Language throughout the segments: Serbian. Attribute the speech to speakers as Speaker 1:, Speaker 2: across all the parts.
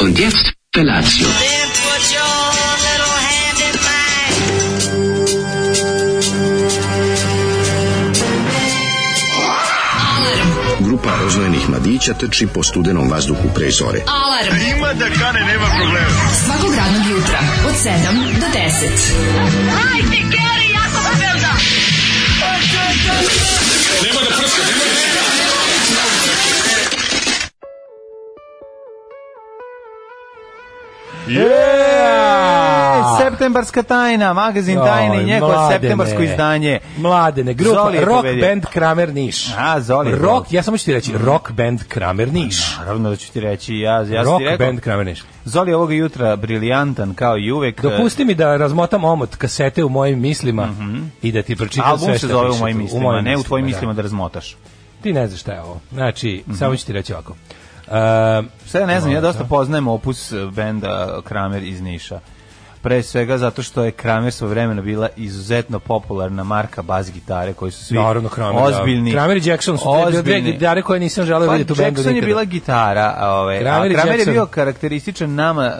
Speaker 1: Und jetzt Felatio.
Speaker 2: Then put your little hand in mine.
Speaker 3: Grupa roznojenih mladića trči po studenom vazduhu pre zore.
Speaker 4: Alarm. Ima da kane, nema problema. Svakog radnog jutra, od 7 do 10.
Speaker 5: Yeah!
Speaker 6: Septembarska tajna, magazin tajne i njegovo
Speaker 5: Mladene.
Speaker 6: septembarsko izdanje.
Speaker 5: Mladene, grupa
Speaker 6: Zoli je
Speaker 5: Rock
Speaker 6: pobedio.
Speaker 5: Band Kramer Niš.
Speaker 6: A, Zoli je
Speaker 5: Rock, ja samo ću ti reći, Rock Band Kramer Niš.
Speaker 6: Naravno da ću ti reći, ja, ja sam
Speaker 5: rock
Speaker 6: ti rekao,
Speaker 5: Band Kramer Niš.
Speaker 6: Zoli je ovoga jutra briljantan kao i uvek. e,
Speaker 5: Dopusti mi da razmotam omot kasete u mojim mislima i da ti
Speaker 6: E,
Speaker 5: pročitam sve
Speaker 6: Album
Speaker 5: što
Speaker 6: se zove u
Speaker 5: piše
Speaker 6: mojim
Speaker 5: tu.
Speaker 6: mislima, ne u tvojim mislima Mhm. da razmotaš.
Speaker 5: Ti ne znaš šta je ovo. Znači, samo ću ti reći ovako. Uh,
Speaker 6: Sve ne znam, ja dosta poznajem opus eh, benda Kramer iz Niša. Pre svega zato što je Kramer svoj vremena bila izuzetno popularna marka bas gitare koji su svi
Speaker 5: Naravno, Kramer. da.
Speaker 6: ozbiljni.
Speaker 5: Kramer i Jackson su te dve
Speaker 6: ozbiljni-
Speaker 5: gitare koje nisam želeo
Speaker 6: Pa,
Speaker 5: vidjeti u bendu
Speaker 6: Jackson je
Speaker 5: nikada.
Speaker 6: bila gitara, a, ovaj,
Speaker 5: Kramer
Speaker 6: a
Speaker 5: i
Speaker 6: Kramer je
Speaker 5: Jackson.
Speaker 6: bio karakterističan nama eh,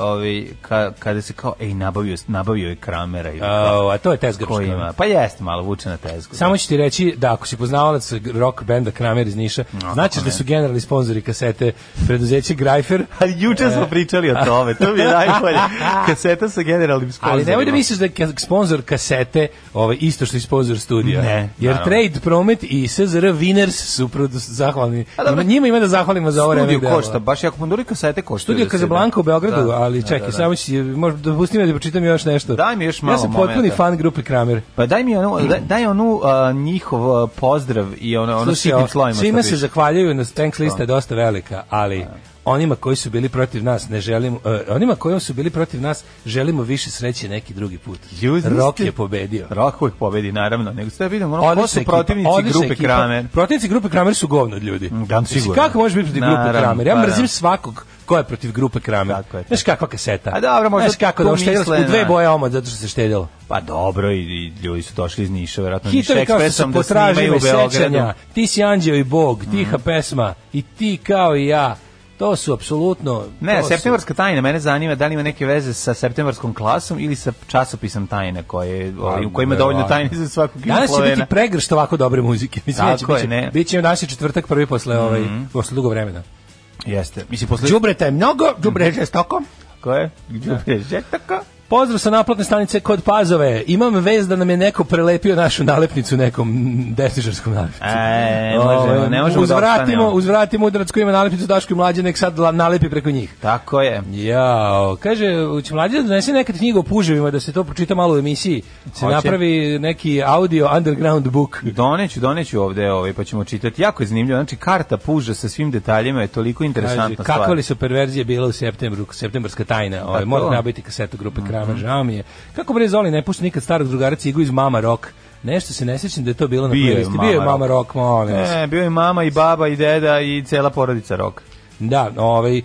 Speaker 6: ovaj, ka- kada se kao, ej, nabavio, nabavio je Kramera. Ili kao,
Speaker 5: Au, a to je ono. tezgačka.
Speaker 6: ko ima. Pa jeste, malo vuče na tezgu.
Speaker 5: Samo ću ti reći da ako si poznavalac rock benda Kramer iz Niša, značiš da su generalni sponzori kasete preduzeće Grajfer,
Speaker 6: Ali juče
Speaker 5: E.
Speaker 6: smo pričali o tome, to mi je najbolje. Kaseta sa generalnim sponzorima.
Speaker 5: ali nemoj da misliš da je ka- sponzor kasete ovaj, isto što i sponzor studija.
Speaker 6: Ne,
Speaker 5: Jer
Speaker 6: naravno.
Speaker 5: Trade Promet i SZR Winners su produ- zahvalni.
Speaker 6: A dobro,
Speaker 5: njima ima da zahvalimo za ovo vreme.
Speaker 6: Studio
Speaker 5: dela.
Speaker 6: košta, baš jako puno. Dobro i kasete košta.
Speaker 5: Studio Casablanca u Beogradu, ali čekaj,
Speaker 6: da, da.
Speaker 5: samo ću, možda dopustim da pročitam još nešto.
Speaker 6: Daj mi još malo
Speaker 5: Ja sam potpuni
Speaker 6: momenta.
Speaker 5: fan grupe Kramer.
Speaker 6: Pa daj mi onu, daj, daj onu a, njihov a, pozdrav i ono, ono
Speaker 5: Slušaj, ovo,
Speaker 6: sitnim slovima. što
Speaker 5: Svima se
Speaker 6: piše.
Speaker 5: zahvaljuju, na thanks lista je dosta velika, ali onima koji su bili protiv nas ne želimo, eh, onima koji su bili protiv nas želimo više sreće neki drugi put.
Speaker 6: Juzni
Speaker 5: Rok
Speaker 6: ste-
Speaker 5: je pobedio.
Speaker 6: Rock uvijek pobedi, naravno. Nego sve vidim, ono, ko
Speaker 5: Odlična
Speaker 6: su
Speaker 5: ekipa,
Speaker 6: protivnici
Speaker 5: odlična
Speaker 6: grupe
Speaker 5: ekipa.
Speaker 6: Kramer.
Speaker 5: Protivnici grupe Kramer su govno od ljudi.
Speaker 6: Da,
Speaker 5: Mislim,
Speaker 6: sigurno.
Speaker 5: Kako može biti protiv
Speaker 6: Naravno,
Speaker 5: grupe Kramer? Ja
Speaker 6: pa da.
Speaker 5: mrzim svakog ko je protiv grupe Kramer.
Speaker 6: Tako je,
Speaker 5: Znaš
Speaker 6: tako.
Speaker 5: kakva kaseta?
Speaker 6: A dobro, možda
Speaker 5: Znaš kako
Speaker 6: tu
Speaker 5: da oštedjeli smo
Speaker 6: misle,
Speaker 5: u dve
Speaker 6: da.
Speaker 5: boje omot zato što se štedjelo.
Speaker 6: Pa dobro, i, i ljudi su došli iz Niša, vjerojatno Niš
Speaker 5: Hitovi kao što
Speaker 6: Ekspresom
Speaker 5: su
Speaker 6: da snimaju
Speaker 5: potražive
Speaker 6: u Beogradu. Mhm.
Speaker 5: sećanja, ti si anđeo i bog, tiha pesma i ti kao i ja, to su apsolutno...
Speaker 6: Ne,
Speaker 5: to su-
Speaker 6: septembarska tajna, mene zanima da li ima neke veze sa septembarskom klasom ili sa časopisom tajne koje, ovaj, u kojima je dovoljno tajne za svakog
Speaker 5: Pa, Danas će biti
Speaker 6: Jugoslovena.
Speaker 5: pregršt ovako dobre muzike. Mislim,
Speaker 6: Tako
Speaker 5: neće,
Speaker 6: je,
Speaker 5: biće,
Speaker 6: ne. Mhm.
Speaker 5: Biće danas je četvrtak prvi posle, ovaj, posle dugo vremena.
Speaker 6: Jeste. Mislim, posle...
Speaker 5: Đubreta je mnogo,
Speaker 6: Mhm.
Speaker 5: đubre je žestoko.
Speaker 6: Ko je? Đubre Žetaka?
Speaker 5: Pozdrav sa naplatne stanice kod Pazove. Imam vez da nam je neko prelepio našu nalepnicu nekom mm, desničarskom nalepnicu.
Speaker 6: E, ne možemo,
Speaker 5: Ovaj,
Speaker 6: ne možemo da
Speaker 5: uzvratimo,
Speaker 6: opstanemo.
Speaker 5: uzvratimo udarac koji ima nalepnicu Daško i mlađe, nek sad la- nalepi preko njih.
Speaker 6: Tako je.
Speaker 5: Jao, kaže, će mlađe da donese nekad knjigu o puževima, da se to pročita malo u emisiji, se
Speaker 6: Hoće.
Speaker 5: napravi neki audio underground book.
Speaker 6: Doneću, doneću ovde, ovaj, pa ćemo čitati. Jako je zanimljivo. Znači, karta puža sa svim detaljima je toliko
Speaker 5: Kaže,
Speaker 6: interesantna
Speaker 5: kakva
Speaker 6: stvar. Pa
Speaker 5: li su perverzije bila u septembru, septembarska tajna, ovaj,
Speaker 6: to. Mhm.
Speaker 5: moram nabaviti kasetu grupe Kramer, žao mi je. Kako bre Zoli, ne pušta nikad starog drugara cigu iz Mama Rock, nešto se ne sjećam da je to bilo na
Speaker 6: Bio je
Speaker 5: playlisti, bio je
Speaker 6: Mama
Speaker 5: Mama Rock, molim vas.
Speaker 6: E, bio je mama i baba i deda i cela porodica rok.
Speaker 5: Da, ovaj,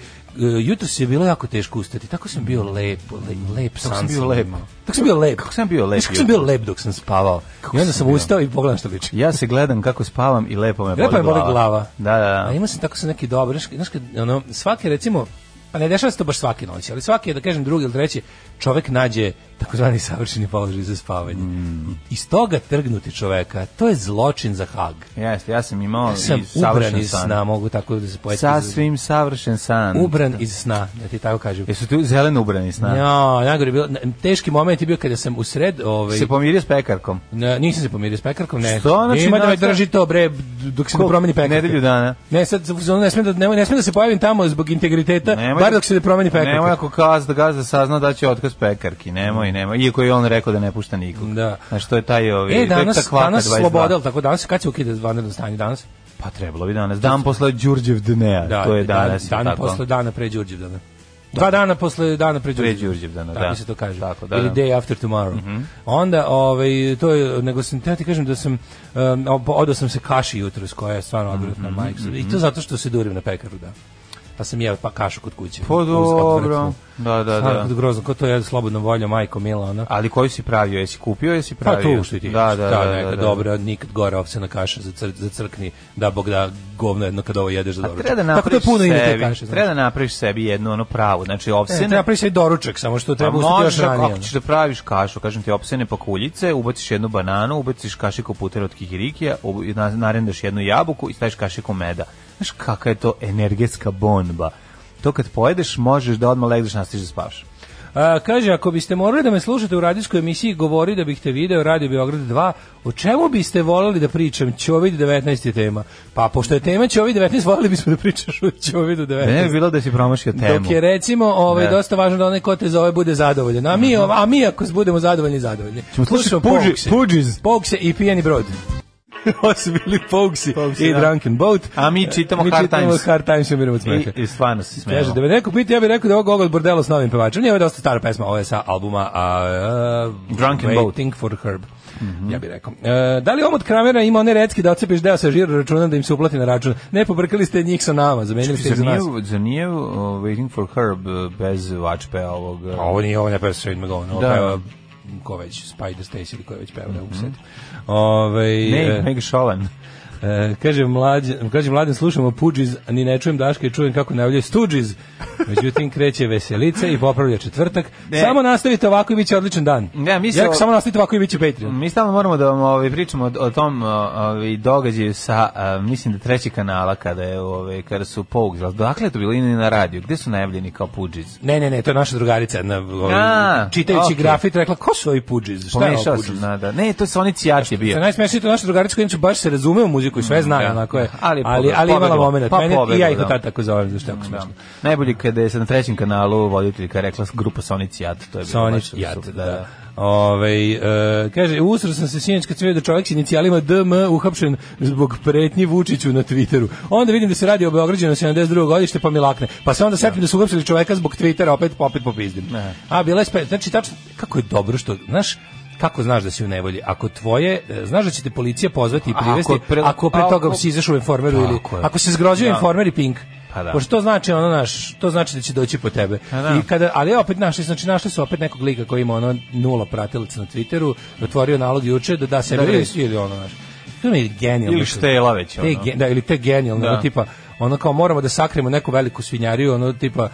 Speaker 5: jutro se je bilo jako teško ustati, tako sam bio lep, lep, lep san.
Speaker 6: sam bio lep.
Speaker 5: Tako sam bio lep.
Speaker 6: Kako sam bio lep
Speaker 5: Znaš Kako sam bio lep dok sam spavao. I onda sam ustao i pogledam što liči.
Speaker 6: Ja se gledam kako spavam i lepo me boli
Speaker 5: Lepa
Speaker 6: glava.
Speaker 5: pa je boli glava.
Speaker 6: Da, da, da.
Speaker 5: A ima sam tako sa neki dobar, znaš, znaš kad, ono, svake recimo, pa ne dešava se to baš svake noći, ali svake, da kažem drugi ili treći, čovek nađe takozvani savršeni položaj za spavanje.
Speaker 6: Mm.
Speaker 5: Iz toga trgnuti čoveka, to je zločin za hag.
Speaker 6: Jeste, ja sam imao
Speaker 5: Ja sam
Speaker 6: i
Speaker 5: ubran
Speaker 6: savršen
Speaker 5: iz sna,
Speaker 6: san.
Speaker 5: mogu tako da se poeti.
Speaker 6: Sasvim savršen san.
Speaker 5: Ubran iz sna, da ti tako kažem.
Speaker 6: Jesu tu zeleno ubrani sna?
Speaker 5: Ja, najgore je bilo, teški moment je bio kada sam u sred, ovaj,
Speaker 6: Se pomirio s pekarkom.
Speaker 5: Ne, nisam se pomirio s pekarkom, ne.
Speaker 6: Što? Znači,
Speaker 5: Ima da me
Speaker 6: nastav-
Speaker 5: drži to, bre, dok se ne
Speaker 6: Koliko?
Speaker 5: promeni pekarka.
Speaker 6: Nedelju dana.
Speaker 5: Ne, sad, ono, ne smijem da, ne, ne smijem da se pojavim tamo zbog integriteta, bar dok se ne promeni pekarka.
Speaker 6: Nemoj ako gazda, gazda sazna da će otkaz pekarki. Nemoj, nemoj. Iako je on rekao da ne pušta nikog.
Speaker 5: Mm. Da.
Speaker 6: Znači, to je taj ovi...
Speaker 5: E, danas,
Speaker 6: kvaka
Speaker 5: danas
Speaker 6: 22.
Speaker 5: sloboda, ali tako danas, kad se ukida vanredno stanje danas?
Speaker 6: Pa trebalo bi danas. Dan posle Đurđev dnea.
Speaker 5: Da,
Speaker 6: to je
Speaker 5: dan-
Speaker 6: danas.
Speaker 5: Dan,
Speaker 6: tako.
Speaker 5: posle dana pre Đurđevdana. Dva dana posle dana pre Đurđevdana.
Speaker 6: Đurđevdana,
Speaker 5: Tako
Speaker 6: da.
Speaker 5: se to kaže.
Speaker 6: Tako, da, Mhm.
Speaker 5: Ili
Speaker 6: da.
Speaker 5: day after tomorrow. Onda, ovaj, to je, nego sam, ja ti kažem da sam,
Speaker 6: Mhm,
Speaker 5: um, odao sam se kaši jutros koja je stvarno odvratna, majko. I to zato što se durim na pekaru, da. pa sam jeo pa kašu kod kuće.
Speaker 6: Pa
Speaker 5: Uz-
Speaker 6: dobro.
Speaker 5: odvratno.
Speaker 6: Da, da,
Speaker 5: Stvarno,
Speaker 6: da.
Speaker 5: kako grozno, ko to je slobodno volja, majko mila, ona.
Speaker 6: Ali koju si pravio? Jesi kupio, jesi
Speaker 5: Pa
Speaker 6: pravio?
Speaker 5: tu što ti
Speaker 6: Da, da, da,
Speaker 5: neka
Speaker 6: da, da.
Speaker 5: dobra, nikad gore ovcena kaša za, cr, za crkni, da bog da govno jedno kad ovo jedeš za
Speaker 6: A
Speaker 5: doručak.
Speaker 6: treba da
Speaker 5: Tako da
Speaker 6: napraviš
Speaker 5: Pa puno ima te
Speaker 6: sebi,
Speaker 5: kaše. znaš.
Speaker 6: treba da napraviš sebi jednu ono pravu, znači
Speaker 5: E, treba
Speaker 6: ovsene,
Speaker 5: napraviš sebi doručak, samo što treba
Speaker 6: A
Speaker 5: ustati još
Speaker 6: možeš Pa ako-
Speaker 5: ranije. ono.
Speaker 6: Ako ćeš da praviš kašu, kažem ti, opsene pakuljice, ubaciš jednu bananu, ubaciš kašiku putera od kikirikija, ubu- i na- narendaš jednu jabuku i staviš kašiku meda. Znaš kakva je to energetska bomba. To kad pojedeš, možeš da odmah legneš, nastiš da spavaš.
Speaker 5: A, kaže, ako biste morali da me slušate u radijskoj emisiji Govori da bih te video, Radio Beograd 2, o čemu biste volali da pričam? Ćovid 19 je tema. Pa, pošto je tema Ćovid 19, volali bismo da pričaš o Ćovidu 19.
Speaker 6: Ne bi bilo da si promašio temu.
Speaker 5: E, Dok je recimo ovaj
Speaker 6: Ne.
Speaker 5: dosta važno da Mhm. onaj ko te zove bude zadovoljan. A mi a mi ako budemo zadovoljni zadovoljni.
Speaker 6: Ćemo slušati Puđi-
Speaker 5: Pogse.
Speaker 6: Puđis.
Speaker 5: Pogse i pijani brod. Ovo su bili Pogsi
Speaker 6: Pogsi,
Speaker 5: i
Speaker 6: da.
Speaker 5: Drunken Boat.
Speaker 6: A mi čitamo
Speaker 5: mi
Speaker 6: Hard
Speaker 5: čitamo
Speaker 6: Times.
Speaker 5: Hard Times i umiramo od smeha.
Speaker 6: I, I stvarno se smijemo.
Speaker 5: Kaže, da me neko pita, ja bih rekao da je ovo Gogol Bordelo s novim pevačem. Nije, ovo je dosta stara pesma, ovo je sa albuma a, a,
Speaker 6: Drunken Boat.
Speaker 5: Waiting for Herb. Ja bih rekao. E, da li omot Kramera ima one recki da ocepiš deo sa žiro računa da im se uplati na račun? Ne, pobrkali ste njih sa nama, zamenili ste ih
Speaker 6: Zar
Speaker 5: za
Speaker 6: nije,
Speaker 5: nas.
Speaker 6: zar nije uh, Waiting for Herb uh, bez vačpe ovog... uh,
Speaker 5: A Ovo nije, ovo ne peva Shane McGowan, ovo
Speaker 6: Da. Mhm.
Speaker 5: peva ko već, Spider Stacy ili ko je već peva, ne mogu se setiti. Ovaj,
Speaker 6: Ne,
Speaker 5: e,
Speaker 6: Meg Šolan.
Speaker 5: E, kaže mlađe, kaže mladen slušamo Pudžiz, a ni ne čujem Daška i čujem kako najavljuje Studžiz. Međutim kreće veselice i popravlja četvrtak.
Speaker 6: Ne.
Speaker 5: Samo nastavite ovako i biće odličan dan.
Speaker 6: Ne, mi se-
Speaker 5: Ja rekao, samo nastavite ovako i biće Patreon.
Speaker 6: Mi stalno moramo da vam ovaj, pričamo o, o tom ovaj, događaju sa, a, mislim da treći kanala kada je ovaj, kada su Pogues, ali dakle je to bilo i na radiju, gde su najavljeni kao Pudžic?
Speaker 5: Ne, ne, ne, to je naša drugarica jedna, ovaj,
Speaker 6: A,
Speaker 5: čitajući
Speaker 6: okej.
Speaker 5: grafit rekla ko su ovi Pudžiz? Šta je ovo
Speaker 6: Pomešao
Speaker 5: Pudžiz?
Speaker 6: sam, da, da. Ne, to su oni cijač je
Speaker 5: Sa
Speaker 6: bio.
Speaker 5: najsmešnije je to naša drugarica koja inače baš se razume u muziku i sve zna,
Speaker 6: Mm, da.
Speaker 5: onako je.
Speaker 6: Ali je
Speaker 5: ali,
Speaker 6: pobegla,
Speaker 5: ali imala
Speaker 6: pobegla.
Speaker 5: momenat.
Speaker 6: Pa
Speaker 5: Mene- I
Speaker 6: pobegla,
Speaker 5: ja ih od
Speaker 6: da.
Speaker 5: tad tako zovem, zašto je jako smešno.
Speaker 6: Najbolje kada je sa na trećem kanalu voditeljka rekla grupa Sonic Jad, to je bilo
Speaker 5: Sonic
Speaker 6: baš
Speaker 5: Jad,
Speaker 6: super,
Speaker 5: da. da. Ove, e, kaže, usro sam se sinoć kad sam vidio da čovjek s inicijalima DM uhapšen zbog pretnji Vučiću na Twitteru. Onda vidim da se radi o Beograđanu 72. godište pa mi lakne. Pa se onda setim da su uhapšili čovjeka zbog Twittera, opet opet popizdim.
Speaker 6: Ne.
Speaker 5: A bila je spe... znači tačno kako je dobro što, znaš, kako znaš da si u nevolji? Ako tvoje, e, znaš da će te policija pozvati i
Speaker 6: Ako
Speaker 5: privesti, ako pre,
Speaker 6: pre-
Speaker 5: toga
Speaker 6: ako-
Speaker 5: si izašao u informeru ili
Speaker 6: Tako je.
Speaker 5: ako se zgrozio
Speaker 6: Da.
Speaker 5: informer i pink.
Speaker 6: Pa da. Pa
Speaker 5: Pošto to znači ono naš, to znači da će doći po tebe.
Speaker 6: da.
Speaker 5: I kada, ali opet našli, znači našli su opet nekog lika koji ima ono nula pratilaca na Twitteru, otvorio nalog juče da da se
Speaker 6: Da,
Speaker 5: ili,
Speaker 6: da.
Speaker 5: ili ono naš. To mi je genijalno.
Speaker 6: Ili
Speaker 5: što-
Speaker 6: Štela već,
Speaker 5: Te
Speaker 6: ono.
Speaker 5: ge- da, ili te genijalno,
Speaker 6: Da.
Speaker 5: ono, tipa ono kao moramo da sakrimo neku veliku svinjariju, ono tipa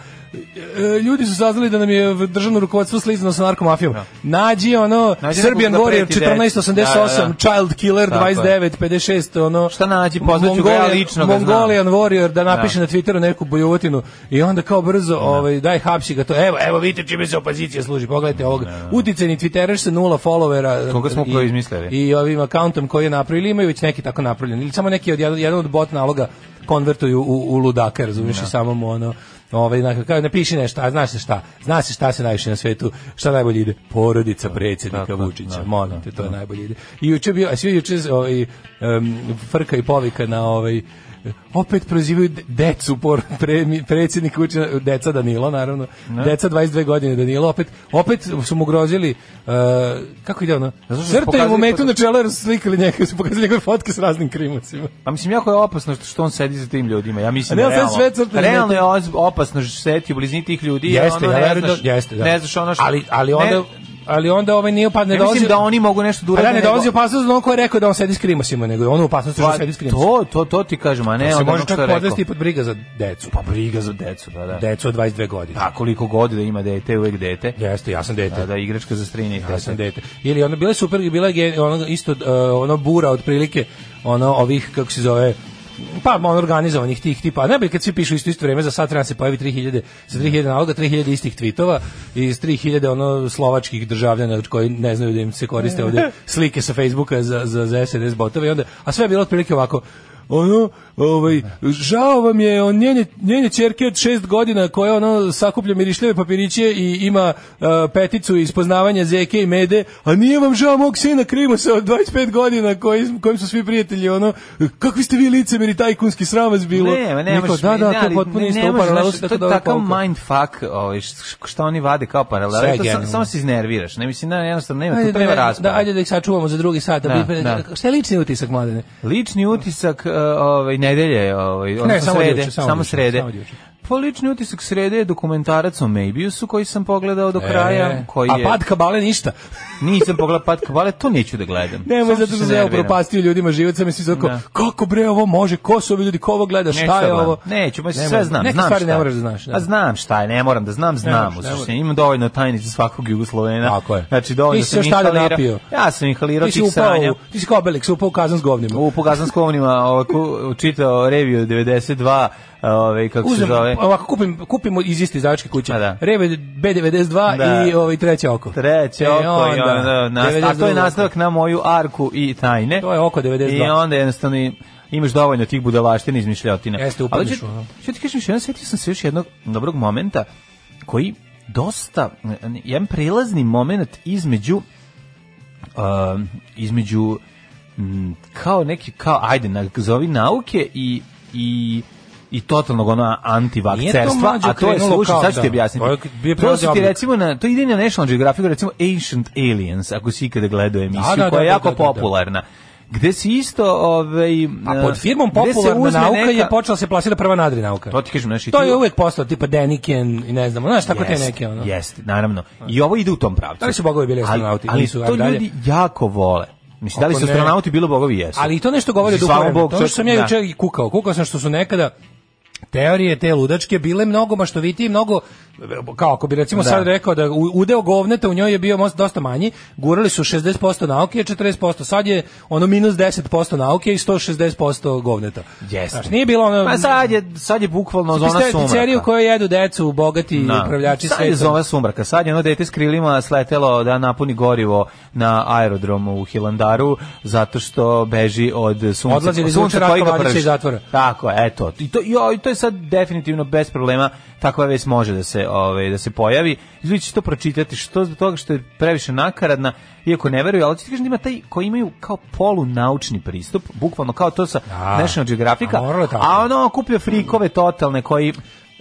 Speaker 5: e, ljudi su saznali da nam je v- državno rukovodstvo slizano sa narkomafijom. Nađi ono
Speaker 6: Nađi
Speaker 5: Serbian
Speaker 6: nekog da
Speaker 5: Warrior
Speaker 6: preti deci.
Speaker 5: 1488,
Speaker 6: Da, da, da.
Speaker 5: Child Killer
Speaker 6: Tako je.
Speaker 5: 29, 56, ono
Speaker 6: Šta nađi, pozvaću ga, ja
Speaker 5: Mongolian-
Speaker 6: lično ga znam.
Speaker 5: Mongolian Warrior da napiše na Twitteru neku bojovotinu i onda kao brzo ovaj daj hapsi ga to. Evo, evo vidite čime se opozicija služi. Pogledajte ovog uticajni Twitteraš sa nula followera.
Speaker 6: Koga smo
Speaker 5: i-
Speaker 6: upravo izmislili.
Speaker 5: I ovim akauntom koji je napravili imaju već neki tako napravljen. Ili samo neki od jedan, jedan od bot naloga konvertuju u, u ludaka, razumiješ, i samo mu ono ovaj na kao napiši nešto, a znaš se šta? Znaš se šta se najviše na svetu, šta najbolje ide? Porodica predsjednika
Speaker 6: Tako,
Speaker 5: Vučića.
Speaker 6: da,
Speaker 5: molim te, to je najbolje ide. I juče bio, a svi juče ovaj em, frka i povika na ovaj opet prozivaju de- decu por, pre, mi- predsjednik učina, deca Danilo naravno deca 22 godine Danilo opet opet su mu grozili e, kako ide ono
Speaker 6: Pa Zato što su
Speaker 5: crtaju mu
Speaker 6: pokazali
Speaker 5: metu
Speaker 6: foto-
Speaker 5: na čelo jer su slikali njega su pokazali njegove fotke s raznim krimucima
Speaker 6: Pa mislim, jako je opasno što, što on sedi za tim ljudima. Ja mislim
Speaker 5: Ne,
Speaker 6: da
Speaker 5: on sad
Speaker 6: realno,
Speaker 5: sve crta
Speaker 6: realno
Speaker 5: za
Speaker 6: je oz- opasno što sedi u blizini tih ljudi. a ono,
Speaker 5: ja
Speaker 6: ne
Speaker 5: verujem da-
Speaker 6: znaš-
Speaker 5: jeste, da.
Speaker 6: Ne znaš ono što...
Speaker 5: ali, ali
Speaker 6: ne-
Speaker 5: onda ali onda ovaj nije pa ne
Speaker 6: Ne mislim
Speaker 5: dolazi
Speaker 6: da oni mogu nešto da
Speaker 5: Pa
Speaker 6: urade.
Speaker 5: da, ne
Speaker 6: nego-
Speaker 5: dolazi opasnost da on ko je rekao da on sedi s krimusima, nego je on u opasnosti što
Speaker 6: Pa,
Speaker 5: sedi s krimusima.
Speaker 6: to, to, to ti kažem, a ne
Speaker 5: se
Speaker 6: od
Speaker 5: može
Speaker 6: onog što je
Speaker 5: čak
Speaker 6: rekao.
Speaker 5: podvesti pod briga za decu.
Speaker 6: Pa briga za decu, da, da.
Speaker 5: Decu od 22 godine.
Speaker 6: Pa koliko god da ima dete, uvek dete. pa
Speaker 5: Jeste, ja sam dete.
Speaker 6: Da, da, igračka za strini i
Speaker 5: Ja sam
Speaker 6: dete.
Speaker 5: dete. Ili ono bile super, bila je gen- ono isto e, ono bura otprilike ono ovih kako se zove pa ono organizovanih tih tipa. Ne bi kad svi pišu isto isto vrijeme za sat vremena se pojavi 3000 sa 3000 naloga, 3000 istih tvitova i iz 3000 ono slovačkih državljana koji ne znaju da im se koriste ovde slike sa Facebooka za za za SNS botove i onda a sve je bilo otprilike ovako ono, ovaj, žao vam je on njene, njene čerke od šest godina koja ono sakuplja mirišljive papiriće i ima e, peticu iz poznavanja zeke i mede, a nije vam žao mog sina Krimusa od 25 godina koji, kojim su svi prijatelji, ono, kakvi ste vi licemeri, tajkunski sram vas bilo.
Speaker 6: Ne, ma ne
Speaker 5: Niko,
Speaker 6: možeš,
Speaker 5: da, da,
Speaker 6: ne,
Speaker 5: to je
Speaker 6: ali
Speaker 5: potpuno
Speaker 6: ne
Speaker 5: isto u
Speaker 6: možeš,
Speaker 5: paralelu
Speaker 6: znaš,
Speaker 5: se tako
Speaker 6: to je
Speaker 5: dobro
Speaker 6: takav
Speaker 5: povukao.
Speaker 6: mindfuck, ovaj, š- šta oni vade kao
Speaker 5: Sve je
Speaker 6: paralele, to sam-
Speaker 5: genijalno.
Speaker 6: samo se iznerviraš, ne mislim, ne, jednostavno nema, tu
Speaker 5: Ajde da,
Speaker 6: treba
Speaker 5: da,
Speaker 6: rasprava.
Speaker 5: ajde da ih sačuvamo za drugi sat. Da,
Speaker 6: Da,
Speaker 5: bi-
Speaker 6: da.
Speaker 5: Šta je lični utisak, mladene?
Speaker 6: Lični utisak uh, ovaj nedelje, ovaj odnosno
Speaker 5: samo od
Speaker 6: srede,
Speaker 5: juče, samo od
Speaker 6: samo
Speaker 5: juče,
Speaker 6: srede.
Speaker 5: samo od juče.
Speaker 6: Pa lični utisak srede je dokumentarac o Maybiusu koji sam pogledao do kraja.
Speaker 5: E,
Speaker 6: koji je...
Speaker 5: A pad kabale ništa.
Speaker 6: Nisam pogledao pad kabale, to neću da gledam.
Speaker 5: Nemoj
Speaker 6: Samo
Speaker 5: zato što
Speaker 6: se
Speaker 5: se ja
Speaker 6: nerviram.
Speaker 5: propastio ljudima život, sam mislim zato
Speaker 6: Da.
Speaker 5: kako bre ovo može, ko su ovi ljudi, ko ovo gleda,
Speaker 6: Neću
Speaker 5: šta
Speaker 6: da
Speaker 5: je
Speaker 6: gledam.
Speaker 5: ovo?
Speaker 6: Neću, ma
Speaker 5: Ne
Speaker 6: sve
Speaker 5: moraš-
Speaker 6: znam,
Speaker 5: neke
Speaker 6: znam
Speaker 5: stvari
Speaker 6: šta.
Speaker 5: ne moraš da znaš, da.
Speaker 6: A znam šta je, ne moram da znam, znam.
Speaker 5: moraš,
Speaker 6: u
Speaker 5: ne
Speaker 6: suštini.
Speaker 5: moraš.
Speaker 6: imam dovoljno tajni za svakog Jugoslovena.
Speaker 5: Tako je.
Speaker 6: Znači, dovoljno
Speaker 5: Ti si
Speaker 6: sam
Speaker 5: još tada
Speaker 6: inhalirao-
Speaker 5: napio.
Speaker 6: Ja sam inhalirao
Speaker 5: Ti si
Speaker 6: tih
Speaker 5: upao,
Speaker 6: sranja.
Speaker 5: u- ti si kao Obelix, upao u kazan s govnima.
Speaker 6: U Pogazanskom onima ovako čitao reviju 92, ovaj kako se
Speaker 5: Uzem,
Speaker 6: zove.
Speaker 5: ovako, kupim, kupimo iz iste izdavačke kuće.
Speaker 6: Pa da.
Speaker 5: Reve B92
Speaker 6: Da.
Speaker 5: i ovaj treće oko.
Speaker 6: Treće
Speaker 5: E,
Speaker 6: oko i
Speaker 5: onda,
Speaker 6: onda, nas- a to je
Speaker 5: 92.
Speaker 6: nastavak na moju arku i tajne.
Speaker 5: To je oko 92.
Speaker 6: I onda jednostavno i- imaš dovoljno tih budalaština i izmišljotina.
Speaker 5: Jeste, upadneš
Speaker 6: Ali ću-
Speaker 5: u ono.
Speaker 6: ću ti kažem, još jedan sjetio sam se još jednog dobrog momenta koji dosta, jedan prelazni moment između um, između mm, kao neki, kao, ajde, nazovi nauke i, i i totalnog ono
Speaker 5: Nije to
Speaker 6: antivakcerstva,
Speaker 5: mlađe
Speaker 6: a to je
Speaker 5: krenulo
Speaker 6: slušaj,
Speaker 5: kao
Speaker 6: sad ću ti
Speaker 5: da.
Speaker 6: objasniti.
Speaker 5: To je bio
Speaker 6: To su
Speaker 5: prelazni
Speaker 6: ti
Speaker 5: oblik.
Speaker 6: recimo na to ide na National Geographic recimo Ancient Aliens ako si ikada gledao emisiju
Speaker 5: da,
Speaker 6: koja je
Speaker 5: da,
Speaker 6: jako
Speaker 5: da, da, da.
Speaker 6: popularna gde se isto ovaj
Speaker 5: A pod firmom
Speaker 6: gde se
Speaker 5: popularna
Speaker 6: uzme
Speaker 5: nauka
Speaker 6: neka-
Speaker 5: je počela se plasira prva nadri nauka.
Speaker 6: To ti kažem, znači,
Speaker 5: To
Speaker 6: ti-
Speaker 5: je uvek postao tipa Deniken i ne znam, znaš tako te neke ono.
Speaker 6: Jeste, naravno. I ovo ide u tom pravcu.
Speaker 5: Da li su bogovi bili astronauti?
Speaker 6: Ali, ali
Speaker 5: Nisu,
Speaker 6: to
Speaker 5: ajde dalje.
Speaker 6: ljudi jako vole. Mislim, da li
Speaker 5: Ako
Speaker 6: su
Speaker 5: ne-
Speaker 6: astronauti bilo bogovi jesu?
Speaker 5: Ali i to nešto govori o
Speaker 6: Mislim,
Speaker 5: duhu
Speaker 6: hvala
Speaker 5: vremena.
Speaker 6: Bogu,
Speaker 5: To ono što sam ja
Speaker 6: da.
Speaker 5: juče i kukao. Kukao sam što su nekada teorije te ludačke bile mnogo maštovitije, mnogo kao ako bi recimo
Speaker 6: Da.
Speaker 5: sad rekao da u- udeo govneta u njoj je bio most- dosta manji, gurali su 60% nauke i 40%. Sad je ono minus 10% nauke i 160% govneta.
Speaker 6: Jeste.
Speaker 5: Znaš, nije bilo ono...
Speaker 6: Pa sad je, sad je bukvalno zona
Speaker 5: Pizzerija-
Speaker 6: sumraka.
Speaker 5: pizzerija u kojoj jedu decu, bogati
Speaker 6: Da.
Speaker 5: upravljači
Speaker 6: Sad je
Speaker 5: sveta.
Speaker 6: zove sumraka. Sad je ono dete s krilima sletelo da napuni gorivo na aerodromu u Hilandaru zato što beži od sunca.
Speaker 5: Odlazi li
Speaker 6: sunca
Speaker 5: zvuče
Speaker 6: koji ga
Speaker 5: Ratko Mladića
Speaker 6: prži.
Speaker 5: iz zatvora?
Speaker 6: Tako, eto. I to, jo, i to je sad definitivno bez problema takva vez može da se, ovaj, da se pojavi. Ljudi će to pročitati što zbog toga što je previše nakaradna, iako ne veruju, ali ću ti kažem da ima taj koji imaju kao polunaučni pristup, bukvalno kao to sa
Speaker 5: Da.
Speaker 6: National Geographica,
Speaker 5: A moralo je tako.
Speaker 6: a ono kuplja frikove totalne koji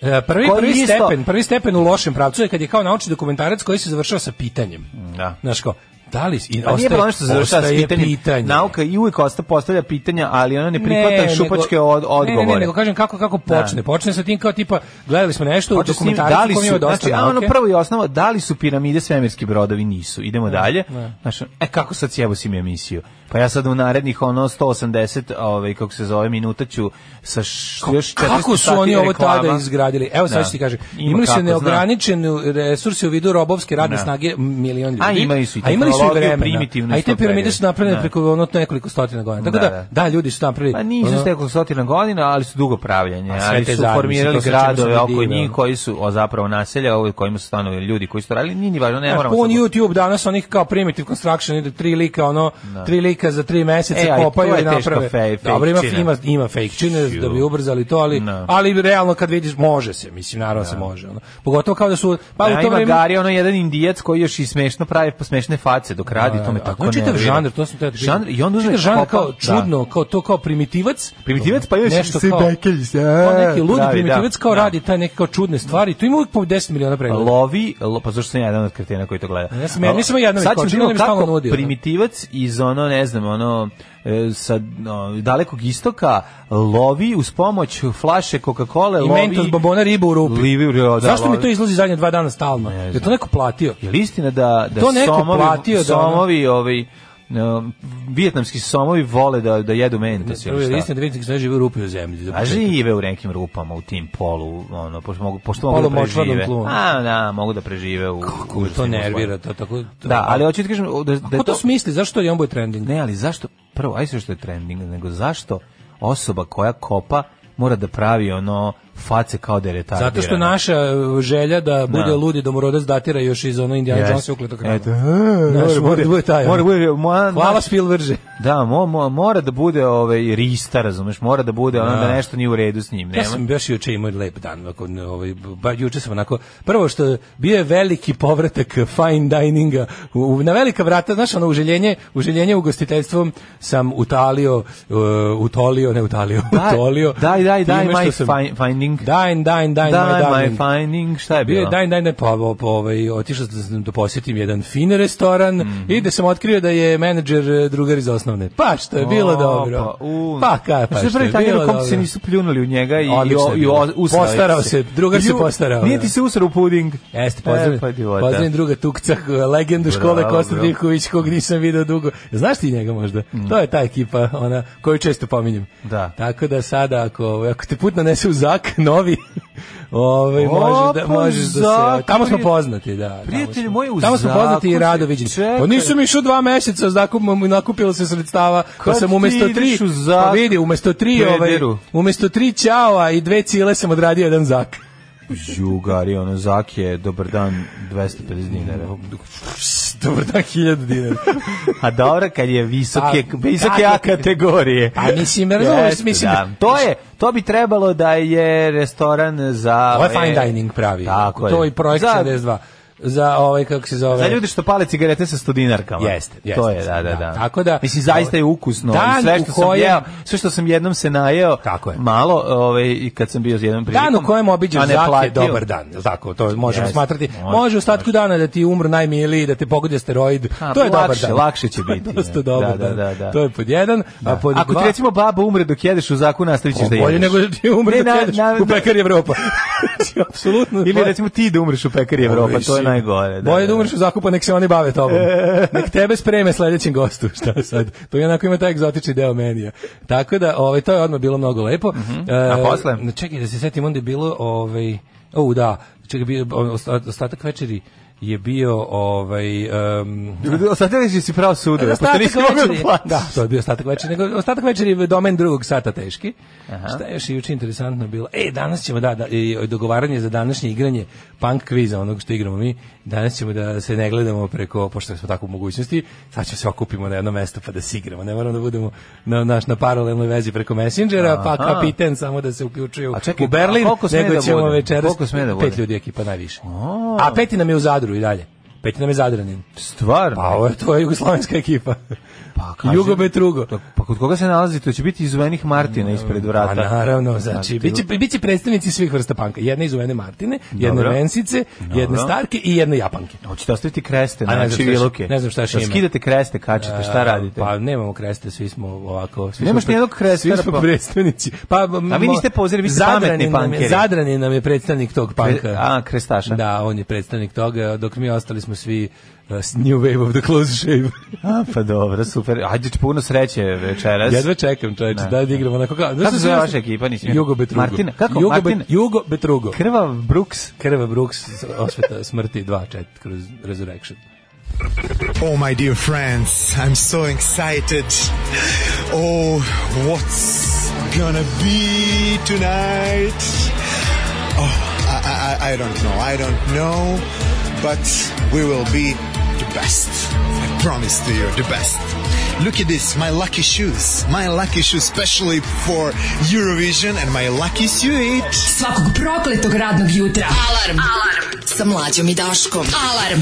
Speaker 5: E, Prvi,
Speaker 6: Koji
Speaker 5: prvi,
Speaker 6: isto-
Speaker 5: stepen, prvi stepen u lošem pravcu je kad je kao naučni dokumentarac koji se završava sa pitanjem.
Speaker 6: Da.
Speaker 5: Znaš kao, da li... I
Speaker 6: Pa nije
Speaker 5: ostaje-
Speaker 6: bilo ono što se završava s
Speaker 5: ostaje
Speaker 6: pitanjem. Nauka i uvijek osta postavlja pitanja, ali ona ne prihvata
Speaker 5: nego-
Speaker 6: šupačke od, odgovore.
Speaker 5: Ne, ne, ne, nego kažem kako, kako počne. Počne sa tim kao tipa, gledali smo nešto u
Speaker 6: Hoće s njim-
Speaker 5: dokumentarcu koji ima dosta
Speaker 6: znači, a ono prvo i osnovno, da li su piramide svemirski brodovi? Nisu. Idemo dalje. Znači, e, kako sad sjebo si mi emisiju? Pa ja sad u narednih ono 180, ovaj, kako se zove, minuta ću sa š, još 400
Speaker 5: Kako su
Speaker 6: sati
Speaker 5: oni ovo
Speaker 6: reklama.
Speaker 5: tada izgradili? Evo sad
Speaker 6: Da.
Speaker 5: ću ti kažem.
Speaker 6: Ima
Speaker 5: Imali
Speaker 6: kako,
Speaker 5: su
Speaker 6: znam.
Speaker 5: neograničene resurse u vidu robovske radne
Speaker 6: Da.
Speaker 5: snage milion ljudi.
Speaker 6: A imali su i
Speaker 5: A imali su
Speaker 6: tehnologiju,
Speaker 5: vremena.
Speaker 6: primitivnu
Speaker 5: A i te
Speaker 6: isto
Speaker 5: piramide
Speaker 6: period.
Speaker 5: su napravljene
Speaker 6: Da.
Speaker 5: preko ono nekoliko stotina godina. Tako
Speaker 6: Da,
Speaker 5: da,
Speaker 6: da.
Speaker 5: da, ljudi su napravili.
Speaker 6: Pa nisu
Speaker 5: ono,
Speaker 6: s nekoliko stotina godina, ali su dugo pravljanje.
Speaker 5: A sve
Speaker 6: Ali
Speaker 5: te
Speaker 6: su
Speaker 5: zajednice,
Speaker 6: formirali
Speaker 5: to se čemu
Speaker 6: gradove
Speaker 5: se
Speaker 6: oko
Speaker 5: divimo.
Speaker 6: njih koji su o, zapravo naselja, ovo kojima su stanovi ljudi koji su to radili, nije ni važno, ne
Speaker 5: Znaš,
Speaker 6: moramo.
Speaker 5: pun
Speaker 6: sad-
Speaker 5: YouTube danas onih kao primitive construction ide tri lika ono tri lika za tri meseca
Speaker 6: E, aj, to
Speaker 5: kopaju
Speaker 6: je
Speaker 5: i naprave.
Speaker 6: teška fej-
Speaker 5: Dobro ima
Speaker 6: fejkčina.
Speaker 5: ima ima fake čine da bi ubrzali to, ali
Speaker 6: No.
Speaker 5: ali realno kad vidiš može se, mislim naravno se može ono. Pogotovo kao da su pa
Speaker 6: Pa
Speaker 5: u to
Speaker 6: ima
Speaker 5: vreme
Speaker 6: Gari, ono jedan indijac koji još i smešno pravi po smešne face dok radi,
Speaker 5: Da,
Speaker 6: to me
Speaker 5: da,
Speaker 6: tako
Speaker 5: on čitav
Speaker 6: nervira.
Speaker 5: žanr, to sam te
Speaker 6: Žanr, i on uzme
Speaker 5: čitav žanr
Speaker 6: kopa-
Speaker 5: kao
Speaker 6: da.
Speaker 5: čudno, kao to kao primitivac.
Speaker 6: Primitivac, pa imaš
Speaker 5: nešto
Speaker 6: svi
Speaker 5: kao,
Speaker 6: bekelji se,
Speaker 5: kao neki ludi
Speaker 6: pravi,
Speaker 5: primitivac
Speaker 6: da,
Speaker 5: kao
Speaker 6: da.
Speaker 5: radi taj neke kao čudne stvari. Tu ima uvijek po 10 miliona pregleda.
Speaker 6: Lovi, lo, pa zašto sam ja jedan od kretena koji to gleda?
Speaker 5: Ja sam- ja nisam jedan od
Speaker 6: Sad ćemo
Speaker 5: koji,
Speaker 6: vidjeti
Speaker 5: on mi stalno
Speaker 6: kako
Speaker 5: nudi, ono.
Speaker 6: primitivac iz ono, ne znam, ono, e, sa no, dalekog istoka lovi uz pomoć flaše Coca-Cola,
Speaker 5: I
Speaker 6: lovi...
Speaker 5: Mentos bombona ribu u rupi.
Speaker 6: Livi u rupi, Pa da,
Speaker 5: Zašto mi
Speaker 6: lovi.
Speaker 5: to izlazi zadnje dva dana stalno?
Speaker 6: Ne
Speaker 5: Je
Speaker 6: znam.
Speaker 5: to neko platio?
Speaker 6: Je li istina da, da
Speaker 5: To neko
Speaker 6: somovi,
Speaker 5: platio da ono-
Speaker 6: somovi ovaj, um, vijetnamski somovi vole da, da jedu mentos ili šta?
Speaker 5: Prvo je istina da vidite kako žive u rupi u zemlji. za
Speaker 6: A
Speaker 5: početak.
Speaker 6: žive u nekim rupama u tim polu, ono, pošto mogu, pošto mogu
Speaker 5: Polu
Speaker 6: da
Speaker 5: močvarnom
Speaker 6: prežive.
Speaker 5: tlu. ono.
Speaker 6: A, da, mogu da prežive u Kako
Speaker 5: To nervira, to tako... to-
Speaker 6: Da, ali hoću ti kažem da, da
Speaker 5: Ko
Speaker 6: je
Speaker 5: to
Speaker 6: to
Speaker 5: smisli? Zašto je on boj trending?
Speaker 6: ne, ali zašto prvo aj sve što je trending, nego zašto osoba koja kopa mora da pravi ono face kao da je retardirana.
Speaker 5: Zato što naša e, želja da bude
Speaker 6: Da.
Speaker 5: ludi domorodac datira još iz ono Indiana
Speaker 6: Yes.
Speaker 5: Jonesa ukletog rana.
Speaker 6: Eto,
Speaker 5: Znaš,
Speaker 6: E, mora
Speaker 5: mora da bude taj,
Speaker 6: Mora
Speaker 5: ono.
Speaker 6: da bude, moja-
Speaker 5: Hvala Spielverže.
Speaker 6: Da, mo, mo- mora da bude ovaj rista, razumeš, mora da bude ono da nešto nije u redu s njim,
Speaker 5: Ja
Speaker 6: nema.
Speaker 5: sam baš juče imao lep dan, ovako, ne, ovaj, ba, juče sam onako, prvo što bio je veliki povratak fine dininga, u, u- na velika vrata, znaš, ono, uželjenje, uželjenje ugostiteljstvom sam utalio, uh, utolio, ne utalio,
Speaker 6: Daj,
Speaker 5: utolio.
Speaker 6: daj, daj, daj,
Speaker 5: time
Speaker 6: my
Speaker 5: što sam-
Speaker 6: fin- finding finding.
Speaker 5: Dine, dine, dine, my
Speaker 6: Dine,
Speaker 5: darling.
Speaker 6: my finding. Šta je
Speaker 5: Bio je
Speaker 6: bilo?
Speaker 5: dan dan ne pa po, po ovaj otišao sam da posjetim jedan fin restoran
Speaker 6: Mhm.
Speaker 5: i da sam otkrio da je menadžer e, drugar iz osnovne. Pa što je bilo
Speaker 6: O,
Speaker 5: dobro.
Speaker 6: Pa, u.
Speaker 5: Pa ka pa.
Speaker 6: Što je prvi tanjer u kom se nisu pljunuli u njega i, i, o- i o- usrao je
Speaker 5: Postarao se, drugar se
Speaker 6: Ju,
Speaker 5: postarao,
Speaker 6: Nije
Speaker 5: da.
Speaker 6: ti se usrao u puding.
Speaker 5: Jeste,
Speaker 6: E,
Speaker 5: pozdravim,
Speaker 6: pa idiota.
Speaker 5: pozdravim druga Tukca, legendu škole
Speaker 6: Bravo,
Speaker 5: Kosta
Speaker 6: bravo. Mm.
Speaker 5: Divković, kog nisam video dugo. Znaš ti njega možda? To je ta ekipa, ona, koju često pominjem.
Speaker 6: Da.
Speaker 5: Tako da sada, ako, ako te put nanese u zak, novi, ovaj,
Speaker 6: O,
Speaker 5: možeš da,
Speaker 6: pa
Speaker 5: možeš da se...
Speaker 6: Zak,
Speaker 5: Tamo smo
Speaker 6: prijatelj-
Speaker 5: poznati, da. tamo
Speaker 6: prijatelj
Speaker 5: smo-
Speaker 6: moj, u
Speaker 5: Tamo smo
Speaker 6: Zaku
Speaker 5: poznati i
Speaker 6: si-
Speaker 5: rado viđeni. Pa
Speaker 6: čekaj.
Speaker 5: nisam išao dva meseca, zakup, nakupilo se sredstava, pa
Speaker 6: Kad
Speaker 5: sam
Speaker 6: ti
Speaker 5: umesto tri,
Speaker 6: ideš u Zak,
Speaker 5: pa vidi, umesto tri, ovaj,
Speaker 6: pederu?
Speaker 5: umesto tri ćava i dve cile sam odradio jedan zak.
Speaker 6: Jugari, ono, Zak je, dobar dan, 250 dinara.
Speaker 5: Dobar dan, hiljadu dinara.
Speaker 6: A dobro, kad je visoke,
Speaker 5: A,
Speaker 6: visoke
Speaker 5: kako-
Speaker 6: A kategorije.
Speaker 5: A Pa, mislim, razumeš,
Speaker 6: Jeste,
Speaker 5: mislim,
Speaker 6: da. to je, to bi trebalo da je restoran za... e,
Speaker 5: Ovo je fine dining pravi.
Speaker 6: Tako je.
Speaker 5: to i projekt
Speaker 6: Za-
Speaker 5: 72. Za ovaj, kako se zove...
Speaker 6: Za ljude što pale cigarete sa 100 dinarkama.
Speaker 5: Jeste, jeste.
Speaker 6: To je, da, da, da.
Speaker 5: Tako da-
Speaker 6: Mislim, zaista je ukusno.
Speaker 5: Dan
Speaker 6: I sve
Speaker 5: u
Speaker 6: što, sam
Speaker 5: kojem-
Speaker 6: jeo, sve što sam jednom se najeo,
Speaker 5: Tako je.
Speaker 6: malo, ovaj, i kad sam bio s jednom prilikom.
Speaker 5: Dan u kojem obiđaš
Speaker 6: a ne
Speaker 5: zak je
Speaker 6: platio.
Speaker 5: dobar dan, jel tako, to možemo
Speaker 6: Jeste,
Speaker 5: smatrati.
Speaker 6: može,
Speaker 5: Može u statku dana da ti umru najmiliji, da te pogodi asteroid,
Speaker 6: A,
Speaker 5: to je dobar
Speaker 6: lakše,
Speaker 5: dan.
Speaker 6: lakše će biti,
Speaker 5: Dosta
Speaker 6: ne.
Speaker 5: dobar
Speaker 6: Da, da,
Speaker 5: dan.
Speaker 6: da, da.
Speaker 5: To je pod jedan, a pod
Speaker 6: Ako
Speaker 5: dva... Pa
Speaker 6: ti recimo baba umre dok jedeš u zaku, nastavit ćeš da jedeš.
Speaker 5: Bolje nego da ti umre
Speaker 6: Ne,
Speaker 5: dok
Speaker 6: na-
Speaker 5: jedeš
Speaker 6: na-
Speaker 5: u pekari Evropa. Znači, Apsolutno.
Speaker 6: Ili recimo ti da umreš u pekari Evropa, to je
Speaker 5: Mislim,
Speaker 6: najgore.
Speaker 5: Bolje da umreš u zakupa, nek se oni bave tobom. nek tebe spreme sledećem gostu, šta sad. To je onako ima taj egzotični deo menija. Tako da, ovaj, to je odmah bilo mnogo lepo.
Speaker 6: A posle?
Speaker 5: E, čekaj, da se setim, onda je bilo, ovaj, o, da, čekaj, bio, osta- ostatak večeri je bio, ovaj, um,
Speaker 6: Sad reći si pravo sudove, pošto
Speaker 5: ostatak
Speaker 6: nisi mogao da
Speaker 5: večeri-
Speaker 6: plaćaš.
Speaker 5: Da, to je bio ostatak večeri, nego ostatak večeri je domen drugog sata teški. Šta je još juče interesantno bilo? E, danas ćemo da, da i dogovaranje za današnje igranje punk kviza, onog što igramo mi. Danas ćemo da se ne gledamo preko pošto smo tako u mogućnosti, sad ćemo se okupimo na jedno mesto pa da se igramo. Ne moramo da budemo na naš na paralelnoj vezi preko Messengera, pa
Speaker 6: Aha.
Speaker 5: kapiten samo da se uključuju
Speaker 6: A čekaj,
Speaker 5: u Berlin,
Speaker 6: a koliko sme
Speaker 5: nego
Speaker 6: da
Speaker 5: ćemo
Speaker 6: bude?
Speaker 5: večeras
Speaker 6: Koliko sme da bude?
Speaker 5: pet ljudi ekipa najviše. A peti nam je u Zadru i dalje. Peti nam je Zadranin.
Speaker 6: Stvarno?
Speaker 5: Pa ovo je to je jugoslovenska ekipa.
Speaker 6: Pa, kaži-
Speaker 5: Jugo Betrugo.
Speaker 6: Pa, pa kod koga se nalazi? To će biti izuvenih Martina ispred vrata.
Speaker 5: A Pa, naravno, znači, biće, biće predstavnici svih vrsta panka. Jedne iz Uvene Martine, jedne
Speaker 6: Dobro.
Speaker 5: Vensice, jedne
Speaker 6: Dobro.
Speaker 5: Starke i jedne Japanke.
Speaker 6: Hoćete ostaviti kreste
Speaker 5: A ne
Speaker 6: na
Speaker 5: znam šta je-
Speaker 6: čiviluke?
Speaker 5: ne znam šta je
Speaker 6: Jel
Speaker 5: šime.
Speaker 6: Skidate kreste, kačite, šta radite?
Speaker 5: Pa nemamo kreste, svi smo ovako... Svi
Speaker 6: Nemaš
Speaker 5: smo pre-
Speaker 6: nijednog krestara,
Speaker 5: Svi smo
Speaker 6: pa-
Speaker 5: predstavnici. Pa, m-
Speaker 6: A vi niste pozeri, vi ste
Speaker 5: Zadranin
Speaker 6: pametni
Speaker 5: nam je-
Speaker 6: pankeri.
Speaker 5: Zadranin nam je predstavnik tog panka.
Speaker 6: a, krestaša.
Speaker 5: Da, on je predstavnik toga, dok mi ostali smo svi uh, s New Wave of the Close Shave.
Speaker 6: A, pa dobro, super. Ajde, puno sreće večeras.
Speaker 5: Jedva čekam, čoveče, da igramo onako kao... Znaš
Speaker 6: Kako
Speaker 5: šta
Speaker 6: se zove
Speaker 5: sam-
Speaker 6: vaša ekipa, nisi-
Speaker 5: Jugo Betrugo.
Speaker 6: Martina, kako?
Speaker 5: Jugo, Bet-
Speaker 6: Martina?
Speaker 5: Jugo Betrugo.
Speaker 6: Krvav Brooks.
Speaker 5: Krve Brooks, osveta smrti 2-4 kroz Resurrection.
Speaker 1: Oh, my dear friends, I'm so excited. Oh, what's gonna be tonight? Oh, I, I, I- I don't know. I don't know, but we will be the best. I promise to you, the best. Look at this, my lucky shoes. My lucky shoes, specially for Eurovision and my lucky suit.
Speaker 4: Svakog prokletog radnog jutra. Alarm. Alarm. Sa mlađom i Daškom. Alarm.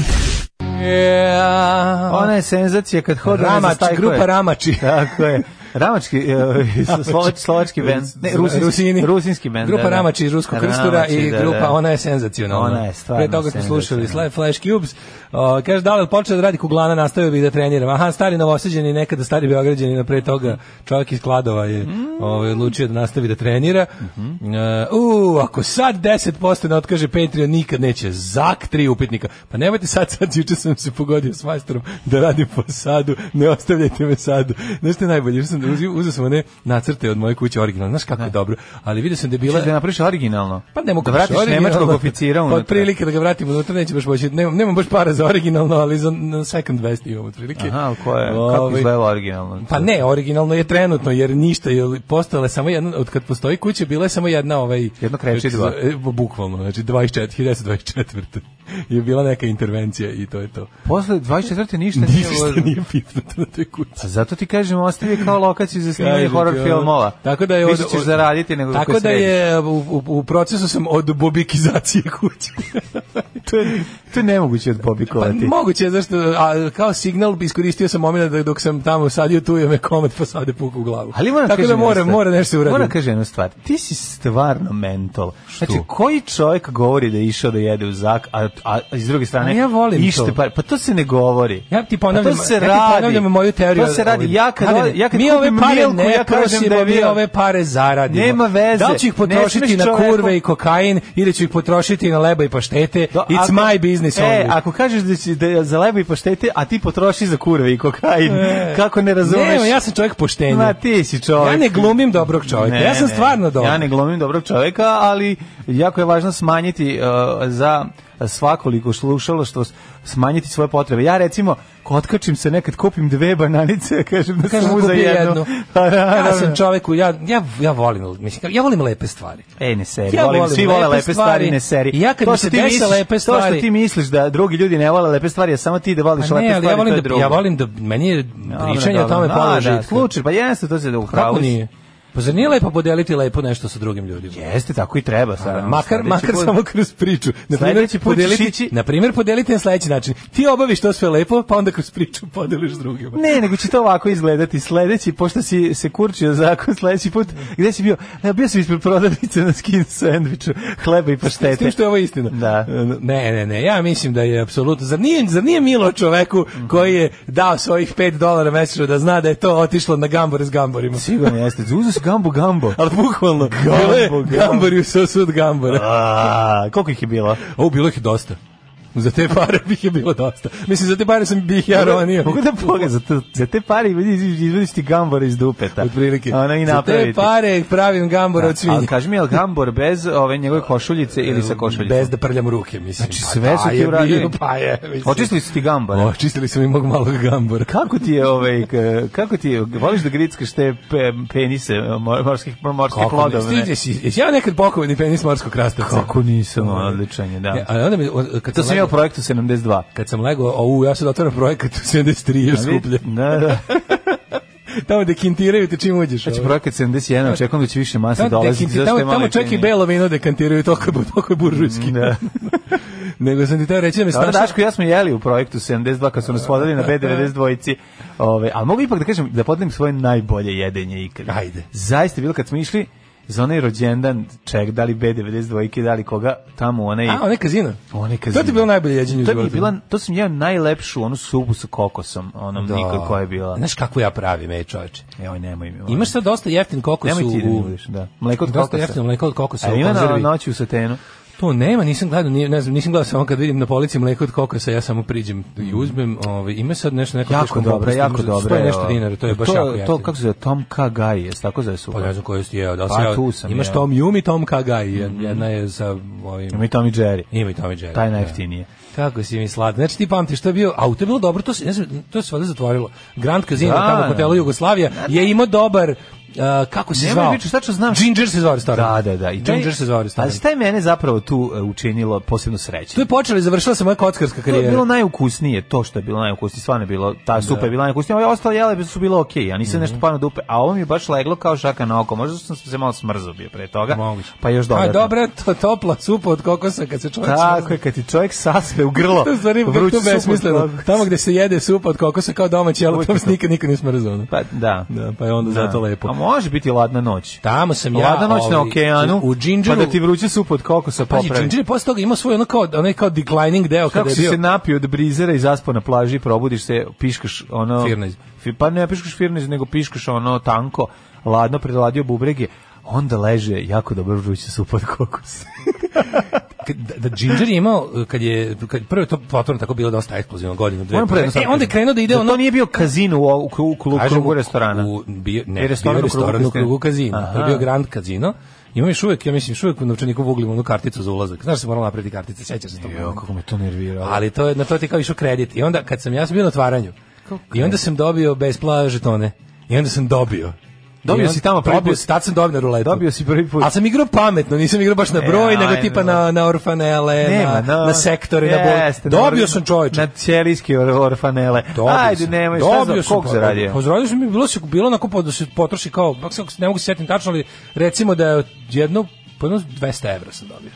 Speaker 5: Yeah.
Speaker 6: Ona je senzacija kad hoda... ne znam
Speaker 5: Ramač,
Speaker 6: šta je ko
Speaker 5: grupa
Speaker 6: je.
Speaker 5: Ramači.
Speaker 6: Tako je. Ramački, e, slovački, slovački band. Ne, rusinski,
Speaker 5: Rusini.
Speaker 6: rusinski band.
Speaker 5: Grupa
Speaker 6: da, da.
Speaker 5: Ramači iz Ruskog krstura
Speaker 6: Ramači,
Speaker 5: i
Speaker 6: da, da.
Speaker 5: grupa Ona je senzacionalna.
Speaker 6: Ona je stvarno
Speaker 5: Pre toga smo slušali
Speaker 6: senzacionalna.
Speaker 5: Sla- Flash Cubes. O, kaže, da li počeo da radi kuglana, nastavio bih da treniram. Aha, stari novoseđeni, nekada stari beograđani, no pre toga čovjek iz Kladova je
Speaker 6: Mm.
Speaker 5: ovaj, odlučio da nastavi da trenira.
Speaker 6: Mhm.
Speaker 5: E, u, ako sad 10% ne otkaže Patreon, nikad neće. Zak, tri upitnika. Pa nemojte sad, sad, juče sam se pogodio s majstorom da radim po sadu, ne ostavljajte me sadu. Znaš što je najbolje, što sam uzio, uzio sam one nacrte od moje kuće originalno, znaš kako je dobro, ali vidio sam da je bila...
Speaker 6: Čekaj, Da napraviš originalno.
Speaker 5: Pa ne mogu
Speaker 6: da vratiš
Speaker 5: originalno.
Speaker 6: nemačkog oficira
Speaker 5: Pa
Speaker 6: unutra.
Speaker 5: otprilike da ga vratimo unutra, neće baš moći. Nemam, nemam baš para za originalno, ali za na second best imam otprilike.
Speaker 6: Aha, ali ko je, kako
Speaker 5: Ovaj,
Speaker 6: izgleda originalno?
Speaker 5: Pa ne, originalno je trenutno, jer ništa, jer postojala je samo jedna, od kad postoji kuća, bila je samo jedna ovaj...
Speaker 6: Jedno kreće i dva.
Speaker 5: E, Bukvalno, znači 24, 1024. je bila neka intervencija i to je to.
Speaker 6: Posle 24. ništa nije
Speaker 5: Ništa nije pipnuto na toj kući.
Speaker 6: A zato ti kažem, ostavi kao lokaciju za snimanje
Speaker 5: Kažem ti,
Speaker 6: horror
Speaker 5: ono,
Speaker 6: filmova.
Speaker 5: Tako da je
Speaker 6: Više ćeš zaraditi nego
Speaker 5: Tako
Speaker 6: ako
Speaker 5: da je u, u, u procesu sam od bobikizacije kuće.
Speaker 6: to je, to je nemoguće
Speaker 5: pa
Speaker 6: odbobikovati.
Speaker 5: moguće je zašto a kao signal iskoristio sam momenat da dok sam tamo sadio tu je me komet posade puku u glavu.
Speaker 6: Ali moram
Speaker 5: Tako da
Speaker 6: kažem
Speaker 5: mora
Speaker 6: jednu stvar.
Speaker 5: mora nešto se uradi.
Speaker 6: Moram kažem jednu stvar. Ti si stvarno mentol. Znači, koji čovjek govori da je išao da jede u zak, a, a, a s druge strane...
Speaker 5: A ja volim
Speaker 6: ište
Speaker 5: to.
Speaker 6: Par, pa to se ne govori.
Speaker 5: Ja ti ponavljam,
Speaker 6: pa to se
Speaker 5: ja ti
Speaker 6: radi.
Speaker 5: ponavljam moju teoriju.
Speaker 6: To se radi.
Speaker 5: ovim.
Speaker 6: Ja kad,
Speaker 5: Mladene,
Speaker 6: ja kad
Speaker 5: mi ove
Speaker 6: kupim
Speaker 5: pare
Speaker 6: milku,
Speaker 5: ne
Speaker 6: ja kažem
Speaker 5: prosimo,
Speaker 6: da je
Speaker 5: mi
Speaker 6: bio...
Speaker 5: ove pare zaradimo.
Speaker 6: Nema veze.
Speaker 5: Da li ću ih
Speaker 6: Ne
Speaker 5: potrošiti
Speaker 6: smeš
Speaker 5: na
Speaker 6: čoveku-
Speaker 5: kurve i kokain ili ću ih potrošiti na leba i paštete?
Speaker 6: Do-
Speaker 5: It's
Speaker 6: ako-
Speaker 5: my business
Speaker 6: e,
Speaker 5: only.
Speaker 6: ako kažeš da si da je za leba i paštete, a ti potroši za kurve i kokain, kako ne razumeš?
Speaker 5: E. Ne, ja sam čovjek poštenja.
Speaker 6: Ma ti si čovjek.
Speaker 5: Ja ne glumim dobrog čovjeka.
Speaker 6: Ne,
Speaker 5: ja sam
Speaker 6: ne.
Speaker 5: stvarno dobar.
Speaker 6: Ja ne glumim dobrog čovjeka, ali jako je važno smanjiti uh, za svakoliko slušalo što smanjiti svoje potrebe. Ja recimo kotkačim se nekad kupim dve bananice, kažem da
Speaker 5: Kažem,
Speaker 6: sam uza
Speaker 5: kupi
Speaker 6: jednu.
Speaker 5: jednu.
Speaker 6: Pa,
Speaker 5: Ja
Speaker 6: naravno.
Speaker 5: sam čovjek, u- ja, ja, ja volim, mislim, ja volim lepe stvari.
Speaker 6: E, ne seri,
Speaker 5: Ja
Speaker 6: volim,
Speaker 5: volim
Speaker 6: svi vole
Speaker 5: lepe
Speaker 6: lepe stvari,
Speaker 5: stvari.
Speaker 6: ne seri.
Speaker 5: I ja kad
Speaker 6: To
Speaker 5: mi
Speaker 6: što
Speaker 5: se
Speaker 6: ti
Speaker 5: dese
Speaker 6: misliš-
Speaker 5: lepe
Speaker 6: To što
Speaker 5: stvari-
Speaker 6: ti misliš da drugi ljudi ne vole lepe stvari, a samo ti da voliš
Speaker 5: Pa
Speaker 6: lepe
Speaker 5: ne, ali
Speaker 6: stvari,
Speaker 5: ja
Speaker 6: to
Speaker 5: volim
Speaker 6: je
Speaker 5: da,
Speaker 6: drugo.
Speaker 5: ja volim da, meni je
Speaker 6: Dobro,
Speaker 5: pričanje o
Speaker 6: dobro.
Speaker 5: tome
Speaker 6: A,
Speaker 5: polo
Speaker 6: da,
Speaker 5: žitka.
Speaker 6: Slučaj, pa jeste, to se da u pravu
Speaker 5: Kako
Speaker 6: si.
Speaker 5: nije? Pa zar nije lepo podeliti lepo nešto sa drugim ljudima?
Speaker 6: Jeste, tako i treba sada.
Speaker 5: Makar, makar samo kroz priču. Na primjer,
Speaker 6: Sledeći put ćeš ići-
Speaker 5: podeliti, na primjer, podeliti na sledeći način. Ti obaviš to sve lepo, pa onda kroz priču podeliš s drugima.
Speaker 6: Ne, nego će to ovako izgledati. Sledeći, pošto si se kurčio zakon, sledeći put, gde si bio? E, bio sam ispred prodavnice na skin sandviču, hleba i paštete.
Speaker 5: S tim što je ovo istina.
Speaker 6: Da.
Speaker 5: Ne, ne, ne, ja mislim da je apsolutno, zar nije, zar nije milo čoveku koji je dao svojih 5 dolara mesečno da zna da je to otišlo na gambore s gamborima.
Speaker 6: Sigurno jeste. Uzeo si gambo gambo.
Speaker 5: Ali bukvalno, bilo je
Speaker 6: Gambo, gambo.
Speaker 5: gambori u sosud gambora.
Speaker 6: A, koliko ih je bilo?
Speaker 5: O, bilo ih je dosta. Za te pare bih je bilo dosta. Mislim, za te pare sam bih ja ronio.
Speaker 6: Mogu da pogledam, za, to- za te pare izvediš izvediš ti gambor iz dupeta.
Speaker 5: Otprilike.
Speaker 6: Ona i
Speaker 5: Za te
Speaker 6: napraviti.
Speaker 5: pare pravim gambora od svinja.
Speaker 6: Ali kaži mi, je li gambor bez ove njegove košuljice ili sa košuljicom?
Speaker 5: Bez da prljam ruke, mislim.
Speaker 6: Znači, sve su
Speaker 5: da
Speaker 6: ti
Speaker 5: je
Speaker 6: uradili.
Speaker 5: bilo, Pa je, mislim.
Speaker 6: Očistili su ti gambore.
Speaker 5: Očistili su mi mog malog gambora.
Speaker 6: Kako ti je ovaj k- kako ti je, voliš da grickaš te pe, penise mor- morskih morskih
Speaker 5: Kako ne,
Speaker 6: plodova? ne?
Speaker 5: stiđe si, jesi ja nekad pokovani penis morskog krastavca?
Speaker 6: Kako nisam, odličan je, da.
Speaker 5: Ne, ali onda mi, o- kad
Speaker 6: to sam
Speaker 5: sam, sam
Speaker 6: imao u projektu 72.
Speaker 5: kad sam legao, au, ja sad otvaram projekat u 73 jer skuplje.
Speaker 6: Da, da.
Speaker 5: Tamo dekintiraju te čim uđeš.
Speaker 6: Znači,
Speaker 5: ovaj.
Speaker 6: projekat 71, očekujem da će više mase
Speaker 5: Tamo,
Speaker 6: dolaziti.
Speaker 5: dekinti,
Speaker 6: zašto je
Speaker 5: tamo,
Speaker 6: malo
Speaker 5: tamo čak i
Speaker 6: jeftinije.
Speaker 5: belo vino dekantiraju, toliko, je bu- toliko je buržujski.
Speaker 6: Da.
Speaker 5: Nego sam ti teo reći da mi
Speaker 6: Dobro,
Speaker 5: snašao...
Speaker 6: Daško, i ja smo jeli u projektu 72 kad su nas vodili na B92 dvojici. Ove, ali mogu ipak da kažem da podelim svoje najbolje jedenje ikad.
Speaker 5: Ajde.
Speaker 6: Zaista je bilo kad smo išli za onaj rođendan, ček, da li B92 dvojke, da li koga, tamo onaj...
Speaker 5: A, one kazino.
Speaker 6: One
Speaker 5: To ti je bilo najbolje jeđenje u
Speaker 6: To mi je
Speaker 5: životu.
Speaker 6: bila, to sam jeo najlepšu onu supu sa kokosom, onom da. koja je bila.
Speaker 5: Znaš kako ja pravim, ej čoveče.
Speaker 6: Evo, nemoj mi. ovo.
Speaker 5: Imaš sad dosta jeftin kokos
Speaker 6: Nemoj
Speaker 5: u...
Speaker 6: ti da mi budeš, da. Mleko od
Speaker 5: Dosta
Speaker 6: kokosa.
Speaker 5: jeftino mleko od kokosa
Speaker 6: A
Speaker 5: u
Speaker 6: ima na
Speaker 5: konzervi.
Speaker 6: noći u satenu.
Speaker 5: To nema, nisam gledao, nije, ne znam, nisam gledao samo kad vidim na polici mleko od kokosa, ja samo priđem i uzmem, ovaj ima sad nešto neko
Speaker 6: Mhm. Jako
Speaker 5: teško
Speaker 6: dobro,
Speaker 5: popusti,
Speaker 6: jako
Speaker 5: možda
Speaker 6: dobro. E,
Speaker 5: 100 i nešto dinara, to je baš
Speaker 6: to,
Speaker 5: jako jako.
Speaker 6: To kako se zove, Tom Kagai, jes tako zove supa?
Speaker 5: Pa ne znam koju si jeo, da li
Speaker 6: Pa,
Speaker 5: si jeo-
Speaker 6: tu sam
Speaker 5: imaš
Speaker 6: jeo.
Speaker 5: Tom Yum i Tom Kagai, jed- jedna je sa ovim...
Speaker 6: Ima i Tom i Jerry.
Speaker 5: Ima i Tom i Jerry.
Speaker 6: Taj
Speaker 5: da.
Speaker 6: najjeftinije.
Speaker 5: Kako si mi slatko. Znači ti pamtiš, to je bio, a u to je bilo dobro, to se, ne znam, to se valjda zatvorilo. Grand Casino,
Speaker 6: Da,
Speaker 5: tamo u hotelu
Speaker 6: da.
Speaker 5: Jugoslavija, je imao dobar, a, kako se
Speaker 6: Nemoj
Speaker 5: zvao?
Speaker 6: pričati, tačno znam.
Speaker 5: Ginger se zvao restoran.
Speaker 6: Da, da, da. I taj-
Speaker 5: Ginger se zvao restoran.
Speaker 6: Ali šta je mene zapravo tu e, učinilo posebno srećno?
Speaker 5: Tu je počela i završila se moja kockarska
Speaker 6: To je
Speaker 5: karijera.
Speaker 6: bilo najukusnije, to što je bilo najukusnije, stvarno je bilo, ta supa je bila najukusnija, ove ostale jele su bilo okej, ja
Speaker 5: Mhm.
Speaker 6: nisam nešto pano dupe, a ovo mi je baš leglo kao šaka na oko, možda sam se malo smrzao bio pre toga,
Speaker 5: Moguće.
Speaker 6: pa još dobro.
Speaker 5: A dobro, je to topla supa od kokosa kad se čovjek
Speaker 6: Tako je, kad ti čovjek saspe u grlo,
Speaker 5: To je u stvari
Speaker 6: vruću
Speaker 5: to
Speaker 6: supu od
Speaker 5: besmisleno.
Speaker 6: kokosa.
Speaker 5: Tamo gde se jede supa od kokosa kao domaći, ali
Speaker 6: Uvijek
Speaker 5: to
Speaker 6: je to.
Speaker 5: nikad nikad nije smrzano.
Speaker 6: Pa da.
Speaker 5: Da, pa je onda zato lepo.
Speaker 6: A može biti ladna noć.
Speaker 5: Tamo sam ja,
Speaker 6: ladna noć na
Speaker 5: ovaj,
Speaker 6: okeanu,
Speaker 5: u Gingeru-
Speaker 6: pa da ti vruće supu od kokosa
Speaker 5: Pazi,
Speaker 6: popravi.
Speaker 5: Ginger je posle toga imao svoj ono kao, onaj kao declining deo kada
Speaker 6: Kako
Speaker 5: je
Speaker 6: si
Speaker 5: bio.
Speaker 6: se napio od brizera i zaspao na plaži, probudiš se, piškaš ono...
Speaker 5: Firnez.
Speaker 6: Fi- Pa ne piškaš firnez, nego piškaš ono tanko, ladno preladio bubrege, onda leže jako dobro vruće supa od kokosa.
Speaker 5: Kad- da, da Ginger je imao, uh, kad je, kad, prvo je to potvorno tako bilo dosta eksplozivno godinu, dve.
Speaker 6: Moram predno sad
Speaker 5: e, onda je
Speaker 6: kažem.
Speaker 5: krenuo da ide
Speaker 6: Zar
Speaker 5: ono...
Speaker 6: To nije bio kazino u, u, u, u, u
Speaker 5: Kažem,
Speaker 6: krugu restorana.
Speaker 5: U, bio, ne,
Speaker 6: I restoran
Speaker 5: bio
Speaker 6: u krugu
Speaker 5: restoran u krugu
Speaker 6: kasina.
Speaker 5: kazina. To je
Speaker 6: Aha.
Speaker 5: bio Grand Kazino. Imam još uvek, ja mislim, još uvek u novčaniku vuglimo onu karticu za ulazak. Znaš da se morala napraviti kartice, sećaš se toga.
Speaker 6: Jo, kako me to nerviralo.
Speaker 5: Ali to je na to ti kao išao kredit. I onda kad sam ja sam bio na otvaranju. I onda sam dobio besplatne žetone. I onda sam dobio
Speaker 6: Dobio
Speaker 5: I on-
Speaker 6: si tamo prvi
Speaker 5: dobio,
Speaker 6: put.
Speaker 5: Tad sam dobio na ruletu.
Speaker 6: Dobio si prvi put.
Speaker 5: Ali sam igrao pametno, nisam igrao baš na broj,
Speaker 6: E,
Speaker 5: nego
Speaker 6: ajme,
Speaker 5: tipa na, na orfanele,
Speaker 6: Nema,
Speaker 5: na, na sektore, na
Speaker 6: Jeste,
Speaker 5: bol...
Speaker 6: na
Speaker 5: Dobio
Speaker 6: organ-
Speaker 5: sam čoveče.
Speaker 6: Na ćelijske or- orfanele.
Speaker 5: Dobio
Speaker 6: Ajde,
Speaker 5: sam.
Speaker 6: nemoj, šta za,
Speaker 5: sam,
Speaker 6: koliko
Speaker 5: pa,
Speaker 6: zaradio?
Speaker 5: Pa zaradio sam mi, bilo se bilo onako pa da se potroši kao, bak se ne mogu se sjetiti tačno, ali recimo da je od jedno, pa jedno 200 evra sam dobio.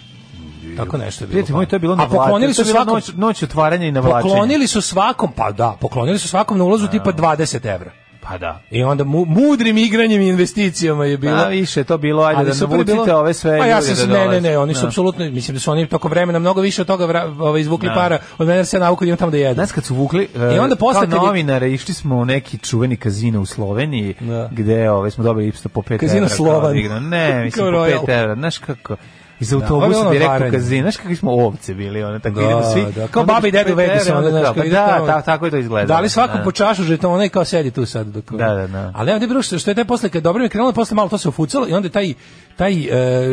Speaker 5: Tako nešto je bilo. pa.
Speaker 6: Prijatelj moj, to je bilo na
Speaker 5: A poklonili su
Speaker 6: svako...
Speaker 5: svakom,
Speaker 6: Noć, noć otvaranja i navlačenja.
Speaker 5: poklonili su svakom, pa da, poklonili su svakom na ulazu tipa 20 evra.
Speaker 6: Pa da.
Speaker 5: I onda mu, mudrim igranjem i investicijama je bilo.
Speaker 6: Pa više je to bilo, ajde
Speaker 5: Ali
Speaker 6: da
Speaker 5: super je
Speaker 6: navucite
Speaker 5: bilo.
Speaker 6: ove sve
Speaker 5: Pa ja
Speaker 6: ljude
Speaker 5: sam,
Speaker 6: da
Speaker 5: ne, ne, ne,
Speaker 6: dolaze.
Speaker 5: oni su
Speaker 6: Da.
Speaker 5: apsolutno, mislim da su oni tokom vremena mnogo više od toga vra, ove, izvukli
Speaker 6: Da.
Speaker 5: para od mene jer se nauku da imam tamo da jedem.
Speaker 6: Znaš kad su vukli,
Speaker 5: I onda
Speaker 6: e,
Speaker 5: posle kad
Speaker 6: kao
Speaker 5: je-
Speaker 6: novinare, išli smo u neki čuveni kazino u Sloveniji,
Speaker 5: Da.
Speaker 6: gde ove, smo dobili isto po 5 evra.
Speaker 5: Kazino
Speaker 6: kao
Speaker 5: Slovan.
Speaker 6: da igramo. Ne, mislim
Speaker 5: Kao
Speaker 6: po
Speaker 5: Royal.
Speaker 6: 5 evra, znaš kako... Iz
Speaker 5: ovo je
Speaker 6: autobusa
Speaker 5: ono
Speaker 6: direktno u
Speaker 5: varanje.
Speaker 6: kazino. Znaš kakvi smo ovce bili, one tako
Speaker 5: Da,
Speaker 6: idemo svi.
Speaker 5: da, kao
Speaker 6: onda
Speaker 5: babi i
Speaker 6: ideš
Speaker 5: deda u
Speaker 6: pet evra,
Speaker 5: Vegasu,
Speaker 6: onda
Speaker 5: ono, znaš,
Speaker 6: kao,
Speaker 5: kad
Speaker 6: pa
Speaker 5: idete
Speaker 6: Da,
Speaker 5: tamo.
Speaker 6: ta- tako je to izgledalo.
Speaker 5: Dali svako
Speaker 6: Da.
Speaker 5: po čašu žetona i kao sedi tu sad. Dok...
Speaker 6: Da, da, da.
Speaker 5: Ali evo da je bilo što, što je taj posle, kad dobro mi je krenulo, posle malo to se ufucalo i onda je taj, taj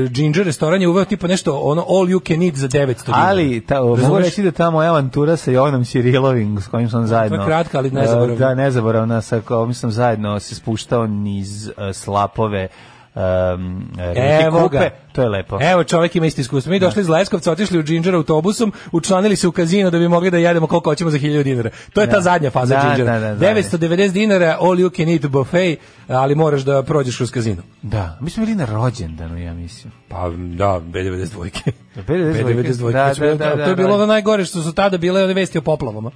Speaker 5: uh, ginger restoran je uveo tipa nešto ono all you can eat za 900 dinara.
Speaker 6: Ali ta,
Speaker 5: Razumeš?
Speaker 6: mogu reći da ta moja avantura sa Jovanom Ćirilovim s kojim sam zajedno.
Speaker 5: To je kratka, ali
Speaker 6: E,
Speaker 5: nezaboravna.
Speaker 6: Da, nezaboravna sa kojim sam zajedno se spuštao niz e, slapove um,
Speaker 5: Evo
Speaker 6: kupe.
Speaker 5: ga.
Speaker 6: To je lepo.
Speaker 5: Evo, čovjek ima isto iskustvo. Mi došli iz Leskovca, otišli u Džinđera autobusom, učlanili se u kazino da bi mogli da jedemo koliko hoćemo za 1000 dinara. To je ta zadnja faza
Speaker 6: Da, da,
Speaker 5: Džinđera.
Speaker 6: da, da.
Speaker 5: 990 dinara, all you can eat buffet, ali moraš da prođeš kroz kazino.
Speaker 6: Da, mi smo bili na rođendanu, ja mislim.
Speaker 5: Pa da, B92.
Speaker 6: Da, B92. Da,
Speaker 5: kad su bile-
Speaker 6: da, da, da,
Speaker 5: to je bilo
Speaker 6: da.
Speaker 5: ono najgore što su tada bile one vesti o poplavama.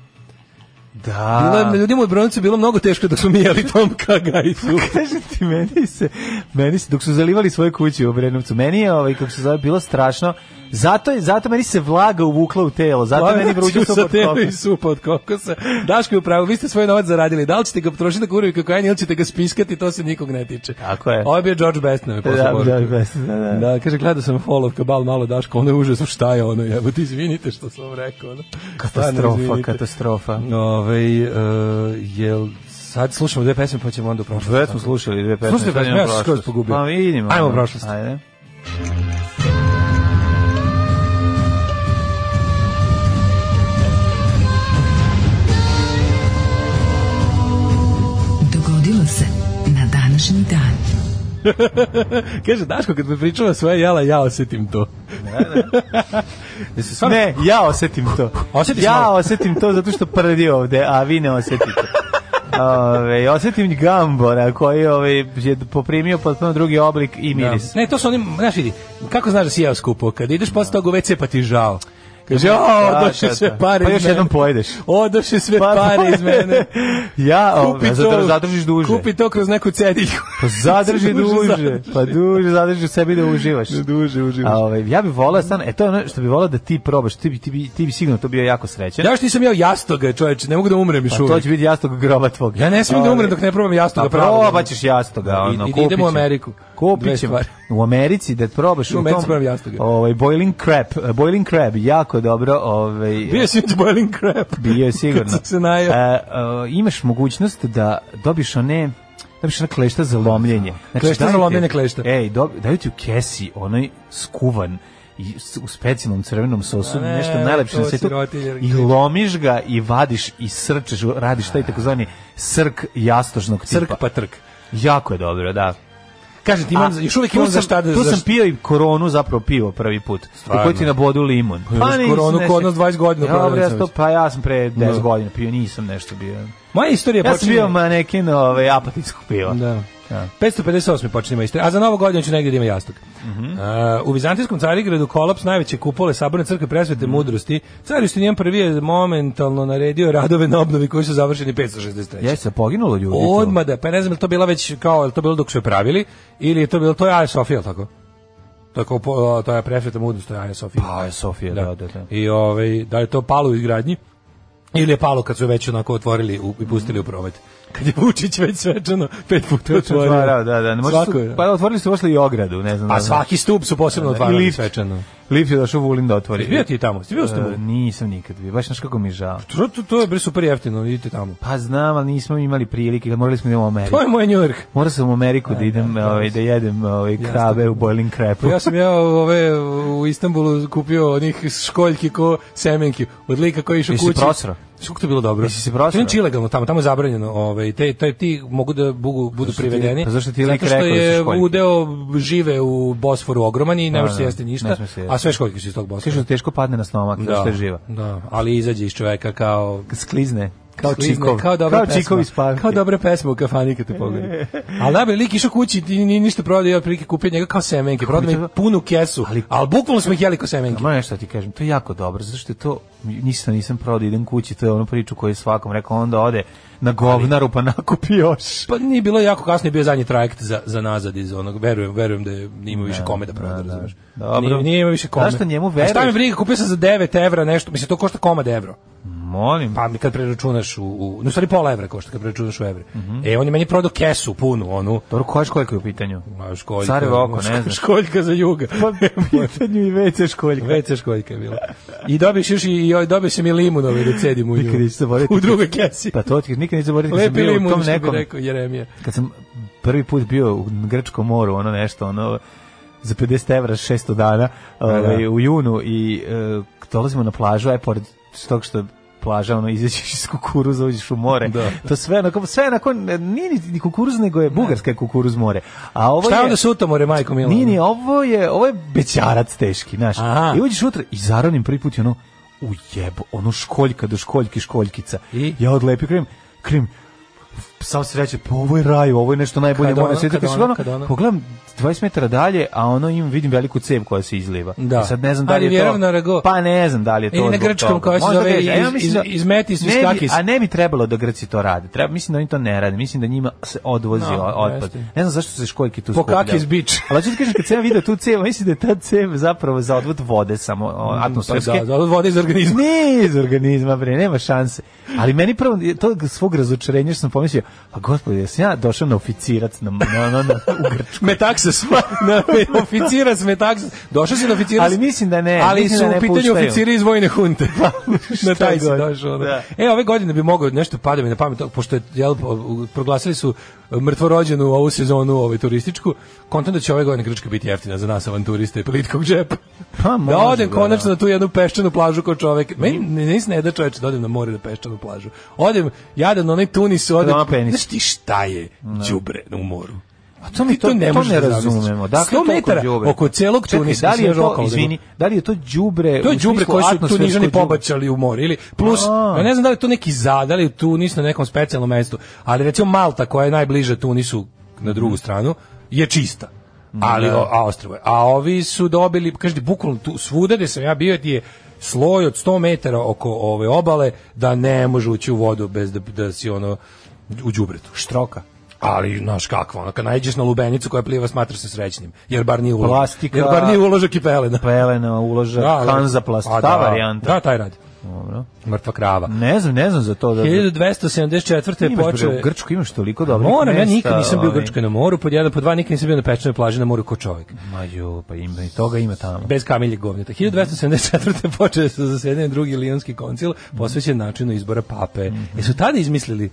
Speaker 6: Da.
Speaker 5: Bilo je, ljudima u Bronicu je bilo mnogo teško dok smo mi jeli Tomka Gajsu.
Speaker 6: Kaže ti, meni se, meni se, dok su zalivali svoje kuće u Obrenovcu, meni je, ovaj, kako se zove, bilo strašno. Zato, je, zato meni se vlaga uvukla u telo, zato Pa
Speaker 5: Pa
Speaker 6: meni vruće
Speaker 5: Ću
Speaker 6: su
Speaker 5: sa
Speaker 6: pod
Speaker 5: tebe
Speaker 6: kopom.
Speaker 5: i supa od kokosa. Daško je upravo, vi ste svoj novac zaradili. Da li ćete ga potrošiti na kurvi kokain ili ćete ga spiskati, to se nikog ne tiče.
Speaker 6: Tako je.
Speaker 5: Ovo je bio George Bestnove posle
Speaker 6: e. Da,
Speaker 5: borbe.
Speaker 6: George Bestnove, da, da.
Speaker 5: Da, kaže, gledao sam Fall of Cabal, malo Daško, ono je užasno, šta je ono, jebote, izvinite što sam vam rekao. Ono. Stvarno,
Speaker 6: Katastrofa,
Speaker 5: izvinite.
Speaker 6: katastrofa.
Speaker 5: Ove, jel, sad slušamo dve pesme, pa ćemo onda u prošlost.
Speaker 6: Već smo slušali dve pesme.
Speaker 5: Slušajte
Speaker 6: sad
Speaker 5: pesme,
Speaker 6: idemo
Speaker 5: ja sam skroz
Speaker 6: prošlost.
Speaker 5: pogubio.
Speaker 6: Pa vidimo.
Speaker 5: Ajmo u prošlost.
Speaker 6: Ajde.
Speaker 4: Dogodilo se na današnji dan.
Speaker 5: Kaže, Daško, kad me pričava svoje jela, ja osetim to.
Speaker 6: Jesu stvarno- Ne, ja osetim to.
Speaker 5: Osjetiš
Speaker 6: ja
Speaker 5: malo?
Speaker 6: osetim to zato što prdi ovde, a vi ne osetite. Ove, osetim gambora koji ove, je poprimio potpuno drugi oblik i miris.
Speaker 5: Ne, to su oni, znaš vidi, kako znaš da si jeo skupo? Kad ideš posle toga u WC pa ti žao. Kaže,
Speaker 6: Da,
Speaker 5: o, došle
Speaker 6: da, da.
Speaker 5: sve pare
Speaker 6: Pa
Speaker 5: iz
Speaker 6: još
Speaker 5: mene."
Speaker 6: jednom Pa pojedeš.
Speaker 5: Odoše sve pare iz mene.
Speaker 6: ja,
Speaker 5: Kupi
Speaker 6: ove, zato
Speaker 5: to-
Speaker 6: zadržiš duže.
Speaker 5: Kupi to kroz neku cediljku.
Speaker 6: Pa zadrži
Speaker 5: Duže
Speaker 6: duže,
Speaker 5: zadrži.
Speaker 6: pa duže zadrži u sebi da uživaš.
Speaker 5: Duže uživaš.
Speaker 6: A, ovaj, ja bih volao stan, e to je ono što bih volao da ti probaš, ti bi, ti bi, ti bi sigurno to bio jako srećan.
Speaker 5: Ja još nisam jeo jastoga, čoveče, ne mogu da umrem još
Speaker 6: Pa to
Speaker 5: uvijek.
Speaker 6: će biti jastog groba tvog.
Speaker 5: Ja ne smijem da
Speaker 6: Ali-
Speaker 5: umrem dok ne probam jastoga
Speaker 6: Pa
Speaker 5: pravo.
Speaker 6: probat ćeš jastoga,
Speaker 5: I-
Speaker 6: ono,
Speaker 5: i da
Speaker 6: kupit
Speaker 5: idemo u
Speaker 6: ćemo.
Speaker 5: Ameriku. Dve
Speaker 6: Kupit ćemo.
Speaker 5: stvari.
Speaker 6: U Americi da probaš
Speaker 5: U
Speaker 6: u
Speaker 5: Americi
Speaker 6: tom...
Speaker 5: pravim jastoga.
Speaker 6: Ovaj, boiling crab, eh, boiling crab, jako dobro, ovaj...
Speaker 5: Bio si u boiling crab.
Speaker 6: bio je sigurno.
Speaker 5: Kad sam se najeo.
Speaker 6: E, e, imaš mogućnost da dobiš one dobiš ona klešta za lomljenje.
Speaker 5: Klešta za
Speaker 6: daju ti-
Speaker 5: lomljenje klešta.
Speaker 6: Ej, do, daju ti u kesi onaj skuvan i s- u specijalnom crvenom sosu
Speaker 5: A ne,
Speaker 6: nešto najlepše na
Speaker 5: E, to
Speaker 6: svetu
Speaker 5: sirotinje.
Speaker 6: i lomiš ga i vadiš i srčeš radiš taj takozvani srk jastožnog tipa
Speaker 5: Crk pa trk.
Speaker 6: Jako je dobro, da.
Speaker 5: Kažem ti,
Speaker 6: A,
Speaker 5: imam, još uvijek
Speaker 6: tu
Speaker 5: imam za
Speaker 6: sam-
Speaker 5: šta da...
Speaker 6: Tu
Speaker 5: za
Speaker 6: sam
Speaker 5: šta-
Speaker 6: pio i koronu, zapravo pivo prvi put. U kojoj ti na bodu limun.
Speaker 5: Pa
Speaker 6: Pa
Speaker 5: još
Speaker 6: nisam
Speaker 5: koronu
Speaker 6: nešto-
Speaker 5: kod nas 20 godina
Speaker 6: Ja, Dobro, ja
Speaker 5: prodavnica
Speaker 6: to, pa ja sam pre 10
Speaker 5: Da.
Speaker 6: godina pio, nisam nešto bio.
Speaker 5: Moja istorija
Speaker 6: Ja sam
Speaker 5: počinje...
Speaker 6: bio manekin ovaj, apatinskog piva.
Speaker 5: Da.
Speaker 6: Da.
Speaker 5: 558. počinje majstor. A za novu godinu ću negdje da ima jastog.
Speaker 6: Mhm.
Speaker 5: A, u Vizantijskom carigradu kolaps najveće kupole Saborne crkve
Speaker 6: Mhm.
Speaker 5: presvete mudrosti. Car Justinijan prvi je momentalno naredio radove na obnovi koji su završeni 563.
Speaker 6: Ja se poginulo ljudi. tu?
Speaker 5: Odmah da, pa ne znam je li to bila već kao, je li to bilo dok su je pravili, ili je to bilo, to je Aja Sofija, jel tako? Tako, po- to je presveta mudrost, to je Aja Sofija.
Speaker 6: Pa, je Sofija, da, da, da.
Speaker 5: I ovaj, da je to palo u izgradnji, ili je palo kad su već onako otvorili u- i pustili u promet. Kad je Vučić već svečano pet puta otvorio.
Speaker 6: Otvarao, da, da. Ne možeš
Speaker 5: Svako je, Pa
Speaker 6: su, pa otvorili su posle i ogradu, ne znam.
Speaker 5: A
Speaker 6: da,
Speaker 5: svaki stup su posebno
Speaker 6: da,
Speaker 5: otvarali
Speaker 6: i lift.
Speaker 5: svečano.
Speaker 6: Lift je došao Vulin da otvori.
Speaker 5: Jesi bio ti tamo? Jesi bio u stubu?
Speaker 6: E, nisam nikad bio. Baš znaš kako mi je žao.
Speaker 5: To, to, to je bre super jeftino, idite tamo.
Speaker 6: Pa znam, ali nismo imali prilike, morali smo da idemo u Ameriku.
Speaker 5: To je moj New York.
Speaker 6: Morao sam u Ameriku
Speaker 5: E,
Speaker 6: da idem, ovaj, da jedem ovaj, krabe u boiling crepu.
Speaker 5: Ja sam ja ove u Istanbulu kupio onih školjki ko semenki. Od lika koji je išao
Speaker 6: Jesi
Speaker 5: kući.
Speaker 6: prosrao?
Speaker 5: Znaš Kako to bilo dobro?
Speaker 6: Jesi se prosrao?
Speaker 5: To je inače ilegalno tamo, tamo je zabranjeno. Ovaj, te, taj ti mogu da bugu, budu
Speaker 6: što ti-
Speaker 5: privedeni.
Speaker 6: pa zašto ti je lik
Speaker 5: zato što
Speaker 6: rekao da su
Speaker 5: je
Speaker 6: školjke?
Speaker 5: udeo žive u Bosforu ogroman i ne može
Speaker 6: Da,
Speaker 5: se
Speaker 6: da,
Speaker 5: jesti
Speaker 6: ne
Speaker 5: ništa,
Speaker 6: sme se jesti.
Speaker 5: a sve školjke su iz tog
Speaker 6: Sviš
Speaker 5: Bosfora.
Speaker 6: da teško padne na stomak, da. što je živa.
Speaker 5: Da, ali izađe iz čoveka kao
Speaker 6: Sklizne. Kao
Speaker 5: Klizne,
Speaker 6: čikov.
Speaker 5: Kao dobra
Speaker 6: kao
Speaker 5: pesma.
Speaker 6: čikov iz E. parke.
Speaker 5: Kao dobra pesma u kafani kad te pogleda. Ali najbolje, lik išao kući i nije ništa prodao, ja prilike kupio njega kao semenke. Prodao mi
Speaker 6: to-
Speaker 5: punu kesu, ali,
Speaker 6: Ali-
Speaker 5: bukvalno smo ih jeli kao semenke.
Speaker 6: Moram nešto da ti kažem, to je jako dobro, zato što je to, nisam, nisam pravo da idem kući, to je onu priču koju je svakom rekao, onda ode na govnaru pa nakupi još.
Speaker 5: Pa nije bilo jako kasno, je bio zadnji trajekt za, za nazad iz onog, verujem, verujem da je, nije imao više kome da proda,
Speaker 6: da, da.
Speaker 5: razumeš.
Speaker 6: Dobro.
Speaker 5: Nije, nije imao više kome.
Speaker 6: Zašto njemu
Speaker 5: A Šta me
Speaker 6: veruješ?
Speaker 5: briga, kupio sam za 9 evra nešto, mislim, to košta komad evro.
Speaker 6: Molim.
Speaker 5: Pa mi kad preračunaš u, u no, u stvari pola evra košta kad preračunaš u evre.
Speaker 6: Mhm.
Speaker 5: E, on je meni prodao kesu punu, onu,
Speaker 6: Dobro, koja školjka je u pitanju?
Speaker 5: a, školjka,
Speaker 6: Carevo oko, ne znaš. Pa
Speaker 5: školjka za juga. pa-
Speaker 6: pitanju i WC školjka.
Speaker 5: WC školjka je bila. I dobiješ još i, i dobio sam i limunove da cedim u nju.
Speaker 6: Nikad neću zaboraviti.
Speaker 5: U drugoj kesi.
Speaker 6: Pa to ti nikad neću zaboraviti kad sam
Speaker 5: Lepi
Speaker 6: bio u
Speaker 5: limun,
Speaker 6: tom
Speaker 5: što bi
Speaker 6: nekom,
Speaker 5: rekao Jeremija.
Speaker 6: kad sam prvi put bio u Grčkom moru, ono nešto, ono, za 50 evra 600 dana ovaj, u junu i e, dolazimo na plažu, aj pored tog što je plaža, ono, izađeš iz kukuruza, uđeš u more.
Speaker 5: Da.
Speaker 6: To sve onako, sve onako, nije ni, ni kukuruz, nego je bugarska je kukuruz more. A ovo
Speaker 5: Šta je
Speaker 6: je,
Speaker 5: onda sutomore, majko Milano?
Speaker 6: Nije, nije, ovo je, ovo je bećarac teški, znaš.
Speaker 5: ono. Aha.
Speaker 6: I uđeš unutra i zaronim prvi put i ono, u jebo, ono školjka do školjki, školjkica.
Speaker 5: I?
Speaker 6: Ja odlepio krim, krim, sam se reče, pa ovo je raj, ovo je nešto najbolje
Speaker 5: Kad
Speaker 6: mora
Speaker 5: ono,
Speaker 6: na svijetu.
Speaker 5: kad
Speaker 6: Kad
Speaker 5: ono,
Speaker 6: ono,
Speaker 5: kad ono.
Speaker 6: Pogledam 20 metara dalje, a ono im vidim veliku cev koja se izliva.
Speaker 5: Da.
Speaker 6: I sad ne znam da li
Speaker 5: Ali
Speaker 6: je to...
Speaker 5: vjerujem na rago.
Speaker 6: Pa ne znam da li je to...
Speaker 5: Ili na
Speaker 6: zbog
Speaker 5: grčkom
Speaker 6: toga.
Speaker 5: koja se
Speaker 6: Možda
Speaker 5: zove
Speaker 6: greš, a ja
Speaker 5: iz-
Speaker 6: mislim
Speaker 5: iz-
Speaker 6: da-
Speaker 5: iz Metis
Speaker 6: ne bi-
Speaker 5: Viskakis.
Speaker 6: A ne bi trebalo da Grci to rade. Treba, mislim da oni to ne rade. Mislim da njima se odvozi
Speaker 5: No,
Speaker 6: o- otpad.
Speaker 5: jeste.
Speaker 6: Ne znam zašto se školjke tu
Speaker 5: Po
Speaker 6: skupljaju.
Speaker 5: kakis bič.
Speaker 6: Ali hoću ti kažem, kad sam ja vidio tu cev, mislim da je ta cev zapravo za odvod vode samo, o,
Speaker 5: Pa
Speaker 6: atmosferske.
Speaker 5: da, da, od vode iz organizma.
Speaker 6: Ne iz organizma, bre, nema šanse. Ali meni prvo, to svog razočarenja što sam pomislio, a gospod, jesam ja došao na oficirac na, na, na, na, u Grčku.
Speaker 5: Metaksas. na, oficirac Metaksas. Došao si na oficirac.
Speaker 6: Ali mislim da ne,
Speaker 5: Ali
Speaker 6: mislim
Speaker 5: su
Speaker 6: da ne
Speaker 5: u pitanju
Speaker 6: puštaju.
Speaker 5: oficiri iz vojne hunte. na taj si
Speaker 6: god.
Speaker 5: došao. Da.
Speaker 6: Da.
Speaker 5: E, ove godine bi mogao nešto pada mi na pamet, pošto je, jel, proglasili su mrtvorođenu ovu sezonu ovaj, turističku, kontam da će ove godine Grčka biti jeftina za nas avanturiste i plitkog džepa.
Speaker 6: Pa, može
Speaker 5: da odem
Speaker 6: da, Mm.
Speaker 5: konačno na tu jednu peščanu plažu kao čovek. Meni ne, ne, ne da čoveče da odem na more na peščanu plažu. Odem, jadan, onaj Tunis, odem.
Speaker 6: na penis.
Speaker 5: Znaš ti šta je đubre u moru?
Speaker 6: A to mi
Speaker 5: Ti to ne možeš
Speaker 6: ne
Speaker 5: da zamisliš.
Speaker 6: razumemo. Dakle,
Speaker 5: 100
Speaker 6: toliko
Speaker 5: metara
Speaker 6: đubre.
Speaker 5: oko celog
Speaker 6: Čekaj,
Speaker 5: Tunisa,
Speaker 6: Da li je
Speaker 5: mislim,
Speaker 6: to,
Speaker 5: žokalo da
Speaker 6: izvini, da li je to đubre?
Speaker 5: To je
Speaker 6: u
Speaker 5: đubre
Speaker 6: smislu
Speaker 5: koje su
Speaker 6: atmosfersko
Speaker 5: Tunižani
Speaker 6: đubre?
Speaker 5: pobačali u more ili plus
Speaker 6: A.
Speaker 5: ja ne znam da li je to neki za, da li je Tunis na nekom specijalnom mestu, ali recimo Malta koja je najbliže Tunisu na drugu stranu je čista. Ali o- a ostrvo je. A ovi su dobili, kažete, bukvalno tu svuda gde sam ja bio ti je sloj od 100 metara oko ove obale da ne može ući u vodu bez da, da si ono u đubretu. Štroka. Ali, znaš kakva, ono, kad najđeš na lubenicu koja pliva, smatraš se srećnim, jer bar nije uložak.
Speaker 6: Plastika.
Speaker 5: Jer bar nije uložak i pelena.
Speaker 6: Pelena, uložak,
Speaker 5: Da, da.
Speaker 6: kanzaplast,
Speaker 5: A,
Speaker 6: ta
Speaker 5: da.
Speaker 6: varijanta.
Speaker 5: Da, taj radi.
Speaker 6: Dobro.
Speaker 5: Mrtva krava.
Speaker 6: Ne znam, ne znam za to. Da, da,
Speaker 5: 1274. je
Speaker 6: imaš, bre,
Speaker 5: počeo...
Speaker 6: u Grčku imaš toliko dobrih
Speaker 5: Moram, ja
Speaker 6: mesta,
Speaker 5: nikad nisam bio u
Speaker 6: ovaj.
Speaker 5: Grčkoj na moru, pod jedan, pod dva, nikad nisam bio na pečenoj plaži na moru ko čovjek.
Speaker 6: Ma jo, pa ima i toga ima tamo.
Speaker 5: Bez kamilje govnjeta. 1274. je počeo sa zasedanjem drugi Lijonski koncil, posvećen načinu izbora pape. Jesu tada izmislili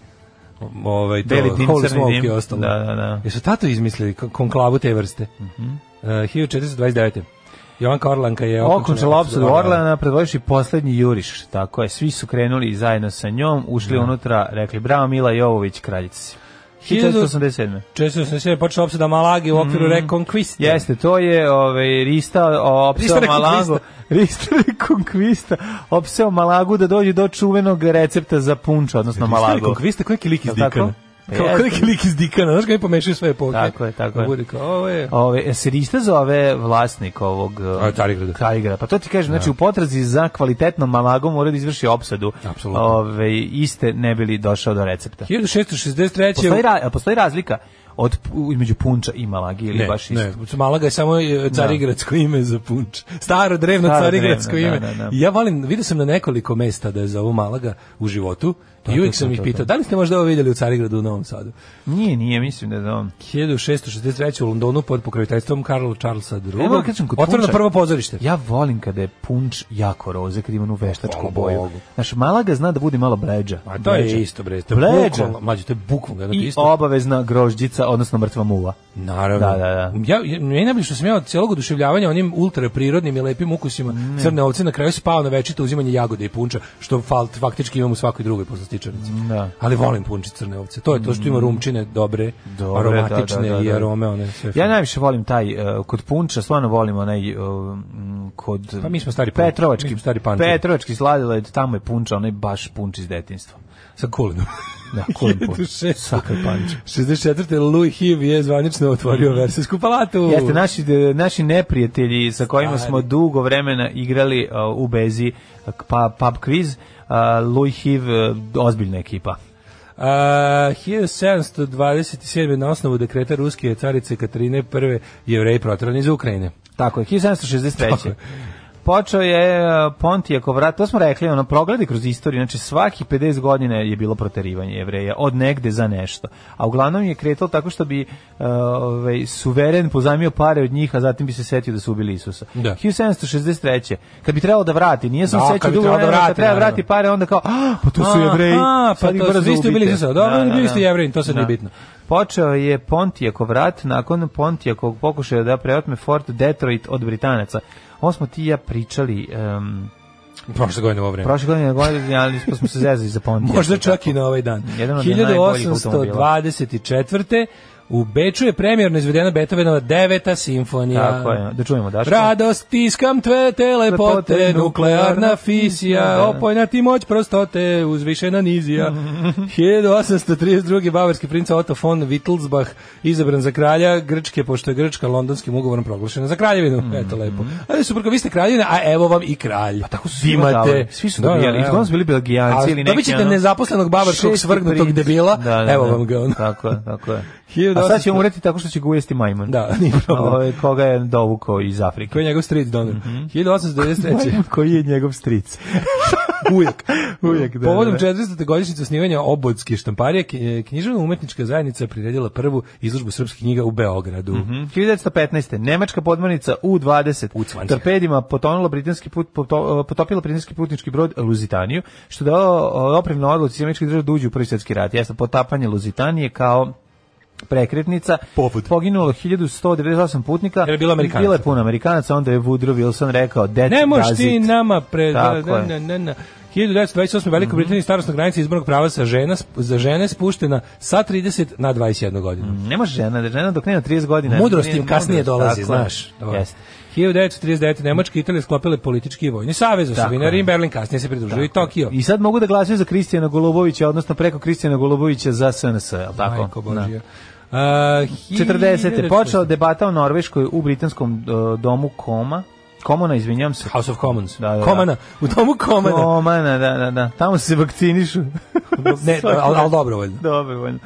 Speaker 5: ovaj,
Speaker 6: Mhm.
Speaker 5: to,
Speaker 6: Beli dim,
Speaker 5: Holy
Speaker 6: crni
Speaker 5: Smoke
Speaker 6: dim.
Speaker 5: i ostalo?
Speaker 6: Da, da, da. Mhm.
Speaker 5: Jesu tato izmislili kon- konklavu te vrste? Uh, 1429. Jovan Korlanka je
Speaker 6: Okončala opsadu Orlana, predvodiš i poslednji juriš. Tako je, svi su krenuli zajedno sa njom, ušli unutra, rekli bravo Mila Jovović, kraljica si. 1487.
Speaker 5: 1487 je počela opsada Malagi u okviru Reconquiste.
Speaker 6: Jeste, to je ovaj, Rista o,
Speaker 5: Rista
Speaker 6: opseo Malagu. Rista Rekonkvista opseo Malagu da dođe do čuvenog recepta za punča, odnosno
Speaker 5: Malago.
Speaker 6: Malagu.
Speaker 5: Reconquista, koji je neki lik iz
Speaker 6: Jel tako?
Speaker 5: Dikana?
Speaker 6: Pa
Speaker 5: Kao
Speaker 6: jeste.
Speaker 5: koji neki lik iz Dikana, znaš kada mi pomešaju sve epoke.
Speaker 6: Tako je, tako
Speaker 5: Da
Speaker 6: je.
Speaker 5: Bude kao, ovo je...
Speaker 6: Ove, se Rista zove vlasnik ovog...
Speaker 5: A, Carigrada.
Speaker 6: Carigrada. Pa to ti kažem, znači u potrazi za kvalitetnom malagom mora da izvrši opsadu.
Speaker 5: Apsolutno.
Speaker 6: Ove, iste ne bili došao do recepta.
Speaker 5: 1663.
Speaker 6: Postoji, ra, a postoji razlika od, između punča i malagi ili
Speaker 5: ne,
Speaker 6: baš isto?
Speaker 5: ne, Malaga je samo e, carigradsko ime za punč. Staro, drevno
Speaker 6: Staro,
Speaker 5: carigradsko
Speaker 6: drevno,
Speaker 5: ime.
Speaker 6: da, da, da.
Speaker 5: I Ja volim, vidio sam na nekoliko mesta da je zovu Malaga u životu i uvijek
Speaker 6: to,
Speaker 5: sam
Speaker 6: to,
Speaker 5: ih
Speaker 6: to,
Speaker 5: pitao, da li ste možda ovo vidjeli u Carigradu u Novom Sadu?
Speaker 6: Nije, nije, mislim da je on.
Speaker 5: 1663. u Londonu pod pokroviteljstvom Karla Charlesa II.
Speaker 6: E, moram kažem, kod
Speaker 5: Otvoreno
Speaker 6: punča-
Speaker 5: prvo pozorište.
Speaker 6: Ja volim kada je punč jako roze, kada ima onu veštačku
Speaker 5: Hvala
Speaker 6: boju.
Speaker 5: Bogu.
Speaker 6: Znaš, Malaga zna da bude malo bređa.
Speaker 5: A to je
Speaker 6: Bređa.
Speaker 5: isto bre, to je
Speaker 6: Bleđa.
Speaker 5: bukvalno, mađo, to je bukvalno jedno te
Speaker 6: I
Speaker 5: isto.
Speaker 6: obavezna grožđica maca, odnosno mrtva muva.
Speaker 5: Naravno.
Speaker 6: Da, da, da.
Speaker 5: Ja, ja, meni je najbolje što sam ja od cijelog oduševljavanja onim ultraprirodnim i lepim ukusima
Speaker 6: Mm.
Speaker 5: crne ovce na kraju spao na večito uzimanje jagode i punča, što fal, faktički imam u svakoj drugoj poslastičarnici.
Speaker 6: Mm, Da. Mm.
Speaker 5: Ali volim punče crne ovce. To je to što ima rumčine dobre,
Speaker 6: Dobre,
Speaker 5: aromatične
Speaker 6: da, da, da,
Speaker 5: i
Speaker 6: da.
Speaker 5: arome. One, sve
Speaker 6: Ja najviše volim taj, uh, kod punča, stvarno volim onaj, uh, m, kod
Speaker 5: Pa mi smo stari punč,
Speaker 6: Petrovački,
Speaker 5: mi smo stari pančevi.
Speaker 6: Petrovački sladoled, tamo je punča, onaj baš punč iz detinjstva.
Speaker 5: Sa kulinom.
Speaker 6: Da, kulim punč.
Speaker 5: Sakar panč. 64. Louis Hiv je zvanično otvorio Versajsku palatu.
Speaker 6: Mhm. Jeste naši de- naši neprijatelji sa kojima
Speaker 5: Stari.
Speaker 6: smo dugo vremena igrali uh, u bezi uh, pa, pub quiz, uh, Louis Hiv uh, ozbiljna ekipa.
Speaker 5: A, 1727. na osnovu dekreta Ruske carice Katarine I. jevreji protirani iz Ukrajine.
Speaker 6: Tako je, 1763.
Speaker 5: Tako je.
Speaker 6: Počeo je e, Pontijakov rat, to smo rekli, ono, progledi kroz istoriju, znači svaki 50 godina je bilo proterivanje jevreja, od negde za nešto. A uglavnom je kretalo tako što bi e, ovaj, suveren pozajmio pare od njih, a zatim bi se setio da su ubili Isusa.
Speaker 5: Da.
Speaker 6: 1763. Kad bi trebalo da vrati, nije sam
Speaker 5: Da,
Speaker 6: da,
Speaker 5: kad
Speaker 6: sećao
Speaker 5: bi
Speaker 6: dugo
Speaker 5: trebalo da
Speaker 6: vremena, kad
Speaker 5: vrati,
Speaker 6: treba
Speaker 5: naravno.
Speaker 6: vrati pare, onda kao, "Ah, pa tu su
Speaker 5: Aha,
Speaker 6: jevreji,
Speaker 5: pa
Speaker 6: sad ih
Speaker 5: to
Speaker 6: brzo
Speaker 5: su- vi ste bili
Speaker 6: ubijte."
Speaker 5: Isusa, dobro,
Speaker 6: Da, da,
Speaker 5: bili ste
Speaker 6: da.
Speaker 5: Jevreji, to sad nije bitno.
Speaker 6: Počeo je Pontijakov rat nakon Pontijakovog pokušaja da preotme Fort Detroit od Britanaca. Ovo smo ti i ja pričali um,
Speaker 5: Prošle godine u ovo vreme.
Speaker 6: prošle godine, godine, ali smo, smo se zezali za Pontijak.
Speaker 5: Možda čak i na ovaj dan.
Speaker 6: Jedan od najboljih automobila.
Speaker 5: 1824. U Beču je premjerno izvedena Beethovenova deveta simfonija.
Speaker 6: Tako je, da čujemo Daško.
Speaker 5: Radost tiskam tve telepote,
Speaker 6: Lepote,
Speaker 5: nuklearna
Speaker 6: nuklearna
Speaker 5: fisija,
Speaker 6: fisija.
Speaker 5: opojna ti moć prostote, uzvišena nizija. 1832. bavarski princ Otto von Wittelsbach izabran za kralja Grčke, pošto je Grčka londonskim ugovorom proglašena za kraljevinu.
Speaker 6: Mm.
Speaker 5: Eto lepo. Ali super, vi ste kraljevina, a evo vam i kralj. Pa tako
Speaker 6: svi davali, svi su dobijali,
Speaker 5: evo.
Speaker 6: uglavnom su bili Belgijanci
Speaker 5: A
Speaker 6: ili neki,
Speaker 5: Dobit ćete
Speaker 6: ono,
Speaker 5: nezaposlenog bavarskog
Speaker 6: šesti
Speaker 5: svrgnutog
Speaker 6: princ.
Speaker 5: debila, evo vam ga ono. on.
Speaker 6: Tako je, tako je.
Speaker 5: 1800
Speaker 6: A sad će umreti tako što će ga ujesti majmun.
Speaker 5: Da, nije problem.
Speaker 6: Ovo je koga je dovukao iz Afrike.
Speaker 5: Koji je njegov stric donor?
Speaker 6: Mhm.
Speaker 5: 1893.
Speaker 6: Majmun koji je njegov stric.
Speaker 5: Uvijek.
Speaker 6: Uvijek, da,
Speaker 5: Povodom
Speaker 6: da.
Speaker 5: 400. godišnjice osnivanja obodske štamparije, književno-umetnička zajednica je priredila prvu izložbu srpskih knjiga u Beogradu.
Speaker 6: Mhm. 1915. Nemačka podmornica U-20
Speaker 5: U-20.
Speaker 6: torpedima potonula britanski put, poto- eh, potopila britanski putnički brod Luzitaniju, što je dao opremno odluci Sjemeničkih država da uđu u prvi svjetski rat. Jeste potapanje Luzitanije kao prekretnica.
Speaker 5: Povod.
Speaker 6: Poginulo 1198 putnika.
Speaker 5: Jer je bilo Amerikanaca.
Speaker 6: Bilo je puno Amerikanaca, onda je Woodrow Wilson rekao, "That
Speaker 5: Ne moš
Speaker 6: does
Speaker 5: ti
Speaker 6: it."
Speaker 5: nama pre...
Speaker 6: Tako
Speaker 5: na,
Speaker 6: je. Mhm.
Speaker 5: na, na, na. 1928. u Velikoj Britaniji starostna granica izbornog prava sa žena, za žene spuštena sa 30 na 21 godinu.
Speaker 6: Ne može žena, da žena dok nema 30 godina.
Speaker 5: Mudrost
Speaker 6: Mhm. nije-
Speaker 5: im kasnije
Speaker 6: mudrost,
Speaker 5: dolazi,
Speaker 6: tako je.
Speaker 5: znaš. Dobro.
Speaker 6: Jeste.
Speaker 5: 1939. Nemačka i Italija sklopile politički i vojni savez,
Speaker 6: Tako
Speaker 5: osovina
Speaker 6: je.
Speaker 5: Rim, Berlin, kasnije se pridružio i Tokio.
Speaker 6: I sad mogu da glasaju za Kristijana Golubovića, odnosno preko Kristijana Golubovića za SNS, je li tako?
Speaker 5: Majko
Speaker 6: Da.
Speaker 5: Božija. Uh,
Speaker 6: 40. počela debata o Norveškoj u britanskom uh, domu Koma. Komona, izvinjam se.
Speaker 5: House of Commons.
Speaker 6: Da, da, da.
Speaker 5: Komana, u domu Komana.
Speaker 6: Komana, da, da, da. Tamo se vakcinišu.
Speaker 5: Ne, ali al dobrovoljno.
Speaker 6: Dobrovoljno.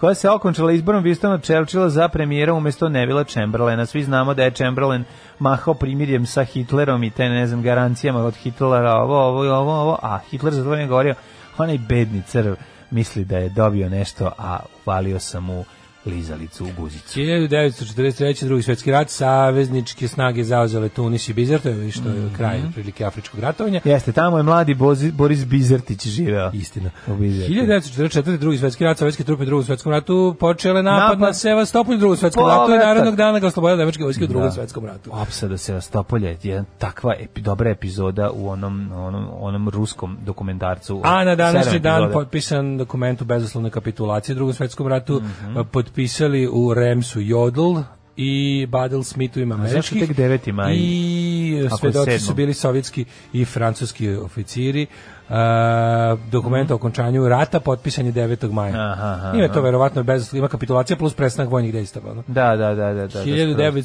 Speaker 6: Koja se okončala izborom Winstona Churchilla za premijera umjesto Nevila Chamberlaina. Svi znamo da je Chamberlain mahao primirjem sa Hitlerom i te, ne znam, garancijama od Hitlera, ovo, ovo, ovo, ovo, a Hitler za to je govorio, onaj bedni crv misli da je dobio nešto, a uvalio sam mu lizalicu u guzicu.
Speaker 5: 1943. drugi svjetski rat, savezničke snage zauzele Tunis i Bizar, to je što je kraj prilike afričkog ratovanja.
Speaker 6: Jeste, tamo je mladi Bozi- Boris Bizertić živeo.
Speaker 5: Istina.
Speaker 6: U Bizerti.
Speaker 5: 1944. drugi svjetski rat, sovjetske trupe u drugom svjetskom ratu počele napad,
Speaker 6: Napad.
Speaker 5: na Sevastopolj u drugom svjetskom
Speaker 6: Povratak.
Speaker 5: ratu i narodnog dana ga oslobodila nemačke vojske u drugom
Speaker 6: Da.
Speaker 5: svjetskom ratu.
Speaker 6: Opsada Sevastopolja je jedna takva epi, dobra epizoda u onom, onom, onom ruskom dokumentarcu.
Speaker 5: A na današnji
Speaker 6: Sedam
Speaker 5: dan
Speaker 6: epizoda.
Speaker 5: potpisan dokument u bezoslovne kapitulacije u drugom svjetskom ratu,
Speaker 6: Mhm.
Speaker 5: e, potpisali u Remsu Jodl i Badel Smithu ima
Speaker 6: zašto
Speaker 5: američkih.
Speaker 6: tek 9. maj?
Speaker 5: I e,
Speaker 6: Ako je
Speaker 5: svedoci su
Speaker 6: sedmom.
Speaker 5: bili sovjetski i francuski oficiri. Uh, dokument o okončanju rata potpisan je 9. maja.
Speaker 6: Mhm. Aha, aha,
Speaker 5: Ima to verovatno bez ima kapitulacija plus prestanak vojnih dejstava. ono.
Speaker 6: Da, da, da, da. da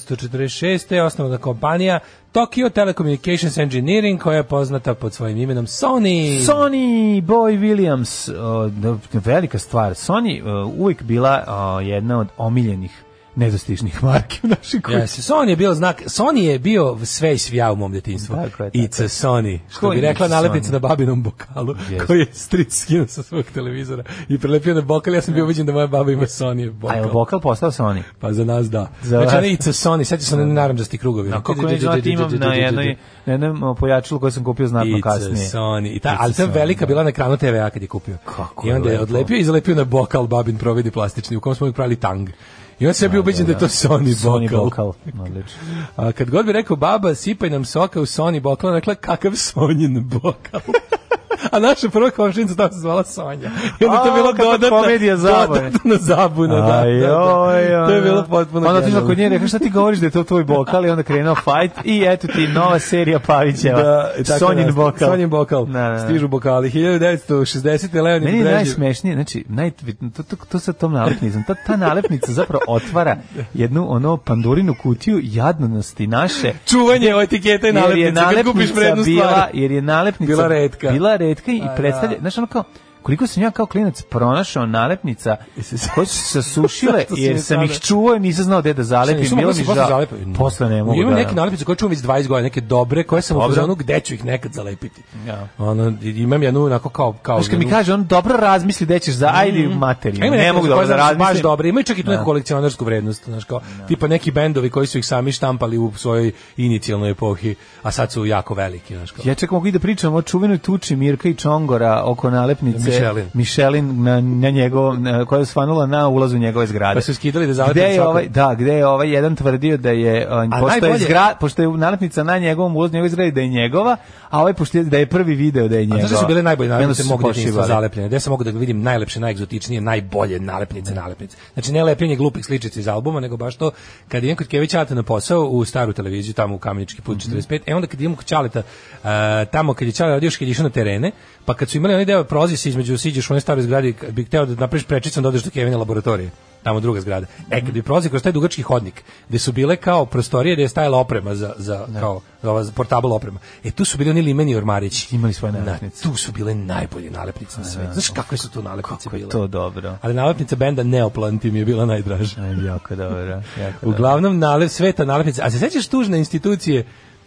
Speaker 5: 1946. je osnovana kompanija Tokyo Telecommunications Engineering koja je poznata pod svojim imenom Sony.
Speaker 6: Sony Boy e, Williams, o, da, velika stvar. Sony o, uvijek bila o, jedna od omiljenih nedostižnih marki u našoj kući.
Speaker 5: Jesi, Sony je bio znak, Sony je bio sve i svija u mom djetinjstvu.
Speaker 6: Tako je, tako
Speaker 5: It's a Sony, što
Speaker 6: Koji
Speaker 5: bi rekla
Speaker 6: It's a Sony?
Speaker 5: nalepnica na babinom bokalu,
Speaker 6: Jeste.
Speaker 5: koji je stric skinuo sa svog televizora i prelepio na bokal, ja sam bio uviđen da moja baba ima Sony
Speaker 6: A je li
Speaker 5: bokal.
Speaker 6: bokal postao Sony?
Speaker 5: Pa za nas da.
Speaker 6: Za
Speaker 5: znači,
Speaker 6: vas.
Speaker 5: ne It's a Sony, sećaš se na naranđasti krugovi. ono,
Speaker 6: Na kako ne znate, imam na jednoj, na jednom pojačilu koje sam kupio znatno
Speaker 5: It's a
Speaker 6: kasnije.
Speaker 5: Sony. I ta,
Speaker 6: It's
Speaker 5: ali
Speaker 6: a
Speaker 5: ta
Speaker 6: Sony,
Speaker 5: velika
Speaker 6: da.
Speaker 5: bila na ekranu TV-a kad je kupio.
Speaker 6: Kako
Speaker 5: I onda je
Speaker 6: lepo.
Speaker 5: odlepio i zalepio na bokal babin providi plastični u kom smo ih pravili tang. I onda se ja bio ubeđen da je to Sony
Speaker 6: Sony
Speaker 5: bokal.
Speaker 6: bokal. Odlično.
Speaker 5: A kad god bi rekao baba sipaj nam soka u Sony bokal, ona rekla kakav Sonjin bokal. A naša prva komšinica tamo se zvala Sonja. I onda je to
Speaker 6: A,
Speaker 5: bilo
Speaker 6: kakva
Speaker 5: dodatna,
Speaker 6: komedija zabave.
Speaker 5: dodatna zabuna. Da, da, da. To je bilo potpuno
Speaker 6: Onda otišla
Speaker 5: genijalno.
Speaker 6: kod nje i rekla šta ti govoriš da je to tvoj bokal i onda krenuo fajt i eto ti nova serija Pavićeva.
Speaker 5: Da, tako
Speaker 6: Sonjin
Speaker 5: da,
Speaker 6: bokal.
Speaker 5: Sonjin bokal.
Speaker 6: Da, da, da.
Speaker 5: Stižu bokali. 1960. Leonid
Speaker 6: Meni je
Speaker 5: Brežnjev.
Speaker 6: najsmešnije, znači, naj, to, to, to sa tom nalepnicom, ta, ta nalepnica zapravo otvara jednu ono pandorinu kutiju jadnosti naše,
Speaker 5: Čuvanje etiketa i
Speaker 6: jer je
Speaker 5: nalepnice. Kad
Speaker 6: nalepnica
Speaker 5: kupiš vrednu
Speaker 6: bila,
Speaker 5: stvar.
Speaker 6: jer je nalepnica
Speaker 5: Bila retka.
Speaker 6: bila retka i
Speaker 5: A, da.
Speaker 6: predstavlja, znaš ono kao, koliko sam ja kao klinac pronašao nalepnica koje su se sušile
Speaker 5: Zato si
Speaker 6: jer
Speaker 5: mi
Speaker 6: sam ih
Speaker 5: sada.
Speaker 6: čuvao i nisam znao gde da zalepim,
Speaker 5: Nisu
Speaker 6: bilo
Speaker 5: mogla
Speaker 6: mi
Speaker 5: se posle
Speaker 6: žao.
Speaker 5: zalepiti.
Speaker 6: Posle ne mogu.
Speaker 5: Ima
Speaker 6: da,
Speaker 5: neke
Speaker 6: da.
Speaker 5: nalepnice koje čuvam iz 20 godina, neke dobre, koje sam u
Speaker 6: Dobro.
Speaker 5: fazonu gde ću ih nekad zalepiti.
Speaker 6: Ja.
Speaker 5: Ono, imam jednu onako kao... kao
Speaker 6: Znaš kad mi
Speaker 5: jednu- Mm-hmm.
Speaker 6: kaže, on dobro razmisli gde ćeš za, ajde materiju,
Speaker 5: Mm. Ima
Speaker 6: ne
Speaker 5: neke
Speaker 6: mogu
Speaker 5: za
Speaker 6: dobro da
Speaker 5: koje znam su
Speaker 6: razmislim.
Speaker 5: Baš dobre, imaju čak i tu neku kolekcionarsku vrednost, znaš kao, tipa neki bendovi koji su ih sami štampali u svojoj inicijalnoj epohi, a sad su jako veliki, znaš kao.
Speaker 6: Ja čak mogu i da pričam o čuvenoj tuči Mirka i Čongora oko nalepnice
Speaker 5: Michelin.
Speaker 6: Michelin na, na njegovom, na- koja je svanula na ulazu njegove zgrade.
Speaker 5: Pa su skidali da zalepe
Speaker 6: Gde
Speaker 5: na
Speaker 6: je
Speaker 5: svakom.
Speaker 6: ovaj, da, gde je ovaj jedan tvrdio da je, a, pošto, je
Speaker 5: najbolje-
Speaker 6: zgra, pošto je nalepnica na njegovom ulazu njegove zgrade da je njegova, a ovaj pošto je, da je prvi video da je
Speaker 5: A
Speaker 6: njegova.
Speaker 5: znaš da su bile najbolje
Speaker 6: I onda
Speaker 5: nalepnice
Speaker 6: su
Speaker 5: mog djetinjstva
Speaker 6: pošivali.
Speaker 5: zalepljene? Gde sam mogu da vidim najlepše, najegzotičnije, najbolje nalepnice, nalepnice. Znači ne lepljenje glupih sličica iz albuma, nego baš to kad idem kod Kevića Ata na posao u staru televiziju, tamo u Kamenički
Speaker 6: Mhm.
Speaker 5: put 45, e onda kad idem kod Čaleta, a, tamo kad je Čale radio, još kad je išao na terene, pa kad su imali onaj deo prozis između, siđeš u onoj staroj zgradi, kad bi hteo da napraviš prečicom da odeš do Kevine laboratorije tamo druga zgrada. E, kad bi prolazio kroz taj dugački hodnik, gde su bile kao prostorije gde je stajala oprema za, za kao, za ova portable oprema. E, tu su bili oni limeni ormarići.
Speaker 6: Imali svoje
Speaker 5: Na-
Speaker 6: nalepnice.
Speaker 5: tu su bile najbolje nalepnice na svetu. Znaš kakve su tu nalepnice bile?
Speaker 6: To dobro.
Speaker 5: Ali nalepnica benda Neoplanti mi je bila najdraža.
Speaker 6: Aj, jako dobro. Jako dobro.
Speaker 5: Uglavnom nalep sveta nalepnica. A se sećaš tužne institucije?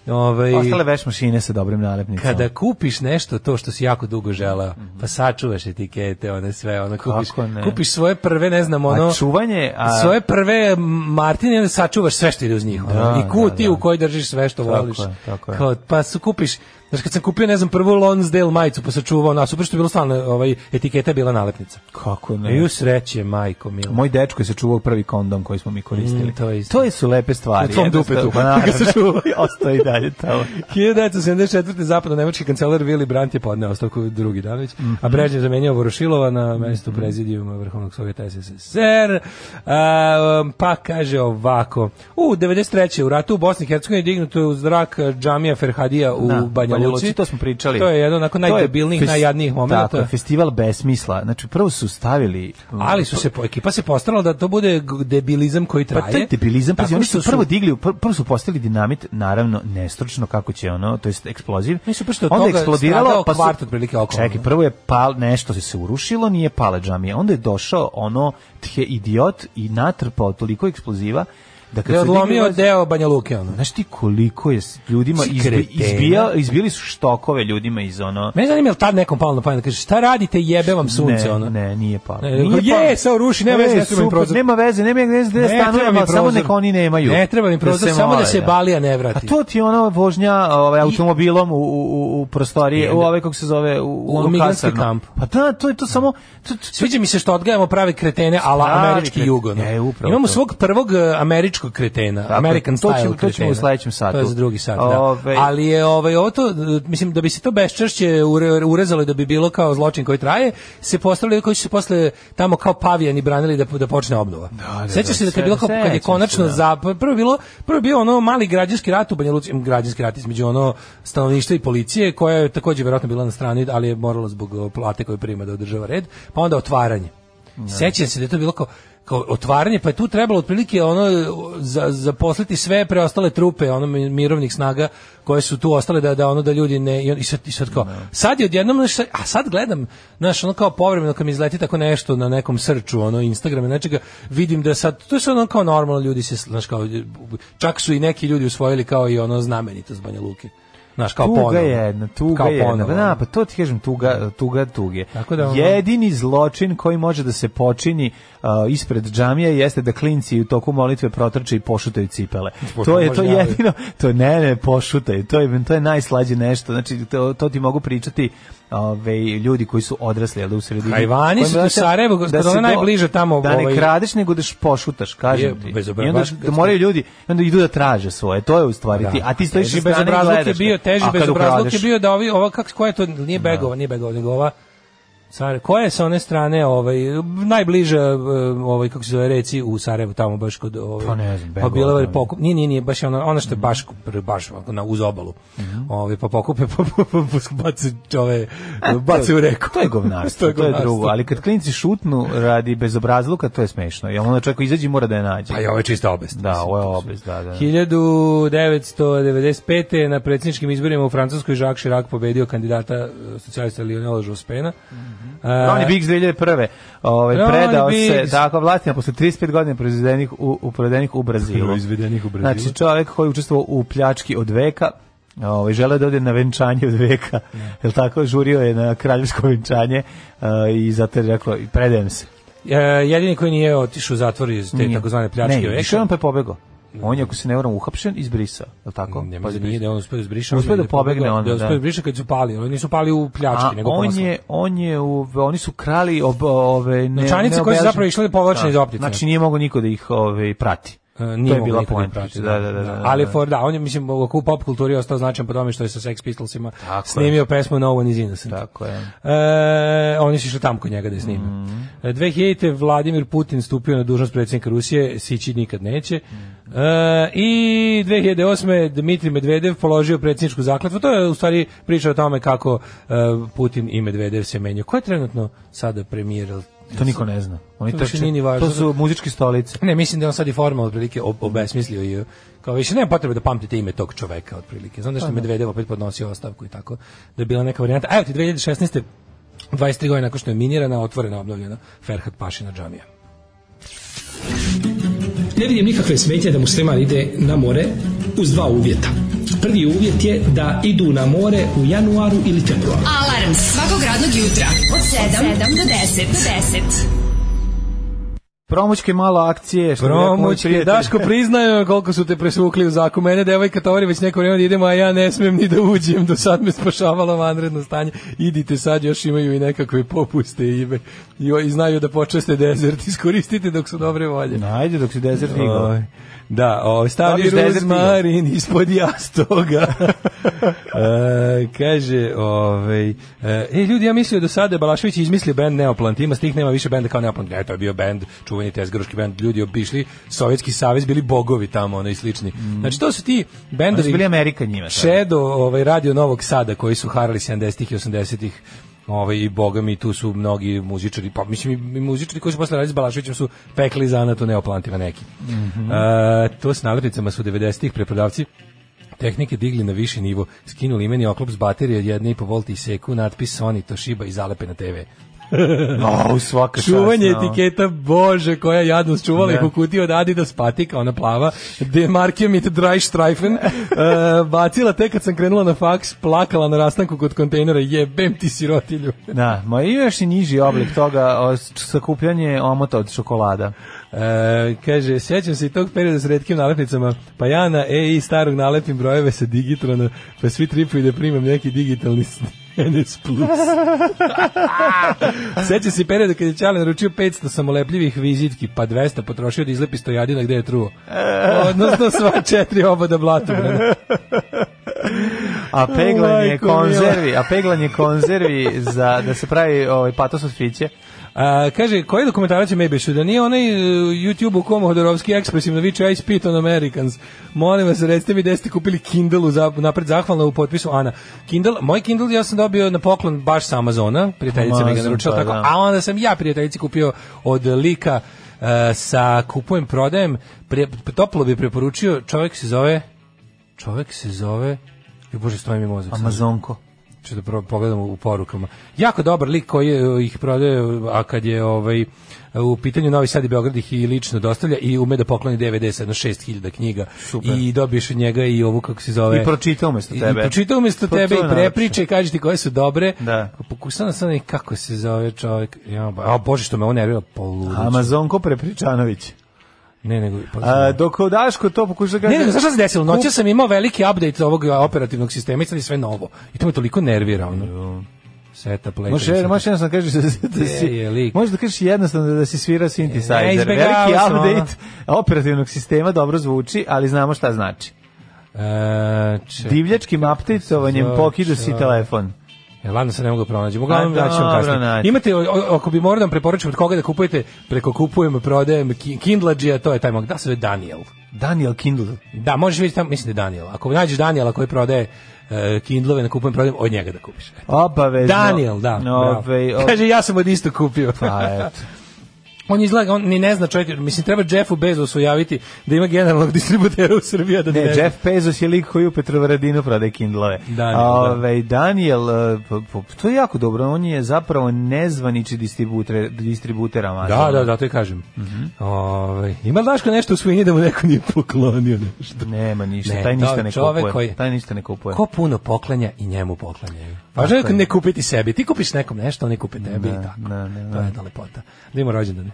Speaker 5: Ovaj
Speaker 6: Ostale veš mašine sa dobrim nalepnicama.
Speaker 5: kada kupiš nešto to što si jako dugo želeo, pa sačuvaš etikete, one sve, ono kupiš,
Speaker 6: Mhm. Kako ne?
Speaker 5: kupiš svoje prve, ne znam, ono
Speaker 6: a čuvanje, a,
Speaker 5: svoje prve Martine, onda sačuvaš sve što ide uz njih. ono,
Speaker 6: Da,
Speaker 5: I kuti
Speaker 6: da, da.
Speaker 5: u kojoj držiš sve što
Speaker 6: Tako
Speaker 5: voliš.
Speaker 6: je, tako je.
Speaker 5: Kao, pa su kupiš, znaš, kad sam kupio, ne znam, prvu Lonsdale majicu, pa sačuvao, na super što je bilo stvarno, ovaj, etiketa je bila nalepnica.
Speaker 6: kako ne?
Speaker 5: I u sreće, majko mila.
Speaker 6: Moj dečko je sačuvao prvi kondom koji smo mi koristili.
Speaker 5: Mm, to je isto.
Speaker 6: to je su lepe stvari.
Speaker 5: U tvom
Speaker 6: jednostavno.
Speaker 5: dupetu.
Speaker 6: Pa naravno.
Speaker 5: Ga sačuvao.
Speaker 6: Ostao i dalje tamo.
Speaker 5: 1974. zapadno nemački kancelar Willy Brandt je podneo ostavku drugi dan već,
Speaker 6: Mhm.
Speaker 5: a Brežnjev zamenio Vorošilova na mestu prezidijuma Vrhovnog Sovjeta SSSR. A, um, pa kaže ovako, u 93. u ratu u Bosni i Hercegovini dignuto je u zrak eh, džamija Ferhadija u
Speaker 6: Da, pa
Speaker 5: Banja
Speaker 6: Banja
Speaker 5: Luci.
Speaker 6: Luci, to smo pričali.
Speaker 5: To je jedan onako najdebilnijih,
Speaker 6: To je fes-
Speaker 5: najjadnijih
Speaker 6: Tako, je,
Speaker 5: momenta.
Speaker 6: festival besmisla. Znači, prvo su stavili... um,
Speaker 5: Ali su se, po- ekipa se postarala da to bude g- debilizam koji traje.
Speaker 6: Pa taj debilizam, pazi,
Speaker 5: Tako
Speaker 6: oni su
Speaker 5: što
Speaker 6: prvo digli, pr- prvo su postavili dinamit, naravno nestručno kako će ono, to jest eksploziv.
Speaker 5: Mislim, pa što od
Speaker 6: Onda je
Speaker 5: toga
Speaker 6: eksplodiralo,
Speaker 5: stradao
Speaker 6: pa su-
Speaker 5: kvart otprilike oko.
Speaker 6: Čekaj, prvo je pal, nešto se se urušilo, nije pala džamija. Onda je došao ono tje idiot i natrpao toliko eksploziva da kad
Speaker 5: Da je
Speaker 6: su digli
Speaker 5: odlomio
Speaker 6: vaz-
Speaker 5: deo Banja Luke, ono.
Speaker 6: Znaš ti koliko je s ljudima
Speaker 5: Si
Speaker 6: izbi,
Speaker 5: kretena.
Speaker 6: izbija, izbili su štokove ljudima iz ono...
Speaker 5: Mene zanima je li tad nekom palo na pamet, da kaže šta radite, jebe vam sunce,
Speaker 6: ne,
Speaker 5: ono.
Speaker 6: ne, nije palo.
Speaker 5: Ne,
Speaker 6: Nije
Speaker 5: kao,
Speaker 6: palo.
Speaker 5: je, sad ruši, nema
Speaker 6: E,
Speaker 5: veze, ne treba mi
Speaker 6: super,
Speaker 5: prozor.
Speaker 6: Nema veze, nema veze, gde
Speaker 5: Ne
Speaker 6: stanujem,
Speaker 5: treba mi
Speaker 6: ali samo
Speaker 5: prozor.
Speaker 6: neka oni nemaju.
Speaker 5: Ne treba mi
Speaker 6: Da
Speaker 5: prozor,
Speaker 6: se
Speaker 5: samo da
Speaker 6: mole,
Speaker 5: se balija ne vrati.
Speaker 6: A to ti je ono vožnja ovaj, automobilom u, u, u prostorije, u ove, kako se zove, u,
Speaker 5: U
Speaker 6: ono
Speaker 5: migrantski
Speaker 6: kasarno.
Speaker 5: kamp.
Speaker 6: Pa da, to je to samo... To, to,
Speaker 5: Sviđa mi se što odgajamo prave kretene ala
Speaker 6: Pravi
Speaker 5: američki
Speaker 6: kreten-
Speaker 5: jugo. no.
Speaker 6: E, upravo
Speaker 5: Imamo
Speaker 6: to.
Speaker 5: svog prvog e, američkog kretena,
Speaker 6: Tako je.
Speaker 5: American
Speaker 6: To
Speaker 5: style
Speaker 6: ćemo- to ćemo
Speaker 5: kretena.
Speaker 6: u sledećem satu.
Speaker 5: To je za drugi sat, da.
Speaker 6: Ove-
Speaker 5: Ali je ovaj, ovo to, e, mislim, da bi se to beščešće ure- urezalo i da bi bilo kao zločin koji traje, se postavljaju koji su se posle tamo kao pavijani branili da, da počne obnova.
Speaker 6: Da, da,
Speaker 5: Sećaš
Speaker 6: da,
Speaker 5: se da kad
Speaker 6: sve-
Speaker 5: je bilo kao, kad je
Speaker 6: sećam se,
Speaker 5: konačno
Speaker 6: da.
Speaker 5: za prvo je bilo prvo je bio ono mali građanski rat u Banja Luci, em, građanski rat između ono stanovništva i policije koja je takođe verovatno bila na strani, ali je morala zbog o, plate koju prima da održava red, pa onda otvaranje. Sećam se da je to bilo kao kao otvaranje, pa je tu trebalo otprilike ono za, zaposliti sve preostale trupe ono mi- mirovnih snaga koje su tu ostale da da ono da ljudi ne i, on- i sad, i sad kao sad je odjednom znaš, sad- a sad gledam znaš ono kao povremeno kad mi izleti tako nešto na nekom srču ono Instagram i nečega vidim da sad to je sad ono kao normalno ljudi se znaš kao čak su i neki ljudi usvojili kao i ono znamenitost Banja Luke znaš kao
Speaker 6: tuga
Speaker 5: ponovo.
Speaker 6: jedna, tuga
Speaker 5: Kao
Speaker 6: jedna.
Speaker 5: ponovo.
Speaker 6: Pa Da, pa to ti kažem, tuga, tuga tuge.
Speaker 5: Tako da, ono-
Speaker 6: Jedini zločin koji može da se počini uh, ispred džamije jeste da klinci u toku molitve protrče i pošutaju cipele. to je to
Speaker 5: možda, ali-
Speaker 6: jedino, to ne, ne, pošutaju. To je, to je najslađe nešto. Znači, to, to ti mogu pričati ove, ljudi koji su odrasli, ali u sredini.
Speaker 5: Hajvani su
Speaker 6: Kojima
Speaker 5: tu
Speaker 6: se-
Speaker 5: Sarajevo, gospodo,
Speaker 6: se
Speaker 5: ono
Speaker 6: do-
Speaker 5: najbliže tamo,
Speaker 6: Da ne
Speaker 5: ovaj-
Speaker 6: kradeš, nego da š- pošutaš,
Speaker 5: Je,
Speaker 6: kažem ti. I onda
Speaker 5: bezobrazaš-
Speaker 6: da moraju ljudi, onda idu da traže svoje. To je u stvari
Speaker 5: Da.
Speaker 6: ti. A ti stojiš
Speaker 5: Teži
Speaker 6: sa strane i
Speaker 5: bezobrazluk je
Speaker 6: gledaš.
Speaker 5: bio, teži
Speaker 6: A kad
Speaker 5: bezobrazluk je
Speaker 6: ukradeš?
Speaker 5: bio da ovi, ova, kako, koja je to, nije Begova, nije Begova, nego ova, Sare, koja je sa one strane, ovaj, najbliže, ovaj, kako se zove, reci u Sarajevu, tamo baš kod, ovaj,
Speaker 6: Pa ne znam, Mhm.
Speaker 5: pa
Speaker 6: Begova,
Speaker 5: bila je
Speaker 6: ali-
Speaker 5: pokup, nije, nije, nije, baš je ona, ona što je baš, baš ovako na, uz obalu,
Speaker 6: Mhm.
Speaker 5: ovaj, pa pokupe, pa, pa, pa, pa bace, ove,
Speaker 6: Pa
Speaker 5: bace u reku.
Speaker 6: To je govnarstvo, to je,
Speaker 5: govnarstvo.
Speaker 6: drugo, ali kad klinci šutnu radi bezobrazluka, to je smešno. Jel onda čovjek izađe i mora da je nađe.
Speaker 5: Pa i ovo je čista obest.
Speaker 6: Da, ovo je obez, da, da.
Speaker 5: 1995. na predsjedničkim izborima u Francuskoj Jacques Chirac pobedio kandidata e, socijalista Lionela Jospena.
Speaker 6: Mhm.
Speaker 5: E, A,
Speaker 6: Ronnie Biggs 2001. Ovaj,
Speaker 5: Ronnie
Speaker 6: predao
Speaker 5: Biggs.
Speaker 6: se tako vlastima posle 35 godina proizvedenih u, u, proizvedenih u Brazilu.
Speaker 5: Proizvedenih u Brazilu.
Speaker 6: Znači čovjek koji je učestvovao u pljački od veka, Ovaj žele da ode na venčanje od veka. Jel tako žurio je na kraljevsko venčanje a, i zato je rekao i predajem se.
Speaker 5: e, jedini koji nije otišao u zatvor iz te takozvane pljačke
Speaker 6: Ne,
Speaker 5: veka.
Speaker 6: išao je on pa je pobegao. On je, ako se ne varam, uhapšen izbrisao, je li tako?
Speaker 5: Nema,
Speaker 6: Pa
Speaker 5: nije da je on uspeo izbriša.
Speaker 6: Uspeo da pobegne onda,
Speaker 5: Da je
Speaker 6: da.
Speaker 5: uspeo izbriša kad su pali. Oni nisu pali u pljački,
Speaker 6: A
Speaker 5: nego
Speaker 6: on
Speaker 5: posle.
Speaker 6: je, on je, u- oni su krali ob, ove... Ne,
Speaker 5: Novčanice koje su
Speaker 6: neobeležene-
Speaker 5: zapravo išle povlačene
Speaker 6: Da.
Speaker 5: iz optice.
Speaker 6: Znači nije mogao niko da ih ove, prati.
Speaker 5: E, nije
Speaker 6: to je
Speaker 5: mogao
Speaker 6: bila
Speaker 5: niko da
Speaker 6: poenta.
Speaker 5: prati,
Speaker 6: Da, da, da, da,
Speaker 5: Ali
Speaker 6: da.
Speaker 5: for da, on je mislim u u pop kulturi ostao značajan po tome što je sa Sex Pistolsima
Speaker 6: Tako je.
Speaker 5: snimio pesmu No One Is Innocent.
Speaker 6: Tako je. Mhm.
Speaker 5: E, oni su išli tamo kod njega da je snime. E, 2000. Vladimir Putin stupio na dužnost predsjednika Rusije, sići nikad neće. E, I 2008. Dmitri Medvedev položio predsjedničku zakletvu. To je u stvari priča o tome kako e, Putin i Medvedev se menjaju. Ko je trenutno sada premijer? Jel-
Speaker 6: To niko ne zna. Oni
Speaker 5: To
Speaker 6: to,
Speaker 5: više nije ni važno.
Speaker 6: to su muzičke stolice.
Speaker 5: Ne, mislim da je on sad i formalno otprilike ob- obesmislio i kao više nema potrebe da pamtite ime tog čoveka otprilike. Znam da što je Medvedev opet podnosio ostavku i tako, da je bila neka varijanta. A evo ti 2016. 23 godine nakon što je minirana, otvorena, obnovljena Ferhat Pašina džamija.
Speaker 7: Ne vidim nikakve smetnje da musliman ide na more uz dva uvjeta. Prvi uvjet je da idu na more u januaru ili februaru.
Speaker 4: Alarm svakog radnog jutra od 7, do 10. Do 10.
Speaker 6: Promoćke malo akcije. što bi rekao moj
Speaker 5: Promoćke,
Speaker 6: prijatelj.
Speaker 5: Daško priznaje koliko su te presvukli u zaku. Mene devojka tovori već neko vrijeme da idemo, a ja ne smem ni da uđem. Do sad me spašavalo vanredno stanje. Idite sad, još imaju i nekakve popuste ime. I, i znaju da počeste dezert. Iskoristite dok su dobre volje.
Speaker 6: Ajde dok si desert igao.
Speaker 5: Oj, Da, o, stavi
Speaker 6: Staviš desert
Speaker 5: rozmarin ispod jastoga. e, kaže, ovaj, e, e, ljudi, ja mislio do sada je Balašević izmislio bend Neoplant, ima stih, nema više benda kao Neoplant. Ne, to je bio bend, čuveni tezgaroški bend, ljudi obišli, Sovjetski savez bili bogovi tamo, ono i slični. Znači, to su ti bendovi...
Speaker 6: Oni Mm. su bili Amerika njima. sad.
Speaker 5: Shadow, ovaj radio Novog Sada koji su harali 70-ih i 80-ih. Ovaj i boga mi tu su mnogi muzičari, pa mislim i muzičari koji su posle radili s Balaševićem su pekli zanat u neoplantima neki. E, to s nalepnicama su 90-ih preprodavci tehnike digli na viši nivo, skinuli imeni oklop s baterije od 1,5 volta i seku, natpis Sony, Toshiba i zalepe na TV.
Speaker 6: Au, svaka čast,
Speaker 5: Čuvanje
Speaker 6: no.
Speaker 5: etiketa, bože, koja jadnost, čuvala ih
Speaker 6: Da.
Speaker 5: u kutiji od Adidas patika, ona plava, demarkio mi dry streifen, e, bacila te kad sam krenula na faks, plakala na rastanku kod kontejnera, jebem ti sirotilju.
Speaker 6: Da, ma i još i niži oblik toga, o, s- sakupljanje omota od šokolada.
Speaker 5: E, kaže, sjećam se i tog perioda s redkim nalepnicama, pa ja na E i starog nalepim brojeve sa digitrona, pa svi tripuju da primam neki digitalni s- NS Plus. Sjećam se i perioda kad je Čale naručio 500 samolepljivih vizitki, pa 200 potrošio da izlepi stojadina gde je truo. Odnosno sva četiri oboda blatobrana.
Speaker 6: A peglanje
Speaker 5: Majko mila.
Speaker 6: konzervi, a peglanje konzervi za da se pravi ovaj patos od fiće.
Speaker 5: A, kaže, koji dokumentarac je Mebešu? Da nije onaj e, YouTube u komu Hodorovski ekspresivno viče I spit on Americans. Molim vas, recite mi gde ste kupili Kindle u zap- napred zahvalno u potpisu Ana. Kindle, moj Kindle ja sam dobio na poklon baš sa Amazona, prijateljica mi ga
Speaker 6: Amazon,
Speaker 5: naručila
Speaker 6: pa
Speaker 5: tako,
Speaker 6: da.
Speaker 5: a onda sam ja prijateljici kupio od lika e, sa kupujem, prodajem, pre, toplo bi preporučio, čovjek se zove, čovjek se zove, ju bože, stoji mi mozak. sad.
Speaker 6: Amazonko.
Speaker 5: ću da pro- pogledam u porukama. Jako dobar lik koji e, ih prodaje, a kad je ovaj u pitanju Novi Sad i Beograd ih i lično dostavlja i ume da pokloni DVD sa jedno 6000 knjiga
Speaker 6: Super.
Speaker 5: i dobiješ od njega i ovu kako se zove
Speaker 6: I pročita umjesto tebe.
Speaker 5: I pročita umjesto
Speaker 6: Pa to
Speaker 5: tebe
Speaker 6: je
Speaker 5: i prepriče i kaže ti koje su dobre.
Speaker 6: Da.
Speaker 5: Pokusam sam i kako se zove čovjek. Ja, ba- a bože što me on nervira poludić.
Speaker 6: Amazonko Prepričanović.
Speaker 5: Ne nego pa
Speaker 6: A, dok u Daško to pokuša
Speaker 5: Ne,
Speaker 6: kaže...
Speaker 5: nego znaš šta se desilo? Noća sam imao veliki update ovog operativnog sistema i sad je sve novo. I to me toliko nervira. Ono. Seta play.
Speaker 6: Može, može jednostavno kažeš da, si- da si,
Speaker 5: Gde je lik?
Speaker 6: može da kažeš jednostavno da si svira
Speaker 5: E,
Speaker 6: synthesizer.
Speaker 5: izbegavao
Speaker 6: Veliki
Speaker 5: sam,
Speaker 6: update operativnog sistema dobro zvuči, ali znamo šta znači.
Speaker 5: E, če-
Speaker 6: Divljačkim updateovanjem
Speaker 5: Zove,
Speaker 6: pokidu si
Speaker 5: čovek.
Speaker 6: telefon.
Speaker 5: E, ladno se ne mogu pronaći. Uglavnom,
Speaker 6: A,
Speaker 5: ja ću vam
Speaker 6: dobro,
Speaker 5: kasnije.
Speaker 6: naći.
Speaker 5: Imate, o- o- ako bi morao da vam preporučim od koga da kupujete, preko kupujem, prodajem, ki- Kindlađija, to je taj mog, da se zove Daniel.
Speaker 6: Daniel Kindle.
Speaker 5: Da, možeš vidjeti tamo, mislim da je Daniel. Ako nađeš Daniela koji prodaje e, Kindlove na kupujem, prodajem, od njega da kupiš. Eto.
Speaker 6: Obavezno.
Speaker 5: Daniel, da. bravo.
Speaker 6: Ove, o-
Speaker 5: Kaže, ja sam od isto kupio.
Speaker 6: Pa, eto.
Speaker 5: On izgleda, on ni ne zna čovjek, mislim, treba Jeffu Bezosu javiti da ima generalnog distributera u Srbiji. a Da
Speaker 6: Ne,
Speaker 5: zna.
Speaker 6: Jeff Bezos je lik koji u Petrovaradinu prodaje Kindlove.
Speaker 5: Daniel,
Speaker 6: Ove, Daniel, e, p- p- to je jako dobro, on je zapravo nezvaniči distributer, distributer Amazona.
Speaker 5: Da, da, da, to i kažem.
Speaker 6: Mhm.
Speaker 5: Ovaj, ima li Daško nešto u svinji da mu neko nije poklonio nešto?
Speaker 6: Nema ništa,
Speaker 5: Ne,
Speaker 6: taj
Speaker 5: to
Speaker 6: ništa
Speaker 5: je
Speaker 6: ne
Speaker 5: čovek
Speaker 6: kupuje.
Speaker 5: koji-
Speaker 6: Taj ništa ne kupuje.
Speaker 5: Ko puno poklanja i njemu poklanjaju. Važno je
Speaker 6: Tako je.
Speaker 5: Pa ne kupiti sebi. Ti kupiš nekom nešto, oni kupe tebi i tako.
Speaker 6: da, da, da.
Speaker 5: To je jedna lepota. Da ima rođendane.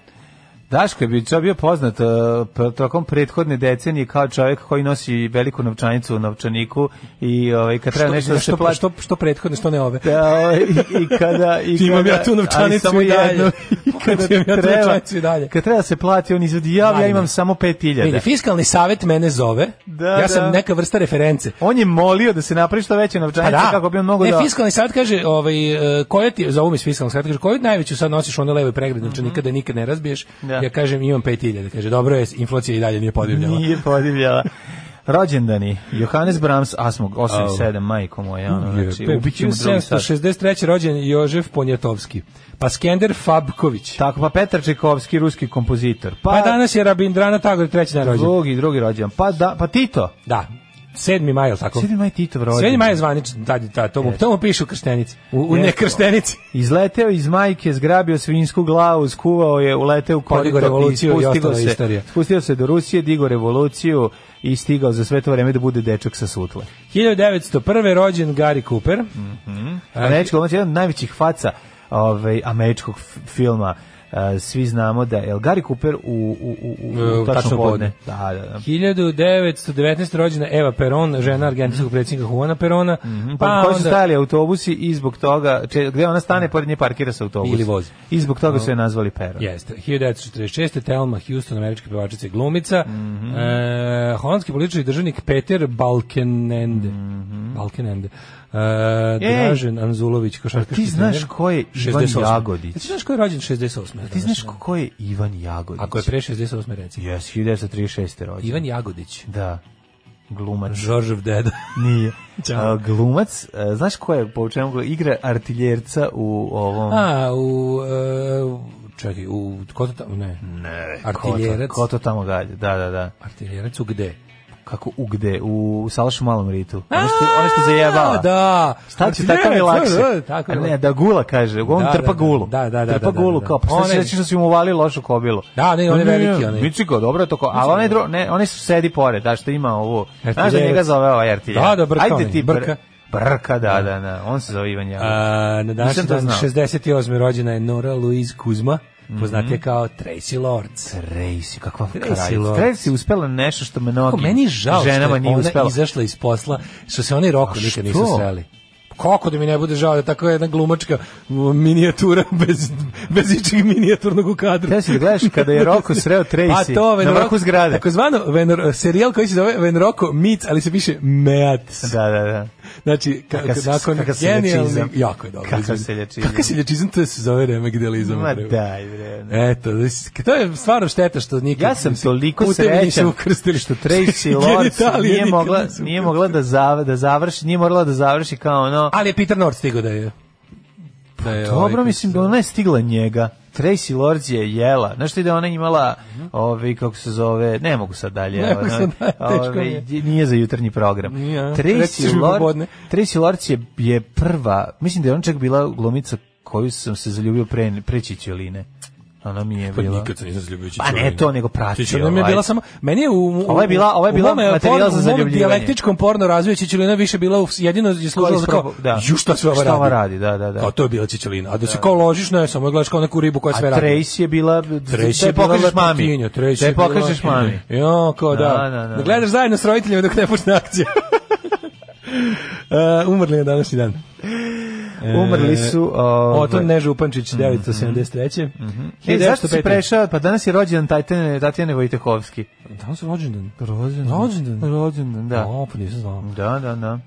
Speaker 6: Daško je bi- čo- bio poznat e, p- tokom prethodne decenije kao čovjek koji nosi veliku novčanicu u novčaniku i ovaj, kad treba nešto da se
Speaker 5: što,
Speaker 6: plati...
Speaker 5: što, što prethodne, što ne ove.
Speaker 6: Da, ovaj, i, i kada i
Speaker 5: Ti
Speaker 6: kada,
Speaker 5: imam ja tu novčanicu
Speaker 6: ali samo
Speaker 5: i dalje.
Speaker 6: jednu. I kada
Speaker 5: Ti imam ja tu
Speaker 6: treba-
Speaker 5: novčanicu i dalje.
Speaker 6: Kad treba da se plati, on izvodi ja, ja
Speaker 5: Ajme.
Speaker 6: imam samo 5000.
Speaker 5: Vidi, fiskalni savet mene zove.
Speaker 6: Da,
Speaker 5: ja sam
Speaker 6: da.
Speaker 5: neka vrsta reference.
Speaker 6: On je molio da se napravi što veće
Speaker 5: Pa
Speaker 6: novčanice
Speaker 5: da.
Speaker 6: kako bi on mogao
Speaker 5: ne,
Speaker 6: da...
Speaker 5: fiskalni savjet kaže, ovaj, e, koja ti, zovu mi iz fiskalnog savjeta, kaže, koju najveću sad nosiš one levoj pregradi, znači nikada nikad ne razbiješ.
Speaker 6: Mhm. Da.
Speaker 5: Ja kažem, imam 5000. Kaže, dobro je, inflacija i dalje nije podivljala.
Speaker 6: Nije podivljala. Rođendani, Johannes Brahms, Asmog, 87, majko moja, ono, znači, ubit ćemo drugi sat.
Speaker 5: 1763. rođen Jožef Ponjatovski. Pa Skender Fabković.
Speaker 6: Tako, pa Petar Čekovski, ruski kompozitor. Pa,
Speaker 5: Pa danas je Rabindrana Tagore treći dan rođen.
Speaker 6: Drugi, drugi rođendan. Pa, da, pa Tito.
Speaker 5: Da. 7. maj, jel tako?
Speaker 6: 7. maj Titov rođendan.
Speaker 5: 7. maj je zvaničan, da, da, to mu, to mu piše u krštenici, u, u
Speaker 6: Jeste.
Speaker 5: nekrštenici.
Speaker 6: Izleteo iz majke, zgrabio svinsku glavu, skuvao je, uleteo u
Speaker 5: Podigao
Speaker 6: korito,
Speaker 5: revoluciju i
Speaker 6: i spustio
Speaker 5: ostala
Speaker 6: se,
Speaker 5: istorija.
Speaker 6: Spustio se do Rusije, digao revoluciju i stigao za sve to vreme da bude dečak sa sutle.
Speaker 5: 1901. rođen Gary Cooper. E.
Speaker 6: Američki glumac je jedan od najvećih faca ovaj, američkog f- filma. E, svi znamo da je Gary Cooper u, u, u, u,
Speaker 5: E,
Speaker 6: tačno,
Speaker 5: tačno
Speaker 6: podne.
Speaker 5: podne.
Speaker 6: Da, da, da.
Speaker 5: 1919. rođena Eva Peron, žena argentinskog predsjednika Juana Perona.
Speaker 6: Pa,
Speaker 5: Pa
Speaker 6: koji su
Speaker 5: onda,
Speaker 6: stajali autobusi i zbog toga, če, gde ona stane, pored nje parkira se autobus.
Speaker 5: Ili vozi.
Speaker 6: I zbog toga su je nazvali Pero.
Speaker 5: Jeste, 1946. Thelma Houston, američka pevačica i glumica.
Speaker 6: Mhm.
Speaker 5: e, holandski političar i državnik Peter Balkenende. Balkenende. E,
Speaker 6: Mhm. Ej!
Speaker 5: Dražen Anzulović, košarkaški
Speaker 6: Ti znaš
Speaker 5: trener.
Speaker 6: ko je Ivan
Speaker 5: 68..
Speaker 6: Jagodić?
Speaker 5: Ti znaš ko je rođen 68.
Speaker 6: Ti znaš ko je Ivan Jagodić?
Speaker 5: Ako je pre 68. reci.
Speaker 6: Yes, 1936. rođen.
Speaker 5: Ivan Jagodić.
Speaker 6: Da. Glumac.
Speaker 5: Žoržev deda.
Speaker 6: Nije.
Speaker 5: Ćao.
Speaker 6: A, glumac, e, znaš ko je, po čemu ga igra artiljerca u ovom...
Speaker 5: A, u... e, u- čekaj, u... Ko to tamo? Ne.
Speaker 6: ne,
Speaker 5: Artiljerac.
Speaker 6: Ko to, ko to tamo galje, da, da, da.
Speaker 5: Artiljerac u gde?
Speaker 6: Kako, u gde? U Salašu Malom Ritu. Ono što, ono što zajebava.
Speaker 5: A, Da.
Speaker 6: Šta će, tako mi je
Speaker 5: Artiljerac,
Speaker 6: lakše.
Speaker 5: da, da, Tako
Speaker 6: A
Speaker 5: Znači, je
Speaker 6: ne, da gula kaže, on
Speaker 5: Da,
Speaker 6: trpa
Speaker 5: da, da.
Speaker 6: gulu.
Speaker 5: Da, da, da,
Speaker 6: Trpa
Speaker 5: da, da,
Speaker 6: gulu
Speaker 5: da.
Speaker 6: kao, pa šta
Speaker 5: Onaj-
Speaker 6: će reći što su im uvali lošu kobilu.
Speaker 5: Da, ne, on je
Speaker 6: No,
Speaker 5: veliki, onaj.
Speaker 6: Miciko, dobro je to ko, ali onaj dro, ne, onaj su sedi pored, da što ima ovo. Znaš da
Speaker 5: Artiljerac.
Speaker 6: njega zove ovaj artiljer.
Speaker 5: Da, da, brka
Speaker 6: Ajde
Speaker 5: onaj,
Speaker 6: ti, br-
Speaker 5: brka.
Speaker 6: Brka, da, da, da, on se zove Ivan Jagodić.
Speaker 5: A, na današnji
Speaker 6: Nisam to
Speaker 5: dan
Speaker 6: znao. Mhm.
Speaker 5: 68. rođena je Nora Louise Kuzma, poznatija kao Tracy Lords.
Speaker 6: Tracy, kakva
Speaker 5: Tracy
Speaker 6: kraljica.
Speaker 5: Lords.
Speaker 6: Tracy uspela nešto što
Speaker 5: Kako
Speaker 6: mnogim
Speaker 5: Pa meni je žao
Speaker 6: ženama
Speaker 5: što je
Speaker 6: nije
Speaker 5: ona
Speaker 6: uspela.
Speaker 5: izašla iz posla, što se oni roko nikad nisu
Speaker 6: što?
Speaker 5: sreli. Kako da mi ne bude žao da je tako jedna glumačka m, minijatura bez, bez ičeg minijaturnog u kadru.
Speaker 6: Treba si da gledaš kada je Roko sreo
Speaker 5: Pa
Speaker 6: Tracy na
Speaker 5: Venroko-
Speaker 6: vrhu zgrade.
Speaker 5: Takozvano venor, serijal koji se zove Venroko Meets, ali se piše Meats.
Speaker 6: Da, da, da.
Speaker 5: Znači, ka,
Speaker 6: Kakav se-
Speaker 5: nakon
Speaker 6: kakav
Speaker 5: genijalni...
Speaker 6: seljacizam.
Speaker 5: Jako je dobro.
Speaker 6: Kakav
Speaker 5: izgleda.
Speaker 6: seljacizam.
Speaker 5: Kakav seljacizam, to se zove remegdelizam.
Speaker 6: Ma
Speaker 5: upravo.
Speaker 6: daj, bre.
Speaker 5: Eto, to je stvarno šteta što nikad...
Speaker 6: Ja sam toliko
Speaker 5: putevi nisu
Speaker 6: srećan
Speaker 5: ukrstili
Speaker 6: što Tracy Lords
Speaker 5: Genitalije
Speaker 6: nije
Speaker 5: nikad
Speaker 6: mogla,
Speaker 5: nisu
Speaker 6: nije mogla da, zav, da završi, nije morala da završi kao ono...
Speaker 5: Ali je Peter North stigao da je... Da je ovaj
Speaker 6: ono- Dobro, mislim da ona je stigla njega. Tracy Lords je jela. Znaš ti da je ona imala, ovaj, kako se zove, ne mogu sad dalje.
Speaker 5: Mhm. Ne mogu sad dalje, teško mi
Speaker 6: ovaj,
Speaker 5: je.
Speaker 6: nije za jutarnji program.
Speaker 5: Nije, a? Reći ćeš
Speaker 6: Tracy,
Speaker 5: mi
Speaker 6: Lord,
Speaker 5: popodne.
Speaker 6: Tracy Lords je, je prva, mislim da je ona čak bila glumica koju sam se zaljubio pre, pre Čičeline. Ona mi je
Speaker 5: Pa
Speaker 6: bila...
Speaker 5: nikad se nisam zaljubio
Speaker 6: Pa ne to, nego pratio.
Speaker 5: Čičulina mi je
Speaker 6: ovaj.
Speaker 5: bila samo meni je u, u
Speaker 6: Ova je bila- ova je
Speaker 5: u
Speaker 6: bila
Speaker 5: mome
Speaker 6: materijal
Speaker 5: porno-
Speaker 6: za
Speaker 5: u mom
Speaker 6: zaljubljivanje.
Speaker 5: dijalektičkom porno razvoju Čičulina više bila u, jedino je služila za kao
Speaker 6: Da.
Speaker 5: ju šta sve ova
Speaker 6: Šta
Speaker 5: radi.
Speaker 6: ova radi, da, da, da.
Speaker 5: Kao to je bila Čičulina. A da se kao ložiš ne, samo je gledaš kao neku ribu koja sve
Speaker 6: A
Speaker 5: radi.
Speaker 6: Tracy je bila...
Speaker 5: Tracy
Speaker 6: te
Speaker 5: je bila
Speaker 6: pokažeš
Speaker 5: lepotinja,
Speaker 6: mami.
Speaker 5: Tracy
Speaker 6: Te
Speaker 5: je bila-
Speaker 6: pokažeš mami.
Speaker 5: Jo, kao da.
Speaker 6: Da, da, da.
Speaker 5: Da gledaš zajedno s roditeljima dok ne počne akcija. Uh, umrli je današnji dan. E,
Speaker 6: Umrli su... ovaj,
Speaker 5: Oton Neža Upančić, 973. Mm
Speaker 6: Ej, Mhm. zašto si prešao? Pa danas je rođendan Tatjane, Tatjane Vojtehovski.
Speaker 5: Danas je rođendan.
Speaker 6: Rođendan?
Speaker 5: Pa Rođendan?
Speaker 6: Rođendan, da.
Speaker 5: O, pa nisam znao.
Speaker 6: Da, da, da.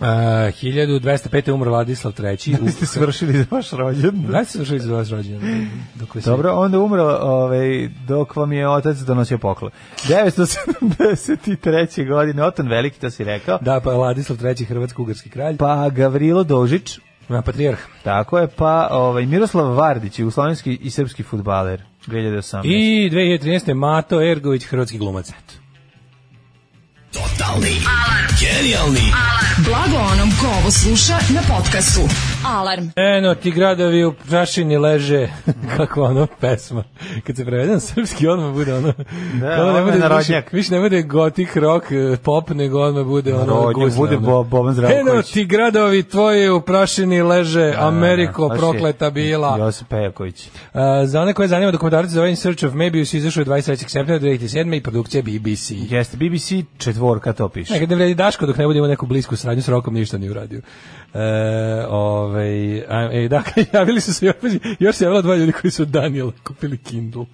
Speaker 5: Uh, 1205. je umro Ladislav III.
Speaker 6: Vi ste svršili vaš rođendan.
Speaker 5: Gledajte se završili za vas rođendan. Dok vas je-
Speaker 6: Dobro, onda umro ovaj, dok vam je otac donosio poklon. 973. godine, Oton Veliki, to si rekao.
Speaker 5: Da, pa Ladislav III. Hrvatsko-ugarski kralj.
Speaker 6: Pa Gavrilo Dožić,
Speaker 5: Pa, patrijarh.
Speaker 6: tako je, pa ovaj, Miroslav Vardić, jugoslovenski i srpski futbaler, 2018.
Speaker 5: I 2013. Mato Ergović, hrvatski glumac. Eto.
Speaker 4: Blago onom ko ovo sluša na podcastu. Alarm.
Speaker 5: Eno ti gradovi u prašini leže Kako ono pesma Kad se prevede na srpski odmah bude ono
Speaker 6: Da,
Speaker 5: ono
Speaker 6: odmah narodnjak.
Speaker 5: više, više ne bude gotik rock eh, pop Nego odmah bude ono
Speaker 6: Narodnjak,
Speaker 5: guzle,
Speaker 6: bude
Speaker 5: ono.
Speaker 6: Bo- Boban Zdravković.
Speaker 5: Eno ti gradovi tvoji u prašini leže Ameriko
Speaker 6: Baš je
Speaker 5: prokleta bila
Speaker 6: Josip Pejaković.
Speaker 5: Eh, Za one koje zanima dokumentarac za ovaj In Search of Mebius Izašao je 23. septembra 2007. I produkcija BBC
Speaker 6: Jeste, BBC četvorka to piše.
Speaker 5: Nekad ne vredi Daško dok ne budemo neku blisku sradnju s Rokom ništa nije uradio. E, ovaj, a, e, da, javili su se još, još se javilo dva ljudi koji su od Daniela kupili Kindle.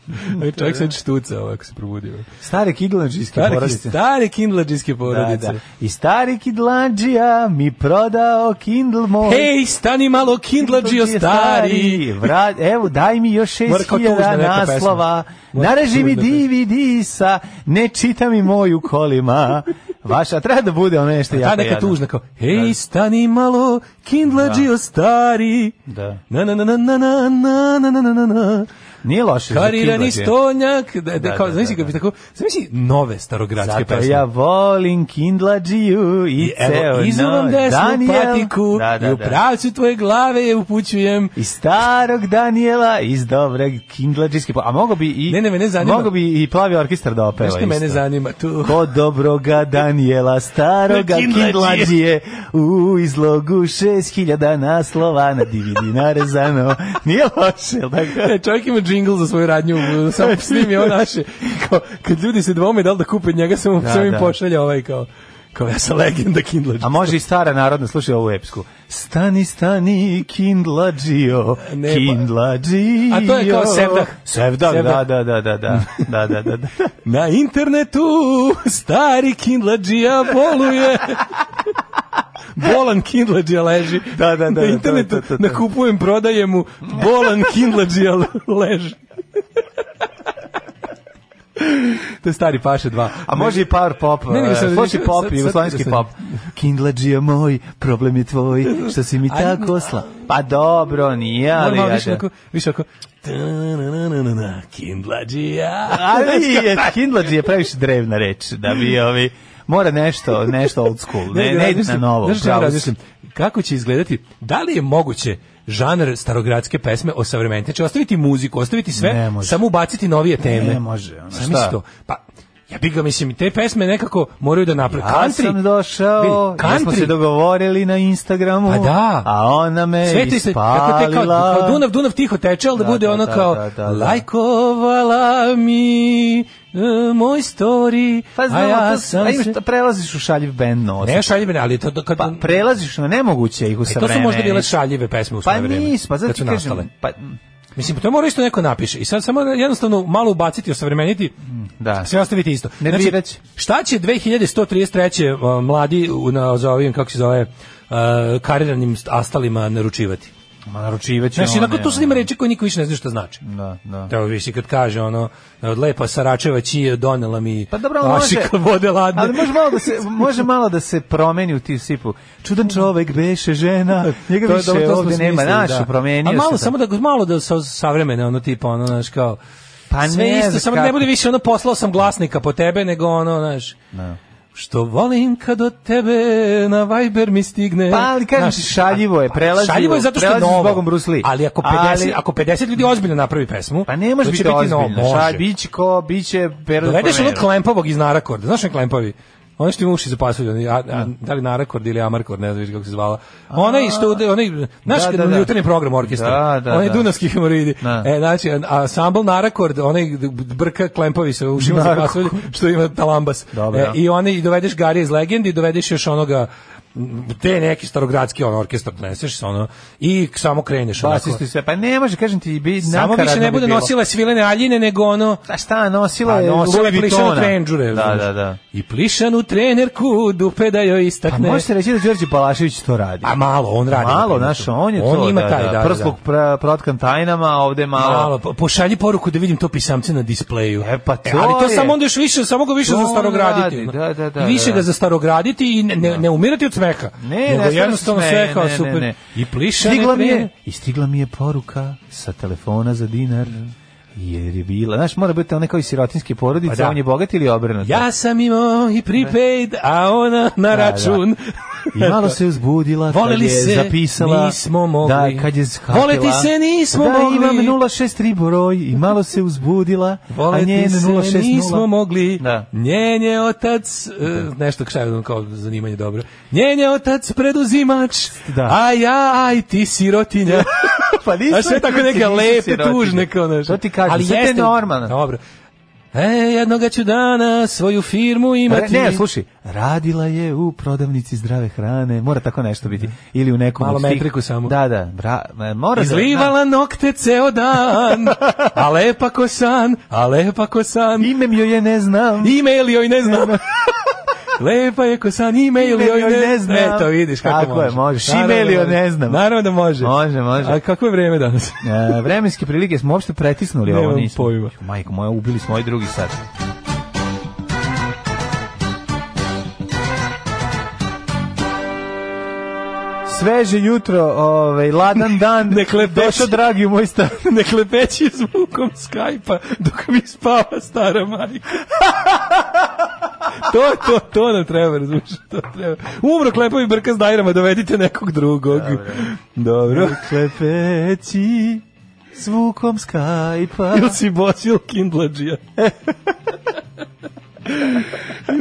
Speaker 5: E, čovjek sad štuca ovako se probudio.
Speaker 6: Stare kidlanđijske
Speaker 5: Stare,
Speaker 6: porodice.
Speaker 5: stare kindlađiske
Speaker 6: Da,
Speaker 5: porodice.
Speaker 6: da. I stari kidlanđija mi prodao Kindle moj.
Speaker 5: Hej, stani malo kindlađio stari!
Speaker 6: Vra, evo, daj mi još
Speaker 5: Mrko, tužna
Speaker 6: 6000
Speaker 5: neka pesma.
Speaker 6: naslova.
Speaker 5: Mrko,
Speaker 6: Nareži mi
Speaker 5: tužna
Speaker 6: DVD-sa, ne čita mi moju kolima. Vaša, treba da bude ono nešto jako
Speaker 5: Ta neka
Speaker 6: jadno.
Speaker 5: tužna kao, hej, stani malo, kindlađio stari!
Speaker 6: Da.
Speaker 5: Na, na, na, na, na, na, na, na, na, na, na.
Speaker 6: Nije loše za
Speaker 5: Karirani
Speaker 6: kidlađe.
Speaker 5: stonjak, da, da,
Speaker 6: Da,
Speaker 5: kao,
Speaker 6: da,
Speaker 5: zamisli
Speaker 6: da,
Speaker 5: ga bi tako, zamisli nove starogradske
Speaker 6: Zato
Speaker 5: pesme.
Speaker 6: ja volim Kindlađiju i,
Speaker 5: I
Speaker 6: ceo
Speaker 5: evo, izuvam
Speaker 6: noć.
Speaker 5: desnu
Speaker 6: Daniel-
Speaker 5: patiku
Speaker 6: Da, da,
Speaker 5: i u
Speaker 6: da.
Speaker 5: pravcu tvoje glave je upućujem.
Speaker 6: I starog Daniela iz dobrog kindlađijske... po- A mogo bi i...
Speaker 5: Ne, ne, mene zanima-
Speaker 6: Mogo bi i plavi orkestar da opeva
Speaker 5: Znaš što mene
Speaker 6: isto.
Speaker 5: zanima tu?
Speaker 6: Kod dobroga Daniela, staroga
Speaker 5: Kindlađije.
Speaker 6: kindlađije, u izlogu šest hiljada naslova na DVD narezano. Nije loše, jel tako?
Speaker 5: E, čovjek ima džingl za svoju radnju, samo snimi ovo naše. Kao, kad ljudi se dvome da li da kupe njega, samo,
Speaker 6: Da,
Speaker 5: samo im
Speaker 6: da.
Speaker 5: pošalja ovaj kao, kao ja sam legenda Kindle.
Speaker 6: A može i stara narodna, slušaj ovu epsku. Stani, stani, kindlađio,
Speaker 5: Ne, pa-
Speaker 6: kindlađio.
Speaker 5: A to je kao Sevdah.
Speaker 6: Sevdah, da,
Speaker 5: Sevdah.
Speaker 6: da, da, da, da, da, da, da, da.
Speaker 5: Na internetu stari Kindlađija boluje. Bolan Kindlađija leži.
Speaker 6: Da, da, da, da,
Speaker 5: Na
Speaker 6: to,
Speaker 5: internetu
Speaker 6: to, to, to.
Speaker 5: nakupujem, prodajem mu. Bolan Kindlađija leži. to je stari Paše 2.
Speaker 6: A može i power pop,
Speaker 5: Ne, nego sam-
Speaker 6: e, slušaj pop,
Speaker 5: sad- sad-
Speaker 6: jugoslovenski
Speaker 5: sad-
Speaker 6: pop. Kindlađija moj, problem je tvoj, što si mi
Speaker 5: Ajde,
Speaker 6: tako
Speaker 5: a-
Speaker 6: sla. Pa dobro, nije, ali...
Speaker 5: Ali malo
Speaker 6: ja
Speaker 5: više
Speaker 6: da-
Speaker 5: ovako, više ovako. Ta-na-na-na-na, Kindlađija.
Speaker 6: Ali je, kindlađija je previše drevna reč, da bi ovi... Mora nešto, nešto old school, ne, ne, ide na
Speaker 5: razmišljam,
Speaker 6: novo.
Speaker 5: Znaš o čemu
Speaker 6: pravo si.
Speaker 5: razmišljam? Kako će izgledati? Da li je moguće žanar starogradske pesme o savremenite? Znači, ostaviti muziku, ostaviti
Speaker 6: Ne
Speaker 5: sve,
Speaker 6: može.
Speaker 5: samo ubaciti novije teme.
Speaker 6: Ne može, ono,
Speaker 5: Zamisli
Speaker 6: šta?
Speaker 5: to. Pa, ja bih ga, mislim, te pesme nekako moraju da naprave.
Speaker 6: Ja
Speaker 5: country,
Speaker 6: sam došao,
Speaker 5: vidi,
Speaker 6: ja smo
Speaker 5: country,
Speaker 6: se dogovorili na Instagramu,
Speaker 5: Pa da.
Speaker 6: a ona me
Speaker 5: sve ti se, kako te kao,
Speaker 6: ispalila.
Speaker 5: kao Dunav, Dunav tiho teče, ali da,
Speaker 6: Da,
Speaker 5: bude
Speaker 6: da,
Speaker 5: ono
Speaker 6: da,
Speaker 5: kao
Speaker 6: da, da, da.
Speaker 5: lajkovala mi e, moj story,
Speaker 6: Pa znam,
Speaker 5: a ja
Speaker 6: to,
Speaker 5: sam
Speaker 6: a imaš-
Speaker 5: se...
Speaker 6: prelaziš u šaljiv band nos.
Speaker 5: Ne šaljivene, ali to, kad,
Speaker 6: Pa prelaziš na nemoguće ih u
Speaker 5: E, to su
Speaker 6: savremeni.
Speaker 5: možda bile šaljive pesme u
Speaker 6: Pa
Speaker 5: svoje vreme.
Speaker 6: nis, pa zato
Speaker 5: kad
Speaker 6: ti
Speaker 5: su nastale.
Speaker 6: kažem, pa,
Speaker 5: Mislim, to mora isto neko napiše. I sad samo jednostavno malo ubaciti, osavremeniti,
Speaker 6: da.
Speaker 5: sve ostaviti isto. Znači,
Speaker 6: Nervirat će.
Speaker 5: šta će 2133. mladi u- na, za ovim, kako se zove, uh, kariranim st- uh, astalima naručivati?
Speaker 6: Ma naručivaće
Speaker 5: Znaš, onako tu sad ima reči koje niko više ne zna šta znači.
Speaker 6: ono. Da, da.
Speaker 5: Da, više kad kaže ono, od lepa Saračeva čije donela mi
Speaker 6: Pa dobro, ali može.
Speaker 5: ašika vode ladne.
Speaker 6: Ali može malo da se može malo da se promeni u tisipu. Čudan čovek beše žena. Njega
Speaker 5: To je
Speaker 6: više
Speaker 5: dobro, to smo
Speaker 6: ovde nema
Speaker 5: smislili,
Speaker 6: naš,
Speaker 5: da.
Speaker 6: promenio
Speaker 5: A malo
Speaker 6: se.
Speaker 5: samo da malo da sa savremene ono tipa ono znaš kao
Speaker 6: Pa
Speaker 5: sve
Speaker 6: ne
Speaker 5: isto
Speaker 6: znaš
Speaker 5: samo da ne
Speaker 6: kako.
Speaker 5: bude više ono poslao sam glasnika po tebe nego ono znaš.
Speaker 6: Da.
Speaker 5: Što volim kad od tebe na Viber mi stigne.
Speaker 6: Pa, ali kažem
Speaker 5: E, Znaš,
Speaker 6: ti, šaljivo je,
Speaker 5: a-
Speaker 6: prelazi
Speaker 5: Šaljivo je
Speaker 6: u-
Speaker 5: zato što je
Speaker 6: prelazi s
Speaker 5: novo.
Speaker 6: Bogom Bruce Lee.
Speaker 5: Ali ako 50,
Speaker 6: Ali-
Speaker 5: ako 50 ljudi ozbiljno napravi pesmu,
Speaker 6: Pa ne može
Speaker 5: to će
Speaker 6: biti ozbiljno.
Speaker 5: novo,
Speaker 6: Šta
Speaker 5: može.
Speaker 6: biće ko biće Perel.
Speaker 5: Dovedeš ono
Speaker 6: Promero.
Speaker 5: Pa onog klempovog iz Narakorda, znaš on klempovi? Ono što ima uši za pasulj, oni, a, a,
Speaker 6: Mm.
Speaker 5: da li Narakord ili Amarkord, ne znam više kako se zvala. Ona i što, ude- onaj, znaš,
Speaker 6: Da,
Speaker 5: da,
Speaker 6: da, da.
Speaker 5: jutarnji program orkestra,
Speaker 6: Da, da,
Speaker 5: onaj
Speaker 6: da.
Speaker 5: Dunavski hemoroidi.
Speaker 6: Da.
Speaker 5: E, znači, ansambl Narakord, onaj brka klempovi sa ušima za
Speaker 6: Narakord.
Speaker 5: pasulj, što ima talambas.
Speaker 6: Dobro.
Speaker 5: E, I one, i dovedeš Garija iz Legendi, i dovedeš još onoga, m, te neki starogradski on orkestar doneseš ono i samo kreneš onako.
Speaker 6: Basistu i sve. Pa ne može, kažem ti, bi
Speaker 5: Samo više ne bude nosila svilene aljine nego ono
Speaker 6: A šta, nosila
Speaker 5: pa
Speaker 6: je
Speaker 5: nosila
Speaker 6: Louis
Speaker 5: je plišanu
Speaker 6: Vuittona.
Speaker 5: trenđure.
Speaker 6: Da,
Speaker 5: znaš.
Speaker 6: da, da.
Speaker 5: I plišanu trenerku dupe da joj
Speaker 6: Pa
Speaker 5: istakne.
Speaker 6: može se reći da Đorđe Palašević to radi.
Speaker 5: A malo, on radi. na
Speaker 6: malo,
Speaker 5: primjer,
Speaker 6: znaš,
Speaker 5: to.
Speaker 6: on je to,
Speaker 5: ima
Speaker 6: da,
Speaker 5: taj, da, da,
Speaker 6: prsluk
Speaker 5: da.
Speaker 6: pra- protkan tajnama, a ovde
Speaker 5: Malo, po- pošalji poruku da vidim to pisamce na displeju.
Speaker 6: E, pa to
Speaker 5: ali to
Speaker 6: je.
Speaker 5: samo onda još više, samo ga više
Speaker 6: To
Speaker 5: za
Speaker 6: on
Speaker 5: starograditi.
Speaker 6: radi,
Speaker 5: ono.
Speaker 6: da, da, da,
Speaker 5: I više
Speaker 6: da.
Speaker 5: ga za starograditi i ne, ne, ne umirati od smeha.
Speaker 6: Ne,
Speaker 5: nego
Speaker 6: ne,
Speaker 5: jednostavno
Speaker 6: ne,
Speaker 5: sve
Speaker 6: ne,
Speaker 5: kao
Speaker 6: ne,
Speaker 5: super.
Speaker 6: ne.
Speaker 5: I plišane
Speaker 6: Stigla mi je,
Speaker 5: trener-
Speaker 6: i stigla mi je poruka sa telefona za dinar. Jer je bila, znaš, mora biti onaj kao iz sirotinske porodice,
Speaker 5: Pa da.
Speaker 6: on je bogat ili obrnuto.
Speaker 5: Ja sam imao i prepaid, a ona na
Speaker 6: da.
Speaker 5: račun.
Speaker 6: I malo se uzbudila kad
Speaker 5: Voleli
Speaker 6: je
Speaker 5: se,
Speaker 6: zapisala
Speaker 5: nismo mogli.
Speaker 6: da kad je shvatila
Speaker 5: Voleti se, nismo
Speaker 6: da,
Speaker 5: mogli.
Speaker 6: imam 063 broj i malo se uzbudila a njen
Speaker 5: Voleti se
Speaker 6: 060
Speaker 5: nismo mogli,
Speaker 6: Da.
Speaker 5: njen je otac, e, nešto kšaj, kao zanimanje dobro, njen je otac preduzimač,
Speaker 6: Da.
Speaker 5: a ja, aj ti sirotinja.
Speaker 6: pa nisam
Speaker 5: A sve tako
Speaker 6: ti,
Speaker 5: neke
Speaker 6: nisi
Speaker 5: lepe,
Speaker 6: sirotinja.
Speaker 5: tužne kao nešto.
Speaker 6: to ti kažem, ali sve jeste normalno
Speaker 5: Dobro. E, jednoga ću dana svoju firmu imati.
Speaker 6: Ne, slušaj, radila je u prodavnici zdrave hrane, mora tako nešto biti. Ili u nekom
Speaker 5: Malo
Speaker 6: od tih-
Speaker 5: metriku samo.
Speaker 6: Da, da, bra, e, mora da...
Speaker 5: Izlivala nokte ceo dan, a lepa ko san, a lepa ko san.
Speaker 6: Da, imem joj je ne znam.
Speaker 5: E-mail joj ne znam. Lepa je ko san e-mail
Speaker 6: E-mail
Speaker 5: joj ne, ne znam. E, to vidiš kako
Speaker 6: Tako je, možeš.
Speaker 5: Naravno
Speaker 6: E-mail
Speaker 5: da
Speaker 6: joj
Speaker 5: može.
Speaker 6: ne znam.
Speaker 5: Naravno da može.
Speaker 6: Može, može.
Speaker 5: A kako je vreme danas?
Speaker 6: E, vremenske prilike smo uopšte pretisnuli ovo
Speaker 5: Nemam
Speaker 6: nismo.
Speaker 5: pojma.
Speaker 6: Majko moja, ubili smo ovaj drugi sat. Sveže jutro, ovaj, ladan dan.
Speaker 5: Ne klepeš.
Speaker 6: Došao dragi u moj stan.
Speaker 5: ne klepeći zvukom Skype-a dok mi spava stara majka. to, to, to nam treba, razumiješ, to treba. Umro klepovi brka s dajrama, dovedite nekog drugog. Dobro.
Speaker 6: Klepeći zvukom Skype-a.
Speaker 5: Ili si bosil kindlađija.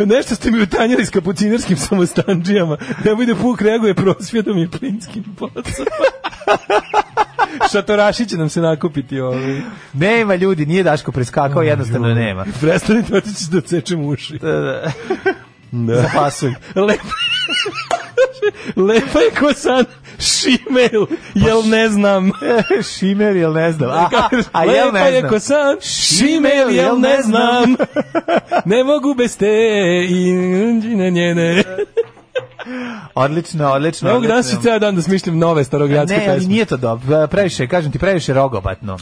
Speaker 5: Nešto ste mi utanjili s kapucinarskim samostanđijama. Ne bude puk reaguje prosvjedom i plinskim pocama. Šatoraši će nam se nakupiti ovaj.
Speaker 6: Nema ljudi, nije Daško preskakao, jednostavno nema.
Speaker 5: Prestanite, otići ću da cečem uši.
Speaker 6: Da. Zapasuj.
Speaker 5: Lepa, lepa je ko san šimel, jel ne znam.
Speaker 6: Šimer, jel ne znam. A, a, a jel
Speaker 5: Lepa
Speaker 6: ne
Speaker 5: je ko
Speaker 6: znam.
Speaker 5: san šimel, jel ne znam. Ne mogu bez te i njene njene.
Speaker 6: Odlično, odlično.
Speaker 5: Ne mogu danas
Speaker 6: odlično.
Speaker 5: i ceo dan da smišljam nove starogradske
Speaker 6: Ne,
Speaker 5: pesme. Mm,
Speaker 6: ali nije to dobro. E, Previše, kažem ti, previše rogobatno.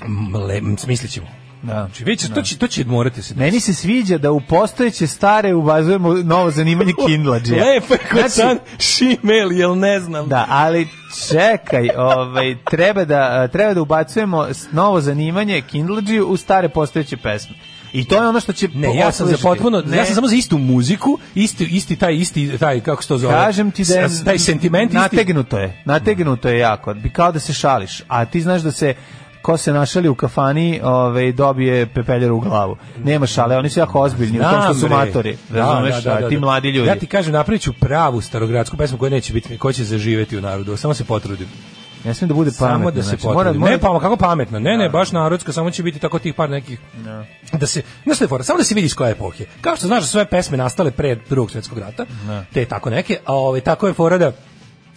Speaker 5: Le, m, smislit ćemo.
Speaker 6: Da.
Speaker 5: Znači, vidjet ćeš, to će, to će morati se desiti.
Speaker 6: Meni se sviđa da u postojeće stare ubazujemo novo zanimanje kindlađe.
Speaker 5: Lepo je ko
Speaker 6: Znači-
Speaker 5: san šimel, jel ne znam.
Speaker 6: Da, ali čekaj, ovaj, treba, da, treba da ubacujemo s- novo zanimanje kindlađiju u stare postojeće pesme. I to je ono što će
Speaker 5: Ne, ja sam za
Speaker 6: oslušati.
Speaker 5: potpuno, ja
Speaker 6: Ne.
Speaker 5: sam samo za istu muziku, isti isti taj isti taj kako se to zove.
Speaker 6: Kažem ti da je
Speaker 5: S- taj sentiment isti.
Speaker 6: nategnuto je. Nategnuto je jako. Bi kao da se šališ, a ti znaš da se ko se našali u kafani, ovaj dobije pepeljer u glavu. Nema šale, oni su jako ozbiljni u tom što su
Speaker 5: Znam, bre.
Speaker 6: matori.
Speaker 5: Da,
Speaker 6: Razumeš,
Speaker 5: da, da, da,
Speaker 6: a ti
Speaker 5: da.
Speaker 6: mladi ljudi.
Speaker 5: Ja ti kažem, napraviću pravu starogradsku pesmu koja neće biti, koja će zaživeti u narodu. Samo se potrudim.
Speaker 6: Ne smije da bude pametno.
Speaker 5: samo da se
Speaker 6: znači,
Speaker 5: potrudim.
Speaker 6: mora- mora-
Speaker 5: Ne, pa kako pametno. Ne, ne, baš narodska, samo će biti tako tih par nekih. Da se, znaš šta je fora, samo da se vidi iz koje epohe. Kao što znaš da su sve pesme nastale pre Drugog svjetskog rata, te tako neke, a ovaj tako je fora da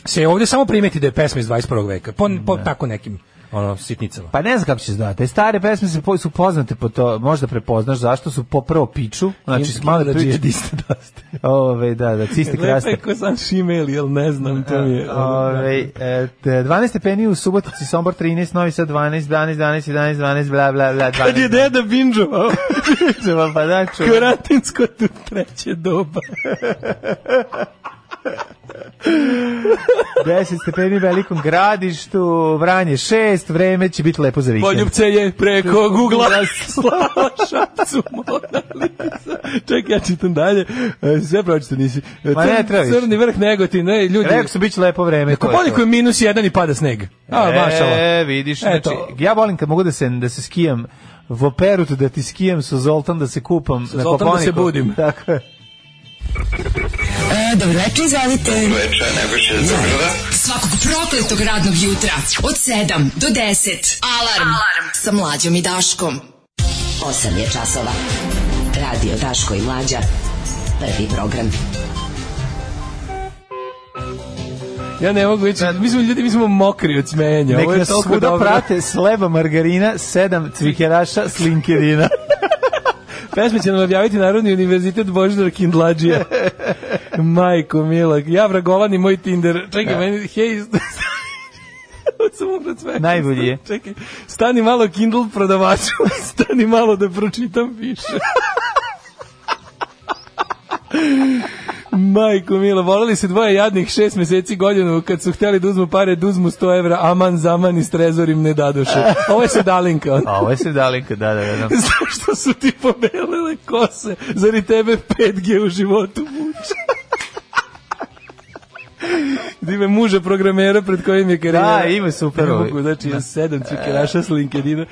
Speaker 5: se ovdje samo primeti da je pesma iz 21. veka, po, po tako nekim ono, sitnicama.
Speaker 6: Pa ne znam kako će se zvati. Te stare pesme se po, su poznate po to, možda prepoznaš zašto su po prvo piču, znači s male priče.
Speaker 5: džihadista da ste.
Speaker 6: Ove, da, da, cisti
Speaker 5: Lepo je
Speaker 6: krastak.
Speaker 5: ko sam šimeli, jel ne znam, to mi je.
Speaker 6: Ove, e, te, 12 stepeni u Subotici, Sombor 13, Novi Sad 12, 12, 12, 11, 12, bla, bla, bla, 12.
Speaker 5: Kad je deda binđovao,
Speaker 6: Čeva, pa da, čuva.
Speaker 5: karantinsko tu treće doba.
Speaker 6: 10 stepeni u velikom gradištu, Vranje 6, vreme će biti lepo za vikend.
Speaker 5: Poljubce je preko Google-a slala šapcu Mona Lisa. Čekaj, ja čitam dalje. E, Sve pročito nisi. E,
Speaker 6: Ma ne,
Speaker 5: crn-
Speaker 6: trebaš.
Speaker 5: Crni vrh Negotin, ej, ljudi.
Speaker 6: Rekao su biće lepo vreme. to je to.
Speaker 5: Kopaoniku je minus jedan i pada sneg. A, mašala.
Speaker 6: E, vidiš,
Speaker 5: Eto.
Speaker 6: znači, ja volim kad mogu da se, da se skijam v Perutu, da ti skijam sa Zoltan, da se kupam sa na
Speaker 5: Zoltan da
Speaker 6: Koponiku.
Speaker 5: se budim.
Speaker 6: Tako je.
Speaker 4: E, dobroveče, izvolite. Dobroveče, Svakog prokletog radnog jutra od 7 do 10. Alarm, Alarm. sa mlađom i Daškom. 8 je časova. Radio Daško i Mlađa. Prvi program.
Speaker 5: Ja ne mogu ići. Mi smo ljudi, mi smo mokri od smenja. Ovo
Speaker 6: Nek
Speaker 5: je
Speaker 6: nas
Speaker 5: toliko
Speaker 6: svuda
Speaker 5: dobro.
Speaker 6: prate sleba margarina, sedam cvikeraša s linkerina.
Speaker 5: Pesme će nam objaviti Narodni univerzitet Božidar Kindlađija. Majko Milak, ja vragovan i moj Tinder. Čekaj, meni, hej, st- Od samog sve.
Speaker 6: Najbolji je.
Speaker 5: Čekaj, stani malo Kindle prodavaču, stani malo da pročitam više. Majko Mila, voleli se dvoje jadnih šest meseci godinu kad su hteli da uzmu pare, da uzmu 100 evra, aman zaman i s trezorim ne dadoše. Ovo je se dalinka. ono.
Speaker 6: A ovo je se dalinka, da, da, da.
Speaker 5: Zašto su ti pobelele kose? Zar i tebe 5G u životu muče? Dime muža programera pred kojim je karijera.
Speaker 6: Da, ima super
Speaker 5: Ne
Speaker 6: ovaj.
Speaker 5: mogu, znači, ja sedam cvikeraša s LinkedIna.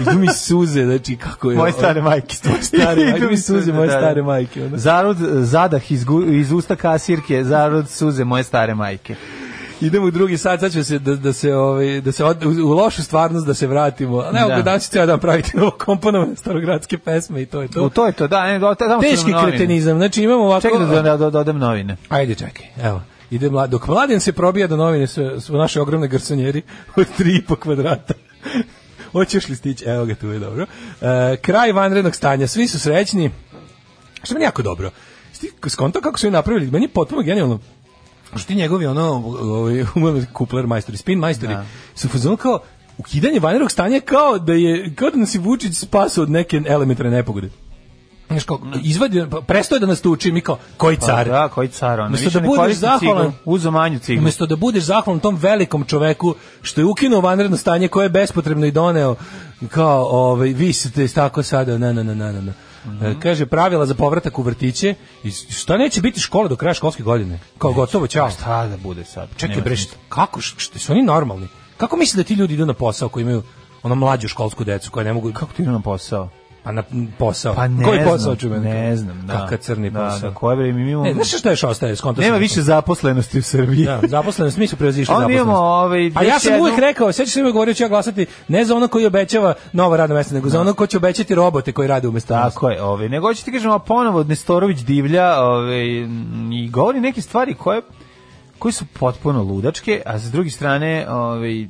Speaker 5: Idu mi suze, znači, kako je.
Speaker 6: Moje stare majke.
Speaker 5: Moje stare,
Speaker 6: Idu
Speaker 5: ajde mi suze, moje stare majke. Ono.
Speaker 6: Zarod eh, zadah iz, gu- iz usta kasirke, zarod suze moje stare majke.
Speaker 5: Idemo u drugi sat, sad ću se da, da se, ovaj, da se od, u, u lošu stvarnost da se vratimo. A ne,
Speaker 6: Da.
Speaker 5: da. danas ću cijel dan praviti novo komponovane starogradske pesme i to je to.
Speaker 6: U, to je to, da. Ne, do, tamo su nam
Speaker 5: Teški
Speaker 6: novine.
Speaker 5: kretenizam, znači imamo ovako...
Speaker 6: Čekaj da, da, da dodam novine.
Speaker 5: Ajde, čekaj, evo. Ide mlad, dok mladen se probija do novine sve, sve naše ogromne garsonjeri od 3,5 kvadrata. Hoćeš li stići? Evo ga, tu je dobro. E, kraj vanrednog stanja, svi su srećni. Što je meni jako dobro. Sti skonto kako su je napravili, meni je potpuno genijalno. Što ti njegovi ono ovaj umerni kupler majstori, spin majstori da. su u fazonu kao ukidanje vanrednog stanja je kao da je kao da nas je Vučić spasao od neke elementarne nepogode. Znaš kao, izvadi, prestoje da nas tuči, mi kao, koji car?
Speaker 6: Pa Da, koji car, ono.
Speaker 5: Umesto
Speaker 6: Više
Speaker 5: da
Speaker 6: ne
Speaker 5: budeš
Speaker 6: koristi
Speaker 5: zahvalan-
Speaker 6: ciglu, Uzo manju ciglu.
Speaker 5: Umesto da budeš zahvalan tom velikom čoveku što je ukinuo vanredno stanje koje je bespotrebno i doneo kao ovaj vi ste tako sada na na na na na, na.
Speaker 6: Mhm.
Speaker 5: E, kaže pravila za povratak u vrtiće i s- šta neće biti škole do kraja školske godine kao gotovo ćao
Speaker 6: Pa Šta da bude sad?
Speaker 5: čekaj
Speaker 6: Nema
Speaker 5: bre
Speaker 6: smisla.
Speaker 5: šta- kako š- šta, su oni normalni kako misle da ti ljudi idu na posao koji imaju ono mlađu školsku decu koja ne mogu
Speaker 6: Kako ti idu na posao?
Speaker 5: pa na posao
Speaker 6: Pa ne
Speaker 5: koji
Speaker 6: znam,
Speaker 5: posao ću meni
Speaker 6: ne znam, da.
Speaker 5: kakav crni
Speaker 6: Da,
Speaker 5: posao
Speaker 6: da, koje vreme mi imamo-
Speaker 5: ne, znaš šta još ostaje skonto
Speaker 6: Nema
Speaker 5: sam-
Speaker 6: više zaposlenosti u Srbiji.
Speaker 5: Da, zaposlenost, mi su prevazišli
Speaker 6: Onda
Speaker 5: zaposlenost.
Speaker 6: imamo, ovaj,
Speaker 5: A ja
Speaker 6: još
Speaker 5: sam
Speaker 6: jednu-
Speaker 5: uvek rekao, sećaš se uvek govorio ću ja glasati ne za ono koji obećava novo radno mesto, nego za ono ko će obećati robote koji rade umesto nas.
Speaker 6: Tako je, ovaj. Nego hoću ti kažem, a ponovo Nestorović divlja ovaj, m, i govori neke stvari koje, koje su potpuno ludačke, a s druge strane, ovaj,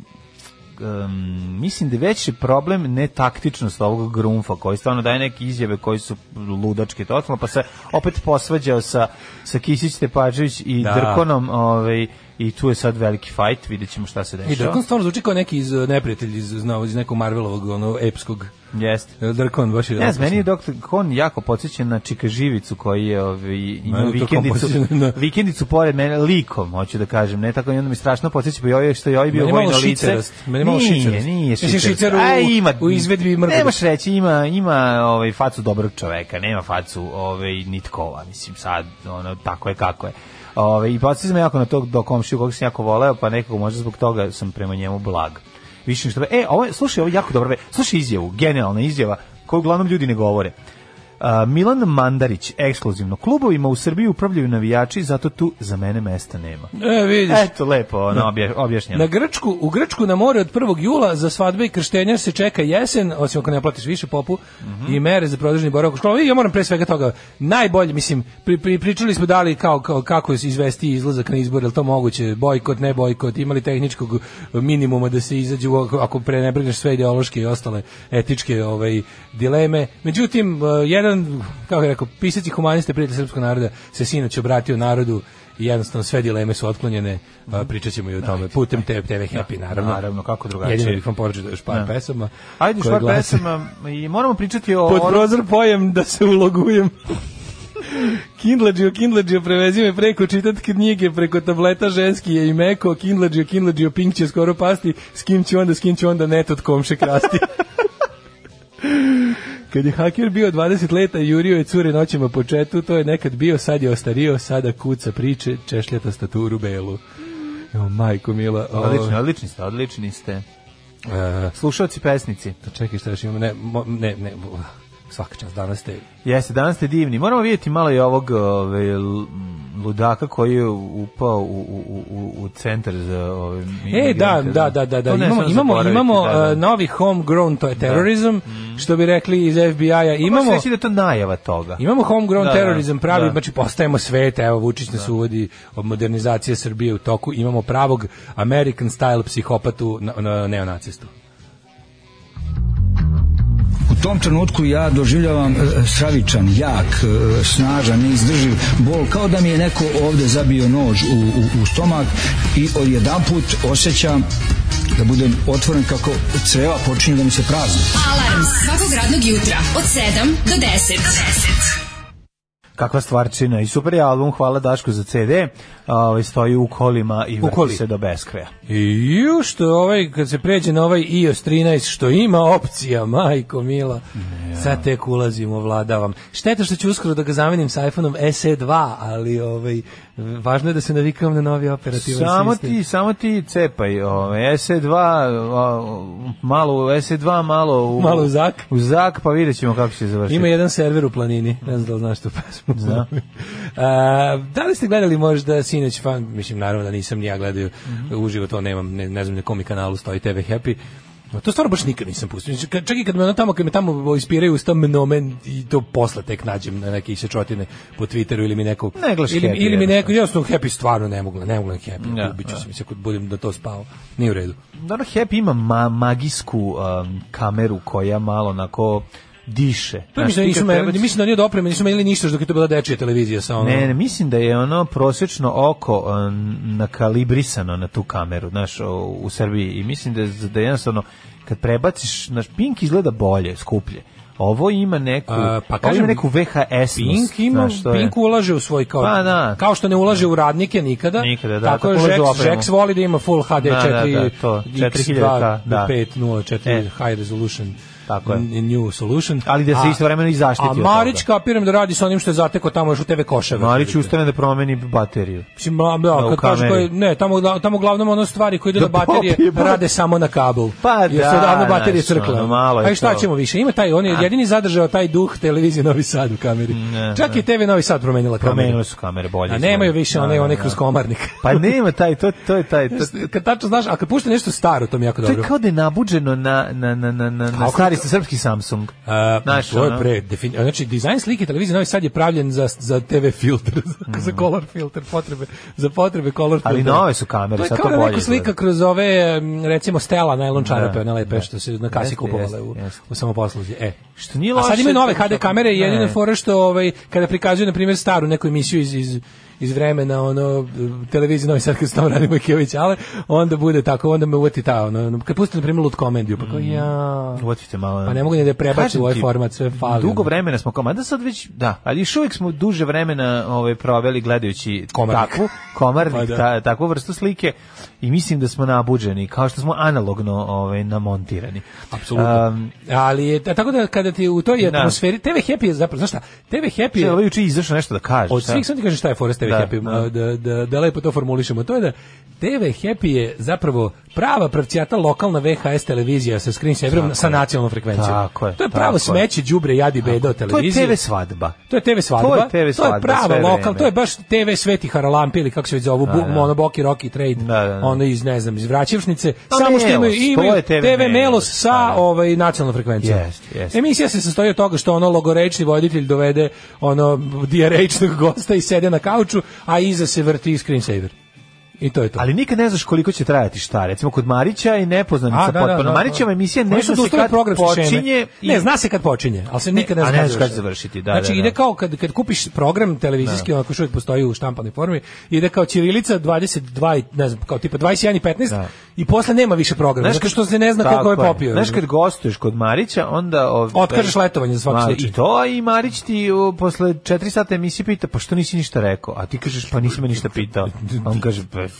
Speaker 6: um, mislim da je veći problem netaktičnost ovog grunfa koji stvarno daje neke izjave koji su ludačke totalno, pa se opet posvađao sa, sa Kisić Tepačević i
Speaker 5: Da.
Speaker 6: Drkonom ovaj, i tu je sad veliki fajt, vidjet ćemo šta se
Speaker 5: I Drkon
Speaker 6: dešava.
Speaker 5: stvarno zvuči kao neki iz e, neprijatelj iz, znao, iz nekog Marvelovog, ono, epskog.
Speaker 6: Jeste.
Speaker 5: E, Drkon, baš je...
Speaker 6: Ne znam,
Speaker 5: opasan.
Speaker 6: meni je doktor Kon jako podsjećen na Čikaživicu koji je ovaj, imao
Speaker 5: Meni je to
Speaker 6: vikendicu,
Speaker 5: kompozicija, da.
Speaker 6: vikendicu pored mene likom, hoću da kažem, ne tako i onda mi strašno podsjeća pa joj što joj bio
Speaker 5: Meni je malo
Speaker 6: vojno lice.
Speaker 5: šicerast, meni je malo
Speaker 6: Nije,
Speaker 5: šicerast.
Speaker 6: Nije,
Speaker 5: Mislim,
Speaker 6: šicerast.
Speaker 5: šicer u-
Speaker 6: A, ima,
Speaker 5: u izvedbi mrvice.
Speaker 6: Nemaš reći, ima, ima ovaj, facu dobrog čoveka, nema facu ovaj, nitkova, mislim sad, ono, tako je kako je. Ove, I podsjeća me jako na tog do komšiju kog sam jako voleo, pa nekako možda zbog toga sam prema njemu blag. Više ništa. E, ovo, je- slušaj, ovo je jako dobro. Slušaj izjavu, genijalna izjava, koju uglavnom ljudi ne govore. A, Milan Mandarić, ekskluzivno. Klubovima u Srbiji upravljaju navijači, zato tu za mene mesta nema.
Speaker 5: E, vidiš.
Speaker 6: Eto, lepo ono, obje, objašnjeno.
Speaker 5: Na Grčku, u Grčku na more od 1. jula za svadbe i krštenja se čeka jesen, osim ako ne platiš više popu, i mere za produženi boravak u školi. I ja moram pre svega toga, najbolje, mislim, pri, pri, pričali smo da li kao, kao, kako izvesti izlazak na izbor, je li to moguće, bojkot, ne bojkot, imali tehničkog minimuma da se izađe u- ako, ako prenebregneš sve ideološke i ostale etičke ovaj, dileme. Međutim, eh, jedan, kako je rekao, pisac i humanista i prijatelj srpskog naroda se sinoć obratio narodu i jednostavno sve dileme su otklonjene,
Speaker 6: Mhm.
Speaker 5: a, pričat ćemo i o tome. Putem TV, TV Happy, naravno.
Speaker 6: naravno, kako drugačije.
Speaker 5: Jedino bih vam poručio još par pesama.
Speaker 6: Ajde,
Speaker 5: koje
Speaker 6: švar
Speaker 5: glase-
Speaker 6: pesama i moramo pričati o...
Speaker 5: Pod
Speaker 6: onom-
Speaker 5: prozor pojem da se ulogujem. Kindleđio, Kindleđio, prevezi me preko čitat knjige, preko tableta ženski je i meko, Kindleđio, Kindleđio, Pink će skoro pasti, s kim ću onda, s kim ću onda net od komše krasti. Kad je haker bio 20 leta i jurio je cure noćima po četu, to je nekad bio, sad je ostario, sada kuca priče, češljata staturu belu. Jo, majko mila. o-
Speaker 6: Odlični, odlični ste, odlični ste.
Speaker 5: E,
Speaker 6: Slušalci pesnici.
Speaker 5: to čekaj šta još imamo, ne, mo- ne, ne, svaka čast, danas ste
Speaker 6: Jeste, danas ste divni. Moramo vidjeti malo i ovog ove, l- ludaka koji je upao u, u, u- u, u centar za ovaj, ove,
Speaker 5: E, da,
Speaker 6: migrante,
Speaker 5: da, da, da, da.
Speaker 6: To ne
Speaker 5: Imamo,
Speaker 6: smemo
Speaker 5: imamo,
Speaker 6: zaboraviti,
Speaker 5: imamo
Speaker 6: da, Mm. da.
Speaker 5: e, novi homegrown to je terorizam, što bi rekli iz FBI-a.
Speaker 6: Možeš
Speaker 5: Imamo,
Speaker 6: reći da je to najava toga.
Speaker 5: imamo
Speaker 6: Da,
Speaker 5: homegrown
Speaker 6: da,
Speaker 5: terorizam pravi,
Speaker 6: da.
Speaker 5: znači postajemo sveta, evo Vučić nas uvodi od modernizacije Srbije u toku, imamo pravog American style psihopatu na, na, neonacistu.
Speaker 8: U tom trenutku ja doživljavam e, stravičan, jak, e, snažan, neizdrživ bol, kao da mi je neko ovde zabio nož u, u, u stomak i odjedanput osjećam da budem otvoren kako creva počinju da mi se prazne.
Speaker 4: Alarm svakog radnog jutra od 7 do 10.
Speaker 6: Kakva stvarčina i super je album, hvala Daško za CD, ovaj, stoji u kolima i vrti
Speaker 5: koli.
Speaker 6: se do beskraja.
Speaker 5: I ju, što je ovaj, kad se pređe na ovaj iOS 13, što ima opcija, majko mila, sad tek ulazim, ovladavam. Šteta što ću uskoro da ga zamenim s iPhone-om SE2, ali ovaj, važno je da se navikam na novi operativan
Speaker 6: Samo
Speaker 5: sistem.
Speaker 6: ti, samo ti cepaj, ovaj, SE2, o, malo u SE2, malo u,
Speaker 5: Malo u zak.
Speaker 6: u zak, pa vidjet ćemo kako će se završiti.
Speaker 5: Ima jedan server u planini, ne znam da li znaš tu pesmu. A, da li ste gledali možda sinoć fan, mislim naravno da nisam ni ja gledao
Speaker 6: Mhm.
Speaker 5: uživo, to nemam, ne, ne znam na kom mi kanalu stoji TV Happy. To stvarno baš nikad nisam pustio. Znači, kad- Čak i kad me ono tamo, kad me tamo ispiraju s tom mnomen i to posle tek nađem na neke isečotine po Twitteru ili mi neko...
Speaker 6: Ne gledaš
Speaker 5: ili,
Speaker 6: Happy
Speaker 5: ili mi neko,
Speaker 6: jednostavno.
Speaker 5: jednostavno Happy stvarno ne mogu, ne mogu na Happy.
Speaker 6: Da,
Speaker 5: Da, Ubiću
Speaker 6: da.
Speaker 5: se mi se ako budem da to spao. Nije u redu.
Speaker 6: Dobro, Happy ima ma magijsku um, kameru koja malo onako diše.
Speaker 5: To mi
Speaker 6: Znaš, ti
Speaker 5: nisu,
Speaker 6: kad
Speaker 5: me-
Speaker 6: prebaci-
Speaker 5: mislim da nije od opreme, nisu menili ništa što je to bila dečija televizija sa ono- onom.
Speaker 6: Ne, ne, mislim da je ono prosječno oko um, nakalibrisano na tu kameru, znaš, o, u Srbiji. I mislim da, da jednostavno, kad prebaciš, znaš, Pink izgleda bolje, skuplje. Ovo ima neku,
Speaker 5: A, pa
Speaker 6: pa kažem,
Speaker 5: kažem,
Speaker 6: ima neku VHS.
Speaker 5: Pink ima, Pink ulaže u svoj kao,
Speaker 6: Pa, da.
Speaker 5: kao što ne ulaže u radnike nikada,
Speaker 6: Nikada, da,
Speaker 5: tako je
Speaker 6: tako ulaže u
Speaker 5: Jax,
Speaker 6: opremu.
Speaker 5: Jax voli da ima full HD
Speaker 6: Da, da,
Speaker 5: 4,
Speaker 6: da, to, 4000K, da.
Speaker 5: 504
Speaker 6: E.
Speaker 5: high resolution
Speaker 6: Tako je.
Speaker 5: n- new solution.
Speaker 6: Ali da se
Speaker 5: A-
Speaker 6: istovremeno i zaštiti
Speaker 5: A
Speaker 6: od
Speaker 5: Marić
Speaker 6: toga.
Speaker 5: kapiram da radi sa onim što je zateko tamo još u TV koševe.
Speaker 6: Marić ustane da promeni bateriju.
Speaker 5: Mislim, ma- da,
Speaker 6: u
Speaker 5: kad kaže
Speaker 6: kameri.
Speaker 5: koje- ne, tamo, gla- tamo uglavnom ono stvari koje idu
Speaker 6: Da
Speaker 5: na baterije
Speaker 6: popije bat-
Speaker 5: rade samo na kabel.
Speaker 6: Pa
Speaker 5: Jer su
Speaker 6: da,
Speaker 5: odavno baterije
Speaker 6: znaš,
Speaker 5: crkle.
Speaker 6: ono, malo je
Speaker 5: A i šta
Speaker 6: to.
Speaker 5: ćemo više? Ima taj, on je jedini zadržao taj duh televizije Novi Sad u kameri.
Speaker 6: Ne,
Speaker 5: Čak i TV Novi Sad promenila kameru.
Speaker 6: Promenile su kamere bolje.
Speaker 5: A nemaju više
Speaker 6: Da,
Speaker 5: one,
Speaker 6: da,
Speaker 5: one
Speaker 6: da.
Speaker 5: kroz komarnik.
Speaker 6: Pa nema taj, to, to je taj, to,
Speaker 5: Kad tačno znaš, a kad pušta nešto staro, to mi je jako
Speaker 6: To je
Speaker 5: dobro.
Speaker 6: kao da je nabuđeno na, na, na, na, na, na
Speaker 5: Kako-
Speaker 6: stari srpski Samsung.
Speaker 5: A,
Speaker 6: Znaš,
Speaker 5: to je
Speaker 6: ono.
Speaker 5: pre, defini- znači, dizajn slike televizije Novi Sad je pravljen za, za TV filter, za, za color filter, potrebe, za potrebe color
Speaker 6: Mhm. Ali
Speaker 5: filtera.
Speaker 6: nove su kamere,
Speaker 5: to je
Speaker 6: sad
Speaker 5: kao
Speaker 6: to
Speaker 5: da
Speaker 6: bolje
Speaker 5: neko
Speaker 6: izgleda.
Speaker 5: slika kroz ove, m, recimo, stela najlon čarape, one lepe, što se na kasi
Speaker 6: Jeste,
Speaker 5: kupovale
Speaker 6: jeste,
Speaker 5: u,
Speaker 6: jeste.
Speaker 5: u samoposluzi. E.
Speaker 6: Što nije
Speaker 5: A sad
Speaker 6: loše,
Speaker 5: imaju nove
Speaker 6: to-
Speaker 5: HD kamere i jedina
Speaker 6: Ne.
Speaker 5: je fora što ovaj, kada prikazuju, na primjer, staru neku emisiju iz, iz iz vremena ono televizije Novi Sad kad se tamo radi Mikević ale onda bude tako onda me uvati ta ono kad pusti na primjer Lut komediju pa kao
Speaker 6: Mm.
Speaker 5: ja
Speaker 6: Uvatite malo.
Speaker 5: Pa ne mogu ni da je prebaci
Speaker 6: Kažem
Speaker 5: u ovaj
Speaker 6: ti,
Speaker 5: format, sve fali. ono.
Speaker 6: Dugo vremena smo kao, mada sad već, da, ali još uvijek smo duže vremena ovaj, proveli gledajući
Speaker 5: Komarnik.
Speaker 6: takvu, komarnik,
Speaker 5: Pa da.
Speaker 6: ta, takvu vrstu slike i mislim da smo nabuđeni, kao što smo analogno ovaj, namontirani.
Speaker 5: Apsolutno.
Speaker 6: Um,
Speaker 5: ali je, a tako da kada ti u toj
Speaker 6: Da.
Speaker 5: atmosferi TV Happy je zapravo, znaš šta? TV Happy
Speaker 6: Če,
Speaker 5: je
Speaker 6: ovaj juče je izašao nešto da kaže.
Speaker 5: od
Speaker 6: šta?
Speaker 5: svih sam ti kažem šta je Forest TV
Speaker 6: Da,
Speaker 5: Happy, da. Da, da, da lepo to formulišemo. To je da TV Happy je zapravo prava pravcijata lokalna VHS televizija sa screen saverom sa nacionalnom frekvencijom.
Speaker 6: Tako je,
Speaker 5: to je pravo
Speaker 6: tako je.
Speaker 5: smeće, đubre, jadi, beda od
Speaker 6: To je
Speaker 5: televizije.
Speaker 6: TV svadba.
Speaker 5: To je TV svadba.
Speaker 6: To je TV svadba, sve
Speaker 5: prava lokal,
Speaker 6: vreme.
Speaker 5: to je baš TV Sveti Haralampi ili kako se već zovu, bu- ono Boki Rocky Trade,
Speaker 6: Da, da, da.
Speaker 5: ono iz ne znam, iz Vraćevšnice,
Speaker 6: Pa
Speaker 5: samo što imaju,
Speaker 6: Melos, to
Speaker 5: imaju
Speaker 6: je
Speaker 5: TV,
Speaker 6: TV
Speaker 5: Melos,
Speaker 6: Melos,
Speaker 5: sa
Speaker 6: da, da.
Speaker 5: ovaj nacionalnom frekvencijom.
Speaker 6: Jest, jest.
Speaker 5: Emisija se sastoji od toga što ono logorečni voditelj dovede ono dijarečnog gosta i sede na kauču, a iza se vrti screensaver. I to je to.
Speaker 6: Ali nikad ne znaš koliko će trajati šta, recimo kod Marića i nepoznanica
Speaker 5: A, da, da, da,
Speaker 6: potpuno.
Speaker 5: da.
Speaker 6: Marićeva emisija ne
Speaker 5: Oni su
Speaker 6: zna se
Speaker 5: dostavili
Speaker 6: kad
Speaker 5: programske šeme.
Speaker 6: počinje i
Speaker 5: Ne, zna se kad počinje, ali se nikad ne
Speaker 6: a
Speaker 5: zna
Speaker 6: ne
Speaker 5: kad
Speaker 6: znaš
Speaker 5: završi.
Speaker 6: kad završiti, da,
Speaker 5: znači,
Speaker 6: da, da.
Speaker 5: ide kao kad, kad kupiš program televizijski, onako što uvijek postoji u štampanoj formi, ide kao Ćirilica 22, i- ne znam, kao tipa 21 i 15
Speaker 6: Da.
Speaker 5: i posle nema više programa, zato što se ne zna
Speaker 6: Tako
Speaker 5: koliko je popio.
Speaker 6: Znaš kad gostuješ kod Marića, onda... Ov,
Speaker 5: Otkažeš letovanje za svaki
Speaker 6: Ma,
Speaker 5: slučaj.
Speaker 6: I to, a i Marić ti o, posle 4 sata emisije pita, pa što nisi ništa rekao? A ti kažeš, pa nisi me ništa pitao. A on kaže, pa ja sam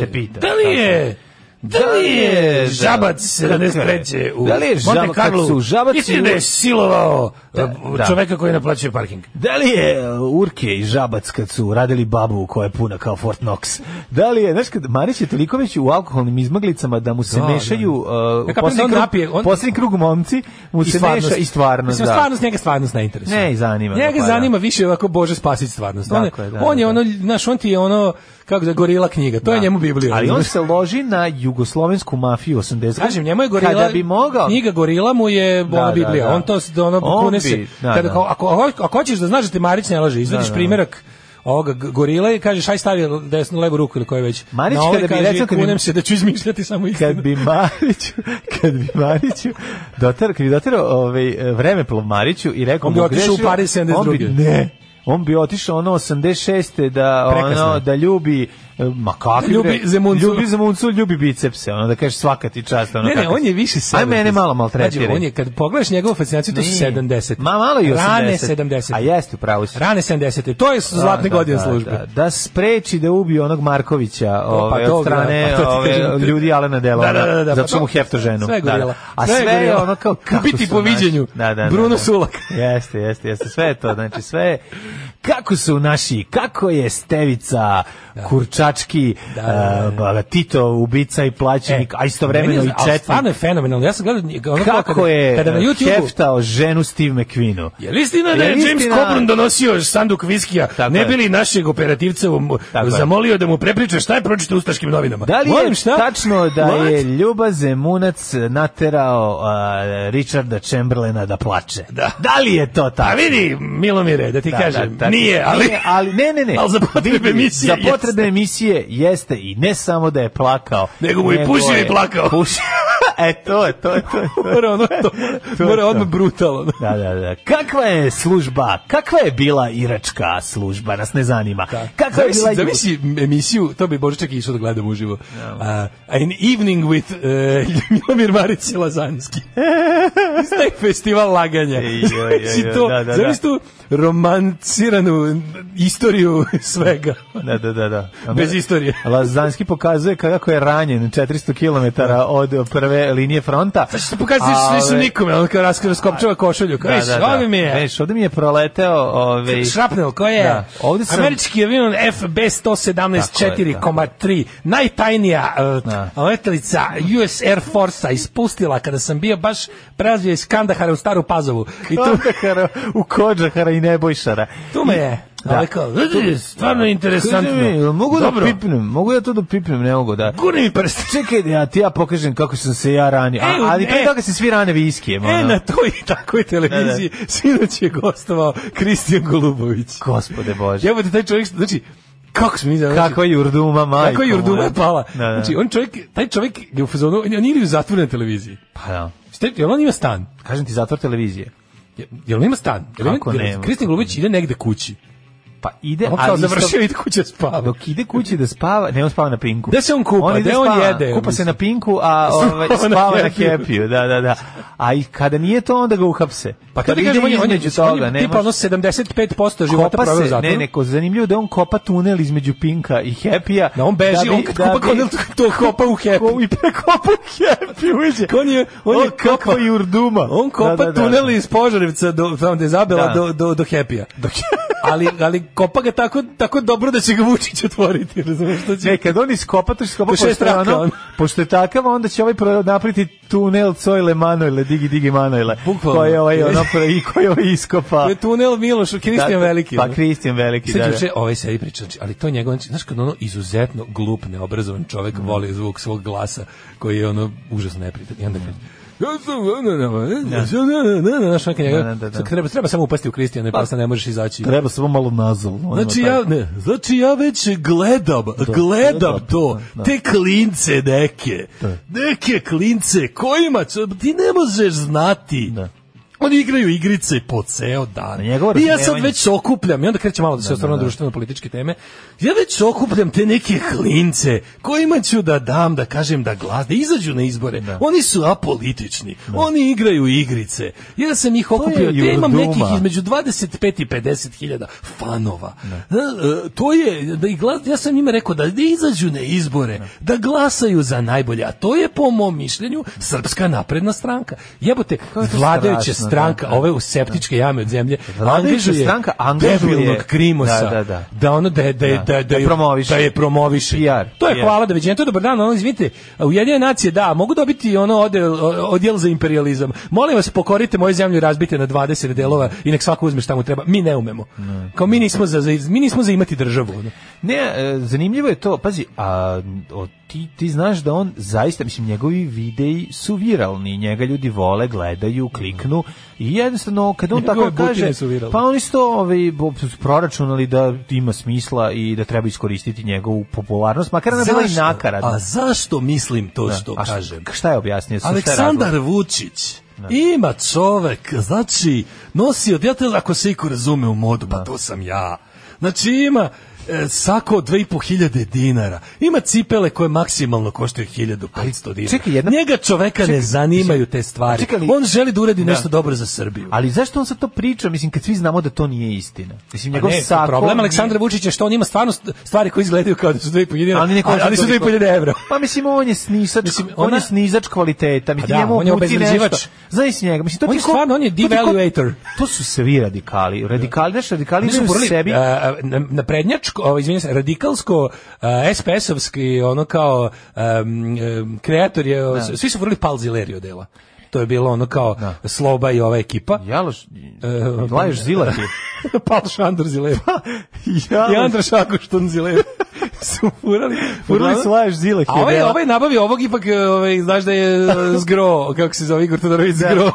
Speaker 6: te pitao.
Speaker 5: Da li je? Da li je Žabac 73. u
Speaker 6: Da li je
Speaker 5: Monte
Speaker 6: Žabac- kad
Speaker 5: Carlo?
Speaker 6: su Žabac
Speaker 5: Istina
Speaker 6: i
Speaker 5: da je
Speaker 6: Ur-
Speaker 5: silovao e, da,
Speaker 6: da.
Speaker 5: čoveka koji naplaćuje parking.
Speaker 6: Da li je uh, Urke i Žabac kad su radili babu koja je puna kao Fort Knox? Da li je, znaš, kad Marić je toliko već u alkoholnim izmaglicama da mu se
Speaker 5: Da,
Speaker 6: mešaju
Speaker 5: da.
Speaker 6: uh,
Speaker 5: Ja
Speaker 6: u
Speaker 5: kapiram da
Speaker 6: posljednji
Speaker 5: on
Speaker 6: krug,
Speaker 5: napije, on-
Speaker 6: posljednji krug momci, mu se meša i stvarnost.
Speaker 5: Mislim,
Speaker 6: da.
Speaker 5: stvarnost njega stvarnost ne interesuje.
Speaker 6: Ne, i zanima ga,
Speaker 5: Njega
Speaker 6: pa da.
Speaker 5: zanima više ovako Bože spasi stvarnost. On, je-
Speaker 6: Tako je, da,
Speaker 5: on je
Speaker 6: da, da.
Speaker 5: ono, znaš, on ti je ono, kako da, gorila knjiga. To je njemu Biblija.
Speaker 6: Ali on
Speaker 5: razumeš?
Speaker 6: se loži na jugoslovensku mafiju 80
Speaker 5: Kažem, njemu je gorila,
Speaker 6: Kada bi mogao...
Speaker 5: knjiga gorila mu je ona
Speaker 6: da,
Speaker 5: Biblija.
Speaker 6: da.
Speaker 5: On to s- ono,
Speaker 6: On
Speaker 5: kune
Speaker 6: bi,
Speaker 5: se.
Speaker 6: da,
Speaker 5: kada,
Speaker 6: da.
Speaker 5: kao, ako, ako, ako hoćeš da znaš da te Marić ne laže, izvadiš primjerak ovoga g- gorile i kažeš aj stavi desnu levu ruku ili koju već.
Speaker 6: Marić
Speaker 5: Na ovaj
Speaker 6: kada bi
Speaker 5: kaže,
Speaker 6: recimo, kad bi-
Speaker 5: kunem se da ću izmišljati samo istinu.
Speaker 6: Kad bi Mariću, kad bi Mariću dotar, kad bi dotarao ovaj, e, vremeplov Mariću i rekao
Speaker 5: On bi
Speaker 6: mu,
Speaker 5: otišao
Speaker 6: grešio,
Speaker 5: u Pariz
Speaker 6: On bi,
Speaker 5: 72..
Speaker 6: ne, on bi otišao ono 86. da,
Speaker 5: Prekasno.
Speaker 6: ono, da ljubi e, ma kakvi
Speaker 5: Da ljubi
Speaker 6: bre,
Speaker 5: Zemuncu.
Speaker 6: ljubi Zemuncu, ljubi bicepse, ono da kažeš svaka ti čast. Ono,
Speaker 5: Ne, ne,
Speaker 6: kakav
Speaker 5: on
Speaker 6: si.
Speaker 5: je više
Speaker 6: Aj
Speaker 5: 70.
Speaker 6: mene malo maltretiraj.
Speaker 5: Pađi, on je, kad pogledaš njegovu fascinaciju, to su
Speaker 6: Nije.
Speaker 5: 70.
Speaker 6: Ma malo i 80.
Speaker 5: Rane 70.
Speaker 6: A jeste, upravo si.
Speaker 5: Rane 70. To je zlatne
Speaker 6: Da,
Speaker 5: godine
Speaker 6: da,
Speaker 5: službe.
Speaker 6: Da, da spreči da ubije onog Markovića ove,
Speaker 5: dobro,
Speaker 6: od strane
Speaker 5: pa to ti
Speaker 6: ove,
Speaker 5: kažem ti.
Speaker 6: ljudi Alena Delona.
Speaker 5: Da, da, da, da,
Speaker 6: zato
Speaker 5: pa
Speaker 6: što
Speaker 5: to-
Speaker 6: mu hefto ženu.
Speaker 5: sve je
Speaker 6: da,
Speaker 5: gorila.
Speaker 6: da. A
Speaker 5: Sve je
Speaker 6: sve, je
Speaker 5: gorila.
Speaker 6: ono kao kako
Speaker 5: Ubiti
Speaker 6: su
Speaker 5: po
Speaker 6: naši-
Speaker 5: viđenju.
Speaker 6: Da, da, da,
Speaker 5: Bruno
Speaker 6: da.
Speaker 5: Sulak.
Speaker 6: Jeste, jeste, jeste. Sve je to. Znači sve je kako su naši, kako je Stevica, Kurčački,
Speaker 5: da, da, E,
Speaker 6: eh, ba- Tito, ubica i plaćenik, a istovremeno
Speaker 5: Meni
Speaker 6: i
Speaker 5: je- ali Stvarno je
Speaker 6: četnik.
Speaker 5: fenomenalno. Ja sam gledao njega, ono kao
Speaker 6: Kako
Speaker 5: kada,
Speaker 6: je
Speaker 5: kada na
Speaker 6: eh,
Speaker 5: YouTubeu
Speaker 6: heftao ženu Steve McQueenu.
Speaker 5: Je li istina da
Speaker 6: Je
Speaker 5: je
Speaker 6: li
Speaker 5: James
Speaker 6: istina?
Speaker 5: Coburn donosio sanduk viskija,
Speaker 6: Tako
Speaker 5: ne
Speaker 6: je.
Speaker 5: bili našeg operativca mu
Speaker 6: Tako je.
Speaker 5: zamolio da mu prepriča šta je pročito u ustaškim novinama?
Speaker 6: Da li je
Speaker 5: Molim, šta?
Speaker 6: tačno da
Speaker 5: What?
Speaker 6: je Ljuba Zemunac naterao a, Richarda Chamberlaina da plače? Da. li je to
Speaker 5: A
Speaker 6: tako?
Speaker 5: vidi, Milomire, da ti
Speaker 6: Da,
Speaker 5: kažem,
Speaker 6: da, tako.
Speaker 5: nije, ali...
Speaker 6: Nije, ali ne, ne, ne.
Speaker 5: Ali za potrebe
Speaker 6: Vidi,
Speaker 5: emisije
Speaker 6: Za potrebe emisije jeste i ne samo da je plakao.
Speaker 5: Nego mu je pušio i
Speaker 6: je
Speaker 5: plakao.
Speaker 6: Pušio. e, to je, to je, to je. to je.
Speaker 5: Mora ono to,
Speaker 6: To je
Speaker 5: mora
Speaker 6: to.
Speaker 5: odmah brutalno.
Speaker 6: Da, da, da. Kakva je služba? Kakva je bila iračka služba? Nas ne zanima. Kakva je
Speaker 5: Zamisli,
Speaker 6: bila
Speaker 5: zamisli emisiju, to bi Božičak išao da gledam uživo. Uh, an evening with uh, Milomir Marić i Lazanski. Staj festival laganja.
Speaker 6: Ej, joj, joj,
Speaker 5: Zamisli
Speaker 6: joj,
Speaker 5: to,
Speaker 6: da, da,
Speaker 5: zamisli tu romanciranu istoriju svega.
Speaker 6: Da, da, da, da.
Speaker 5: Bez istorije.
Speaker 6: Lazanski pokazuje kako je ranjen 400 km od prve linije fronta.
Speaker 5: Znači se pokazuje što nisam nikome, on kao raskara skopčeva košulju. Kao, da, da, mi je.
Speaker 6: Viš, ovde mi je proleteo... Ove,
Speaker 5: Šrapnel, ko je?
Speaker 6: Da, ovde sam-
Speaker 5: Američki avion FB-117
Speaker 6: Tako je, tako
Speaker 5: 4,3, najtajnija uh,
Speaker 6: Da.
Speaker 5: letelica US Air Force-a ispustila kada sam bio baš prelazio iz Kandahara u Staru Pazovu. I tu,
Speaker 6: Kandahara, u Kođahara i Nebojšara.
Speaker 5: tu me je.
Speaker 6: Da.
Speaker 5: Da. Kao, vidi, stvarno interesantno.
Speaker 6: Kaži mi, jel mogu da
Speaker 5: Dobro,
Speaker 6: pipnem, mogu ja to da pipnem, ne mogu da.
Speaker 5: gurni mi prst.
Speaker 6: Čekaj, da ja ti ja pokažem kako sam se ja ranio. A,
Speaker 5: E, u-
Speaker 6: ali pre
Speaker 5: e.
Speaker 6: toga se svi rane viskijem.
Speaker 5: E,
Speaker 6: ono.
Speaker 5: na toj i takvoj televiziji sinoć je gostovao Kristijan Golubović.
Speaker 6: Gospode Bože.
Speaker 5: Jebote, taj čovjek, znači, kako smo mi znači-
Speaker 6: Kakva jurduma, majko.
Speaker 5: Kako je Jurduma
Speaker 6: moja.
Speaker 5: je pala.
Speaker 6: Da, da.
Speaker 5: Znači, on čovjek, taj čovjek je u fazonu, on on ili u zatvoru na televiziji.
Speaker 6: Pa da.
Speaker 5: Ste, jel on ima stan?
Speaker 6: Kažem ti, zatvor televizije.
Speaker 5: Je- Jel on ima stan? Jel on-
Speaker 6: Kako
Speaker 5: jel
Speaker 6: nema?
Speaker 5: Kristin Golubić ide negde kući.
Speaker 6: Pa ide,
Speaker 5: On Ono kao
Speaker 6: ali isto-
Speaker 5: završio i ide kuće spava.
Speaker 6: Dok ide kući da spava, ne on spava na pinku.
Speaker 5: Gde se on kupa?
Speaker 6: ide
Speaker 5: Gde on
Speaker 6: spava.
Speaker 5: jede?
Speaker 6: Kupa se
Speaker 5: Mislim.
Speaker 6: na pinku, a ovaj,
Speaker 5: Spava na
Speaker 6: spava na
Speaker 5: Happy-u.
Speaker 6: happy da, da, Ah, da. A i kada nije to, onda ga uhapse.
Speaker 5: Pa
Speaker 6: kada
Speaker 5: to ti kažem, on je, on je,
Speaker 6: između
Speaker 5: on
Speaker 6: toga,
Speaker 5: je
Speaker 6: ne
Speaker 5: tipa
Speaker 6: može-
Speaker 5: ono 75% života
Speaker 6: kopa
Speaker 5: proveo u
Speaker 6: se,
Speaker 5: zatvoru.
Speaker 6: ne, neko zanimljivo da on kopa tunel između pinka i happy-a.
Speaker 5: Da on beži, on kad kopa konel, to kopa u hepu.
Speaker 6: I prekopa happy uđe.
Speaker 5: On je, on je kopa,
Speaker 6: kako jurduma.
Speaker 5: on kopa tunel iz Požarevca do, tamo gde je zabela,
Speaker 6: Da.
Speaker 5: do, do, do Happy-a. ali, ali kopa ga tako, tako dobro da će ga Vučić otvoriti, razumiješ? To će...
Speaker 6: Ne, kad on iskopa, to će iskopa
Speaker 5: To je Znači, šest
Speaker 6: pošto, je
Speaker 5: traka,
Speaker 6: ono,
Speaker 5: on.
Speaker 6: pošto je takav, onda će ovaj pro- napriti tunel Cojle Manojle, Digi Digi Manojle.
Speaker 5: Bukvalno.
Speaker 6: Koji je ovaj, ono, pro- i koji je ovaj iskopa.
Speaker 5: To je tunel Miloš, Kristijan
Speaker 6: Da,
Speaker 5: Veliki.
Speaker 6: Pa
Speaker 5: ono.
Speaker 6: Kristijan Veliki, da,
Speaker 5: Sad
Speaker 6: da.
Speaker 5: juče ovaj sedi priča, znači, ali to je njegov, znaš kad ono izuzetno glup, neobrazovan čovek voli zvuk svog glasa koji je ono užasno nepritan. I onda kaže, ja sam, na, na, na, na, na, na, na, znaš, onako njega-
Speaker 6: Da, da, da, da.
Speaker 5: sad treba, treba samo upasti u Kristijana i posle ne možeš izaći.
Speaker 6: Treba samo malo nazal. ono,
Speaker 5: Znači
Speaker 6: taj-
Speaker 5: ja, ne, znači ja već gledam, gledam
Speaker 6: gledam,
Speaker 5: to,
Speaker 6: da.
Speaker 5: te klince neke, neke klince kojima će, ti ne možeš znati.
Speaker 6: Da.
Speaker 5: Oni igraju igrice po ceo dan.
Speaker 6: Na njegovo
Speaker 5: I ja sad
Speaker 6: razumevanje.
Speaker 5: već okupljam, i onda kreće malo da se osvrnu na društveno-političke teme, ja već okupljam te neke klince kojima ću da dam, da kažem da glas, da izađu na izbore. Oni su apolitični, oni igraju igrice. Ja sam
Speaker 6: Pa
Speaker 5: ih okupio,
Speaker 6: je
Speaker 5: ja imam
Speaker 6: jurduma.
Speaker 5: nekih između između 25 i 50 hiljada fanova. E, e, To je, da i glas, ja sam njima rekao da izađu na izbore, da glasaju za najbolje, a to je po mom mišljenju srpska napredna stranka. Jebote,
Speaker 6: je to
Speaker 5: vladajuća
Speaker 6: strašno,
Speaker 5: stranka,
Speaker 6: da, da.
Speaker 5: ove u septičke jame od zemlje,
Speaker 6: Vladajuća
Speaker 5: angažuje
Speaker 6: stranka angažuje-
Speaker 5: debilnog krimosa,
Speaker 6: Da, da, da.
Speaker 5: ono da, je- da, je- da, je-
Speaker 6: Da
Speaker 5: je-
Speaker 6: promoviše.
Speaker 5: da je promoviše.
Speaker 6: PR,
Speaker 5: to je
Speaker 6: PR.
Speaker 5: hvala da viđenje, to je dobar dan, ono, izvinite, Ujedinjene nacije, da, mogu dobiti ono odel, odjel za imperializam. Molim vas, pokorite moju zemlju i razbite na 20 delova i nek svako uzme šta mu treba. Mi ne umemo. Kao mi nismo za, za- mi nismo za imati državu. ono.
Speaker 6: Ne, e, zanimljivo je to, pazi, a o, ti, ti znaš da on zaista, mislim, njegovi videi su viralni, njega ljudi vole, gledaju, kliknu i jednostavno, kad on
Speaker 5: Mhm. Njegove
Speaker 6: tako kaže,
Speaker 5: butine su viralne.
Speaker 6: pa oni su to ovaj, bo- su proračunali da ima smisla i da treba iskoristiti njegovu popularnost, makar ona bila i
Speaker 5: Zašto?
Speaker 6: nakaradna.
Speaker 5: A zašto mislim to što
Speaker 6: A šta-
Speaker 5: kažem?
Speaker 6: Šta je objasnio? Sa šta je
Speaker 5: Aleksandar
Speaker 6: razlog?
Speaker 5: Vučić ima čovek, znači, nosi odjetel, ako se iko razume u modu, pa to sam ja. Znači, ima e, sako od 2500 dinara. Ima cipele koje maksimalno koštaju 1500 dinara.
Speaker 6: čekaj, jedna-
Speaker 5: Njega čoveka ne zanimaju te stvari.
Speaker 6: čekaj, ali-
Speaker 5: On želi da uradi nešto dobro za Srbiju.
Speaker 6: Ali zašto on sad to priča? Mislim, kad svi znamo da to nije istina. Mislim, njegov
Speaker 5: Pa Ne,
Speaker 6: sako...
Speaker 5: problem
Speaker 6: nije-
Speaker 5: Aleksandra Vučića je što on ima stvarno st- stvari koje izgledaju kao da su 2,5 dinara,
Speaker 6: Ali, ne
Speaker 5: ali,
Speaker 6: košta
Speaker 5: ali su
Speaker 6: toliko.
Speaker 5: 2,5 evra.
Speaker 6: Pa mislim on je snizač, mislim,
Speaker 5: Mislim,
Speaker 6: ona... on
Speaker 5: ona-
Speaker 6: je snizač kvaliteta, mislim
Speaker 5: Pa da,
Speaker 6: njemu
Speaker 5: on je
Speaker 6: obuci
Speaker 5: obezvređivač.
Speaker 6: nešto. Znaš si njega, mislim to
Speaker 5: On
Speaker 6: ti
Speaker 5: je
Speaker 6: ko-
Speaker 5: stvarno, on je
Speaker 6: to ti ko-
Speaker 5: devaluator.
Speaker 6: To su svi radikali, radikali, znaš, radikali
Speaker 5: Mi smo
Speaker 6: su
Speaker 5: morali, E.
Speaker 6: sebi.
Speaker 5: a, a, na, na prednjačko, ovo, izvinjam se, radikalsko, a, SPS-ovski, ono kao em, em, kreator je, o, s- svi su vrli palzilerio dela. To je bilo ono kao Sloba i ova ekipa.
Speaker 6: Jaloš, laješ
Speaker 5: e,
Speaker 6: zilati.
Speaker 5: Pal Šandor Zilev.
Speaker 6: Pa,
Speaker 5: I
Speaker 6: Jaloš,
Speaker 5: Andra Šakošton Zilev. su furali.
Speaker 6: Furali su Lajoš Zilek
Speaker 5: A ovaj,
Speaker 6: je dela.
Speaker 5: ovaj nabavi ovog ipak, e, ovaj, znaš da je e, zgro, kako se zove Igor Todorović, zgro,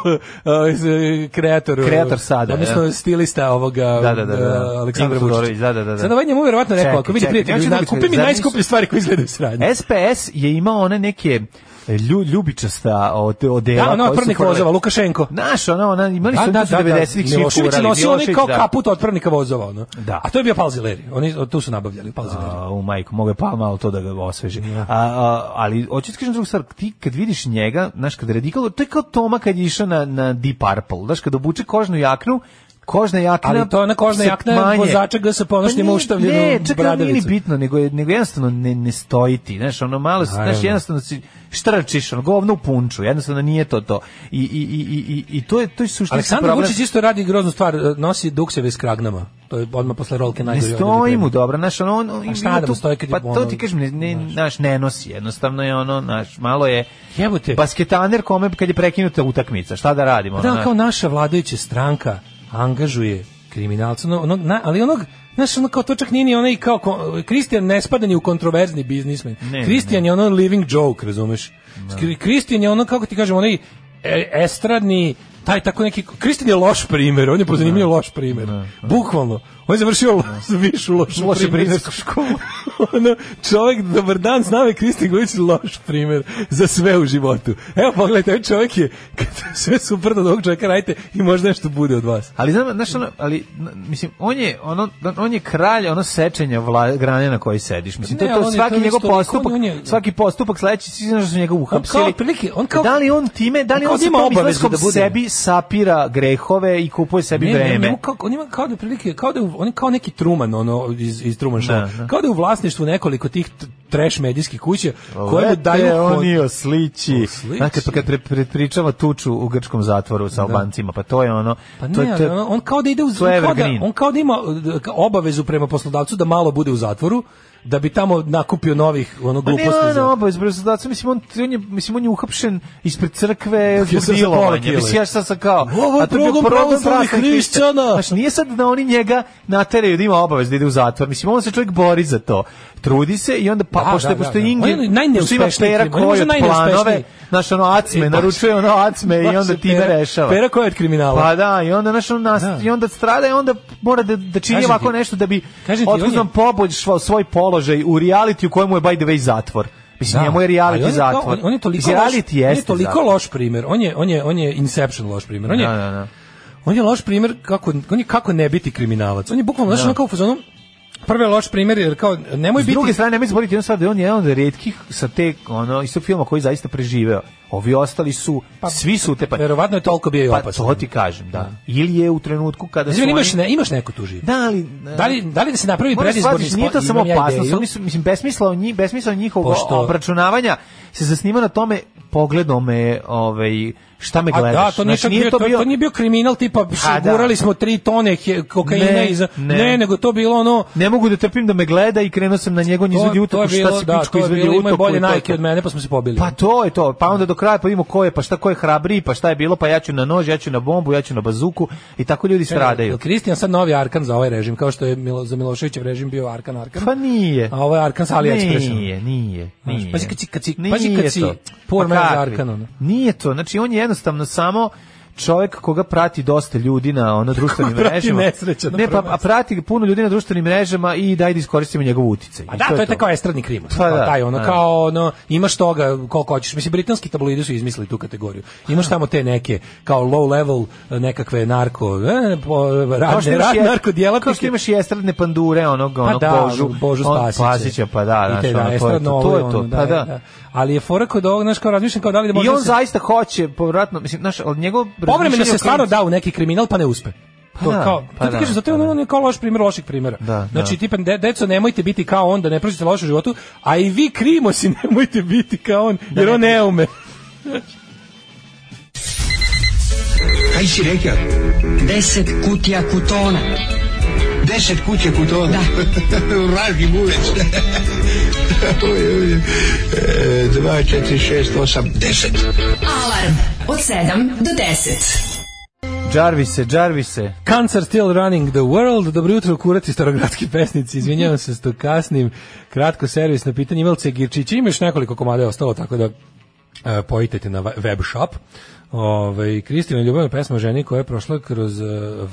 Speaker 5: ovaj, z- kreator. e,
Speaker 6: Kreator sada,
Speaker 5: Odnosno
Speaker 6: ja.
Speaker 5: stilista ovoga
Speaker 6: Da, da, da, da.
Speaker 5: e, Aleksandra
Speaker 6: Igor
Speaker 5: Vučića.
Speaker 6: Todorović, da, da, da, da.
Speaker 5: Sad ovaj njemu verovatno rekao,
Speaker 6: Čekaj,
Speaker 5: ako vidi
Speaker 6: čekaj, ja
Speaker 5: prijatelj,
Speaker 6: ću
Speaker 5: na,
Speaker 6: da E, ti
Speaker 5: kupi mi
Speaker 6: kažem,
Speaker 5: najskuplje stvari koje izgledaju sranje.
Speaker 6: ovaj- SPS je imao one neke e, lju, ljubičasta od, odela.
Speaker 5: Da, ono
Speaker 6: koje su
Speaker 5: otpravnik
Speaker 6: furali.
Speaker 5: vozova, Lukašenko.
Speaker 6: Znaš, ono, ona, imali su da, 90-ih svi
Speaker 5: Milošević je
Speaker 6: furali,
Speaker 5: nosio onaj
Speaker 6: Milošević,
Speaker 5: kao
Speaker 6: da.
Speaker 5: kaput otpravnika vozova, ono.
Speaker 6: Da.
Speaker 5: A to je bio palzileri, oni tu su nabavljali palzileri.
Speaker 6: A, u majku, mogu je pa malo to da ga osveži. A, a, ali, hoću ti kažem drugu stvar, ti kad vidiš njega, znaš, kad je radikal, to je kao Toma kad je išao na, na Deep Purple, znaš, kad obuče kožnu jaknu, kožna jakna...
Speaker 5: Ali to je ona kožna
Speaker 6: se
Speaker 5: jakna vozača GSP, ono što
Speaker 6: Pa
Speaker 5: ima
Speaker 6: nije-
Speaker 5: uštavljenu
Speaker 6: Ne, čak da nije ni
Speaker 5: bradavicu.
Speaker 6: bitno, nego, je, nego jednostavno ne, ne stoji ti, znaš, ono malo, znaš,
Speaker 5: Naravno.
Speaker 6: jednostavno si štrčiš, ono, govno u punču, jednostavno nije to to. I, i, i, i, i- i to je, to je suštinski
Speaker 5: Aleksandar
Speaker 6: problem.
Speaker 5: Vučić isto radi groznu stvar, e, nosi dukseve s kragnama. To je odmah posle rolke
Speaker 6: Ne
Speaker 5: najgore.
Speaker 6: stoji mu dobro, znaš, ono, on, on,
Speaker 5: A šta
Speaker 6: ima
Speaker 5: da mu stoji kad je
Speaker 6: pa to
Speaker 5: ono-
Speaker 6: ti kažem, ne, ne, znaš, ne nosi, jednostavno je ono, znaš, malo je
Speaker 5: Jebote.
Speaker 6: Pa basketaner kome kad je prekinuta utakmica, šta da radimo? ono,
Speaker 5: Da,
Speaker 6: znaš.
Speaker 5: kao naša vladajuća stranka angažuje kriminalca, ono- onog, na- ali onog, znaš, ono kao to čak nije ni onaj kao, ko- Kristijan ne spada ni u kontroverzni biznismen.
Speaker 6: ne,
Speaker 5: Kristijan je ono living joke, razumeš? Kri- Kristijan je ono, kako ti kažem, onaj e- estradni, taj tako neki, Kristijan je loš primjer, on je po zanimljivu loš primjer. Bukvalno. On je završio lo- višu lošu
Speaker 6: Loše
Speaker 5: primersku.
Speaker 6: primersku školu.
Speaker 5: ono, čovjek, dobar dan, znave Kristin Gojić je loš primjer za sve u životu. Evo, pogledajte, ovaj čovjek je, kad sve suprotno od ovog čovjeka radite i možda nešto bude od vas.
Speaker 6: Ali znam, znaš, ono, ali n- mislim on je ono on je kralj ono sečenja vla, grane na kojoj sediš. Mislim to,
Speaker 5: Ne,
Speaker 6: to
Speaker 5: ali on je-
Speaker 6: svaki
Speaker 5: to je
Speaker 6: njegov
Speaker 5: isto- on je-
Speaker 6: postupak,
Speaker 5: on je-
Speaker 6: svaki postupak sledeći si znaš da su njega uhapsili.
Speaker 5: otprilike- on kao-
Speaker 6: da li on time, da
Speaker 5: on
Speaker 6: li
Speaker 5: kao
Speaker 6: on,
Speaker 5: da
Speaker 6: se
Speaker 5: ima
Speaker 6: tom
Speaker 5: obavezu
Speaker 6: izlaskom
Speaker 5: da bude-
Speaker 6: sebi sapira grehove i kupuje sebi
Speaker 5: Ne, ne,
Speaker 6: vreme?
Speaker 5: njemu kao, on ima kao da je prilike, kao da je u- on je kao neki Truman, ono, iz, iz Truman show.
Speaker 6: Da, da.
Speaker 5: Kao da je u vlasništvu nekoliko tih t- trash medijskih kuća koje mu
Speaker 6: Lete
Speaker 5: daju kon-
Speaker 6: oni oslići.
Speaker 5: Oslići.
Speaker 6: Znate, pa kad pre, pre, pričava tuču u grčkom zatvoru sa Albancima, pa to je ono...
Speaker 5: Pa
Speaker 6: to,
Speaker 5: ne,
Speaker 6: to,
Speaker 5: on- on kao da ide u
Speaker 6: to je
Speaker 5: on kao da,
Speaker 6: evergreen.
Speaker 5: on kao da ima e, ka- obavezu prema poslodavcu da malo bude u zatvoru da bi tamo nakupio novih ono
Speaker 6: Pa ne,
Speaker 5: gluposti
Speaker 6: on je
Speaker 5: za
Speaker 6: obavez, brzo zato, mislim, on, on je, mislim, on je uhapšen ispred crkve
Speaker 5: Ja sam
Speaker 6: zbog
Speaker 5: za pola
Speaker 6: dilovanja,
Speaker 5: kile.
Speaker 6: mislim, ja sam sam kao...
Speaker 5: Ovo je
Speaker 6: a to bio progon
Speaker 5: progon pravoslavnih
Speaker 6: pravoslavnih
Speaker 5: hrišćana.
Speaker 6: Znaš, nije sad da oni njega nateraju da ima obavez da ide u zatvor, mislim, on se čovjek bori za to, trudi se i onda, pa,
Speaker 5: Da,
Speaker 6: pošto
Speaker 5: da,
Speaker 6: je,
Speaker 5: da,
Speaker 6: pošto je
Speaker 5: da. On
Speaker 6: Ingrid,
Speaker 5: je
Speaker 6: pošto ima
Speaker 5: najneuspešniji
Speaker 6: pera
Speaker 5: krim, on je možda
Speaker 6: koje od planove,
Speaker 5: najneuspešniji.
Speaker 6: znaš, ono, acme,
Speaker 5: E, baš.
Speaker 6: naručuje ono acme i
Speaker 5: Baš
Speaker 6: onda
Speaker 5: je
Speaker 6: time
Speaker 5: pera-
Speaker 6: rešava.
Speaker 5: Pera koja je od kriminala.
Speaker 6: Pa da, i onda naš on nas,
Speaker 5: Da.
Speaker 6: i onda strada i onda mora da da čini
Speaker 5: Kažem ti-
Speaker 6: ovako nešto da bi
Speaker 5: kažem ti, on je-
Speaker 6: otkuznom poboljšao svoj položaj u reality u kojemu je by the way zatvor. Mislim, njemu je
Speaker 5: ali on
Speaker 6: reality
Speaker 5: je kao-
Speaker 6: zatvor.
Speaker 5: On, on je toliko,
Speaker 6: Mislim,
Speaker 5: loš,
Speaker 6: reality
Speaker 5: on je
Speaker 6: jeste
Speaker 5: toliko
Speaker 6: zatvor.
Speaker 5: loš primjer. On je, on je, on je Inception loš primjer. On je,
Speaker 6: Da, da, da.
Speaker 5: on je loš primjer kako, on je kako ne biti kriminalac. On je bukvalno, znaš, ono kao u fazonu, prvi je loš primjer jer kao, nemoj
Speaker 6: S
Speaker 5: biti...
Speaker 6: druge strane, nemoj zaboraviti jednu stvar da je on jedan od retkih sa te, ono, iz tog filma koji je zaista preživeo. Ovi ostali su, svi su utepani.
Speaker 5: Pa, Verovatno je toliko bio i
Speaker 6: Pa
Speaker 5: opasan.
Speaker 6: to ti kažem, da. Ili je u trenutku kada su
Speaker 5: Izvini,
Speaker 6: oni-
Speaker 5: imaš, ne, imaš neku tu živu.
Speaker 6: Da, ali...
Speaker 5: Da li, da li da se napravi
Speaker 6: Moraš
Speaker 5: predizborni
Speaker 6: shvatiš, nije to
Speaker 5: spot?
Speaker 6: samo
Speaker 5: Imam ja
Speaker 6: opasnost,
Speaker 5: ideju.
Speaker 6: oni su, mislim, besmisao njih, besmisao njihovog
Speaker 5: Pošto-
Speaker 6: obračunavanja se zasniva na tome pogledom je, ovaj, šta me
Speaker 5: A
Speaker 6: gledaš.
Speaker 5: da, to nije,
Speaker 6: Znači,
Speaker 5: bio, to, to nije bio kriminal tipa
Speaker 6: A, da.
Speaker 5: gurali smo tri tone he- kokaina
Speaker 6: Ne,
Speaker 5: iza...
Speaker 6: ne.
Speaker 5: Ne. nego to bilo ono...
Speaker 6: Ne mogu da trpim da me gleda i krenuo sam na njega, on izvedi utoku, šta si
Speaker 5: da,
Speaker 6: pičko
Speaker 5: to je
Speaker 6: izvedi
Speaker 5: bilo, imao je
Speaker 6: utoku.
Speaker 5: bolje
Speaker 6: i to je
Speaker 5: najke
Speaker 6: to.
Speaker 5: od mene, pa smo se pobili.
Speaker 6: Pa to je to, pa onda do kraja pa vidimo ko je, pa šta ko je hrabriji, pa šta je bilo, pa ja ću na nož, ja ću na bombu, ja ću na bazuku i tako ljudi
Speaker 5: Jel
Speaker 6: stradaju.
Speaker 5: Kristijan sad novi Arkan za ovaj režim, kao što je Milo, za Miloševićev režim bio Arkan Arkan.
Speaker 6: Pa nije.
Speaker 5: A ovo je Arkan sa AliExpressom.
Speaker 6: Nije, nije,
Speaker 5: Znaš,
Speaker 6: nije.
Speaker 5: pazi kad si- kad si- pazi
Speaker 6: Nije
Speaker 5: kad si
Speaker 6: to.
Speaker 5: poor
Speaker 6: Pa
Speaker 5: man za
Speaker 6: kakvi?
Speaker 5: Arkan, ono.
Speaker 6: Nije to, znači on je jednostavno samo čovjek koga prati dosta ljudi na ono društvenim
Speaker 5: prati
Speaker 6: mrežama.
Speaker 5: nesreća na
Speaker 6: ne, pa
Speaker 5: prvom
Speaker 6: a prati ga puno ljudi na društvenim mrežama i daj da iskoristimo njegov uticaj.
Speaker 5: A
Speaker 6: I
Speaker 5: Pa da, to je
Speaker 6: to.
Speaker 5: tako estradni krim. ono,
Speaker 6: Pa
Speaker 5: kao
Speaker 6: da,
Speaker 5: taj ono
Speaker 6: da.
Speaker 5: kao ono imaš toga koliko hoćeš. Mislim britanski tabloidi su izmislili tu kategoriju. Imaš tamo te neke kao low level nekakve narko, e, po-
Speaker 6: Kao što
Speaker 5: radne,
Speaker 6: imaš
Speaker 5: rad,
Speaker 6: je-
Speaker 5: narko
Speaker 6: Kao što
Speaker 5: djelatnike. Pa
Speaker 6: imaš i estradne pandure, onog, onog
Speaker 5: da, ono,
Speaker 6: Božu,
Speaker 5: Božu
Speaker 6: on-
Speaker 5: Spasića.
Speaker 6: Spasića, pa da,
Speaker 5: I te,
Speaker 6: znaš, ono,
Speaker 5: da,
Speaker 6: to je
Speaker 5: estradno
Speaker 6: to,
Speaker 5: ovo
Speaker 6: to
Speaker 5: i
Speaker 6: je to,
Speaker 5: ono,
Speaker 6: pa
Speaker 5: da,
Speaker 6: da.
Speaker 5: da. Ali je fora kod ovog, znaš, kao razmišljam kao da li da
Speaker 6: I
Speaker 5: može
Speaker 6: on
Speaker 5: se-
Speaker 6: zaista hoće, povratno, mislim, znaš, ali njegov...
Speaker 5: Povremeno
Speaker 6: razmišljanje o
Speaker 5: se stvarno
Speaker 6: klincu-
Speaker 5: da u neki kriminal pa ne uspe.
Speaker 6: Pa
Speaker 5: to
Speaker 6: da,
Speaker 5: kao,
Speaker 6: pa
Speaker 5: to ti
Speaker 6: da,
Speaker 5: kažem, zato
Speaker 6: pa
Speaker 5: je
Speaker 6: da.
Speaker 5: on, on je kao loš primjer loših primjera.
Speaker 6: Da,
Speaker 5: znači,
Speaker 6: da.
Speaker 5: tipa, de, deco, nemojte biti kao on, da ne prođete loše u životu, a i vi krimosi nemojte biti kao on, jer on ne ume.
Speaker 8: Kaj si rekao?
Speaker 4: 10 kutija kutona.
Speaker 8: Deset kuće kutona. Vraži buvec. e, Dva, četiri, šest, osam, deset.
Speaker 4: Alarm od 7 do 10.
Speaker 6: Jarvise, Jarvise.
Speaker 5: Cancer still running the world. Dobro jutro, kurati starogradski pesnici. Izvinjavam se što kasnim. Kratko servisno pitanje. Imelce Girčići, ima još nekoliko komada je ostalo, tako da e, poitajte na va- web shop. Ove, Kristina ljubavna pesma o ženi koja je prošla kroz e,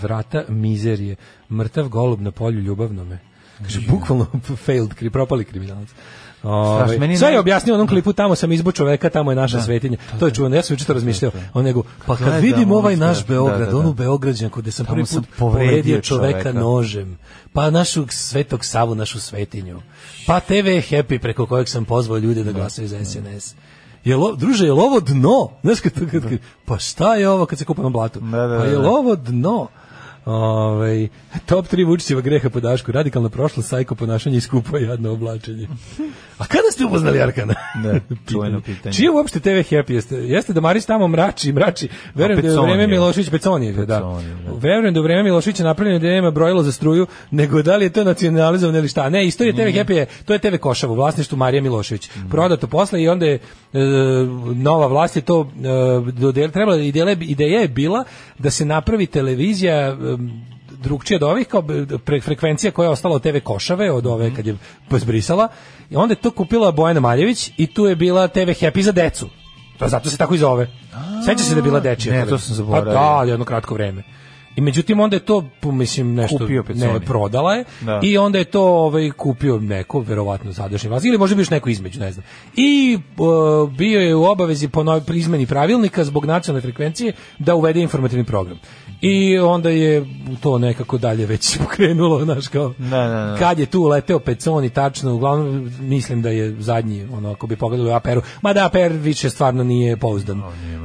Speaker 5: vrata mizerije. Mrtav golub na polju ljubavnome. Kaže, bukvalno failed, kri, propali kriminalac. Ove,
Speaker 6: Strašno, meni
Speaker 5: sve je
Speaker 6: naj-
Speaker 5: objasnio u onom klipu, tamo sam izbu čoveka, tamo je naša svetinja. To je čuvano, ja sam juče to razmišljao. On nego, pa kad
Speaker 6: Gledam,
Speaker 5: vidim
Speaker 6: ono
Speaker 5: ovaj
Speaker 6: sve-
Speaker 5: naš Beograd,
Speaker 6: da, da, da.
Speaker 5: onu Beograđanku gde sam
Speaker 6: Tamo
Speaker 5: prvi put
Speaker 6: sam povredio
Speaker 5: povredio, čoveka,
Speaker 6: čoveka.
Speaker 5: nožem, pa našu svetog Savu, našu svetinju, pa TV Happy preko kojeg sam pozvao ljude da glasaju za SNS. Jel, o- druže, jel ovo dno? Znaš kad, kad, kad, pa šta je ovo kad se kupa na blatu?
Speaker 6: Da, da,
Speaker 5: pa jel
Speaker 6: da.
Speaker 5: ovo dno? Ovaj top 3 Vučićeva greha po Dašku, radikalna prošla, sajko ponašanje i skupo jadno oblačenje. A kada ste upoznali Arkana?
Speaker 6: Da, čuveno pitanje.
Speaker 5: Čije uopšte TV Happy jeste? Jeste da Maris tamo mrači, mrači. Verujem da je u
Speaker 6: Peconije.
Speaker 5: vreme Milošević Peconije, da.
Speaker 6: Peconije, da.
Speaker 5: Verujem da u vreme Miloševića napravljeno da nema brojilo za struju, nego da li je to nacionalizovano ili šta. Ne, istorija TV Happy je, to je TV Košava u vlasništvu Marija Milošević. Prodato posle i onda je e, nova vlast je to e, dodel, trebala, ideja, je- ideja je bila da se napravi televizija e, drugčije od ovih kao b- pre, frekvencija koja je ostala od TV Košave od ove kad je zbrisala i onda je to kupila Bojana Maljević i tu je bila TV Happy za decu. Pa zato se tako i zove. Seća se da je bila dečija.
Speaker 6: Ne, to
Speaker 5: televizija.
Speaker 6: sam zaboravio.
Speaker 5: Pa da, ali jedno kratko vreme. I međutim onda je to po- mislim nešto
Speaker 6: Kupio Peconi.
Speaker 5: ne prodala je
Speaker 6: Da.
Speaker 5: i onda je to ovaj kupio neko verovatno sadašnji vlasnik ili možda bi još neko između ne znam. I e, bio je u obavezi po novoj pri izmeni pravilnika zbog nacionalne frekvencije da uvede informativni program. I onda je to nekako dalje već pokrenulo, znaš kao.
Speaker 6: Da, da, da.
Speaker 5: Kad je tu leteo Peconi tačno, uglavnom mislim da je zadnji ono ako bi pogledali u APR-u, ma da APR više stvarno nije pouzdan.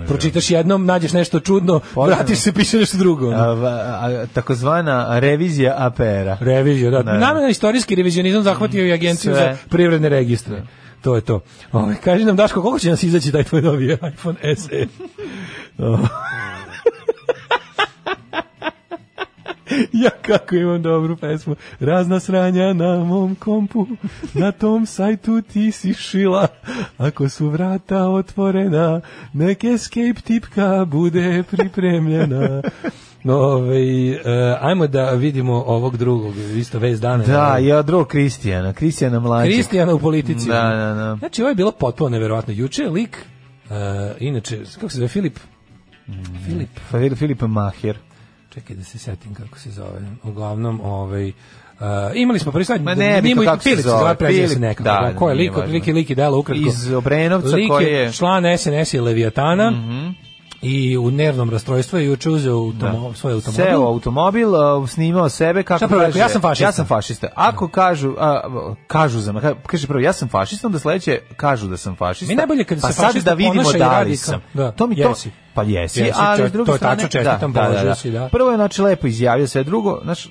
Speaker 5: Pročitaš jednom, nađeš nešto čudno,
Speaker 6: Pouzdan.
Speaker 5: vratiš se piše nešto drugo. ono.
Speaker 6: A, a, takozvana revizija APR-a.
Speaker 5: Revizija, da.
Speaker 6: Da.
Speaker 5: Naravno, istorijski revizionizam zahvatio i
Speaker 6: Sve.
Speaker 5: agenciju za privredne registre. To je to. Ovaj kaži nam, Daško, koliko će nas izaći taj tvoj novi iPhone E? SE? O. Ja kako imam dobru pesmu. Razna sranja na mom kompu, na tom sajtu ti si šila. Ako su vrata otvorena, nek escape tipka bude pripremljena. No, ovaj, e, ajmo da vidimo ovog drugog, isto vez dana.
Speaker 6: Da,
Speaker 5: Ovaj,
Speaker 6: ja drugog Kristijana, Kristijana Mlađeg.
Speaker 5: Kristijana u politici.
Speaker 6: Da, da, da.
Speaker 5: Znači, ovo je bilo potpuno neverovatno. Juče je lik, e, inače, kako se zove, Filip?
Speaker 6: Mm.
Speaker 5: Filip,
Speaker 6: Filip, Filip Maher.
Speaker 5: čekaj da se setim kako se zove. Uglavnom, ovaj, e, imali smo prvi sad,
Speaker 6: Ma ne,
Speaker 5: nije
Speaker 6: bitno
Speaker 5: mu i
Speaker 6: kako se
Speaker 5: Filip
Speaker 6: zove,
Speaker 5: zove, prezio se
Speaker 6: Filip,
Speaker 5: nekako.
Speaker 6: da,
Speaker 5: ko je
Speaker 6: nije
Speaker 5: lik,
Speaker 6: važno.
Speaker 5: lik, lik i delo ukratko.
Speaker 6: Iz Obrenovca
Speaker 5: Lik je
Speaker 6: koji je- Mhm.
Speaker 5: član SNS i Leviatana i u nervnom rastrojstvu je juče uzeo automo, svoj automobil.
Speaker 6: Seo u automobil, a, snimao sebe kako
Speaker 5: Šta prvo rekao,
Speaker 6: kaže,
Speaker 5: ja sam fašista.
Speaker 6: Ja sam fašista. Ako kažu, a, a, kažu za me, ka- kaže prvo ja sam fašista, onda sledeće kažu da sam fašista.
Speaker 5: Mi najbolje kad
Speaker 6: pa
Speaker 5: se
Speaker 6: sad
Speaker 5: fašista
Speaker 6: da vidimo
Speaker 5: ponaša i
Speaker 6: da
Speaker 5: radi
Speaker 6: li
Speaker 5: kao-
Speaker 6: sam.
Speaker 5: da,
Speaker 6: to mi to
Speaker 5: jesi.
Speaker 6: pa jesi,
Speaker 5: Jesi,
Speaker 6: ali
Speaker 5: to-
Speaker 6: s druge
Speaker 5: to je
Speaker 6: strane
Speaker 5: tačno, čestitam, položio si, da.
Speaker 6: Prvo je znači lepo izjavio sve drugo, znači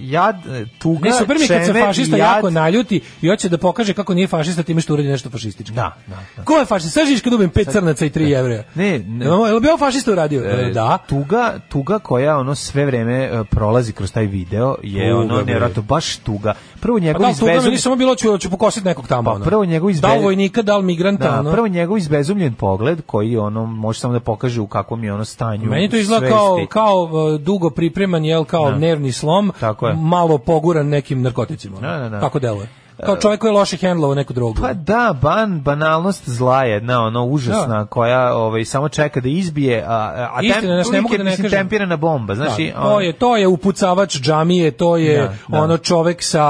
Speaker 6: jad e, tuga,
Speaker 5: Ne, super mi je kad se
Speaker 6: čemer i
Speaker 5: fašista
Speaker 6: jad-
Speaker 5: jako naljuti i hoće da pokaže kako nije fašista time što uradi nešto fašističko.
Speaker 6: Da, da, da.
Speaker 5: Ko je fašista? Sad živiš kad ubijem pet crnaca i tri jevreja.
Speaker 6: Ne, ne.
Speaker 5: Jel ovo- jel bi ovo fašista uradio?
Speaker 6: E,
Speaker 5: E, da.
Speaker 6: Tuga, tuga koja ono sve vreme e, prolazi kroz taj video je
Speaker 5: Tuga,
Speaker 6: ono
Speaker 5: bre.
Speaker 6: nevjerojatno baš tuga. Prvo
Speaker 5: Pa
Speaker 6: njegov
Speaker 5: da, tuga mi
Speaker 6: izvezom-
Speaker 5: nije samo bilo ću, ću pokositi nekog tamo.
Speaker 6: Pa
Speaker 5: ono.
Speaker 6: prvo njegov izbe-
Speaker 5: Da li vojnika, da li migranta.
Speaker 6: Da,
Speaker 5: ono.
Speaker 6: prvo njegov izbezumljen pogled koji ono može samo da pokaže u kakvom je ono stanju.
Speaker 5: Meni to izgleda kao,
Speaker 6: svesti.
Speaker 5: kao e, dugo pripreman, jel, kao nervni slom,
Speaker 6: Tako je.
Speaker 5: malo poguran nekim narkoticima. ono.
Speaker 6: Da, da, da.
Speaker 5: Tako deluje. Kao čovjek koji je loše hendlovao neku drogu.
Speaker 6: Pa da, ban, banalnost zla je jedna, ono, užasna, koja ovaj, samo čeka da izbije, a, a tem,
Speaker 5: Istina, znaš, ne
Speaker 6: lik
Speaker 5: mogu
Speaker 6: je,
Speaker 5: da ne
Speaker 6: mislim,
Speaker 5: kažem.
Speaker 6: tempirana bomba, znaš,
Speaker 5: Da,
Speaker 6: i
Speaker 5: to
Speaker 6: Znači, on-
Speaker 5: je to je upucavač džamije, to je
Speaker 6: Da, da.
Speaker 5: ono čovek sa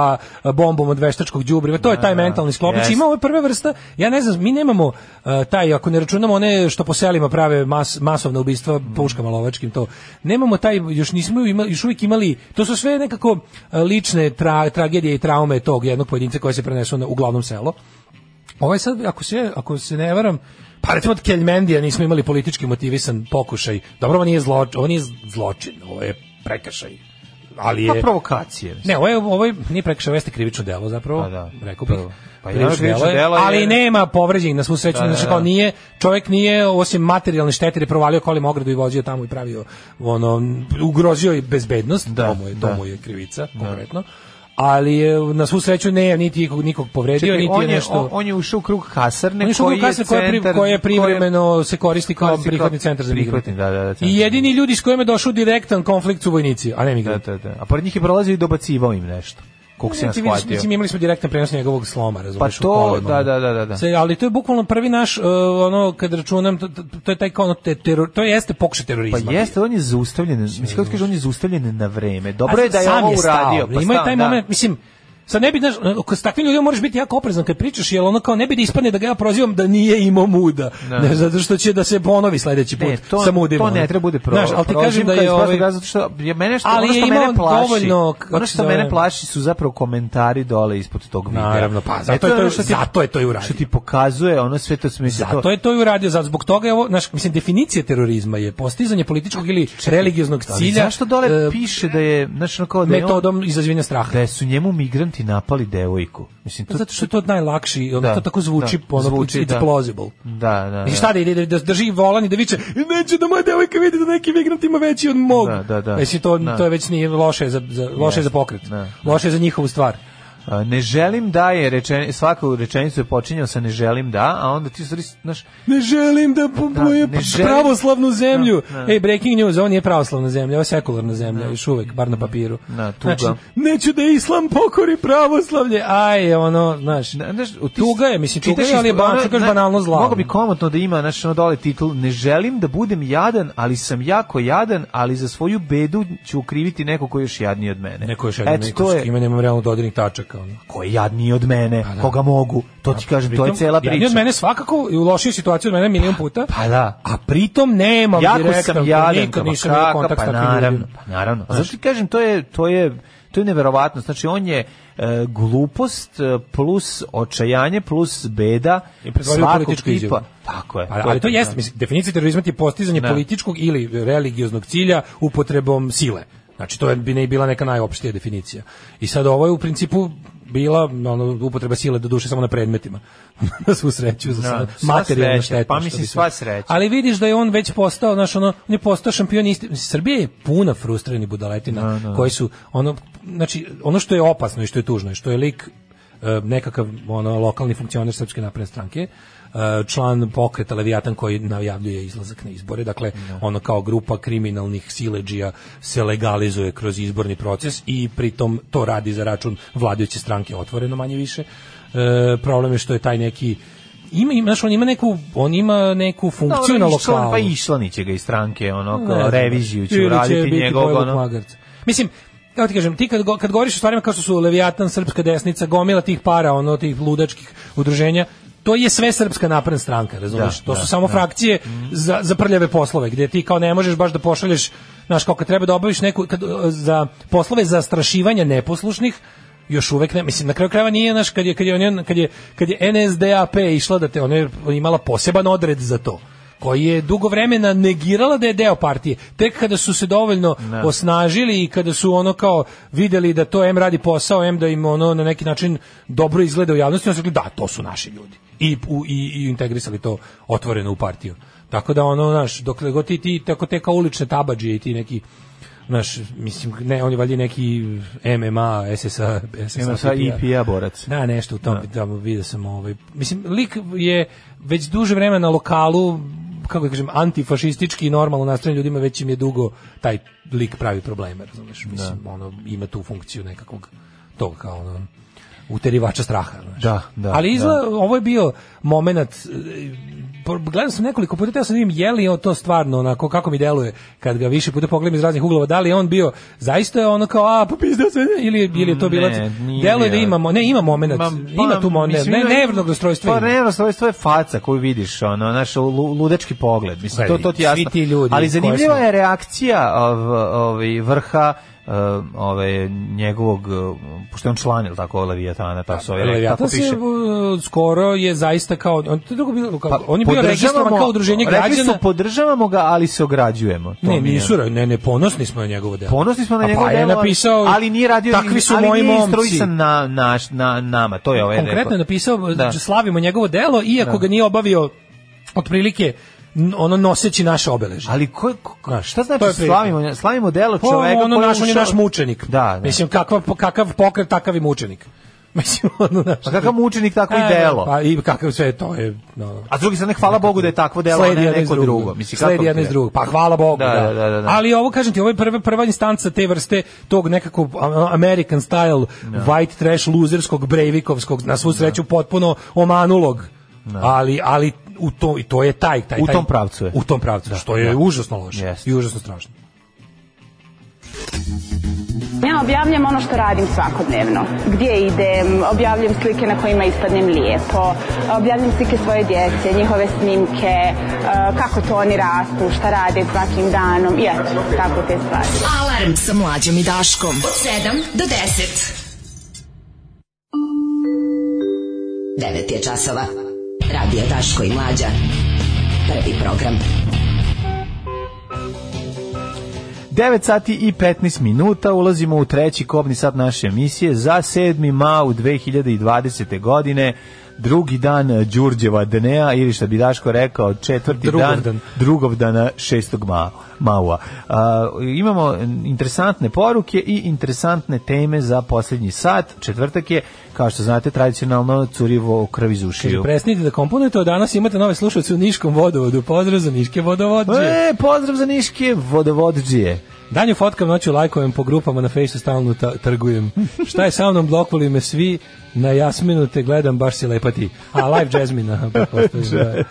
Speaker 5: a, bombom od veštačkog đubriva, to je taj mentalni sklop. Znači
Speaker 6: jest.
Speaker 5: ima ove prve vrsta. Ja ne znam, mi nemamo a, taj ako ne računamo one što po selima prave mas, masovna ubistva
Speaker 6: Mm.
Speaker 5: puškama lovačkim to. Nemamo taj još nismo imali, još uvijek imali. To su sve nekako a, lične tra- tragedije i traume tog jednog pojedinca koje se prenesu na uglavnom selo. Ovaj sad, ako se, ako se ne varam, pa recimo od Keljmendija nismo imali politički motivisan pokušaj. Dobro, ovo nije zločin, ovo nije zločin, ovo je prekršaj. Ali
Speaker 6: Pa
Speaker 5: je...
Speaker 6: provokacije. mislim.
Speaker 5: Ne, ovo je, ovo je nije prekršaj, ovo jeste krivično delo zapravo,
Speaker 6: Pa da,
Speaker 5: rekao bih.
Speaker 6: prvo. Pa jedno
Speaker 5: krivično
Speaker 6: krivično
Speaker 5: delo je,
Speaker 6: delo je-
Speaker 5: ali nema povređenih na svu sreću,
Speaker 6: Da, da,
Speaker 5: znači kao
Speaker 6: da.
Speaker 5: nije, čovjek nije osim materijalne štete, jer je provalio kolim ogradu i vozio tamo i pravio ono ugrozio je bezbednost,
Speaker 6: Da,
Speaker 5: to mu je, to
Speaker 6: da.
Speaker 5: mu je krivica konkretno. Ali je, na svu sreću ne niti nikog, nikog povredio,
Speaker 6: Čekaj,
Speaker 5: niti
Speaker 6: on,
Speaker 5: je
Speaker 6: je,
Speaker 5: nešto
Speaker 6: on, on je ušao u krug kasarne,
Speaker 5: on je šugo
Speaker 6: koji
Speaker 5: kasne koja, pri,
Speaker 6: centar-
Speaker 5: koja je privremeno se koristi kao
Speaker 6: koristi kao
Speaker 5: prihvatni centar za migrante.
Speaker 6: prihvatni, da, da, da, centar.
Speaker 5: I jedini ljudi s kojima je došao u direktan konflikt su vojnici, a ne
Speaker 6: Da,
Speaker 5: migranti.
Speaker 6: da, da. A pored njih je prolazio i dobacivao im nešto. Koliko se ja
Speaker 5: Ti Znači, vidiš,
Speaker 6: shvatio.
Speaker 5: Mislim, imali smo direktan prenos njegovog sloma,
Speaker 6: Pa
Speaker 5: razumiješ,
Speaker 6: to, da, da, da, da. da.
Speaker 5: Se, ali to je bukvalno prvi naš, uh, ono, kad računam, to, to- to je taj kao, ono, te, teror, to jeste pokušaj
Speaker 6: Pa
Speaker 5: terorizma.
Speaker 6: jeste, on je zaustavljen, mislim kako ti kaže, on je zaustavljen na vreme.
Speaker 5: A
Speaker 6: Dobro je Pa da Znači, je
Speaker 5: sam
Speaker 6: ovo
Speaker 5: stao,
Speaker 6: uradio. Pa
Speaker 5: Ima i
Speaker 6: stan,
Speaker 5: taj
Speaker 6: da.
Speaker 5: moment, mislim, Sad ne bi, znaš, ako s takvim ljudima moraš biti jako oprezan kad pričaš, jer ono kao ne bi da ispadne da ga ja prozivam da nije imao muda. Ne, zato što će da se ponovi sledeći put
Speaker 6: Ne, to,
Speaker 5: sa mudima.
Speaker 6: to ne
Speaker 5: ono.
Speaker 6: treba bude pro,
Speaker 5: Znaš, ali ti kažem da
Speaker 6: prozivka iz
Speaker 5: je
Speaker 6: prostog
Speaker 5: ovaj,
Speaker 6: razloga što je mene što,
Speaker 5: Ali
Speaker 6: ono što
Speaker 5: je imao
Speaker 6: mene plaši,
Speaker 5: dovoljno, kako
Speaker 6: ono
Speaker 5: se
Speaker 6: što
Speaker 5: zove-
Speaker 6: mene plaši su zapravo komentari dole ispod tog videa.
Speaker 5: Naravno, pa, zato je
Speaker 6: E,
Speaker 5: to-
Speaker 6: ono što ti-
Speaker 5: zato je to i uradio.
Speaker 6: Što ti pokazuje, ono sve to smisli.
Speaker 5: Zato je to i uradio, zato zbog toga je ovo, znaš, mislim, definicija terorizma je postizanje političkog ili religioznog
Speaker 6: Ali
Speaker 5: cilja
Speaker 6: Zašto dole
Speaker 5: e,
Speaker 6: piše da je, znaš, ono kao da je on-
Speaker 5: metodom izazivanja straha.
Speaker 6: da je su njemu migranti napali devojku. Mislim, to,
Speaker 5: Zato što je to najlakši, ono
Speaker 6: Da,
Speaker 5: to tako zvuči,
Speaker 6: da,
Speaker 5: ono,
Speaker 6: zvuči,
Speaker 5: it's
Speaker 6: da.
Speaker 5: plausible.
Speaker 6: Da, da,
Speaker 5: I
Speaker 6: da.
Speaker 5: šta da ide, da drži volan i da viče, neću da moja devojka vidi da neki migrant ima veći od mog.
Speaker 6: Da, da, da.
Speaker 5: Mislim, to,
Speaker 6: Da.
Speaker 5: to je već nije loše za, za, loše
Speaker 6: Jeste,
Speaker 5: za pokret.
Speaker 6: da, da.
Speaker 5: Loše za njihovu stvar.
Speaker 6: A, ne želim da je rečen, svaku rečenicu je počinjao sa ne želim da, a onda ti u stvari, znaš,
Speaker 5: Ne želim da poboje
Speaker 6: ne želim.
Speaker 5: pravoslavnu zemlju.
Speaker 6: Da, da.
Speaker 5: Ej, breaking news, ovo nije pravoslavna zemlja, ovo je sekularna zemlja, još uvek, bar na papiru. Znači,
Speaker 6: Da, tuga.
Speaker 5: neću da islam pokori pravoslavlje. Aj, ono, znaš,
Speaker 6: Na- znaš, u- ti-
Speaker 5: tuga je, mislim, tuga
Speaker 6: čitaš
Speaker 5: je, ali je
Speaker 6: isto-
Speaker 5: ban,
Speaker 6: ono,
Speaker 5: čukaš
Speaker 6: na-
Speaker 5: banalno zla.
Speaker 6: Mogu bi komotno da ima, znaš, ono dole titul, ne želim da budem jadan, ali sam jako jadan, ali za svoju bedu ću ukriviti neko koji je još jadniji od mene.
Speaker 5: Neko još jedan,
Speaker 6: Eto,
Speaker 5: neko
Speaker 6: to
Speaker 5: s
Speaker 6: je,
Speaker 5: kime nemam realno dodirnih tačaka. Ono.
Speaker 6: ko je jadniji od mene,
Speaker 5: da.
Speaker 6: koga mogu, to ti kažem, to je
Speaker 5: Pritom,
Speaker 6: cela
Speaker 5: jadniji
Speaker 6: priča.
Speaker 5: od mene svakako i u lošiju situaciju od mene milion puta.
Speaker 6: Pa da.
Speaker 5: A pritom nemam
Speaker 6: jako
Speaker 5: direktan,
Speaker 6: sam jadan,
Speaker 5: nikad
Speaker 6: ma
Speaker 5: nisam imao
Speaker 6: kakav,
Speaker 5: kontakt s
Speaker 6: pa
Speaker 5: takvim
Speaker 6: naravno,
Speaker 5: ljudima.
Speaker 6: pa naravno. A Zato ti kažem, to je, to je, to je neverovatno. Znači, on je e, glupost e, plus očajanje plus beda
Speaker 5: I pretvorio u
Speaker 6: svakog
Speaker 5: političku izjavu.
Speaker 6: tipa. Tako je.
Speaker 5: Pa, Ali, ali to
Speaker 6: je
Speaker 5: jeste, mislim, definicija terorizma ti je postizanje
Speaker 6: Da.
Speaker 5: političkog ili religioznog cilja upotrebom sile. Znači, to je bi ne bila neka najopštija definicija. I sad ovo je u principu bila ono, upotreba sile do duše samo na predmetima. na svu sreću za
Speaker 6: Da,
Speaker 5: sada.
Speaker 6: sva
Speaker 5: Materijalna
Speaker 6: sreća,
Speaker 5: šteta.
Speaker 6: pa
Speaker 5: što
Speaker 6: mislim,
Speaker 5: bi se-
Speaker 6: sva sreća.
Speaker 5: Ali vidiš da je on već postao, znaš, ono, on je postao šampion isti. mislim, Srbija je puna frustriranih budaletina koji su, ono, znači, ono što je opasno i što je tužno je što je lik e, nekakav ono lokalni funkcioner Srpske napredne stranke e, član pokreta Leviatan koji najavljuje izlazak na izbore. Dakle, ono kao grupa kriminalnih sileđija se legalizuje kroz izborni proces i pritom to radi za račun vladajuće stranke otvoreno manje više. E, problem je što je taj neki ima ima znaš, on ima neku on ima neku funkciju na lokalu.
Speaker 6: Pa išla niće ga iz stranke, ono,
Speaker 5: Ne
Speaker 6: kao
Speaker 5: znam.
Speaker 6: reviziju će
Speaker 5: Ili
Speaker 6: uraditi
Speaker 5: biti
Speaker 6: njegovog,
Speaker 5: pojela
Speaker 6: ono,
Speaker 5: magarca. Mislim, kako ti kažem, ti kad, go- kad govoriš o stvarima kao što su Leviatan, Srpska desnica, gomila tih para, ono, tih ludačkih udruženja, to je sve srpska napredna stranka, razumiješ?
Speaker 6: Da, da,
Speaker 5: to
Speaker 6: Mhm.
Speaker 5: su samo frakcije za, za prljave poslove, gdje ti kao ne možeš baš da pošalješ, znaš, kao kad treba da obaviš neku, kad, e, za poslove zastrašivanja neposlušnih, još uvek ne, mislim, na kraju krajeva nije, znaš, kad je, kad je, on- kad je, kad je NSDAP išla da te, ona je imala poseban odred za to koji je dugo vremena negirala da je deo partije. Tek kada su se dovoljno osnažili i kada su ono kao videli da to M radi posao, M da im ono na neki način dobro izgleda u javnosti, onda su rekli da, to su naši ljudi. I, u- i, i integrisali to otvoreno u partiju. Tako da ono, znaš, dokle god ti, ti tako te kao ulične tabađe i ti neki znaš, mislim, ne, on je valjda neki MMA, SSA, SSA,
Speaker 6: ima sa
Speaker 5: IPA.
Speaker 6: IPA borac.
Speaker 5: Da, nešto u tom, da. vidio sam ovaj. Mislim, lik je već duže vremena na lokalu, kako da kažem, antifašistički i normalno nastrojeni ljudima, već im je dugo taj lik pravi probleme, razumeš? Mislim, ono, ima tu funkciju nekakvog tog kao ono, uterivača straha. Znaš.
Speaker 6: Da, da,
Speaker 5: Ali izla, ovo je bio moment, e, po- gledao sam nekoliko puta, teo sam da vidim je li on to stvarno, onako, kako mi deluje, kad ga više puta pogledam iz raznih uglova, da li je on bio, zaista je ono kao, a, popizdeo se, ili, je- ili je to bilo,
Speaker 6: Ne, nije,
Speaker 5: deluje da
Speaker 6: ja.
Speaker 5: imamo, ne, ima moment,
Speaker 6: Ma, pa,
Speaker 5: ima tu moment,
Speaker 6: mislim,
Speaker 5: ne,
Speaker 6: ima-
Speaker 5: nevrnog dostrojstva.
Speaker 6: Pa
Speaker 5: ima.
Speaker 6: nevrostrojstvo je faca koju vidiš, ono, naš lu- ludački pogled. Mislim, to, to ti je jasno.
Speaker 5: Pa Svi ti ljudi
Speaker 6: Ali zanimljiva
Speaker 5: koje smo-
Speaker 6: je reakcija ov, ovaj, vrha eh, ovaj, njegovog, eh, pošto je on član, ili tako, Leviatana, tako, se ovaj, rekao,
Speaker 5: Leviatan
Speaker 6: tako
Speaker 5: Pa se
Speaker 6: piše.
Speaker 5: uh, skoro je zaista kao on to je drugo bilo kao, on je bio
Speaker 6: Pa podržavamo-
Speaker 5: registrovan kao udruženje
Speaker 6: Rekli
Speaker 5: građana
Speaker 6: su, podržavamo ga, ali se ograđujemo. To
Speaker 5: Ne,
Speaker 6: mi je-
Speaker 5: nisu, ra- ne, ne, ponosni smo na njegovo delo.
Speaker 6: Ponosni smo na
Speaker 5: A
Speaker 6: njegovo
Speaker 5: pa je
Speaker 6: delo, ali-
Speaker 5: napisao,
Speaker 6: ali nije radio
Speaker 5: takvi su
Speaker 6: ali
Speaker 5: moji
Speaker 6: nije
Speaker 5: momci.
Speaker 6: instruisan na, naš, na nama, to je ovaj
Speaker 5: Konkretno je
Speaker 6: rekao.
Speaker 5: napisao,
Speaker 6: Da.
Speaker 5: da. slavimo njegovo delo, iako ga nije obavio otprilike n- ono noseći naše obeležje.
Speaker 6: Ali ko, ko,
Speaker 5: Znaš,
Speaker 6: šta znači
Speaker 5: to je prilika.
Speaker 6: slavimo, slavimo delo
Speaker 5: Pa,
Speaker 6: čoveka
Speaker 5: ono
Speaker 6: koji je
Speaker 5: naš, on je
Speaker 6: ušao-
Speaker 5: naš mučenik.
Speaker 6: Da, da.
Speaker 5: Mislim, kakav, kakav pokret, takav i mučenik. Mislim, ono naš...
Speaker 6: Pa kakav mučenik, tako
Speaker 5: E,
Speaker 6: i delo.
Speaker 5: Pa i kakav sve to je... No,
Speaker 6: A s druge strane, hvala Bogu da je takvo delo, a
Speaker 5: sledi
Speaker 6: ne
Speaker 5: jedno iz
Speaker 6: neko
Speaker 5: drugog.
Speaker 6: drugo. Mislim, kako
Speaker 5: sledi
Speaker 6: ti
Speaker 5: jedno iz
Speaker 6: je?
Speaker 5: drugog. Pa hvala Bogu,
Speaker 6: Da,
Speaker 5: da.
Speaker 6: da, da, da, da.
Speaker 5: Ali ovo, kažem ti, ovo je prva, prva instanca te vrste tog nekako a, American style, white trash, luzerskog, brejvikovskog, na svu sreću potpuno omanulog. Ali, ali u to, i to je taj, taj,
Speaker 6: U
Speaker 5: taj-
Speaker 6: tom pravcu je.
Speaker 5: U tom pravcu, što je užasno loše
Speaker 6: Jeste.
Speaker 5: i užasno strašno.
Speaker 9: Ja objavljam ono što radim svakodnevno. Gdje idem, objavljam slike na kojima ispadnem lijepo, objavljam slike svoje djece, njihove snimke, eh, kako to oni rastu, šta rade svakim danom i eto, tako te stvari.
Speaker 4: Alarm sa mlađom i Daškom. Od 7 do 10. 9 je časova. Radio Daško i Mlađa. Prvi program.
Speaker 6: 9 sati i 15 minuta ulazimo u treći kobni sat naše emisije za 7. mau 2020. godine. Drugi dan eh, Đurđeva dnea ili što bi Daško rekao četvrti
Speaker 5: Drugov
Speaker 6: dan,
Speaker 5: dan.
Speaker 6: drugog dana šestog ma, maua. A, imamo interesantne poruke i interesantne teme za posljednji sat. Četvrtak je, kao što znate, tradicionalno curivo krv iz ušiju.
Speaker 5: Presnite da komponujete, a danas imate nove slušalce u Niškom vodovodu. Pozdrav za Niške vodovodđe.
Speaker 6: E, pozdrav za Niške, vodovodđije.
Speaker 5: Danju fotkam, noću lajkujem po grupama na Facebooku stalno ta- trgujem. Šta je sa mnom, blokovali me svi, na Jasminu te gledam, baš si lepa ti. A, live Jasmina. pretpostavljam, da.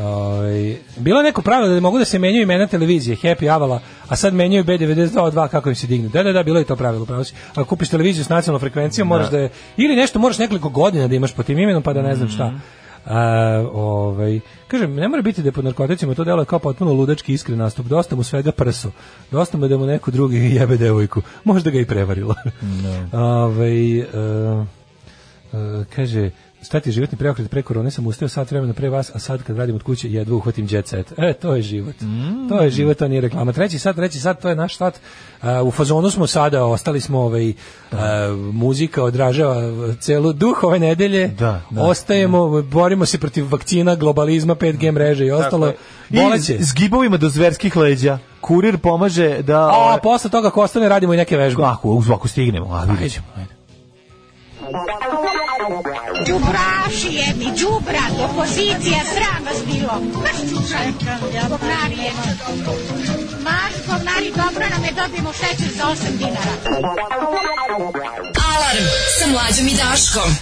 Speaker 5: Ovaj, bilo je neko pravilo da mogu da se menjaju imena televizije, Happy Avala, a sad menjaju B92 kako im se digne. Da, da, da, bilo je to pravilo, pravo si. Ako kupiš televiziju s nacionalnom frekvencijom, moraš da je, ili nešto moraš nekoliko godina da imaš po tim imenom, pa da ne znam šta. A, ovaj, kažem, ne mora biti da je pod narkoticima, to deluje kao potpuno ludački iskren nastup, dosta mu svega prso, dosta mu je da mu neko drugi jebe devojku, možda ga i prevarilo. Ovaj, e, e, kaže, šta ti je životni preokret pre korone, sam ustao sat vremena pre vas, a sad kad radim od kuće jedva uhvatim jet set. E, to je život.
Speaker 6: Mm.
Speaker 5: To je život, to nije reklama. Treći sat, treći sat, to je naš sat. A, u fazonu smo sada, ostali smo ovaj, a, muzika odražava celu duh ove nedelje.
Speaker 6: Da, da.
Speaker 5: Ostajemo, borimo se protiv vakcina, globalizma, 5G mreže i ostalo. Boleće.
Speaker 6: I s gibovima do zverskih leđa. Kurir pomaže da...
Speaker 5: A posle toga ako ostane radimo i neke vežbe.
Speaker 6: Ako, uz- ako stignemo, a vidjet ćemo. ajde.
Speaker 2: Đubraši jedni, đubra, opozicija, sram vas bilo. Maš čučanka, govnari jedno. Maš govnari, dobro nam je, dobijemo šećer za 8 dinara.
Speaker 4: Alarm sa mlađom i Daškom.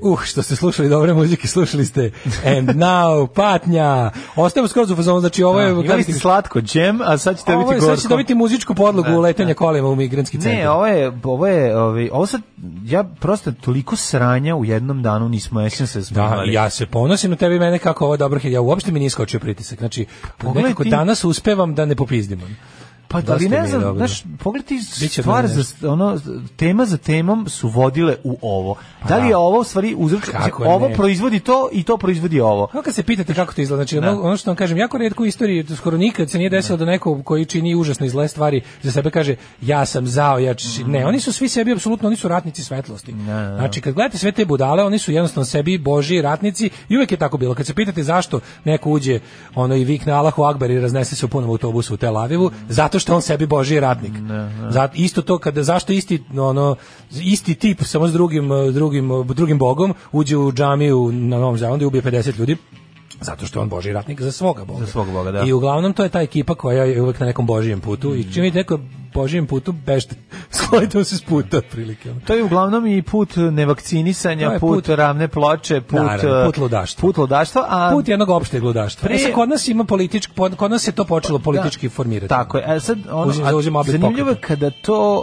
Speaker 5: Uh, što ste slušali dobre muzike, slušali ste And Now, Patnja. Ostajemo skroz u fazonu, znači ovo je...
Speaker 6: Imali ste slatko džem, a sad ćete
Speaker 5: Ovo
Speaker 6: dobiti
Speaker 5: je,
Speaker 6: gorko.
Speaker 5: sad će dobiti muzičku podlogu
Speaker 6: Da,
Speaker 5: u letenja kolima u migrantski centar.
Speaker 6: Ne, ovo je, ovo je, ovi, ovo sad, ja prosto toliko sranja u jednom danu nismo, ja sam se
Speaker 5: Da,
Speaker 6: zbunili.
Speaker 5: ja se ponosim na tebi mene kako ovo dobro ja uopšte mi nije skočio pritisak. Znači,
Speaker 6: Pogledaj
Speaker 5: nekako
Speaker 6: ti-
Speaker 5: danas uspevam da ne popizdim.
Speaker 6: pa
Speaker 5: dosta
Speaker 6: ali
Speaker 5: mi
Speaker 6: ne
Speaker 5: je
Speaker 6: znam,
Speaker 5: dobro.
Speaker 6: znaš, pogledaj ti
Speaker 5: Biće
Speaker 6: stvar,
Speaker 5: vremena
Speaker 6: za, ono, tema za temom su vodile u ovo. Da li
Speaker 5: da.
Speaker 6: je ovo u stvari uzrok,
Speaker 5: Kako
Speaker 6: ovo
Speaker 5: ne?
Speaker 6: proizvodi to i to proizvodi ovo.
Speaker 5: Kako kad se pitate kako to izgleda, znači ono, ono što vam kažem, jako redko u istoriji, skoro nikad se nije desilo da neko koji čini užasno i zle stvari za sebe kaže ja sam zao, ja či... ne, oni su svi sebi apsolutno, oni su ratnici svetlosti. Znači kad gledate sve te budale, oni su jednostavno sebi božji ratnici i uvek je tako bilo. Kad se pitate zašto neko uđe ono i vikne Allahu Akbar i raznese se u punom autobusu u Tel Avivu, zato što on sebi božji ratnik. Zato, isto to kada zašto isti ono isti tip samo s drugim eh, drugim eh, drugim bogom uđe u džamiju na Novom Zelandu i ubije 50 ljudi zato što je on božji ratnik za svoga boga.
Speaker 6: Za svog boga, da.
Speaker 5: I uglavnom to je ta ekipa koja je uvek na nekom božijem putu i čim vidite neko božijem putu bežite, sklonite mu se s puta otprilike. ono.
Speaker 6: To je uglavnom i put nevakcinisanja,
Speaker 5: To je
Speaker 6: put,
Speaker 5: put-
Speaker 6: ravne ploče, put,
Speaker 5: Naravno,
Speaker 6: eh,
Speaker 5: put ludaštva.
Speaker 6: Put ludaštva, a
Speaker 5: Put jednog opšteg ludaštva.
Speaker 6: Pre-
Speaker 5: E sad, kod nas ima politički, kod nas je to počelo politički formirati.
Speaker 6: Pa, Tako je. E sad ono
Speaker 5: Uzim-
Speaker 6: a
Speaker 5: zauzima oblik
Speaker 6: zanimljivo je
Speaker 5: pokreta.
Speaker 6: kada to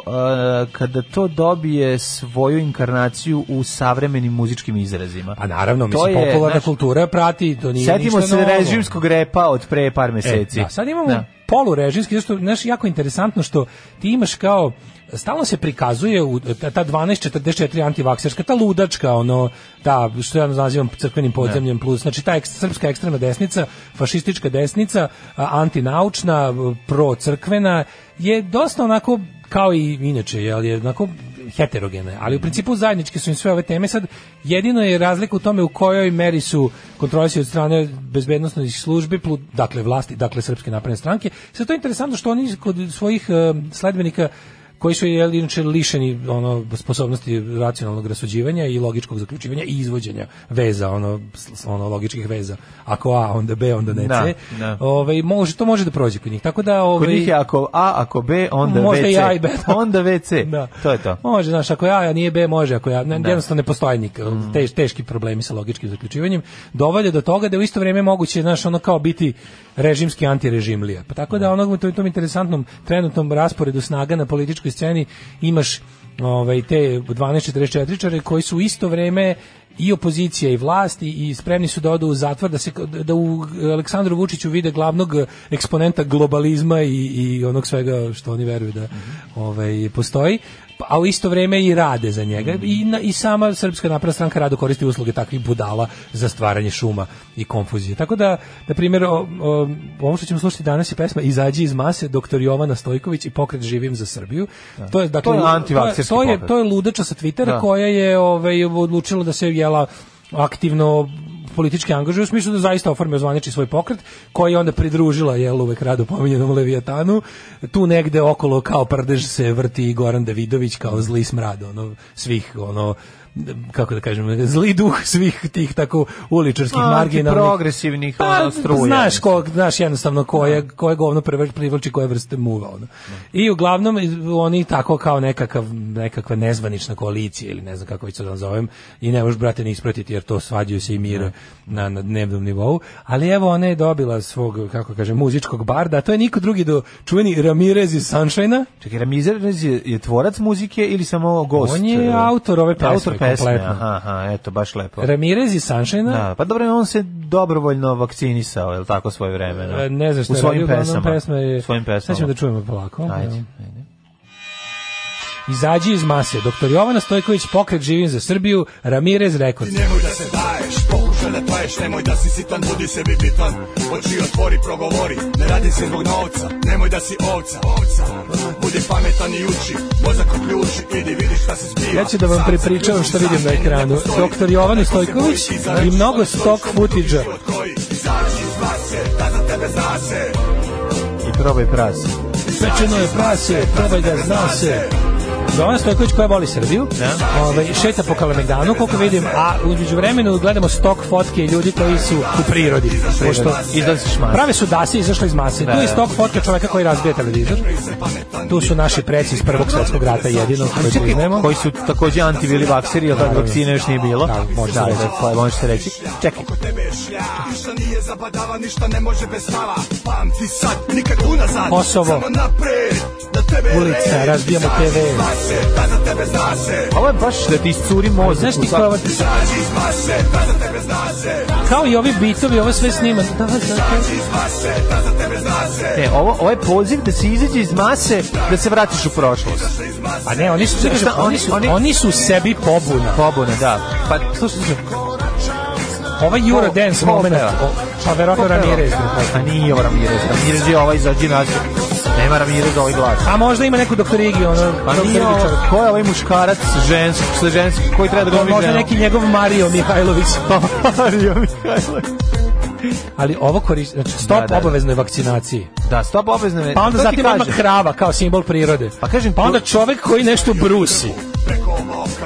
Speaker 6: eh, kada to dobije svoju inkarnaciju u savremenim muzičkim izrazima.
Speaker 5: A Pa naravno,
Speaker 6: To
Speaker 5: mislim,
Speaker 6: je,
Speaker 5: popularna
Speaker 6: znaš,
Speaker 5: kultura prati, to nije
Speaker 6: Setimo
Speaker 5: ništa
Speaker 6: se
Speaker 5: novo.
Speaker 6: režimskog repa od pre par meseci.
Speaker 5: E, da, sad imamo
Speaker 6: Da.
Speaker 5: polurežimski, zato što znaš, jako interesantno što ti imaš kao stalno se prikazuje u ta ta 1244 antivakserska, ta ludačka, ono, ta, što ja nazivam crkvenim podzemljem plus, znači ta eks- srpska ekstremna desnica, fašistička desnica, a, antinaučna, procrkvena, je dosta onako, kao i inače, jel, je onako heterogene, ali u principu zajedničke su im sve ove teme. Sad, jedino je razlika u tome u kojoj meri su kontrolisi od strane bezbednostnih službi, plu- dakle vlasti, dakle Srpske napredne stranke. Sad to je interesantno što oni kod svojih em, sledbenika koji su jel, inače lišeni ono sposobnosti racionalnog rasuđivanja i logičkog zaključivanja i izvođenja veza ono s- ono logičkih veza ako a onda b onda ne
Speaker 6: Da,
Speaker 5: c
Speaker 6: da.
Speaker 5: ovaj može to može da prođe kod njih tako da ovaj
Speaker 6: Kod njih je ako A, ako B, onda
Speaker 5: Možda
Speaker 6: WC.
Speaker 5: i A i B.
Speaker 6: Onda WC.
Speaker 5: da.
Speaker 6: To je to.
Speaker 5: Može, znaš, ako ja, ja nije B, može, ako ja, ne, jednostavno ne postoje nik, teš- teški problemi sa logičkim zaključivanjem, dovolje do toga da je u isto vrijeme moguće, znaš, ono kao biti režimski antirežimlija. Pa tako da onog, tom, tom interesantnom trenutnom rasporedu snaga na političkoj sceni imaš ovaj, te 1244-čare koji su u isto vrijeme i opozicija i vlast i, i spremni su da odu u zatvor da se da u Aleksandru Vučiću vide glavnog eksponenta globalizma i, i onog svega što oni veruju da ovaj postoji pa- a u isto vrijeme i rade za njega i na- i sama srpska napredna stranka rado koristi usluge takvih budala za stvaranje šuma i konfuzije tako da na primjer o- o- ovo što ćemo slušati danas je pesma Izađi iz mase doktor Jovana Stojković i pokret živim za Srbiju to je dakle
Speaker 6: To je
Speaker 5: to je-
Speaker 6: antivakserski
Speaker 5: to je
Speaker 6: pokret.
Speaker 5: to je ludača sa Twittera
Speaker 6: Da.
Speaker 5: koja je ovaj odlučila da se jela aktivno politički angažuje u smislu da zaista oforme zvanični svoj pokret koji je onda pridružila jel uvek rado pominjenom Leviatanu tu negde okolo kao pardež se vrti i Goran Davidović kao zli smrad ono svih ono kako da kažem zli duh svih tih tako uličarskih marginalnih
Speaker 6: Progresivnih
Speaker 5: pa,
Speaker 6: ono, struja.
Speaker 5: Znaš, ko, znaš jednostavno koje, koje govno privrč- privlači koje vrste muva. Ono. I uglavnom iz- oni tako kao nekakav, nekakva nezvanična koalicija ili ne znam kako već to da nazovem i ne možeš brate ni ispratiti jer to svađaju se i mira na, na dnevnom nivou. Ali evo ona je dobila svog, kako kažem, muzičkog barda, a to je niko drugi do čuveni Ramirez iz Sunshine-a.
Speaker 6: Čekaj, Ramizar je, je tvorac muzike ili samo gost? uh,
Speaker 5: On je autor ove pesme.
Speaker 6: Autor pesme,
Speaker 5: kompletno.
Speaker 6: aha, aha, eto, baš lepo.
Speaker 5: Ramirez i Sunshine,
Speaker 6: Da, pa dobro, on se dobrovoljno vakcinisao, je li tako, svoje vremena?
Speaker 5: e, ne znam što
Speaker 6: U svojim
Speaker 5: radio, uglavnom
Speaker 6: pesama.
Speaker 5: pesma je...
Speaker 6: U svojim pesama.
Speaker 5: Sad ćemo da čujemo polako.
Speaker 6: Ajde,
Speaker 5: Evo.
Speaker 6: ajde.
Speaker 5: Izađi iz mase. Doktor Jovana Stojković, pokret živim za Srbiju, Ramirez rekord.
Speaker 10: Nemoj da se daješ, pokušaj da paješ, nemoj da si sitan, budi sebi bitan. Oči otvori, progovori, ne radi se zbog novca, nemoj da si ovca, ovca. Budi pametan i uči, mozak uključi, idi vidi šta se zbiva.
Speaker 5: Ja ću da vam
Speaker 10: Sam se
Speaker 5: prepričavam što vidim na ekranu. Doktor Jovan Stojković i mnogo stock footage-a.
Speaker 10: koji izađi iz mase, da za tebe zna se.
Speaker 6: I probaj prase.
Speaker 5: Pečeno je prase, probaj da zna se. Jovan Stojković koja voli Srbiju, ovaj, šeta po Kalemegdanu koliko vidim, a uđeđu vremenu gledamo stok fotke ljudi koji su u prirodi. Pošto
Speaker 6: Izlaziš mas.
Speaker 5: prave su dase izašle iz mase. Tu je stok fotka čoveka koji razbije televizor. Tu su naši preci iz Prvog svetskog rata jedino koji poznajemo.
Speaker 6: koji su takođe antivili vakseri, jer tad vakcine još nije bilo.
Speaker 5: Da, možda
Speaker 6: da,
Speaker 5: reći.
Speaker 6: da, pa možeš se reći. Čekaj,
Speaker 10: Oko tebe je šlja, ništa nije zabadava, ništa ne može bez stava. Pamti sad, nikad unazad,
Speaker 5: Kosovo.
Speaker 10: samo napred. Na tebe je
Speaker 5: Ulica,
Speaker 10: red.
Speaker 5: razbijamo
Speaker 10: Izađi iz
Speaker 5: TV.
Speaker 10: mase, Da za tebe zna se.
Speaker 6: ovo je baš da ti iscuri mozak.
Speaker 5: Znaš
Speaker 6: u
Speaker 5: ti
Speaker 6: svakom-
Speaker 5: koja
Speaker 10: Izađi iz mase, da za tebe zna se.
Speaker 5: Kao i ovi bitovi, ovo sve snima. Da, da, da.
Speaker 10: Izađi iz mase, da za tebe zna se.
Speaker 6: Ne, ovo, ovo je poziv da se izađe iz mase, da se vratiš u prošlost.
Speaker 5: Pa ne, oni su,
Speaker 6: Šta,
Speaker 5: oni su, oni su sebi pobuna.
Speaker 6: Pobune, da. Pa, slušaj, slušaj.
Speaker 5: Ovaj Eurodance
Speaker 6: Ko- ko
Speaker 5: moment,
Speaker 6: peva?
Speaker 5: o- pa verovatno Ramirez.
Speaker 6: A Pa nije ovo Ramirez. Ramirez je ovaj izađi nađe. Nema Ramirez ovaj glas.
Speaker 5: A možda ima neku doktor Igi, ono,
Speaker 6: Pa
Speaker 5: doktor Igi
Speaker 6: nije ovo,
Speaker 5: čovjek.
Speaker 6: ko je ovaj muškarac žensk, sa žensk, koji treba da
Speaker 5: Pa
Speaker 6: glumi
Speaker 5: možda
Speaker 6: ženu?
Speaker 5: neki njegov Mario Mihajlović.
Speaker 6: Mario Mihajlović.
Speaker 5: Ali ovo koristi, znači stop
Speaker 6: Da, da, da.
Speaker 5: obaveznoj vakcinaciji.
Speaker 6: Da, stop obavezno. je-
Speaker 5: Pa
Speaker 6: To
Speaker 5: onda
Speaker 6: ti
Speaker 5: zatim odmah
Speaker 6: kažem.
Speaker 5: krava kao simbol prirode.
Speaker 6: Pa kažem,
Speaker 5: pa onda čovek koji nešto brusi.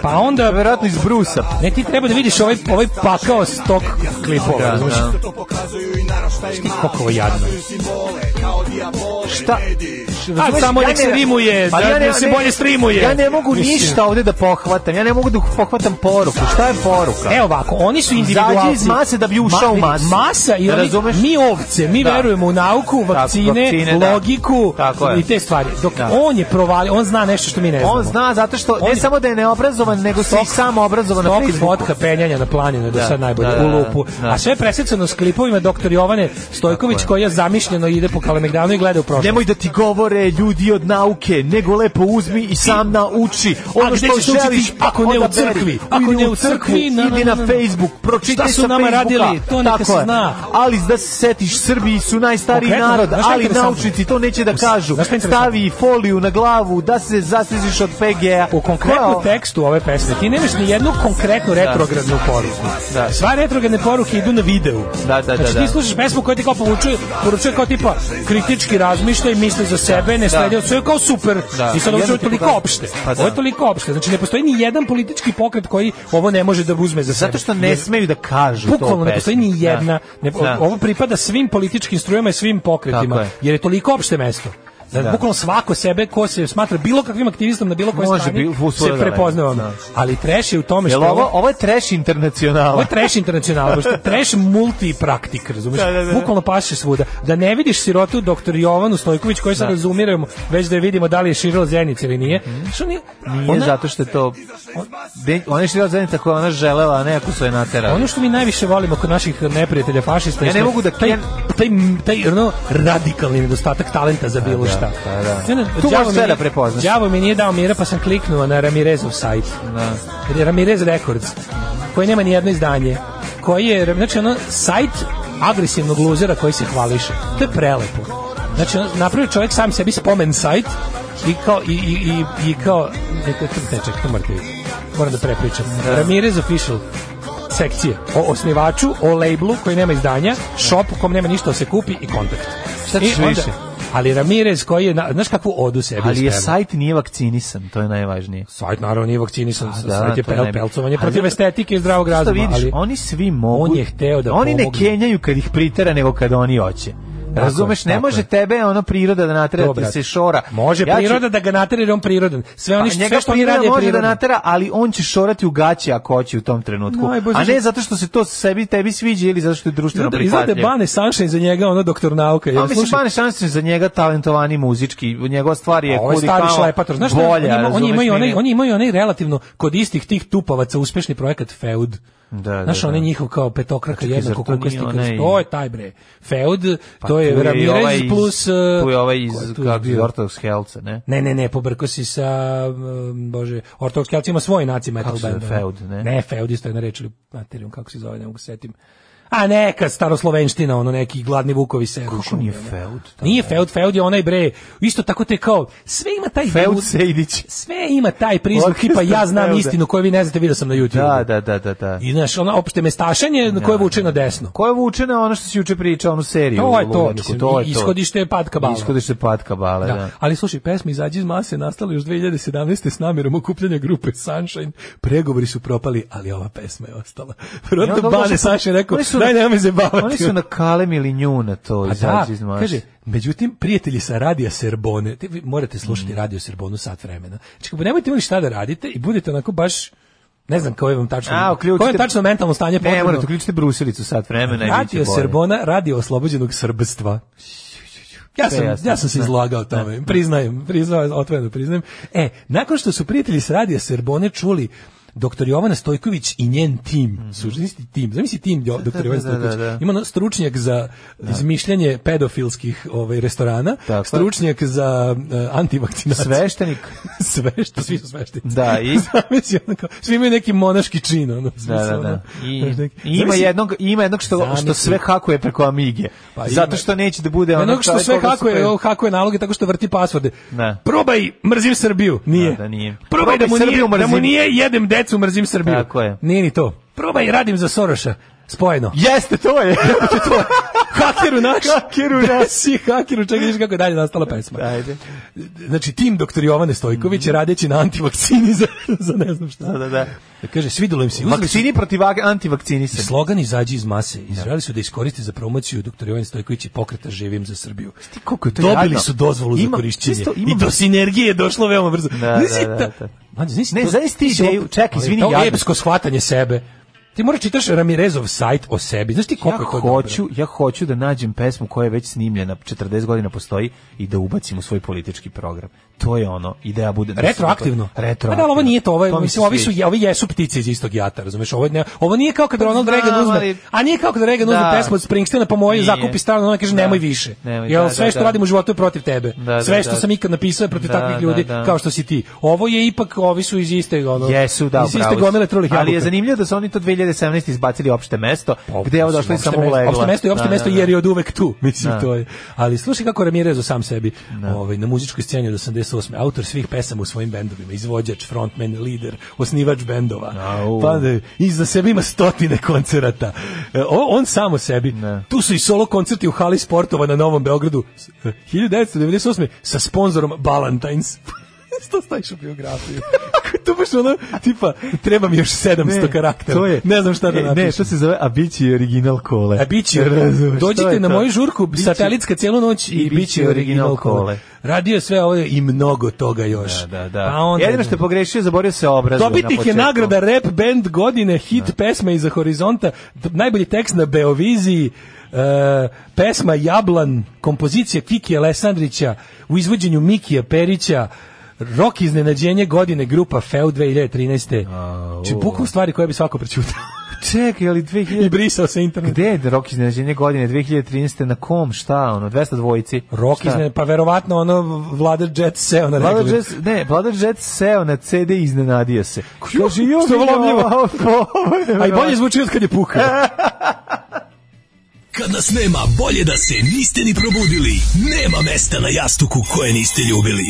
Speaker 5: Pa onda
Speaker 6: Verovatno iz Brusa.
Speaker 5: Ne, ti treba da vidiš ovaj, ovaj pakao stok klipova,
Speaker 6: Da,
Speaker 5: razumiješ?
Speaker 6: da.
Speaker 10: To pokazuju i narašta i mala.
Speaker 5: Koliko ovo jadno.
Speaker 10: Simbole, kao diabole,
Speaker 6: Šta?
Speaker 10: mediji.
Speaker 5: A samo nek se rimuje,
Speaker 6: Pa
Speaker 5: da,
Speaker 6: ja ne-
Speaker 5: da se
Speaker 6: ne-
Speaker 5: bolje streamuje.
Speaker 6: Ja ne mogu
Speaker 5: Mislim.
Speaker 6: ništa ovde da pohvatam. Ja ne mogu da pohvatam poruku. Šta je poruka?
Speaker 5: E ovako, oni su individualci.
Speaker 6: Izađi iz mase da bi ušao u
Speaker 5: vidi,
Speaker 6: masu.
Speaker 5: Masa i
Speaker 6: Da
Speaker 5: oni,
Speaker 6: razumeš?
Speaker 5: mi ovce, mi
Speaker 6: Da.
Speaker 5: verujemo u nauku, vakcine,
Speaker 6: vakcine, da.
Speaker 5: logiku
Speaker 6: Tako je.
Speaker 5: i te stvari. Dok
Speaker 6: Da.
Speaker 5: on je provali, on zna nešto što mi ne znamo.
Speaker 6: On zna zato što
Speaker 5: On
Speaker 6: ne
Speaker 5: je-
Speaker 6: samo da je neobrazovan, nego se i sam obrazovan na
Speaker 5: Stok
Speaker 6: Facebooku.
Speaker 5: fotka penjanja na planinu do
Speaker 6: Da,
Speaker 5: sad najbolje
Speaker 6: da, da,
Speaker 5: u lupu.
Speaker 6: da.
Speaker 5: A sve je presecano s klipovima doktor Jovane Stojković
Speaker 6: Tako je.
Speaker 5: koja zamišljeno ide po Kalemegdanu i gleda u prošlost.
Speaker 6: Nemoj da ti govore ljudi od nauke, nego lepo uzmi i sam nauči ono
Speaker 5: gde
Speaker 6: što
Speaker 5: ćeš naučiti?
Speaker 6: želiš.
Speaker 5: Ako
Speaker 6: pa
Speaker 5: ne
Speaker 6: onda
Speaker 5: u crkvi.
Speaker 6: beri.
Speaker 5: Ako
Speaker 6: Idi
Speaker 5: ne u
Speaker 6: u crkvi,
Speaker 5: crkvi, na, na,
Speaker 6: idi
Speaker 5: na,
Speaker 6: na
Speaker 5: na.
Speaker 6: Facebook, pročitaj
Speaker 5: Šta su
Speaker 6: sa
Speaker 5: nama
Speaker 6: Facebooka.
Speaker 5: radili, to neka
Speaker 6: Tako
Speaker 5: se
Speaker 6: je.
Speaker 5: zna.
Speaker 6: Ali da se setiš, Srbiji su najstariji
Speaker 5: Konkretno,
Speaker 6: narod,
Speaker 5: znaš šta je
Speaker 6: ali
Speaker 5: interesantno?
Speaker 6: naučnici to neće da
Speaker 5: U s-
Speaker 6: kažu.
Speaker 5: znaš šta je interesantno?
Speaker 6: Stavi foliju na glavu, da se zastiziš od PGA.
Speaker 5: u konkretnom
Speaker 6: Kao-
Speaker 5: tekstu ove pesme ti nemaš ni jednu konkretnu retrogradnu poruku.
Speaker 6: Da.
Speaker 5: Sva retrogradne poruke idu na videu.
Speaker 6: Da, da, da,
Speaker 5: znači,
Speaker 6: da.
Speaker 5: ti slušaš pesmu koja ti kao poručuje, poručuje kao tipa kritički razmišlja i misli za sebe, ne sledi od sve kao super.
Speaker 6: Da.
Speaker 5: I sad ovo
Speaker 6: Jedno
Speaker 5: je
Speaker 6: ti
Speaker 5: toliko
Speaker 6: pokazuje.
Speaker 5: opšte.
Speaker 6: Pa da.
Speaker 5: Ovo je toliko opšte. Znači ne postoji ni jedan politički pokret koji ovo ne može da uzme za sebe.
Speaker 6: Zato što ne
Speaker 5: Jer
Speaker 6: smeju da kažu to.
Speaker 5: Bukvalno ne postoji ni jedna. Ne,
Speaker 6: Da.
Speaker 5: Ovo pripada svim političkim strujama i svim pokretima,
Speaker 6: Tako je.
Speaker 5: jer je toliko opšte mesto. Da,
Speaker 6: Da.
Speaker 5: bukvalno svako sebe ko se smatra bilo kakvim aktivistom na bilo kojoj
Speaker 6: Može
Speaker 5: strani
Speaker 6: bi- u svoje
Speaker 5: se
Speaker 6: vreme.
Speaker 5: prepoznava.
Speaker 6: Da.
Speaker 5: Ali trash je u tome što
Speaker 6: Jel
Speaker 5: je
Speaker 6: ovo,
Speaker 5: ovo
Speaker 6: ovo je trash internacionala?
Speaker 5: Ovo je trash internacional, pošto je trash multipraktik, razumiješ?
Speaker 6: Da, da, da.
Speaker 5: Bukvalno paše svuda. Da ne vidiš sirotu doktor Jovanu Stojković koji sad razumiramo, već da je vidimo da li je širila zenice ili nije. Što nije?
Speaker 6: Mhm. Nije zato što je to... On, de, ona je širila zajednica koju je ona želela, a ne ako su je naterali.
Speaker 5: Ono što mi najviše volimo kod naših neprijatelja fašista je
Speaker 6: Ja ne
Speaker 5: što
Speaker 6: mogu da-
Speaker 5: taj
Speaker 6: ja-
Speaker 5: taj taj ono radikalni nedostatak talenta za bilo šta.
Speaker 6: da, da.
Speaker 5: I onda
Speaker 6: Tu
Speaker 5: đavo
Speaker 6: možeš sve
Speaker 5: mi-
Speaker 6: da prepoznaš.
Speaker 5: Đavo mi nije dao mira pa sam kliknuo na Ramirezov sajt.
Speaker 6: Da.
Speaker 5: Jer je Ramirez Records koji nema ni jedno izdanje. Koji je znači ono sajt agresivnog luzera koji se hvališe. To je prelepo. Znači, ono, napravio čovjek sam sebi spomen sajt i kao, i, i, i, i kao, ne, to, to, ček, to morate vidjeti. Moram da prepričam. Ramirez Official sekcije o osnivaču, o labelu koji nema izdanja, shop u kom nema ništa da se kupi i kontakt.
Speaker 6: Šta
Speaker 5: I
Speaker 6: ćeš
Speaker 5: onda-
Speaker 6: više?
Speaker 5: Ali Ramirez koji je, na, znaš kakvu odu sebi
Speaker 6: Ali je
Speaker 5: sprema?
Speaker 6: sajt nije vakcinisan, to je najvažnije.
Speaker 5: Sajt naravno nije vakcinisan,
Speaker 6: Pa da,
Speaker 5: sajt je
Speaker 6: to je
Speaker 5: pel,
Speaker 6: najbolje.
Speaker 5: pelcovanje
Speaker 6: Ali
Speaker 5: protiv
Speaker 6: zato-
Speaker 5: estetike i zdravog
Speaker 6: Što
Speaker 5: razuma.
Speaker 6: vidiš,
Speaker 5: ali,
Speaker 6: oni svi mogu...
Speaker 5: On je hteo da
Speaker 6: Oni ne
Speaker 5: pomogne.
Speaker 6: kenjaju kad ih pritera, nego kad oni hoće. Razumeš, ne
Speaker 5: tako
Speaker 6: može
Speaker 5: je.
Speaker 6: tebe ono priroda da natera
Speaker 5: To,
Speaker 6: da ti
Speaker 5: brate.
Speaker 6: se šora.
Speaker 5: Može
Speaker 6: Ja ću-
Speaker 5: priroda da ga natera jer je on prirodan. Sve oni
Speaker 6: Pa,
Speaker 5: što-
Speaker 6: njega
Speaker 5: sve što oni
Speaker 6: priroda
Speaker 5: rade je
Speaker 6: može da
Speaker 5: prirodno.
Speaker 6: natera, ali on će šorati u gaće ako hoće u tom trenutku.
Speaker 5: Najbolje
Speaker 6: a ne
Speaker 5: znači-
Speaker 6: zato što se to sebi tebi sviđa ili zato što je društveno
Speaker 5: Izgleda- Izgleda da je
Speaker 6: prihvatljivo.
Speaker 5: Bane Sunshine za njega ono doktor nauka. Jer,
Speaker 6: A ono, Pa mislim,
Speaker 5: slušaj,
Speaker 6: Bane šanse za njega talentovani muzički, njegova stvar je
Speaker 5: A Ovo je
Speaker 6: kudi
Speaker 5: ovaj stari
Speaker 6: kamo
Speaker 5: šlepator. Znaš šta,
Speaker 6: bolja,
Speaker 5: on ima- on
Speaker 6: razumeš,
Speaker 5: imaju onaj,
Speaker 6: nije-
Speaker 5: oni imaju onaj relativno kod istih tih tupavaca uspešni projekat Feud.
Speaker 6: Da, da,
Speaker 5: Znaš, onaj
Speaker 6: da.
Speaker 5: njihov kao petokraka
Speaker 6: A čekaj,
Speaker 5: jednako
Speaker 6: zar to
Speaker 5: koliko
Speaker 6: nije onaj-
Speaker 5: To je taj bre. Feud,
Speaker 6: Pa
Speaker 5: to je
Speaker 6: tu i
Speaker 5: Ramirez
Speaker 6: ovaj iz-
Speaker 5: plus... eh,
Speaker 6: Tu je ovaj iz,
Speaker 5: ko je tu
Speaker 6: kako
Speaker 5: bio?
Speaker 6: iz Orthodox Helca, ne?
Speaker 5: Ne, ne, ne, pobrko si sa, um, bože, Ortodoks Kelci ima svoj naci metal
Speaker 6: Kako se
Speaker 5: band. ono.
Speaker 6: zove, Feud, ne?
Speaker 5: Ne, Feud isto je na reči, materijum, kako se zove, ne mogu se setim. A neka staroslovenština, ono neki gladni vukovi se.
Speaker 6: Kako nije Feud?
Speaker 5: Nije Feud, Feud je onaj bre, isto tako te kao, sve ima taj...
Speaker 6: Feud Sejdić.
Speaker 5: Sve ima taj prizvuk,
Speaker 6: Orkestar
Speaker 5: tipa ja znam
Speaker 6: Feuda.
Speaker 5: istinu koju vi ne znate, vidio sam na YouTube.
Speaker 6: Da, da, da, da, da.
Speaker 5: I znaš, ono opšte mestašenje na koje vuče na desno.
Speaker 6: Ko je vuče na ono što si juče pričao, onu seriju?
Speaker 5: To je to,
Speaker 6: ludačku,
Speaker 5: mislim,
Speaker 6: to je to.
Speaker 5: ishodište je pad kabala.
Speaker 6: Ishodište pad kabale, da.
Speaker 5: Da. Ali slušaj, pesma Izađi iz mase nastala još 2017. s namjerom okupljanja grupe Sunshine. Pregovori su propali, ali ova pesma je ostala.
Speaker 6: I onda
Speaker 5: Rodno Bane
Speaker 6: ulaze-
Speaker 5: Sunshine rekao,
Speaker 6: oni su na-
Speaker 5: daj nemoj me zabavati.
Speaker 6: Oni su na kalemili nju na to,
Speaker 5: A da,
Speaker 6: izađi iz maše.
Speaker 5: kaže, međutim, prijatelji sa Radija Serbone, te vi morate slušati
Speaker 6: Mm.
Speaker 5: Radio Serbonu sat vremena. Čekaj, nemojte imali šta da radite i budete onako baš, ne znam koje vam tačno,
Speaker 6: A, uključite-
Speaker 5: koje vam tačno mentalno stanje
Speaker 6: Ne,
Speaker 5: potrebno.
Speaker 6: morate uključiti brusilicu sat vremena i bit će
Speaker 5: Radio
Speaker 6: bolje.
Speaker 5: Serbona, radio oslobođenog srbstva. Ja
Speaker 6: Sve
Speaker 5: sam,
Speaker 6: jasno.
Speaker 5: ja sam se
Speaker 6: Da.
Speaker 5: izlagao tome, priznajem, priznajem, otvoreno priznajem. E, nakon što su prijatelji s radija Serbone čuli doktor Jovana Stojković i njen tim, mm tim, zamisli tim do- doktor Jovana
Speaker 6: Mhm. da, da, da.
Speaker 5: Stojković, ima ono stručnjak za izmišljanje pedofilskih ovaj, restorana,
Speaker 6: Tako je.
Speaker 5: stručnjak za e, antivakcinaciju.
Speaker 6: Sveštenik.
Speaker 5: sve što svi su sveštenici.
Speaker 6: Da, i-
Speaker 5: Zamisli, ono kao, svi imaju neki monaški čin, ono,
Speaker 6: Da, da,
Speaker 5: smisao, ono,
Speaker 6: da. I,
Speaker 5: znaš,
Speaker 6: i
Speaker 5: neki-
Speaker 6: ima
Speaker 5: Zamisli-
Speaker 6: jednog, ima jednog što, što
Speaker 5: Zamisli.
Speaker 6: sve hakuje preko Amige.
Speaker 5: Pa ima.
Speaker 6: Zato što neće da bude ono
Speaker 5: Jednog što sve kako je, Oh. kako je naloge tako što vrti pasvorde.
Speaker 6: Da.
Speaker 5: Probaj mrzim Srbiju. Nije.
Speaker 6: Da, da, nije.
Speaker 5: Probaj, da mu
Speaker 6: Probaj
Speaker 5: nije,
Speaker 6: Srbiju
Speaker 5: da mu
Speaker 6: mrzim.
Speaker 5: nije jedem decu mrzim Srbiju.
Speaker 6: Tako je.
Speaker 5: Nije ni to. Probaj radim za Soroša. Spojeno.
Speaker 6: Jeste, to je. to je.
Speaker 5: Hakeru naš.
Speaker 6: Hakeru naš.
Speaker 5: Desi, hakeru, čekaj, vidiš kako je dalje nastala pesma.
Speaker 6: Ajde.
Speaker 5: Znači, tim doktor Jovane Stojković je radeći na antivakcini za, za ne znam šta.
Speaker 6: Mhm. Da, da, da.
Speaker 5: Kaže, svidelo im se. Uzeli su-
Speaker 6: Vakcini protiv vak-
Speaker 5: i
Speaker 6: antivakcinisanja.
Speaker 5: slogan izađi iz mase. Izrali su da iskoriste za promociju doktor Jovan Stojković i pokreta Živim za Srbiju.
Speaker 6: koliko je to
Speaker 5: Dobili
Speaker 6: jadno.
Speaker 5: su dozvolu
Speaker 6: Ima-
Speaker 5: za korišćenje.
Speaker 6: isto ima-
Speaker 5: I do sinergije je došlo veoma brzo.
Speaker 6: da,
Speaker 5: Nisi
Speaker 6: da,
Speaker 5: ta-
Speaker 6: da.
Speaker 5: Mlađe, nisi
Speaker 6: Ne,
Speaker 5: to-
Speaker 6: znaš ti
Speaker 5: nisi
Speaker 6: ideju-
Speaker 5: ovo-
Speaker 6: čekaj, izvini,
Speaker 5: To
Speaker 6: jadno.
Speaker 5: epsko shvatanje sebe. Ti moraš čitaš Ramirezov sajt o sebi. Znaš ti
Speaker 6: Ja
Speaker 5: koliko je to
Speaker 6: hoću, ja hoću da nađem pesmu koja je već snimljena, 40 godina postoji i da ubacim u svoj politički program. To je ono, i da ja budem... da se-
Speaker 5: Retroaktivno.
Speaker 6: Retroaktivno.
Speaker 5: Pa da, ali ovo nije to, ovo je,
Speaker 6: mi se
Speaker 5: mislim, ovi su
Speaker 6: sviđa. Pa
Speaker 5: ovi jesu ptice iz istog jata, razumeš? Ovo ne, ovo nije kao kad Ronald
Speaker 6: Znam,
Speaker 5: Reagan uzme,
Speaker 6: ali-
Speaker 5: a nije kao kad Reagan
Speaker 6: Da.
Speaker 5: uzme pesmu od Springsteena pa moje
Speaker 6: Nije.
Speaker 5: zakupi stan, ona kaže
Speaker 6: Da.
Speaker 5: nemoj više.
Speaker 6: Nemoj,
Speaker 5: Jer
Speaker 6: da,
Speaker 5: sve
Speaker 6: da,
Speaker 5: što
Speaker 6: da.
Speaker 5: radim u životu je protiv tebe.
Speaker 6: Da, da,
Speaker 5: sve što
Speaker 6: da.
Speaker 5: sam ikad napisao je protiv
Speaker 6: Da,
Speaker 5: takvih ljudi
Speaker 6: da, da.
Speaker 5: kao što si ti. Ovo je ipak ovi su iz iste ono.
Speaker 6: Jesu, da,
Speaker 5: iz iste
Speaker 6: upravo si.
Speaker 5: gomile trulih
Speaker 6: Ali je
Speaker 5: jabuka. Pa,
Speaker 6: zanimljivo da su oni to 2017 izbacili opšte mesto, gde je ovo došlo i
Speaker 5: Opšte
Speaker 6: samo
Speaker 5: mesto-
Speaker 6: legla.
Speaker 5: Opšte mesto je opšte
Speaker 6: Da,
Speaker 5: mesto
Speaker 6: da,
Speaker 5: jer
Speaker 6: da.
Speaker 5: je od uvek tu, mislim
Speaker 6: Da.
Speaker 5: to je. Ali slušaj kako Ramirez sam sebi, ovaj na muzičkoj sceni od 88. autor svih pesama u svojim bendovima, izvođač, frontman, lider, osnivač bendova.
Speaker 6: Au.
Speaker 5: Pa da, iza sebe ima stotine koncerata. E, o- on sam o sebi. Tu su i solo koncerti u hali sportova na Novom Beogradu E, 1998. sa sponzorom Ballantines. Što staviš u biografiju? to baš ono, tipa, treba mi još 700
Speaker 6: Ne,
Speaker 5: karaktera.
Speaker 6: to je-
Speaker 5: ne znam šta da
Speaker 6: E,
Speaker 5: napišem.
Speaker 6: Ne, to se zove, a bit će i original kole.
Speaker 5: A bit će,
Speaker 6: Razumeš, to
Speaker 5: dođite
Speaker 6: je
Speaker 5: na
Speaker 6: to.
Speaker 5: moju žurku,
Speaker 6: Bit će-
Speaker 5: satelitska cijelu noć i,
Speaker 6: i bit
Speaker 5: bit će original kole. Radio je sve ovo i mnogo toga još.
Speaker 6: Da, da, da.
Speaker 5: Pa onda,
Speaker 6: Jedino što je pogrešio, zaborio se obraz.
Speaker 5: Dobitnik je nagrada Rap Band godine, hit pesme iza horizonta, d- najbolji tekst na Beoviziji, e, pesma Jablan, kompozicija Kiki Alessandrića u izvođenju Mikija Perića, Rok iznenađenje godine grupa Feu 2013. Či bukom stvari koje bi svako prećutao
Speaker 6: Čekaj, ali
Speaker 5: i
Speaker 6: 2000...
Speaker 5: brisao sa interneta.
Speaker 6: Gde je rok iznenađenja godine 2013. Na kom? Šta? Ono, 200 dvojici?
Speaker 5: Rock
Speaker 6: Šta?
Speaker 5: izne, pa verovatno ono Vlada Jet seo na
Speaker 6: Vlada
Speaker 5: regular.
Speaker 6: Jet, ne, Vlada Jet seo na CD i iznenadio se. Kaže, jo,
Speaker 5: što je
Speaker 6: vidi,
Speaker 5: lomljivo.
Speaker 6: ovo, ovo je
Speaker 5: A i bolje zvuči od kad je puka.
Speaker 11: Kad nas nema, bolje da se niste ni probudili. Nema mesta na jastuku koje niste ljubili.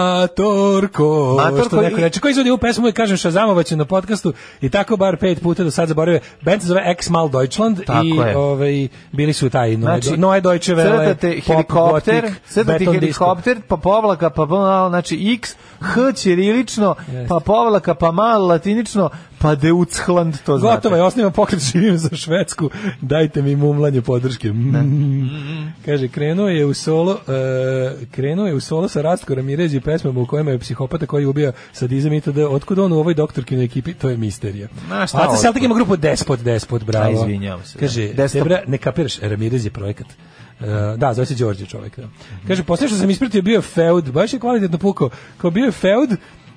Speaker 5: Matorko,
Speaker 6: Matorko
Speaker 5: što neko
Speaker 6: i-
Speaker 5: reče. Ko izvodi ovu pesmu i kažem Šazamovaću na podcastu i tako bar pet puta do sad zaboravio. Band se zove Ex Mal Deutschland
Speaker 6: Tako
Speaker 5: i
Speaker 6: je.
Speaker 5: ovaj, bili su taj Noe,
Speaker 6: Znači,
Speaker 5: Noe Deutsche Welle,
Speaker 6: Crtate
Speaker 5: Pop
Speaker 6: helikopter,
Speaker 5: Gothic,
Speaker 6: crtate
Speaker 5: Beton Disco.
Speaker 6: helikopter, pa povlaka, pa bla, znači X, H ćirilično,
Speaker 5: Jeste.
Speaker 6: pa povlaka, pa malo latinično, Pa Deutschland, to znate.
Speaker 5: Gotovo je, osnivam pokret živim za Švedsku, dajte mi mumlanje podrške. Mm. Kaže, krenuo je u solo, e, krenuo je u solo sa Rastkorom i ređi pesmama u kojima je psihopata koji ubija sadizam itd. Otkud on u ovoj doktorkinoj ekipi, to je misterija.
Speaker 6: Ma, šta
Speaker 5: Aca
Speaker 6: otkud?
Speaker 5: Celtic ima grupu Despot, Despot, bravo.
Speaker 6: A, izvinjavam se, da.
Speaker 5: Kaže,
Speaker 6: Desktop.
Speaker 5: Debra, ne kapiraš, Ramirez je projekat. E, da, zove se Đorđe čovjek. Da. Kaže, poslije što sam ispratio, bio je feud, baš je kvalitetno pukao. Kao bio je feud,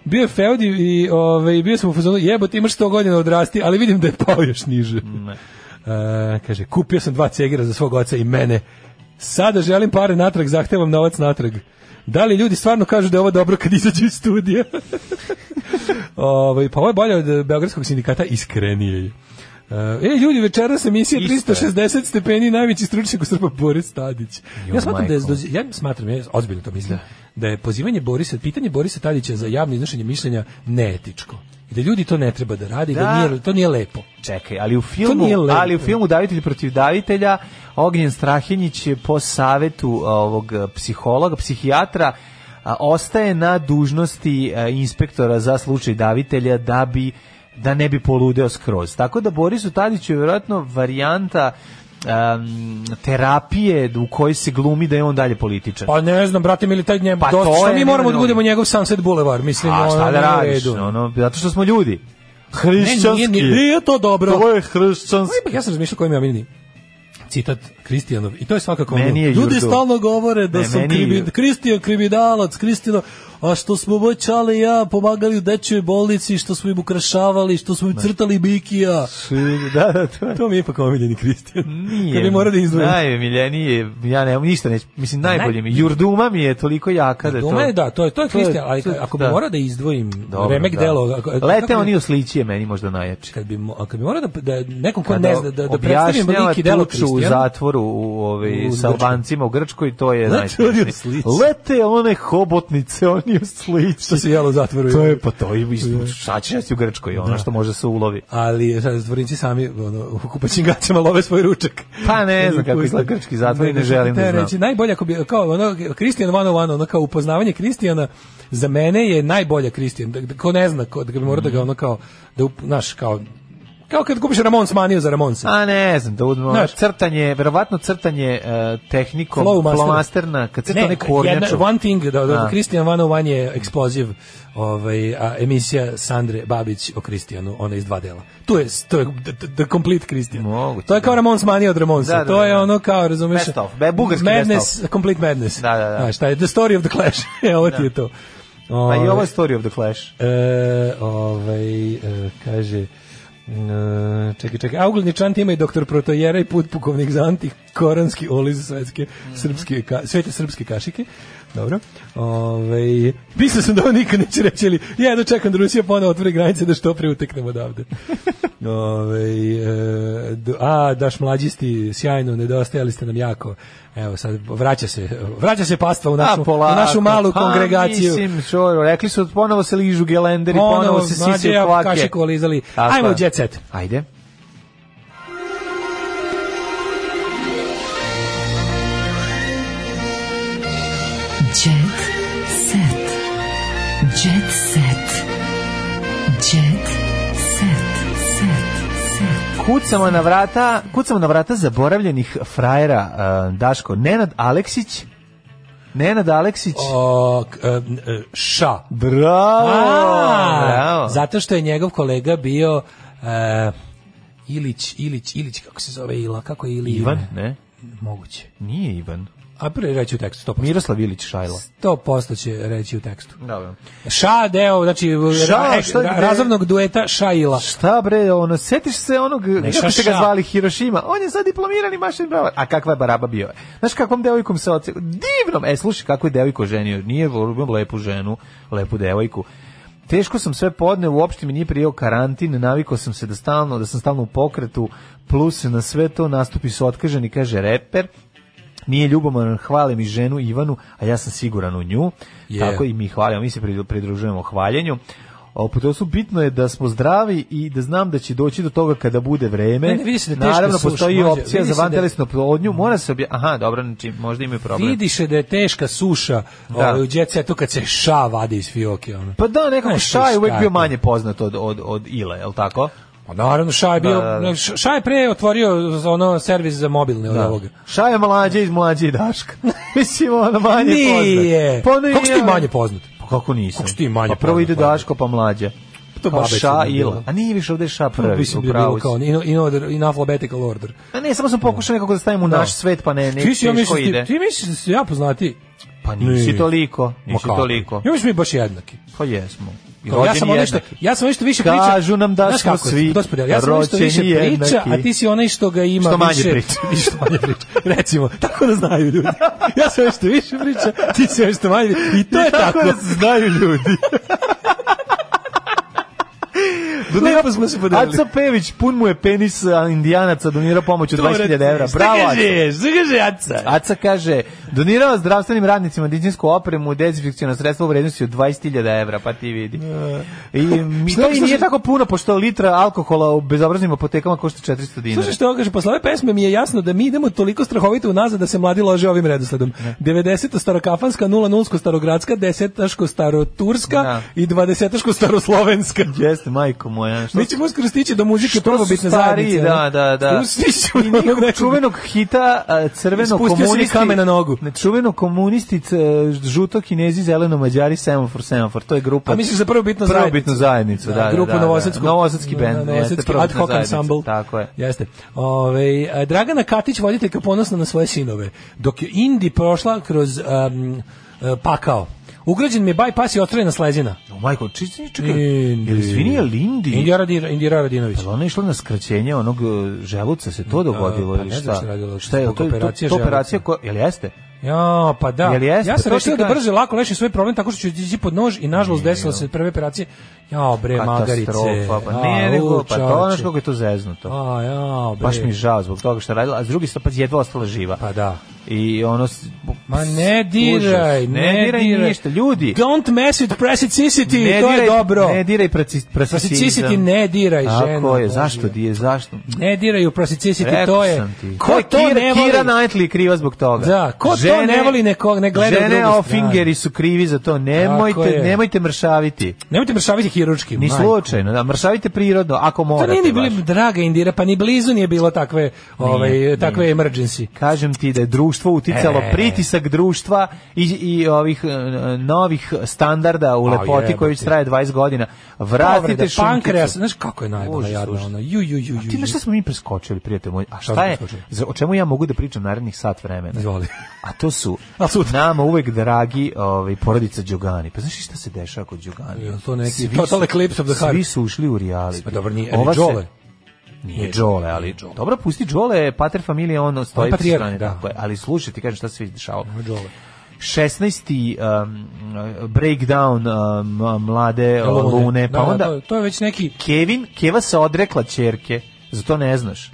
Speaker 5: bio je feud i, i ovaj, bio sam u fazonu, jebote, imaš 100 godina odrasti, ali vidim da je pao još niže.
Speaker 6: Mm.
Speaker 5: E, kaže, kupio sam dva cegira za svog oca i mene. Sada želim pare natrag, zahtevam novac natrag. Da li ljudi stvarno kažu da je ovo dobro kad izađu iz studija? Ovaj, pa ovo je bolje od Beogradskog sindikata, iskrenije je. E, ljudi, večeras emisija
Speaker 6: Isto je.
Speaker 5: 360 stepeni, najveći stručnjak u Srba Boris Tadić.
Speaker 6: Jo,
Speaker 5: ja smatram da je,
Speaker 6: majko.
Speaker 5: zdozi- ja smatram, ja ozbiljno to mislim, da. je pozivanje Borisa, pitanje Borisa Tadića za javno iznošenje mišljenja neetičko. I da ljudi to ne treba da radi, da,
Speaker 6: Da.
Speaker 5: nije, to nije lepo.
Speaker 6: Čekaj, ali u filmu,
Speaker 5: nije lepo.
Speaker 6: ali u filmu Davitelj protiv davitelja Ognjen Strahinjić je po savetu ovog eh, psihologa, psihijatra a, ostaje na dužnosti eh, inspektora za slučaj davitelja da bi da ne bi poludeo skroz. Tako da Borisu Tadiću je vjerojatno varijanta em, terapije u kojoj se glumi da je on dalje političar.
Speaker 5: Pa ne znam, brate, mi li taj njem,
Speaker 6: Pa
Speaker 5: dosta,
Speaker 6: to
Speaker 5: šta
Speaker 6: je
Speaker 5: mi moramo da
Speaker 6: neminovno.
Speaker 5: budemo njegov Sunset Boulevard, mislim,
Speaker 6: A
Speaker 5: ono,
Speaker 6: šta da
Speaker 5: nije u
Speaker 6: radiš?
Speaker 5: redu.
Speaker 6: Ono, zato što smo ljudi.
Speaker 5: Ne, nije, nije, nije to dobro. Pa
Speaker 6: To je hrišćanski.
Speaker 5: Ipak ja sam razmišljao koji mi je omiljeni citat Kristijanov i to je svakako ono,
Speaker 6: Meni je
Speaker 5: ljudi
Speaker 6: Jurdo.
Speaker 5: stalno govore da
Speaker 6: Ne,
Speaker 5: sam
Speaker 6: meni je-
Speaker 5: kribi, Kristijan kriminalac Kristijano a što smo voćali ja pomagali u dečjoj bolnici što smo im ukrašavali što smo im crtali bikija
Speaker 6: Da, da, to je.
Speaker 5: to mi je ipak omiljeni Kristijan
Speaker 6: Nije.
Speaker 5: kad bi morao da izdvojim
Speaker 6: Najmiljenije, ja ne, ništa neću, mislim najbolje mi. je. Jurduma mi je toliko jaka da je to.
Speaker 5: Doma je, da, to je, to je
Speaker 6: To je-
Speaker 5: Kristijan, ali
Speaker 6: to je-
Speaker 5: ako bi
Speaker 6: da.
Speaker 5: morao da izdvojim
Speaker 6: Dobro,
Speaker 5: remek
Speaker 6: da.
Speaker 5: delo... Ako,
Speaker 6: Lete
Speaker 5: kako bi-
Speaker 6: oni u sliči je meni možda najjači.
Speaker 5: Kad bi, mo- a kad bi morao da, da nekom ko
Speaker 6: Kada
Speaker 5: ne zna, da, da predstavim
Speaker 6: Pa objašnjava
Speaker 5: lik i delo
Speaker 6: tuču u
Speaker 5: Kristijana,
Speaker 6: zatvoru u, ovaj,
Speaker 5: U
Speaker 6: sa
Speaker 5: Grčkoj.
Speaker 6: Albancima u Grčkoj, to je
Speaker 5: Lete oni u
Speaker 6: najsmešnije.
Speaker 5: slici.
Speaker 6: Lete one hobotnice, oni u slici.
Speaker 5: što se jelo u zatvoru.
Speaker 6: To je, pa to je, mislim, šta će nas i u Grčkoj, ono što može se ulovi.
Speaker 5: ali sad zatvornici sami ono, u kupaćim gaćama love svoj ručak.
Speaker 6: Pa ne znam kako izgleda grčki zatvor i ne želim da
Speaker 5: te
Speaker 6: znam.
Speaker 5: Reći, najbolje ako bi, kao ono, Kristijan One One, ono kao upoznavanje Kristijana, za mene je najbolja Kristijan, da, da, ko ne zna, ko, da ga bi morao da ga ono kao, da, up- znaš, kao, kao kad kupiš Ramon maniju za Ramonsa.
Speaker 6: A ne znam, da uzmemo
Speaker 5: Znaš-
Speaker 6: crtanje, verovatno crtanje e, tehnikom
Speaker 5: Flowmaster.
Speaker 6: flomasterna, kad crta onaj
Speaker 5: jedna,
Speaker 6: kornjaču.
Speaker 5: one thing, da, da,
Speaker 6: A.
Speaker 5: Kristijan One One je eksploziv, ovaj, a emisija Sandre Babić o Kristijanu, ona iz dva dela. Tu je, to je the, the complete Kristijan.
Speaker 6: Moguće,
Speaker 5: To je kao
Speaker 6: da.
Speaker 5: Ramon Mani od Ramonsa.
Speaker 6: Da, da,
Speaker 5: to je
Speaker 6: da.
Speaker 5: ono kao, razumiješ,
Speaker 6: Best of, be- bugarski best
Speaker 5: madness, complete madness.
Speaker 6: Da, da, da.
Speaker 5: Znaš, taj, the story of the clash. Evo ti je to.
Speaker 6: Pa i
Speaker 5: Ovaj,
Speaker 6: ovo je Story of the Clash.
Speaker 5: E, ovaj, e, kaže, e, čekaj, čekaj, a ugledni čant ima i doktor Protojera i put pukovnik za antikoranski oliz svetske,
Speaker 6: Mhm.
Speaker 5: srpske, ka, svete srpske kašike. Dobro. Ovaj mislio sam da ovo nikad neće reći, ali ja jedno čekam da Rusija ponovo otvori granice da što pre uteknemo odavde. Ovaj e, d- a, daš mlađisti, sjajno, nedostajali ste nam jako. Evo, sad vraća se, vraća se pastva u našu,
Speaker 6: A,
Speaker 5: u
Speaker 6: polako.
Speaker 5: našu malu
Speaker 6: Pa,
Speaker 5: kongregaciju.
Speaker 6: mislim, čoro, rekli su ponovo se ližu gelenderi, ponovo, se
Speaker 5: mlađe
Speaker 6: sisaju
Speaker 5: ja
Speaker 6: kvake.
Speaker 5: kašiku olizali.
Speaker 6: Tako
Speaker 5: Ajmo u
Speaker 6: je.
Speaker 5: jet set.
Speaker 6: Ajde.
Speaker 4: Jet set. Jet set. Jet set. Set. Set.
Speaker 6: Kucamo na vrata, kucamo na vrata zaboravljenih frajera e, Daško Nenad Aleksić. Nenad Aleksić.
Speaker 5: O, k- e, n- e, ša.
Speaker 6: Bravo!
Speaker 5: A,
Speaker 6: bravo.
Speaker 5: Zato što je njegov kolega bio e, Ilić, Ilić, Ilić, kako se zove Ila, kako je Ili?
Speaker 6: Ivan,
Speaker 5: ime?
Speaker 6: ne?
Speaker 5: Moguće.
Speaker 6: Nije Ivan.
Speaker 5: A pre reći u tekstu, 100%.
Speaker 6: Miroslav Ilić Šajla.
Speaker 5: 100% će reći u tekstu.
Speaker 6: Dobro.
Speaker 5: Ša deo, znači
Speaker 6: Ša,
Speaker 5: ra- ek-
Speaker 6: šta je-
Speaker 5: ra- razovnog dueta Ša Ila.
Speaker 6: Šta bre, ono, setiš se onog, kako ste ga
Speaker 5: ša.
Speaker 6: zvali, Hirošima, on je sad diplomirani mašin bravar. A kakva je baraba bio? Znaš kakvom devojkom se oce... Divnom! E, slušaj, kako je devojko ženio. Nije volio lepu ženu, lepu devojku. Teško sam sve podne, uopšte mi nije prijao karantin, navikao sam se da stalno, da sam stalno u pokretu, plus na sve to nastupi su otkaženi, kaže reper, nije ljubomoran, hvale mi ženu Ivanu, a ja sam siguran u nju.
Speaker 5: Je.
Speaker 6: Tako i mi hvalimo, mi se pridružujemo hvaljenju. A opet ovo su bitno je da smo zdravi i da znam da će doći do toga kada bude vreme.
Speaker 5: Ne, ne, vidi se da je teška
Speaker 6: Naravno,
Speaker 5: suša,
Speaker 6: postoji
Speaker 5: mlađe.
Speaker 6: opcija
Speaker 5: Vidi
Speaker 6: za
Speaker 5: se da-
Speaker 6: vantelesnu plodnju. Mora se obje... Aha, dobro, znači, možda imaju problem.
Speaker 5: Vidi se da je teška suša
Speaker 6: Da.
Speaker 5: ovaj, u djece, tu kad se ša vadi iz fioke. Ono.
Speaker 6: Pa da, nekako
Speaker 5: Znaš,
Speaker 6: Ša je uvek
Speaker 5: šta
Speaker 6: bio
Speaker 5: to?
Speaker 6: manje poznat od, od, od Ile, je li tako?
Speaker 5: Pa naravno, Ša je bio,
Speaker 6: Da, da, da.
Speaker 5: Ša- Ša je pre otvorio za ono servis za mobilne od ovoga.
Speaker 6: Ša je mlađe iz mlađe i Daška. Mislim, ono manje
Speaker 5: Nije.
Speaker 6: poznat. ono
Speaker 5: Kako si
Speaker 6: je-
Speaker 5: ti manje poznat?
Speaker 6: Pa kako nisam?
Speaker 5: Kako si ti manje
Speaker 6: Pa prvo
Speaker 5: poznat,
Speaker 6: ide
Speaker 5: mlađe?
Speaker 6: Daško, pa mlađe.
Speaker 5: to
Speaker 6: pa
Speaker 5: babe
Speaker 6: Ša
Speaker 5: čudno
Speaker 6: Ila.
Speaker 5: bilo.
Speaker 6: A nije više ovde Ša
Speaker 5: Prvo
Speaker 6: prvi.
Speaker 5: mislim da je
Speaker 6: upravo
Speaker 5: bilo kao
Speaker 6: si.
Speaker 5: in, in, order, in alphabetical order.
Speaker 6: A ne, samo sam pokušao nekako da stavim u
Speaker 5: Da.
Speaker 6: naš svet, pa ne, ne,
Speaker 5: ti si,
Speaker 6: teško
Speaker 5: ja mislim, ti,
Speaker 6: ide.
Speaker 5: ti misliš da si ja poznati?
Speaker 6: Pa nisi
Speaker 5: Ne.
Speaker 6: toliko,
Speaker 5: Ma
Speaker 6: nisi
Speaker 5: kako?
Speaker 6: toliko.
Speaker 5: Ja mislim mi baš jednaki.
Speaker 6: Pa jesmo. I
Speaker 5: Kao, ja
Speaker 6: rođeni
Speaker 5: sam ono nešto,
Speaker 6: jednaki.
Speaker 5: ja sam nešto više priča.
Speaker 6: Kažu nam da
Speaker 5: Znaš
Speaker 6: smo
Speaker 5: kako je,
Speaker 6: svi
Speaker 5: gospode, ja sam ono što više
Speaker 6: rođeni
Speaker 5: priča,
Speaker 6: jednaki.
Speaker 5: a ti si onaj što ga ima
Speaker 6: Što manje
Speaker 5: više.
Speaker 6: priča.
Speaker 5: I što manje priča. Recimo, tako da znaju ljudi. Ja sam nešto više priča, ti si nešto manje. I to je tako.
Speaker 6: da se znaju ljudi.
Speaker 5: Lepo smo se podelili.
Speaker 6: Aco Pević, pun mu je penis a, indijanaca, donira pomoć od 20.000 evra. Bravo,
Speaker 5: Šta
Speaker 6: Aco.
Speaker 5: kažeš? Šta kaže Aca?
Speaker 6: Aca kaže, donirao zdravstvenim radnicima medicinsku opremu, dezinfekcijona sredstva u vrednosti od 20.000 evra, pa ti vidi. I mi
Speaker 5: Šta
Speaker 6: to i
Speaker 5: E. misliš-
Speaker 6: nije tako puno, pošto litra alkohola u bezobraznim apotekama košta 400 dinara.
Speaker 5: Slušaj što on kaže, posle ove pesme mi je jasno da mi idemo toliko strahovito unazad da se mladi lože ovim redosledom. 90. starokafanska, 00. starogradska, 10. staroturska
Speaker 6: Da.
Speaker 5: i 20. staroslovenska.
Speaker 6: Jeste, majko moja. Što
Speaker 5: Mi ćemo uskoro stići do muzike
Speaker 6: što
Speaker 5: prvobitne
Speaker 6: su stariji,
Speaker 5: zajednice.
Speaker 6: Da, da, da.
Speaker 5: Stići ćemo
Speaker 6: I
Speaker 5: do
Speaker 6: nikog
Speaker 5: nekog-
Speaker 6: čuvenog hita a, crveno
Speaker 5: Ispustio si mi
Speaker 6: komunisti.
Speaker 5: kamen na nogu.
Speaker 6: Ne, Čuveno komunisti, c- žuto kinezi, zeleno mađari, semafor, semafor. To je grupa.
Speaker 5: A misliš za prvobitnu zajednicu?
Speaker 6: Prvobitnu zajednicu, da, da,
Speaker 5: grupu
Speaker 6: da, da.
Speaker 5: Novosadsku.
Speaker 6: Novosadski bend, jeste,
Speaker 5: Novosadski ad
Speaker 6: prvobitna
Speaker 5: hoc
Speaker 6: zajednica,
Speaker 5: ensemble.
Speaker 6: tako je.
Speaker 5: Jeste. Ove, a, Dragana Katić, voditeljka ponosna na svoje sinove. Dok je Indi prošla kroz um, e, pakao. Ugrađen mi je bypass i otvorena slezina.
Speaker 6: O, majko, čisti čekaj. Ili izvini, je li Indi?
Speaker 5: Indija, Radira, Indira Radinović.
Speaker 6: Jel Ona je išla na skraćenje onog e, želuca, se to dogodilo
Speaker 5: pa
Speaker 6: ili
Speaker 5: ne
Speaker 6: šta?
Speaker 5: znam šta je radilo,
Speaker 6: Šta je,
Speaker 5: zbog
Speaker 6: to, je- to,
Speaker 5: operacije
Speaker 6: to operacija
Speaker 5: želuca.
Speaker 6: koja, jel jeste?
Speaker 5: Ja, pa da.
Speaker 6: Jel jeste?
Speaker 5: Ja sam
Speaker 6: To
Speaker 5: rešio
Speaker 6: ti
Speaker 5: da
Speaker 6: kažem.
Speaker 5: brže lako rešim svoj problem tako što ću ići pod nož i nažalost desilo se prve operacije. Ja, bre, E, magarice.
Speaker 6: Katastrofa, pa
Speaker 5: A,
Speaker 6: ne,
Speaker 5: u,
Speaker 6: nego, pa to ono
Speaker 5: čoveče.
Speaker 6: što kako je to zeznuto.
Speaker 5: A, ja, bre.
Speaker 6: Baš mi je žao zbog toga što je radila, a s druge strane pa jedva ostala živa.
Speaker 5: Pa da.
Speaker 6: I ono s-
Speaker 5: Ma ne
Speaker 6: užas.
Speaker 5: diraj,
Speaker 6: ne, diraj, ništa, ljudi.
Speaker 5: Don't mess with plasticity,
Speaker 6: ne
Speaker 5: to
Speaker 6: diraj,
Speaker 5: je dobro.
Speaker 6: Ne diraj pracis,
Speaker 5: Plasticity ne diraj,
Speaker 6: Tako
Speaker 5: žena.
Speaker 6: je,
Speaker 5: Božja.
Speaker 6: zašto di je, zašto?
Speaker 5: Ne diraju plasticity,
Speaker 6: Rekao
Speaker 5: to je...
Speaker 6: sam ti.
Speaker 5: Ko to
Speaker 6: Kira,
Speaker 5: ne voli?
Speaker 6: Kira Knightley je kriva zbog toga.
Speaker 5: Da, ko to ne voli, neko- ne gleda u
Speaker 6: Žene
Speaker 5: drugu
Speaker 6: Offingeri su krivi za to.
Speaker 5: Tako
Speaker 6: Nemojte,
Speaker 5: je.
Speaker 6: nemojte mršaviti.
Speaker 5: Nemojte mršaviti hiručki.
Speaker 6: Ni
Speaker 5: majko.
Speaker 6: slučajno, da, mršavite prirodno, ako
Speaker 5: To
Speaker 6: morate.
Speaker 5: nije ni
Speaker 6: baš.
Speaker 5: bili draga Indira, pa ni blizu nije bilo takve, ovaj,
Speaker 6: nije.
Speaker 5: takve emergency.
Speaker 6: Kažem ti da je društvo uticalo,
Speaker 5: E.
Speaker 6: pritisak društva i, i ovih e, novih standarda u lepoti
Speaker 5: jebote.
Speaker 6: koji već traje 20 godina. Vratite
Speaker 5: Povrede
Speaker 6: šunkicu.
Speaker 5: pankreas, znaš kako je najbolja
Speaker 6: Užas,
Speaker 5: jadna
Speaker 6: užas.
Speaker 5: ona. Ju, ju, ju,
Speaker 6: A
Speaker 5: ju.
Speaker 6: Ti
Speaker 5: ju.
Speaker 6: znaš šta smo mi preskočili, prijatelj moj? A
Speaker 5: smo
Speaker 6: šta je,
Speaker 5: preskočili?
Speaker 6: za- o čemu ja mogu da pričam narednih sat vremena?
Speaker 5: Izvoli.
Speaker 6: A to su
Speaker 5: A sutra?
Speaker 6: nama uvek dragi ovaj, porodica Đogani. Pa znaš li šta se dešava kod Đogani?
Speaker 5: Jel to neki
Speaker 6: Svi
Speaker 5: total
Speaker 6: su-
Speaker 5: eclipse of the heart?
Speaker 6: Svi su ušli u reality.
Speaker 5: Pa dobro, nije,
Speaker 6: Ova
Speaker 5: ali
Speaker 6: se-
Speaker 5: Đole.
Speaker 6: Nije Đole, ali Đole. Dobro, pusti Đole, pater familije, ono stoji po
Speaker 5: patrijarh,
Speaker 6: strani.
Speaker 5: da.
Speaker 6: Tako je. Ali slušaj, ti kažem šta se vidi dešavalo.
Speaker 5: Đole.
Speaker 6: 16. Um, breakdown um, mlade Lune, pa
Speaker 5: Da, da,
Speaker 6: onda
Speaker 5: to, to je već neki
Speaker 6: Kevin, Keva se odrekla ćerke, zato ne znaš.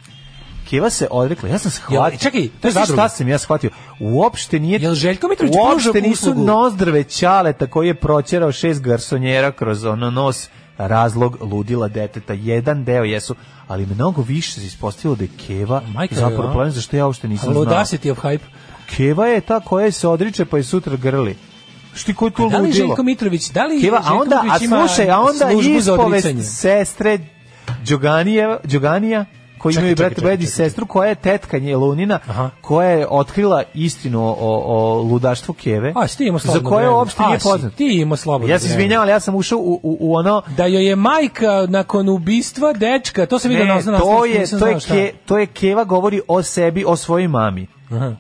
Speaker 6: Keva se odrekla, ja sam shvatio.
Speaker 5: Jel, čekaj, to je
Speaker 6: Znaš
Speaker 5: zadruga?
Speaker 6: šta sam ja shvatio? Uopšte nije...
Speaker 5: Jel Željko Mitrović
Speaker 6: Uopšte
Speaker 5: pruža
Speaker 6: nisu
Speaker 5: uslugu?
Speaker 6: nozdrve ćaleta koji je proćerao šest garsonjera kroz ono nos razlog ludila deteta. Jedan deo jesu, ali mnogo više se ispostavilo da je Keva
Speaker 5: Majka je,
Speaker 6: zapravo
Speaker 5: a?
Speaker 6: problem zašto ja uopšte nisam znao.
Speaker 5: Ludacity of hype.
Speaker 6: Keva je ta koja se odriče pa je sutra grli. Šti koji to
Speaker 5: Da li
Speaker 6: ludilo?
Speaker 5: Željko Mitrović, da li
Speaker 6: Keva, a
Speaker 5: Željko
Speaker 6: onda, a
Speaker 5: Mitrović ima
Speaker 6: slušaj, a onda
Speaker 5: službu za odricanje?
Speaker 6: ispovest sestre Đoganije, Đoganija, koji
Speaker 5: Čekaj,
Speaker 6: imaju
Speaker 5: čekaj,
Speaker 6: brat
Speaker 5: čekaj,
Speaker 6: Bedi
Speaker 5: čekaj.
Speaker 6: sestru, koja je tetka nje Lunina,
Speaker 5: Aha.
Speaker 6: koja je otkrila istinu o, o ludaštvu Keve,
Speaker 5: A, si ti imao
Speaker 6: za
Speaker 5: slobodno
Speaker 6: koje
Speaker 5: vreme.
Speaker 6: uopšte
Speaker 5: A,
Speaker 6: nije
Speaker 5: si
Speaker 6: poznat.
Speaker 5: ti imao slobodno
Speaker 6: Ja se
Speaker 5: vreme.
Speaker 6: izvinjavam, ali ja sam ušao u, u, u ono...
Speaker 5: Da joj je majka nakon ubistva dečka, to sam vidio na
Speaker 6: Ne,
Speaker 5: na
Speaker 6: to je,
Speaker 5: nisam
Speaker 6: to, je
Speaker 5: znao šta.
Speaker 6: ke, to je Keva govori o sebi, o svojoj mami.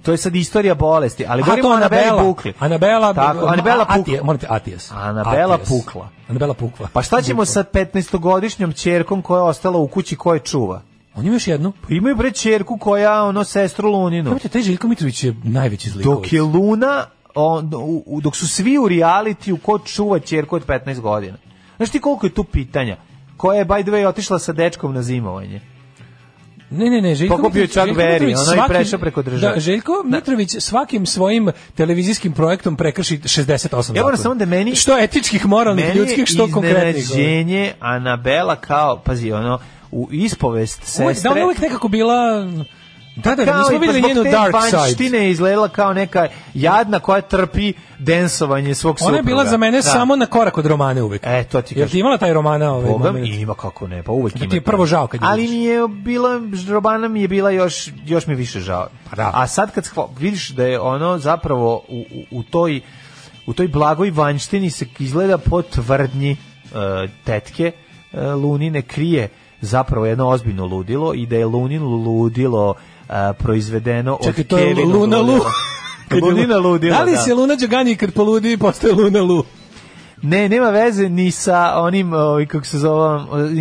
Speaker 6: To je sad istorija bolesti, ali
Speaker 5: Aha,
Speaker 6: govorimo
Speaker 5: to
Speaker 6: o Anabeli
Speaker 5: Anabela.
Speaker 6: Bukli.
Speaker 5: Anabela,
Speaker 6: Tako,
Speaker 5: ma-
Speaker 6: Anabela
Speaker 5: Atija-
Speaker 6: Pukla.
Speaker 5: molim te, Atijas.
Speaker 6: Anabela
Speaker 5: Atijas.
Speaker 6: Pukla.
Speaker 5: Anabela Pukla.
Speaker 6: Pa šta ćemo sa 15-godišnjom ćerkom koja je ostala u kući koje čuva?
Speaker 5: On ima još jednu.
Speaker 6: Pa imaju bre ćerku koja ono sestru Luninu.
Speaker 5: Nemojte, taj Željko Mitrović je najveći zlikovac.
Speaker 6: Dok je Luna on, u, u- dok su svi u realitiju ko čuva ćerku od 15 godina. Znaš ti koliko je tu pitanja? Koja je by the way otišla sa dečkom na zimovanje?
Speaker 5: Ne, ne, ne, Željko
Speaker 6: Pokupio je
Speaker 5: Mitrović-
Speaker 6: Chuck
Speaker 5: Željko
Speaker 6: Berry,
Speaker 5: Mitrović
Speaker 6: ono i
Speaker 5: svakim-
Speaker 6: prešao preko države.
Speaker 5: Da, Željko Mitrović svakim svojim televizijskim projektom prekrši 68
Speaker 6: Ja moram samo
Speaker 5: zakona.
Speaker 6: da meni-
Speaker 5: Što etičkih, moralnih, ljudskih, što konkretnih.
Speaker 6: iznenađenje Anabela kao, pazi, ono, u ispovest
Speaker 5: Uvek, da
Speaker 6: sestre...
Speaker 5: ona je uvek nekako bila... Da, da,
Speaker 6: Kao
Speaker 5: nismo
Speaker 6: i
Speaker 5: videli
Speaker 6: pa
Speaker 5: njenu
Speaker 6: zbog te
Speaker 5: dark side.
Speaker 6: vanjštine je izgledala kao neka jadna koja trpi densovanje svog supruga.
Speaker 5: Ona je bila za mene
Speaker 6: Da.
Speaker 5: samo na korak od romane uvek.
Speaker 6: E, to ti
Speaker 5: Jer ti
Speaker 6: kažem.
Speaker 5: imala taj romana ovaj
Speaker 6: Boga mi
Speaker 5: moment?
Speaker 6: ima kako ne, pa uvek
Speaker 5: Da ti
Speaker 6: ima
Speaker 5: je
Speaker 6: to.
Speaker 5: prvo žao kad je
Speaker 6: Ali
Speaker 5: vidiš.
Speaker 6: mi je bila, Robana mi je bila još, još mi je više žao.
Speaker 5: Pa da.
Speaker 6: A sad kad shva- vidiš da je ono zapravo u, u, u toj u toj blagoj vanjštini se izgleda po tvrdnji e, tetke e, Lunine krije zapravo jedno ozbiljno ludilo i da je Lunin ludilo e, proizvedeno
Speaker 5: Čekaj,
Speaker 6: od
Speaker 5: to je
Speaker 6: Kevinog
Speaker 5: Luna Lu.
Speaker 6: ludila. Lunina ludila,
Speaker 5: Da li
Speaker 6: da.
Speaker 5: se Luna Đogani kad poludi postaje Luna Lu?
Speaker 6: Ne, nema veze ni sa onim, ovaj, kako se zove,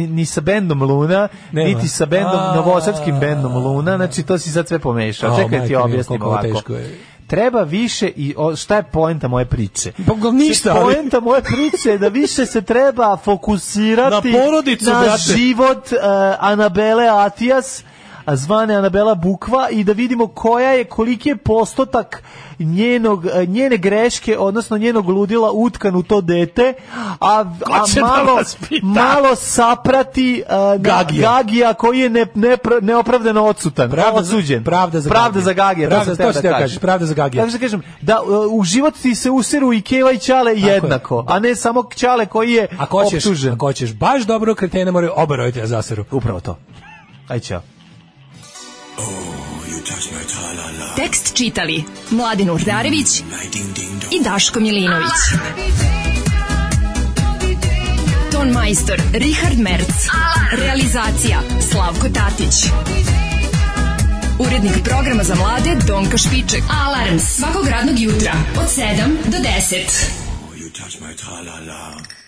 Speaker 6: ni sa bendom Luna,
Speaker 5: Nema.
Speaker 6: niti sa bendom,
Speaker 5: A.
Speaker 6: novosadskim bendom Luna, znači to si sad sve pomešao.
Speaker 5: A,
Speaker 6: Čekaj da ti
Speaker 5: majko mila,
Speaker 6: objasnim
Speaker 5: koliko ovo
Speaker 6: ovako.
Speaker 5: teško je.
Speaker 6: Treba više i o, šta je poenta moje priče?
Speaker 5: Pa, ga ništa, ali-
Speaker 6: Poenta moje priče je da više se treba fokusirati
Speaker 5: Na porodicu,
Speaker 6: na
Speaker 5: brate.
Speaker 6: život eh, Anabele Atijas, a zvane Anabela Bukva i da vidimo koja je koliki je postotak njenog eh, njene greške odnosno njenog ludila utkan u to dete a, a
Speaker 5: će da
Speaker 6: malo
Speaker 5: vas pita?
Speaker 6: malo saprati eh, na-
Speaker 5: Gagija.
Speaker 6: Gagija koji je ne, nepr- neopravdano odsutan osuđen
Speaker 5: pravda za
Speaker 6: pravda
Speaker 5: Gagija.
Speaker 6: za Gagija
Speaker 5: Pravda,
Speaker 6: to sam
Speaker 5: to
Speaker 6: teo
Speaker 5: si
Speaker 6: da
Speaker 5: teo
Speaker 6: kažem.
Speaker 5: kažeš, pravda za Gagija.
Speaker 6: Tako što kažem da eh, u život ti se usiru i Keva i Ćale jednako a ne samo Ćale koji je
Speaker 5: Ako hoćeš,
Speaker 6: optužen
Speaker 5: ako hoćeš baš dobro kretene, moraju oba roditelja zaseru.
Speaker 6: upravo to aj ćao
Speaker 4: Tekst čitali Mladin Urdarević i Daško Milinović. Ton majstor Richard Merc. Realizacija Slavko Tatić. Urednik programa za mlade Donka Špiček. Alarms svakog radnog jutra od 7 do 10.
Speaker 11: You touch my tra-la-la.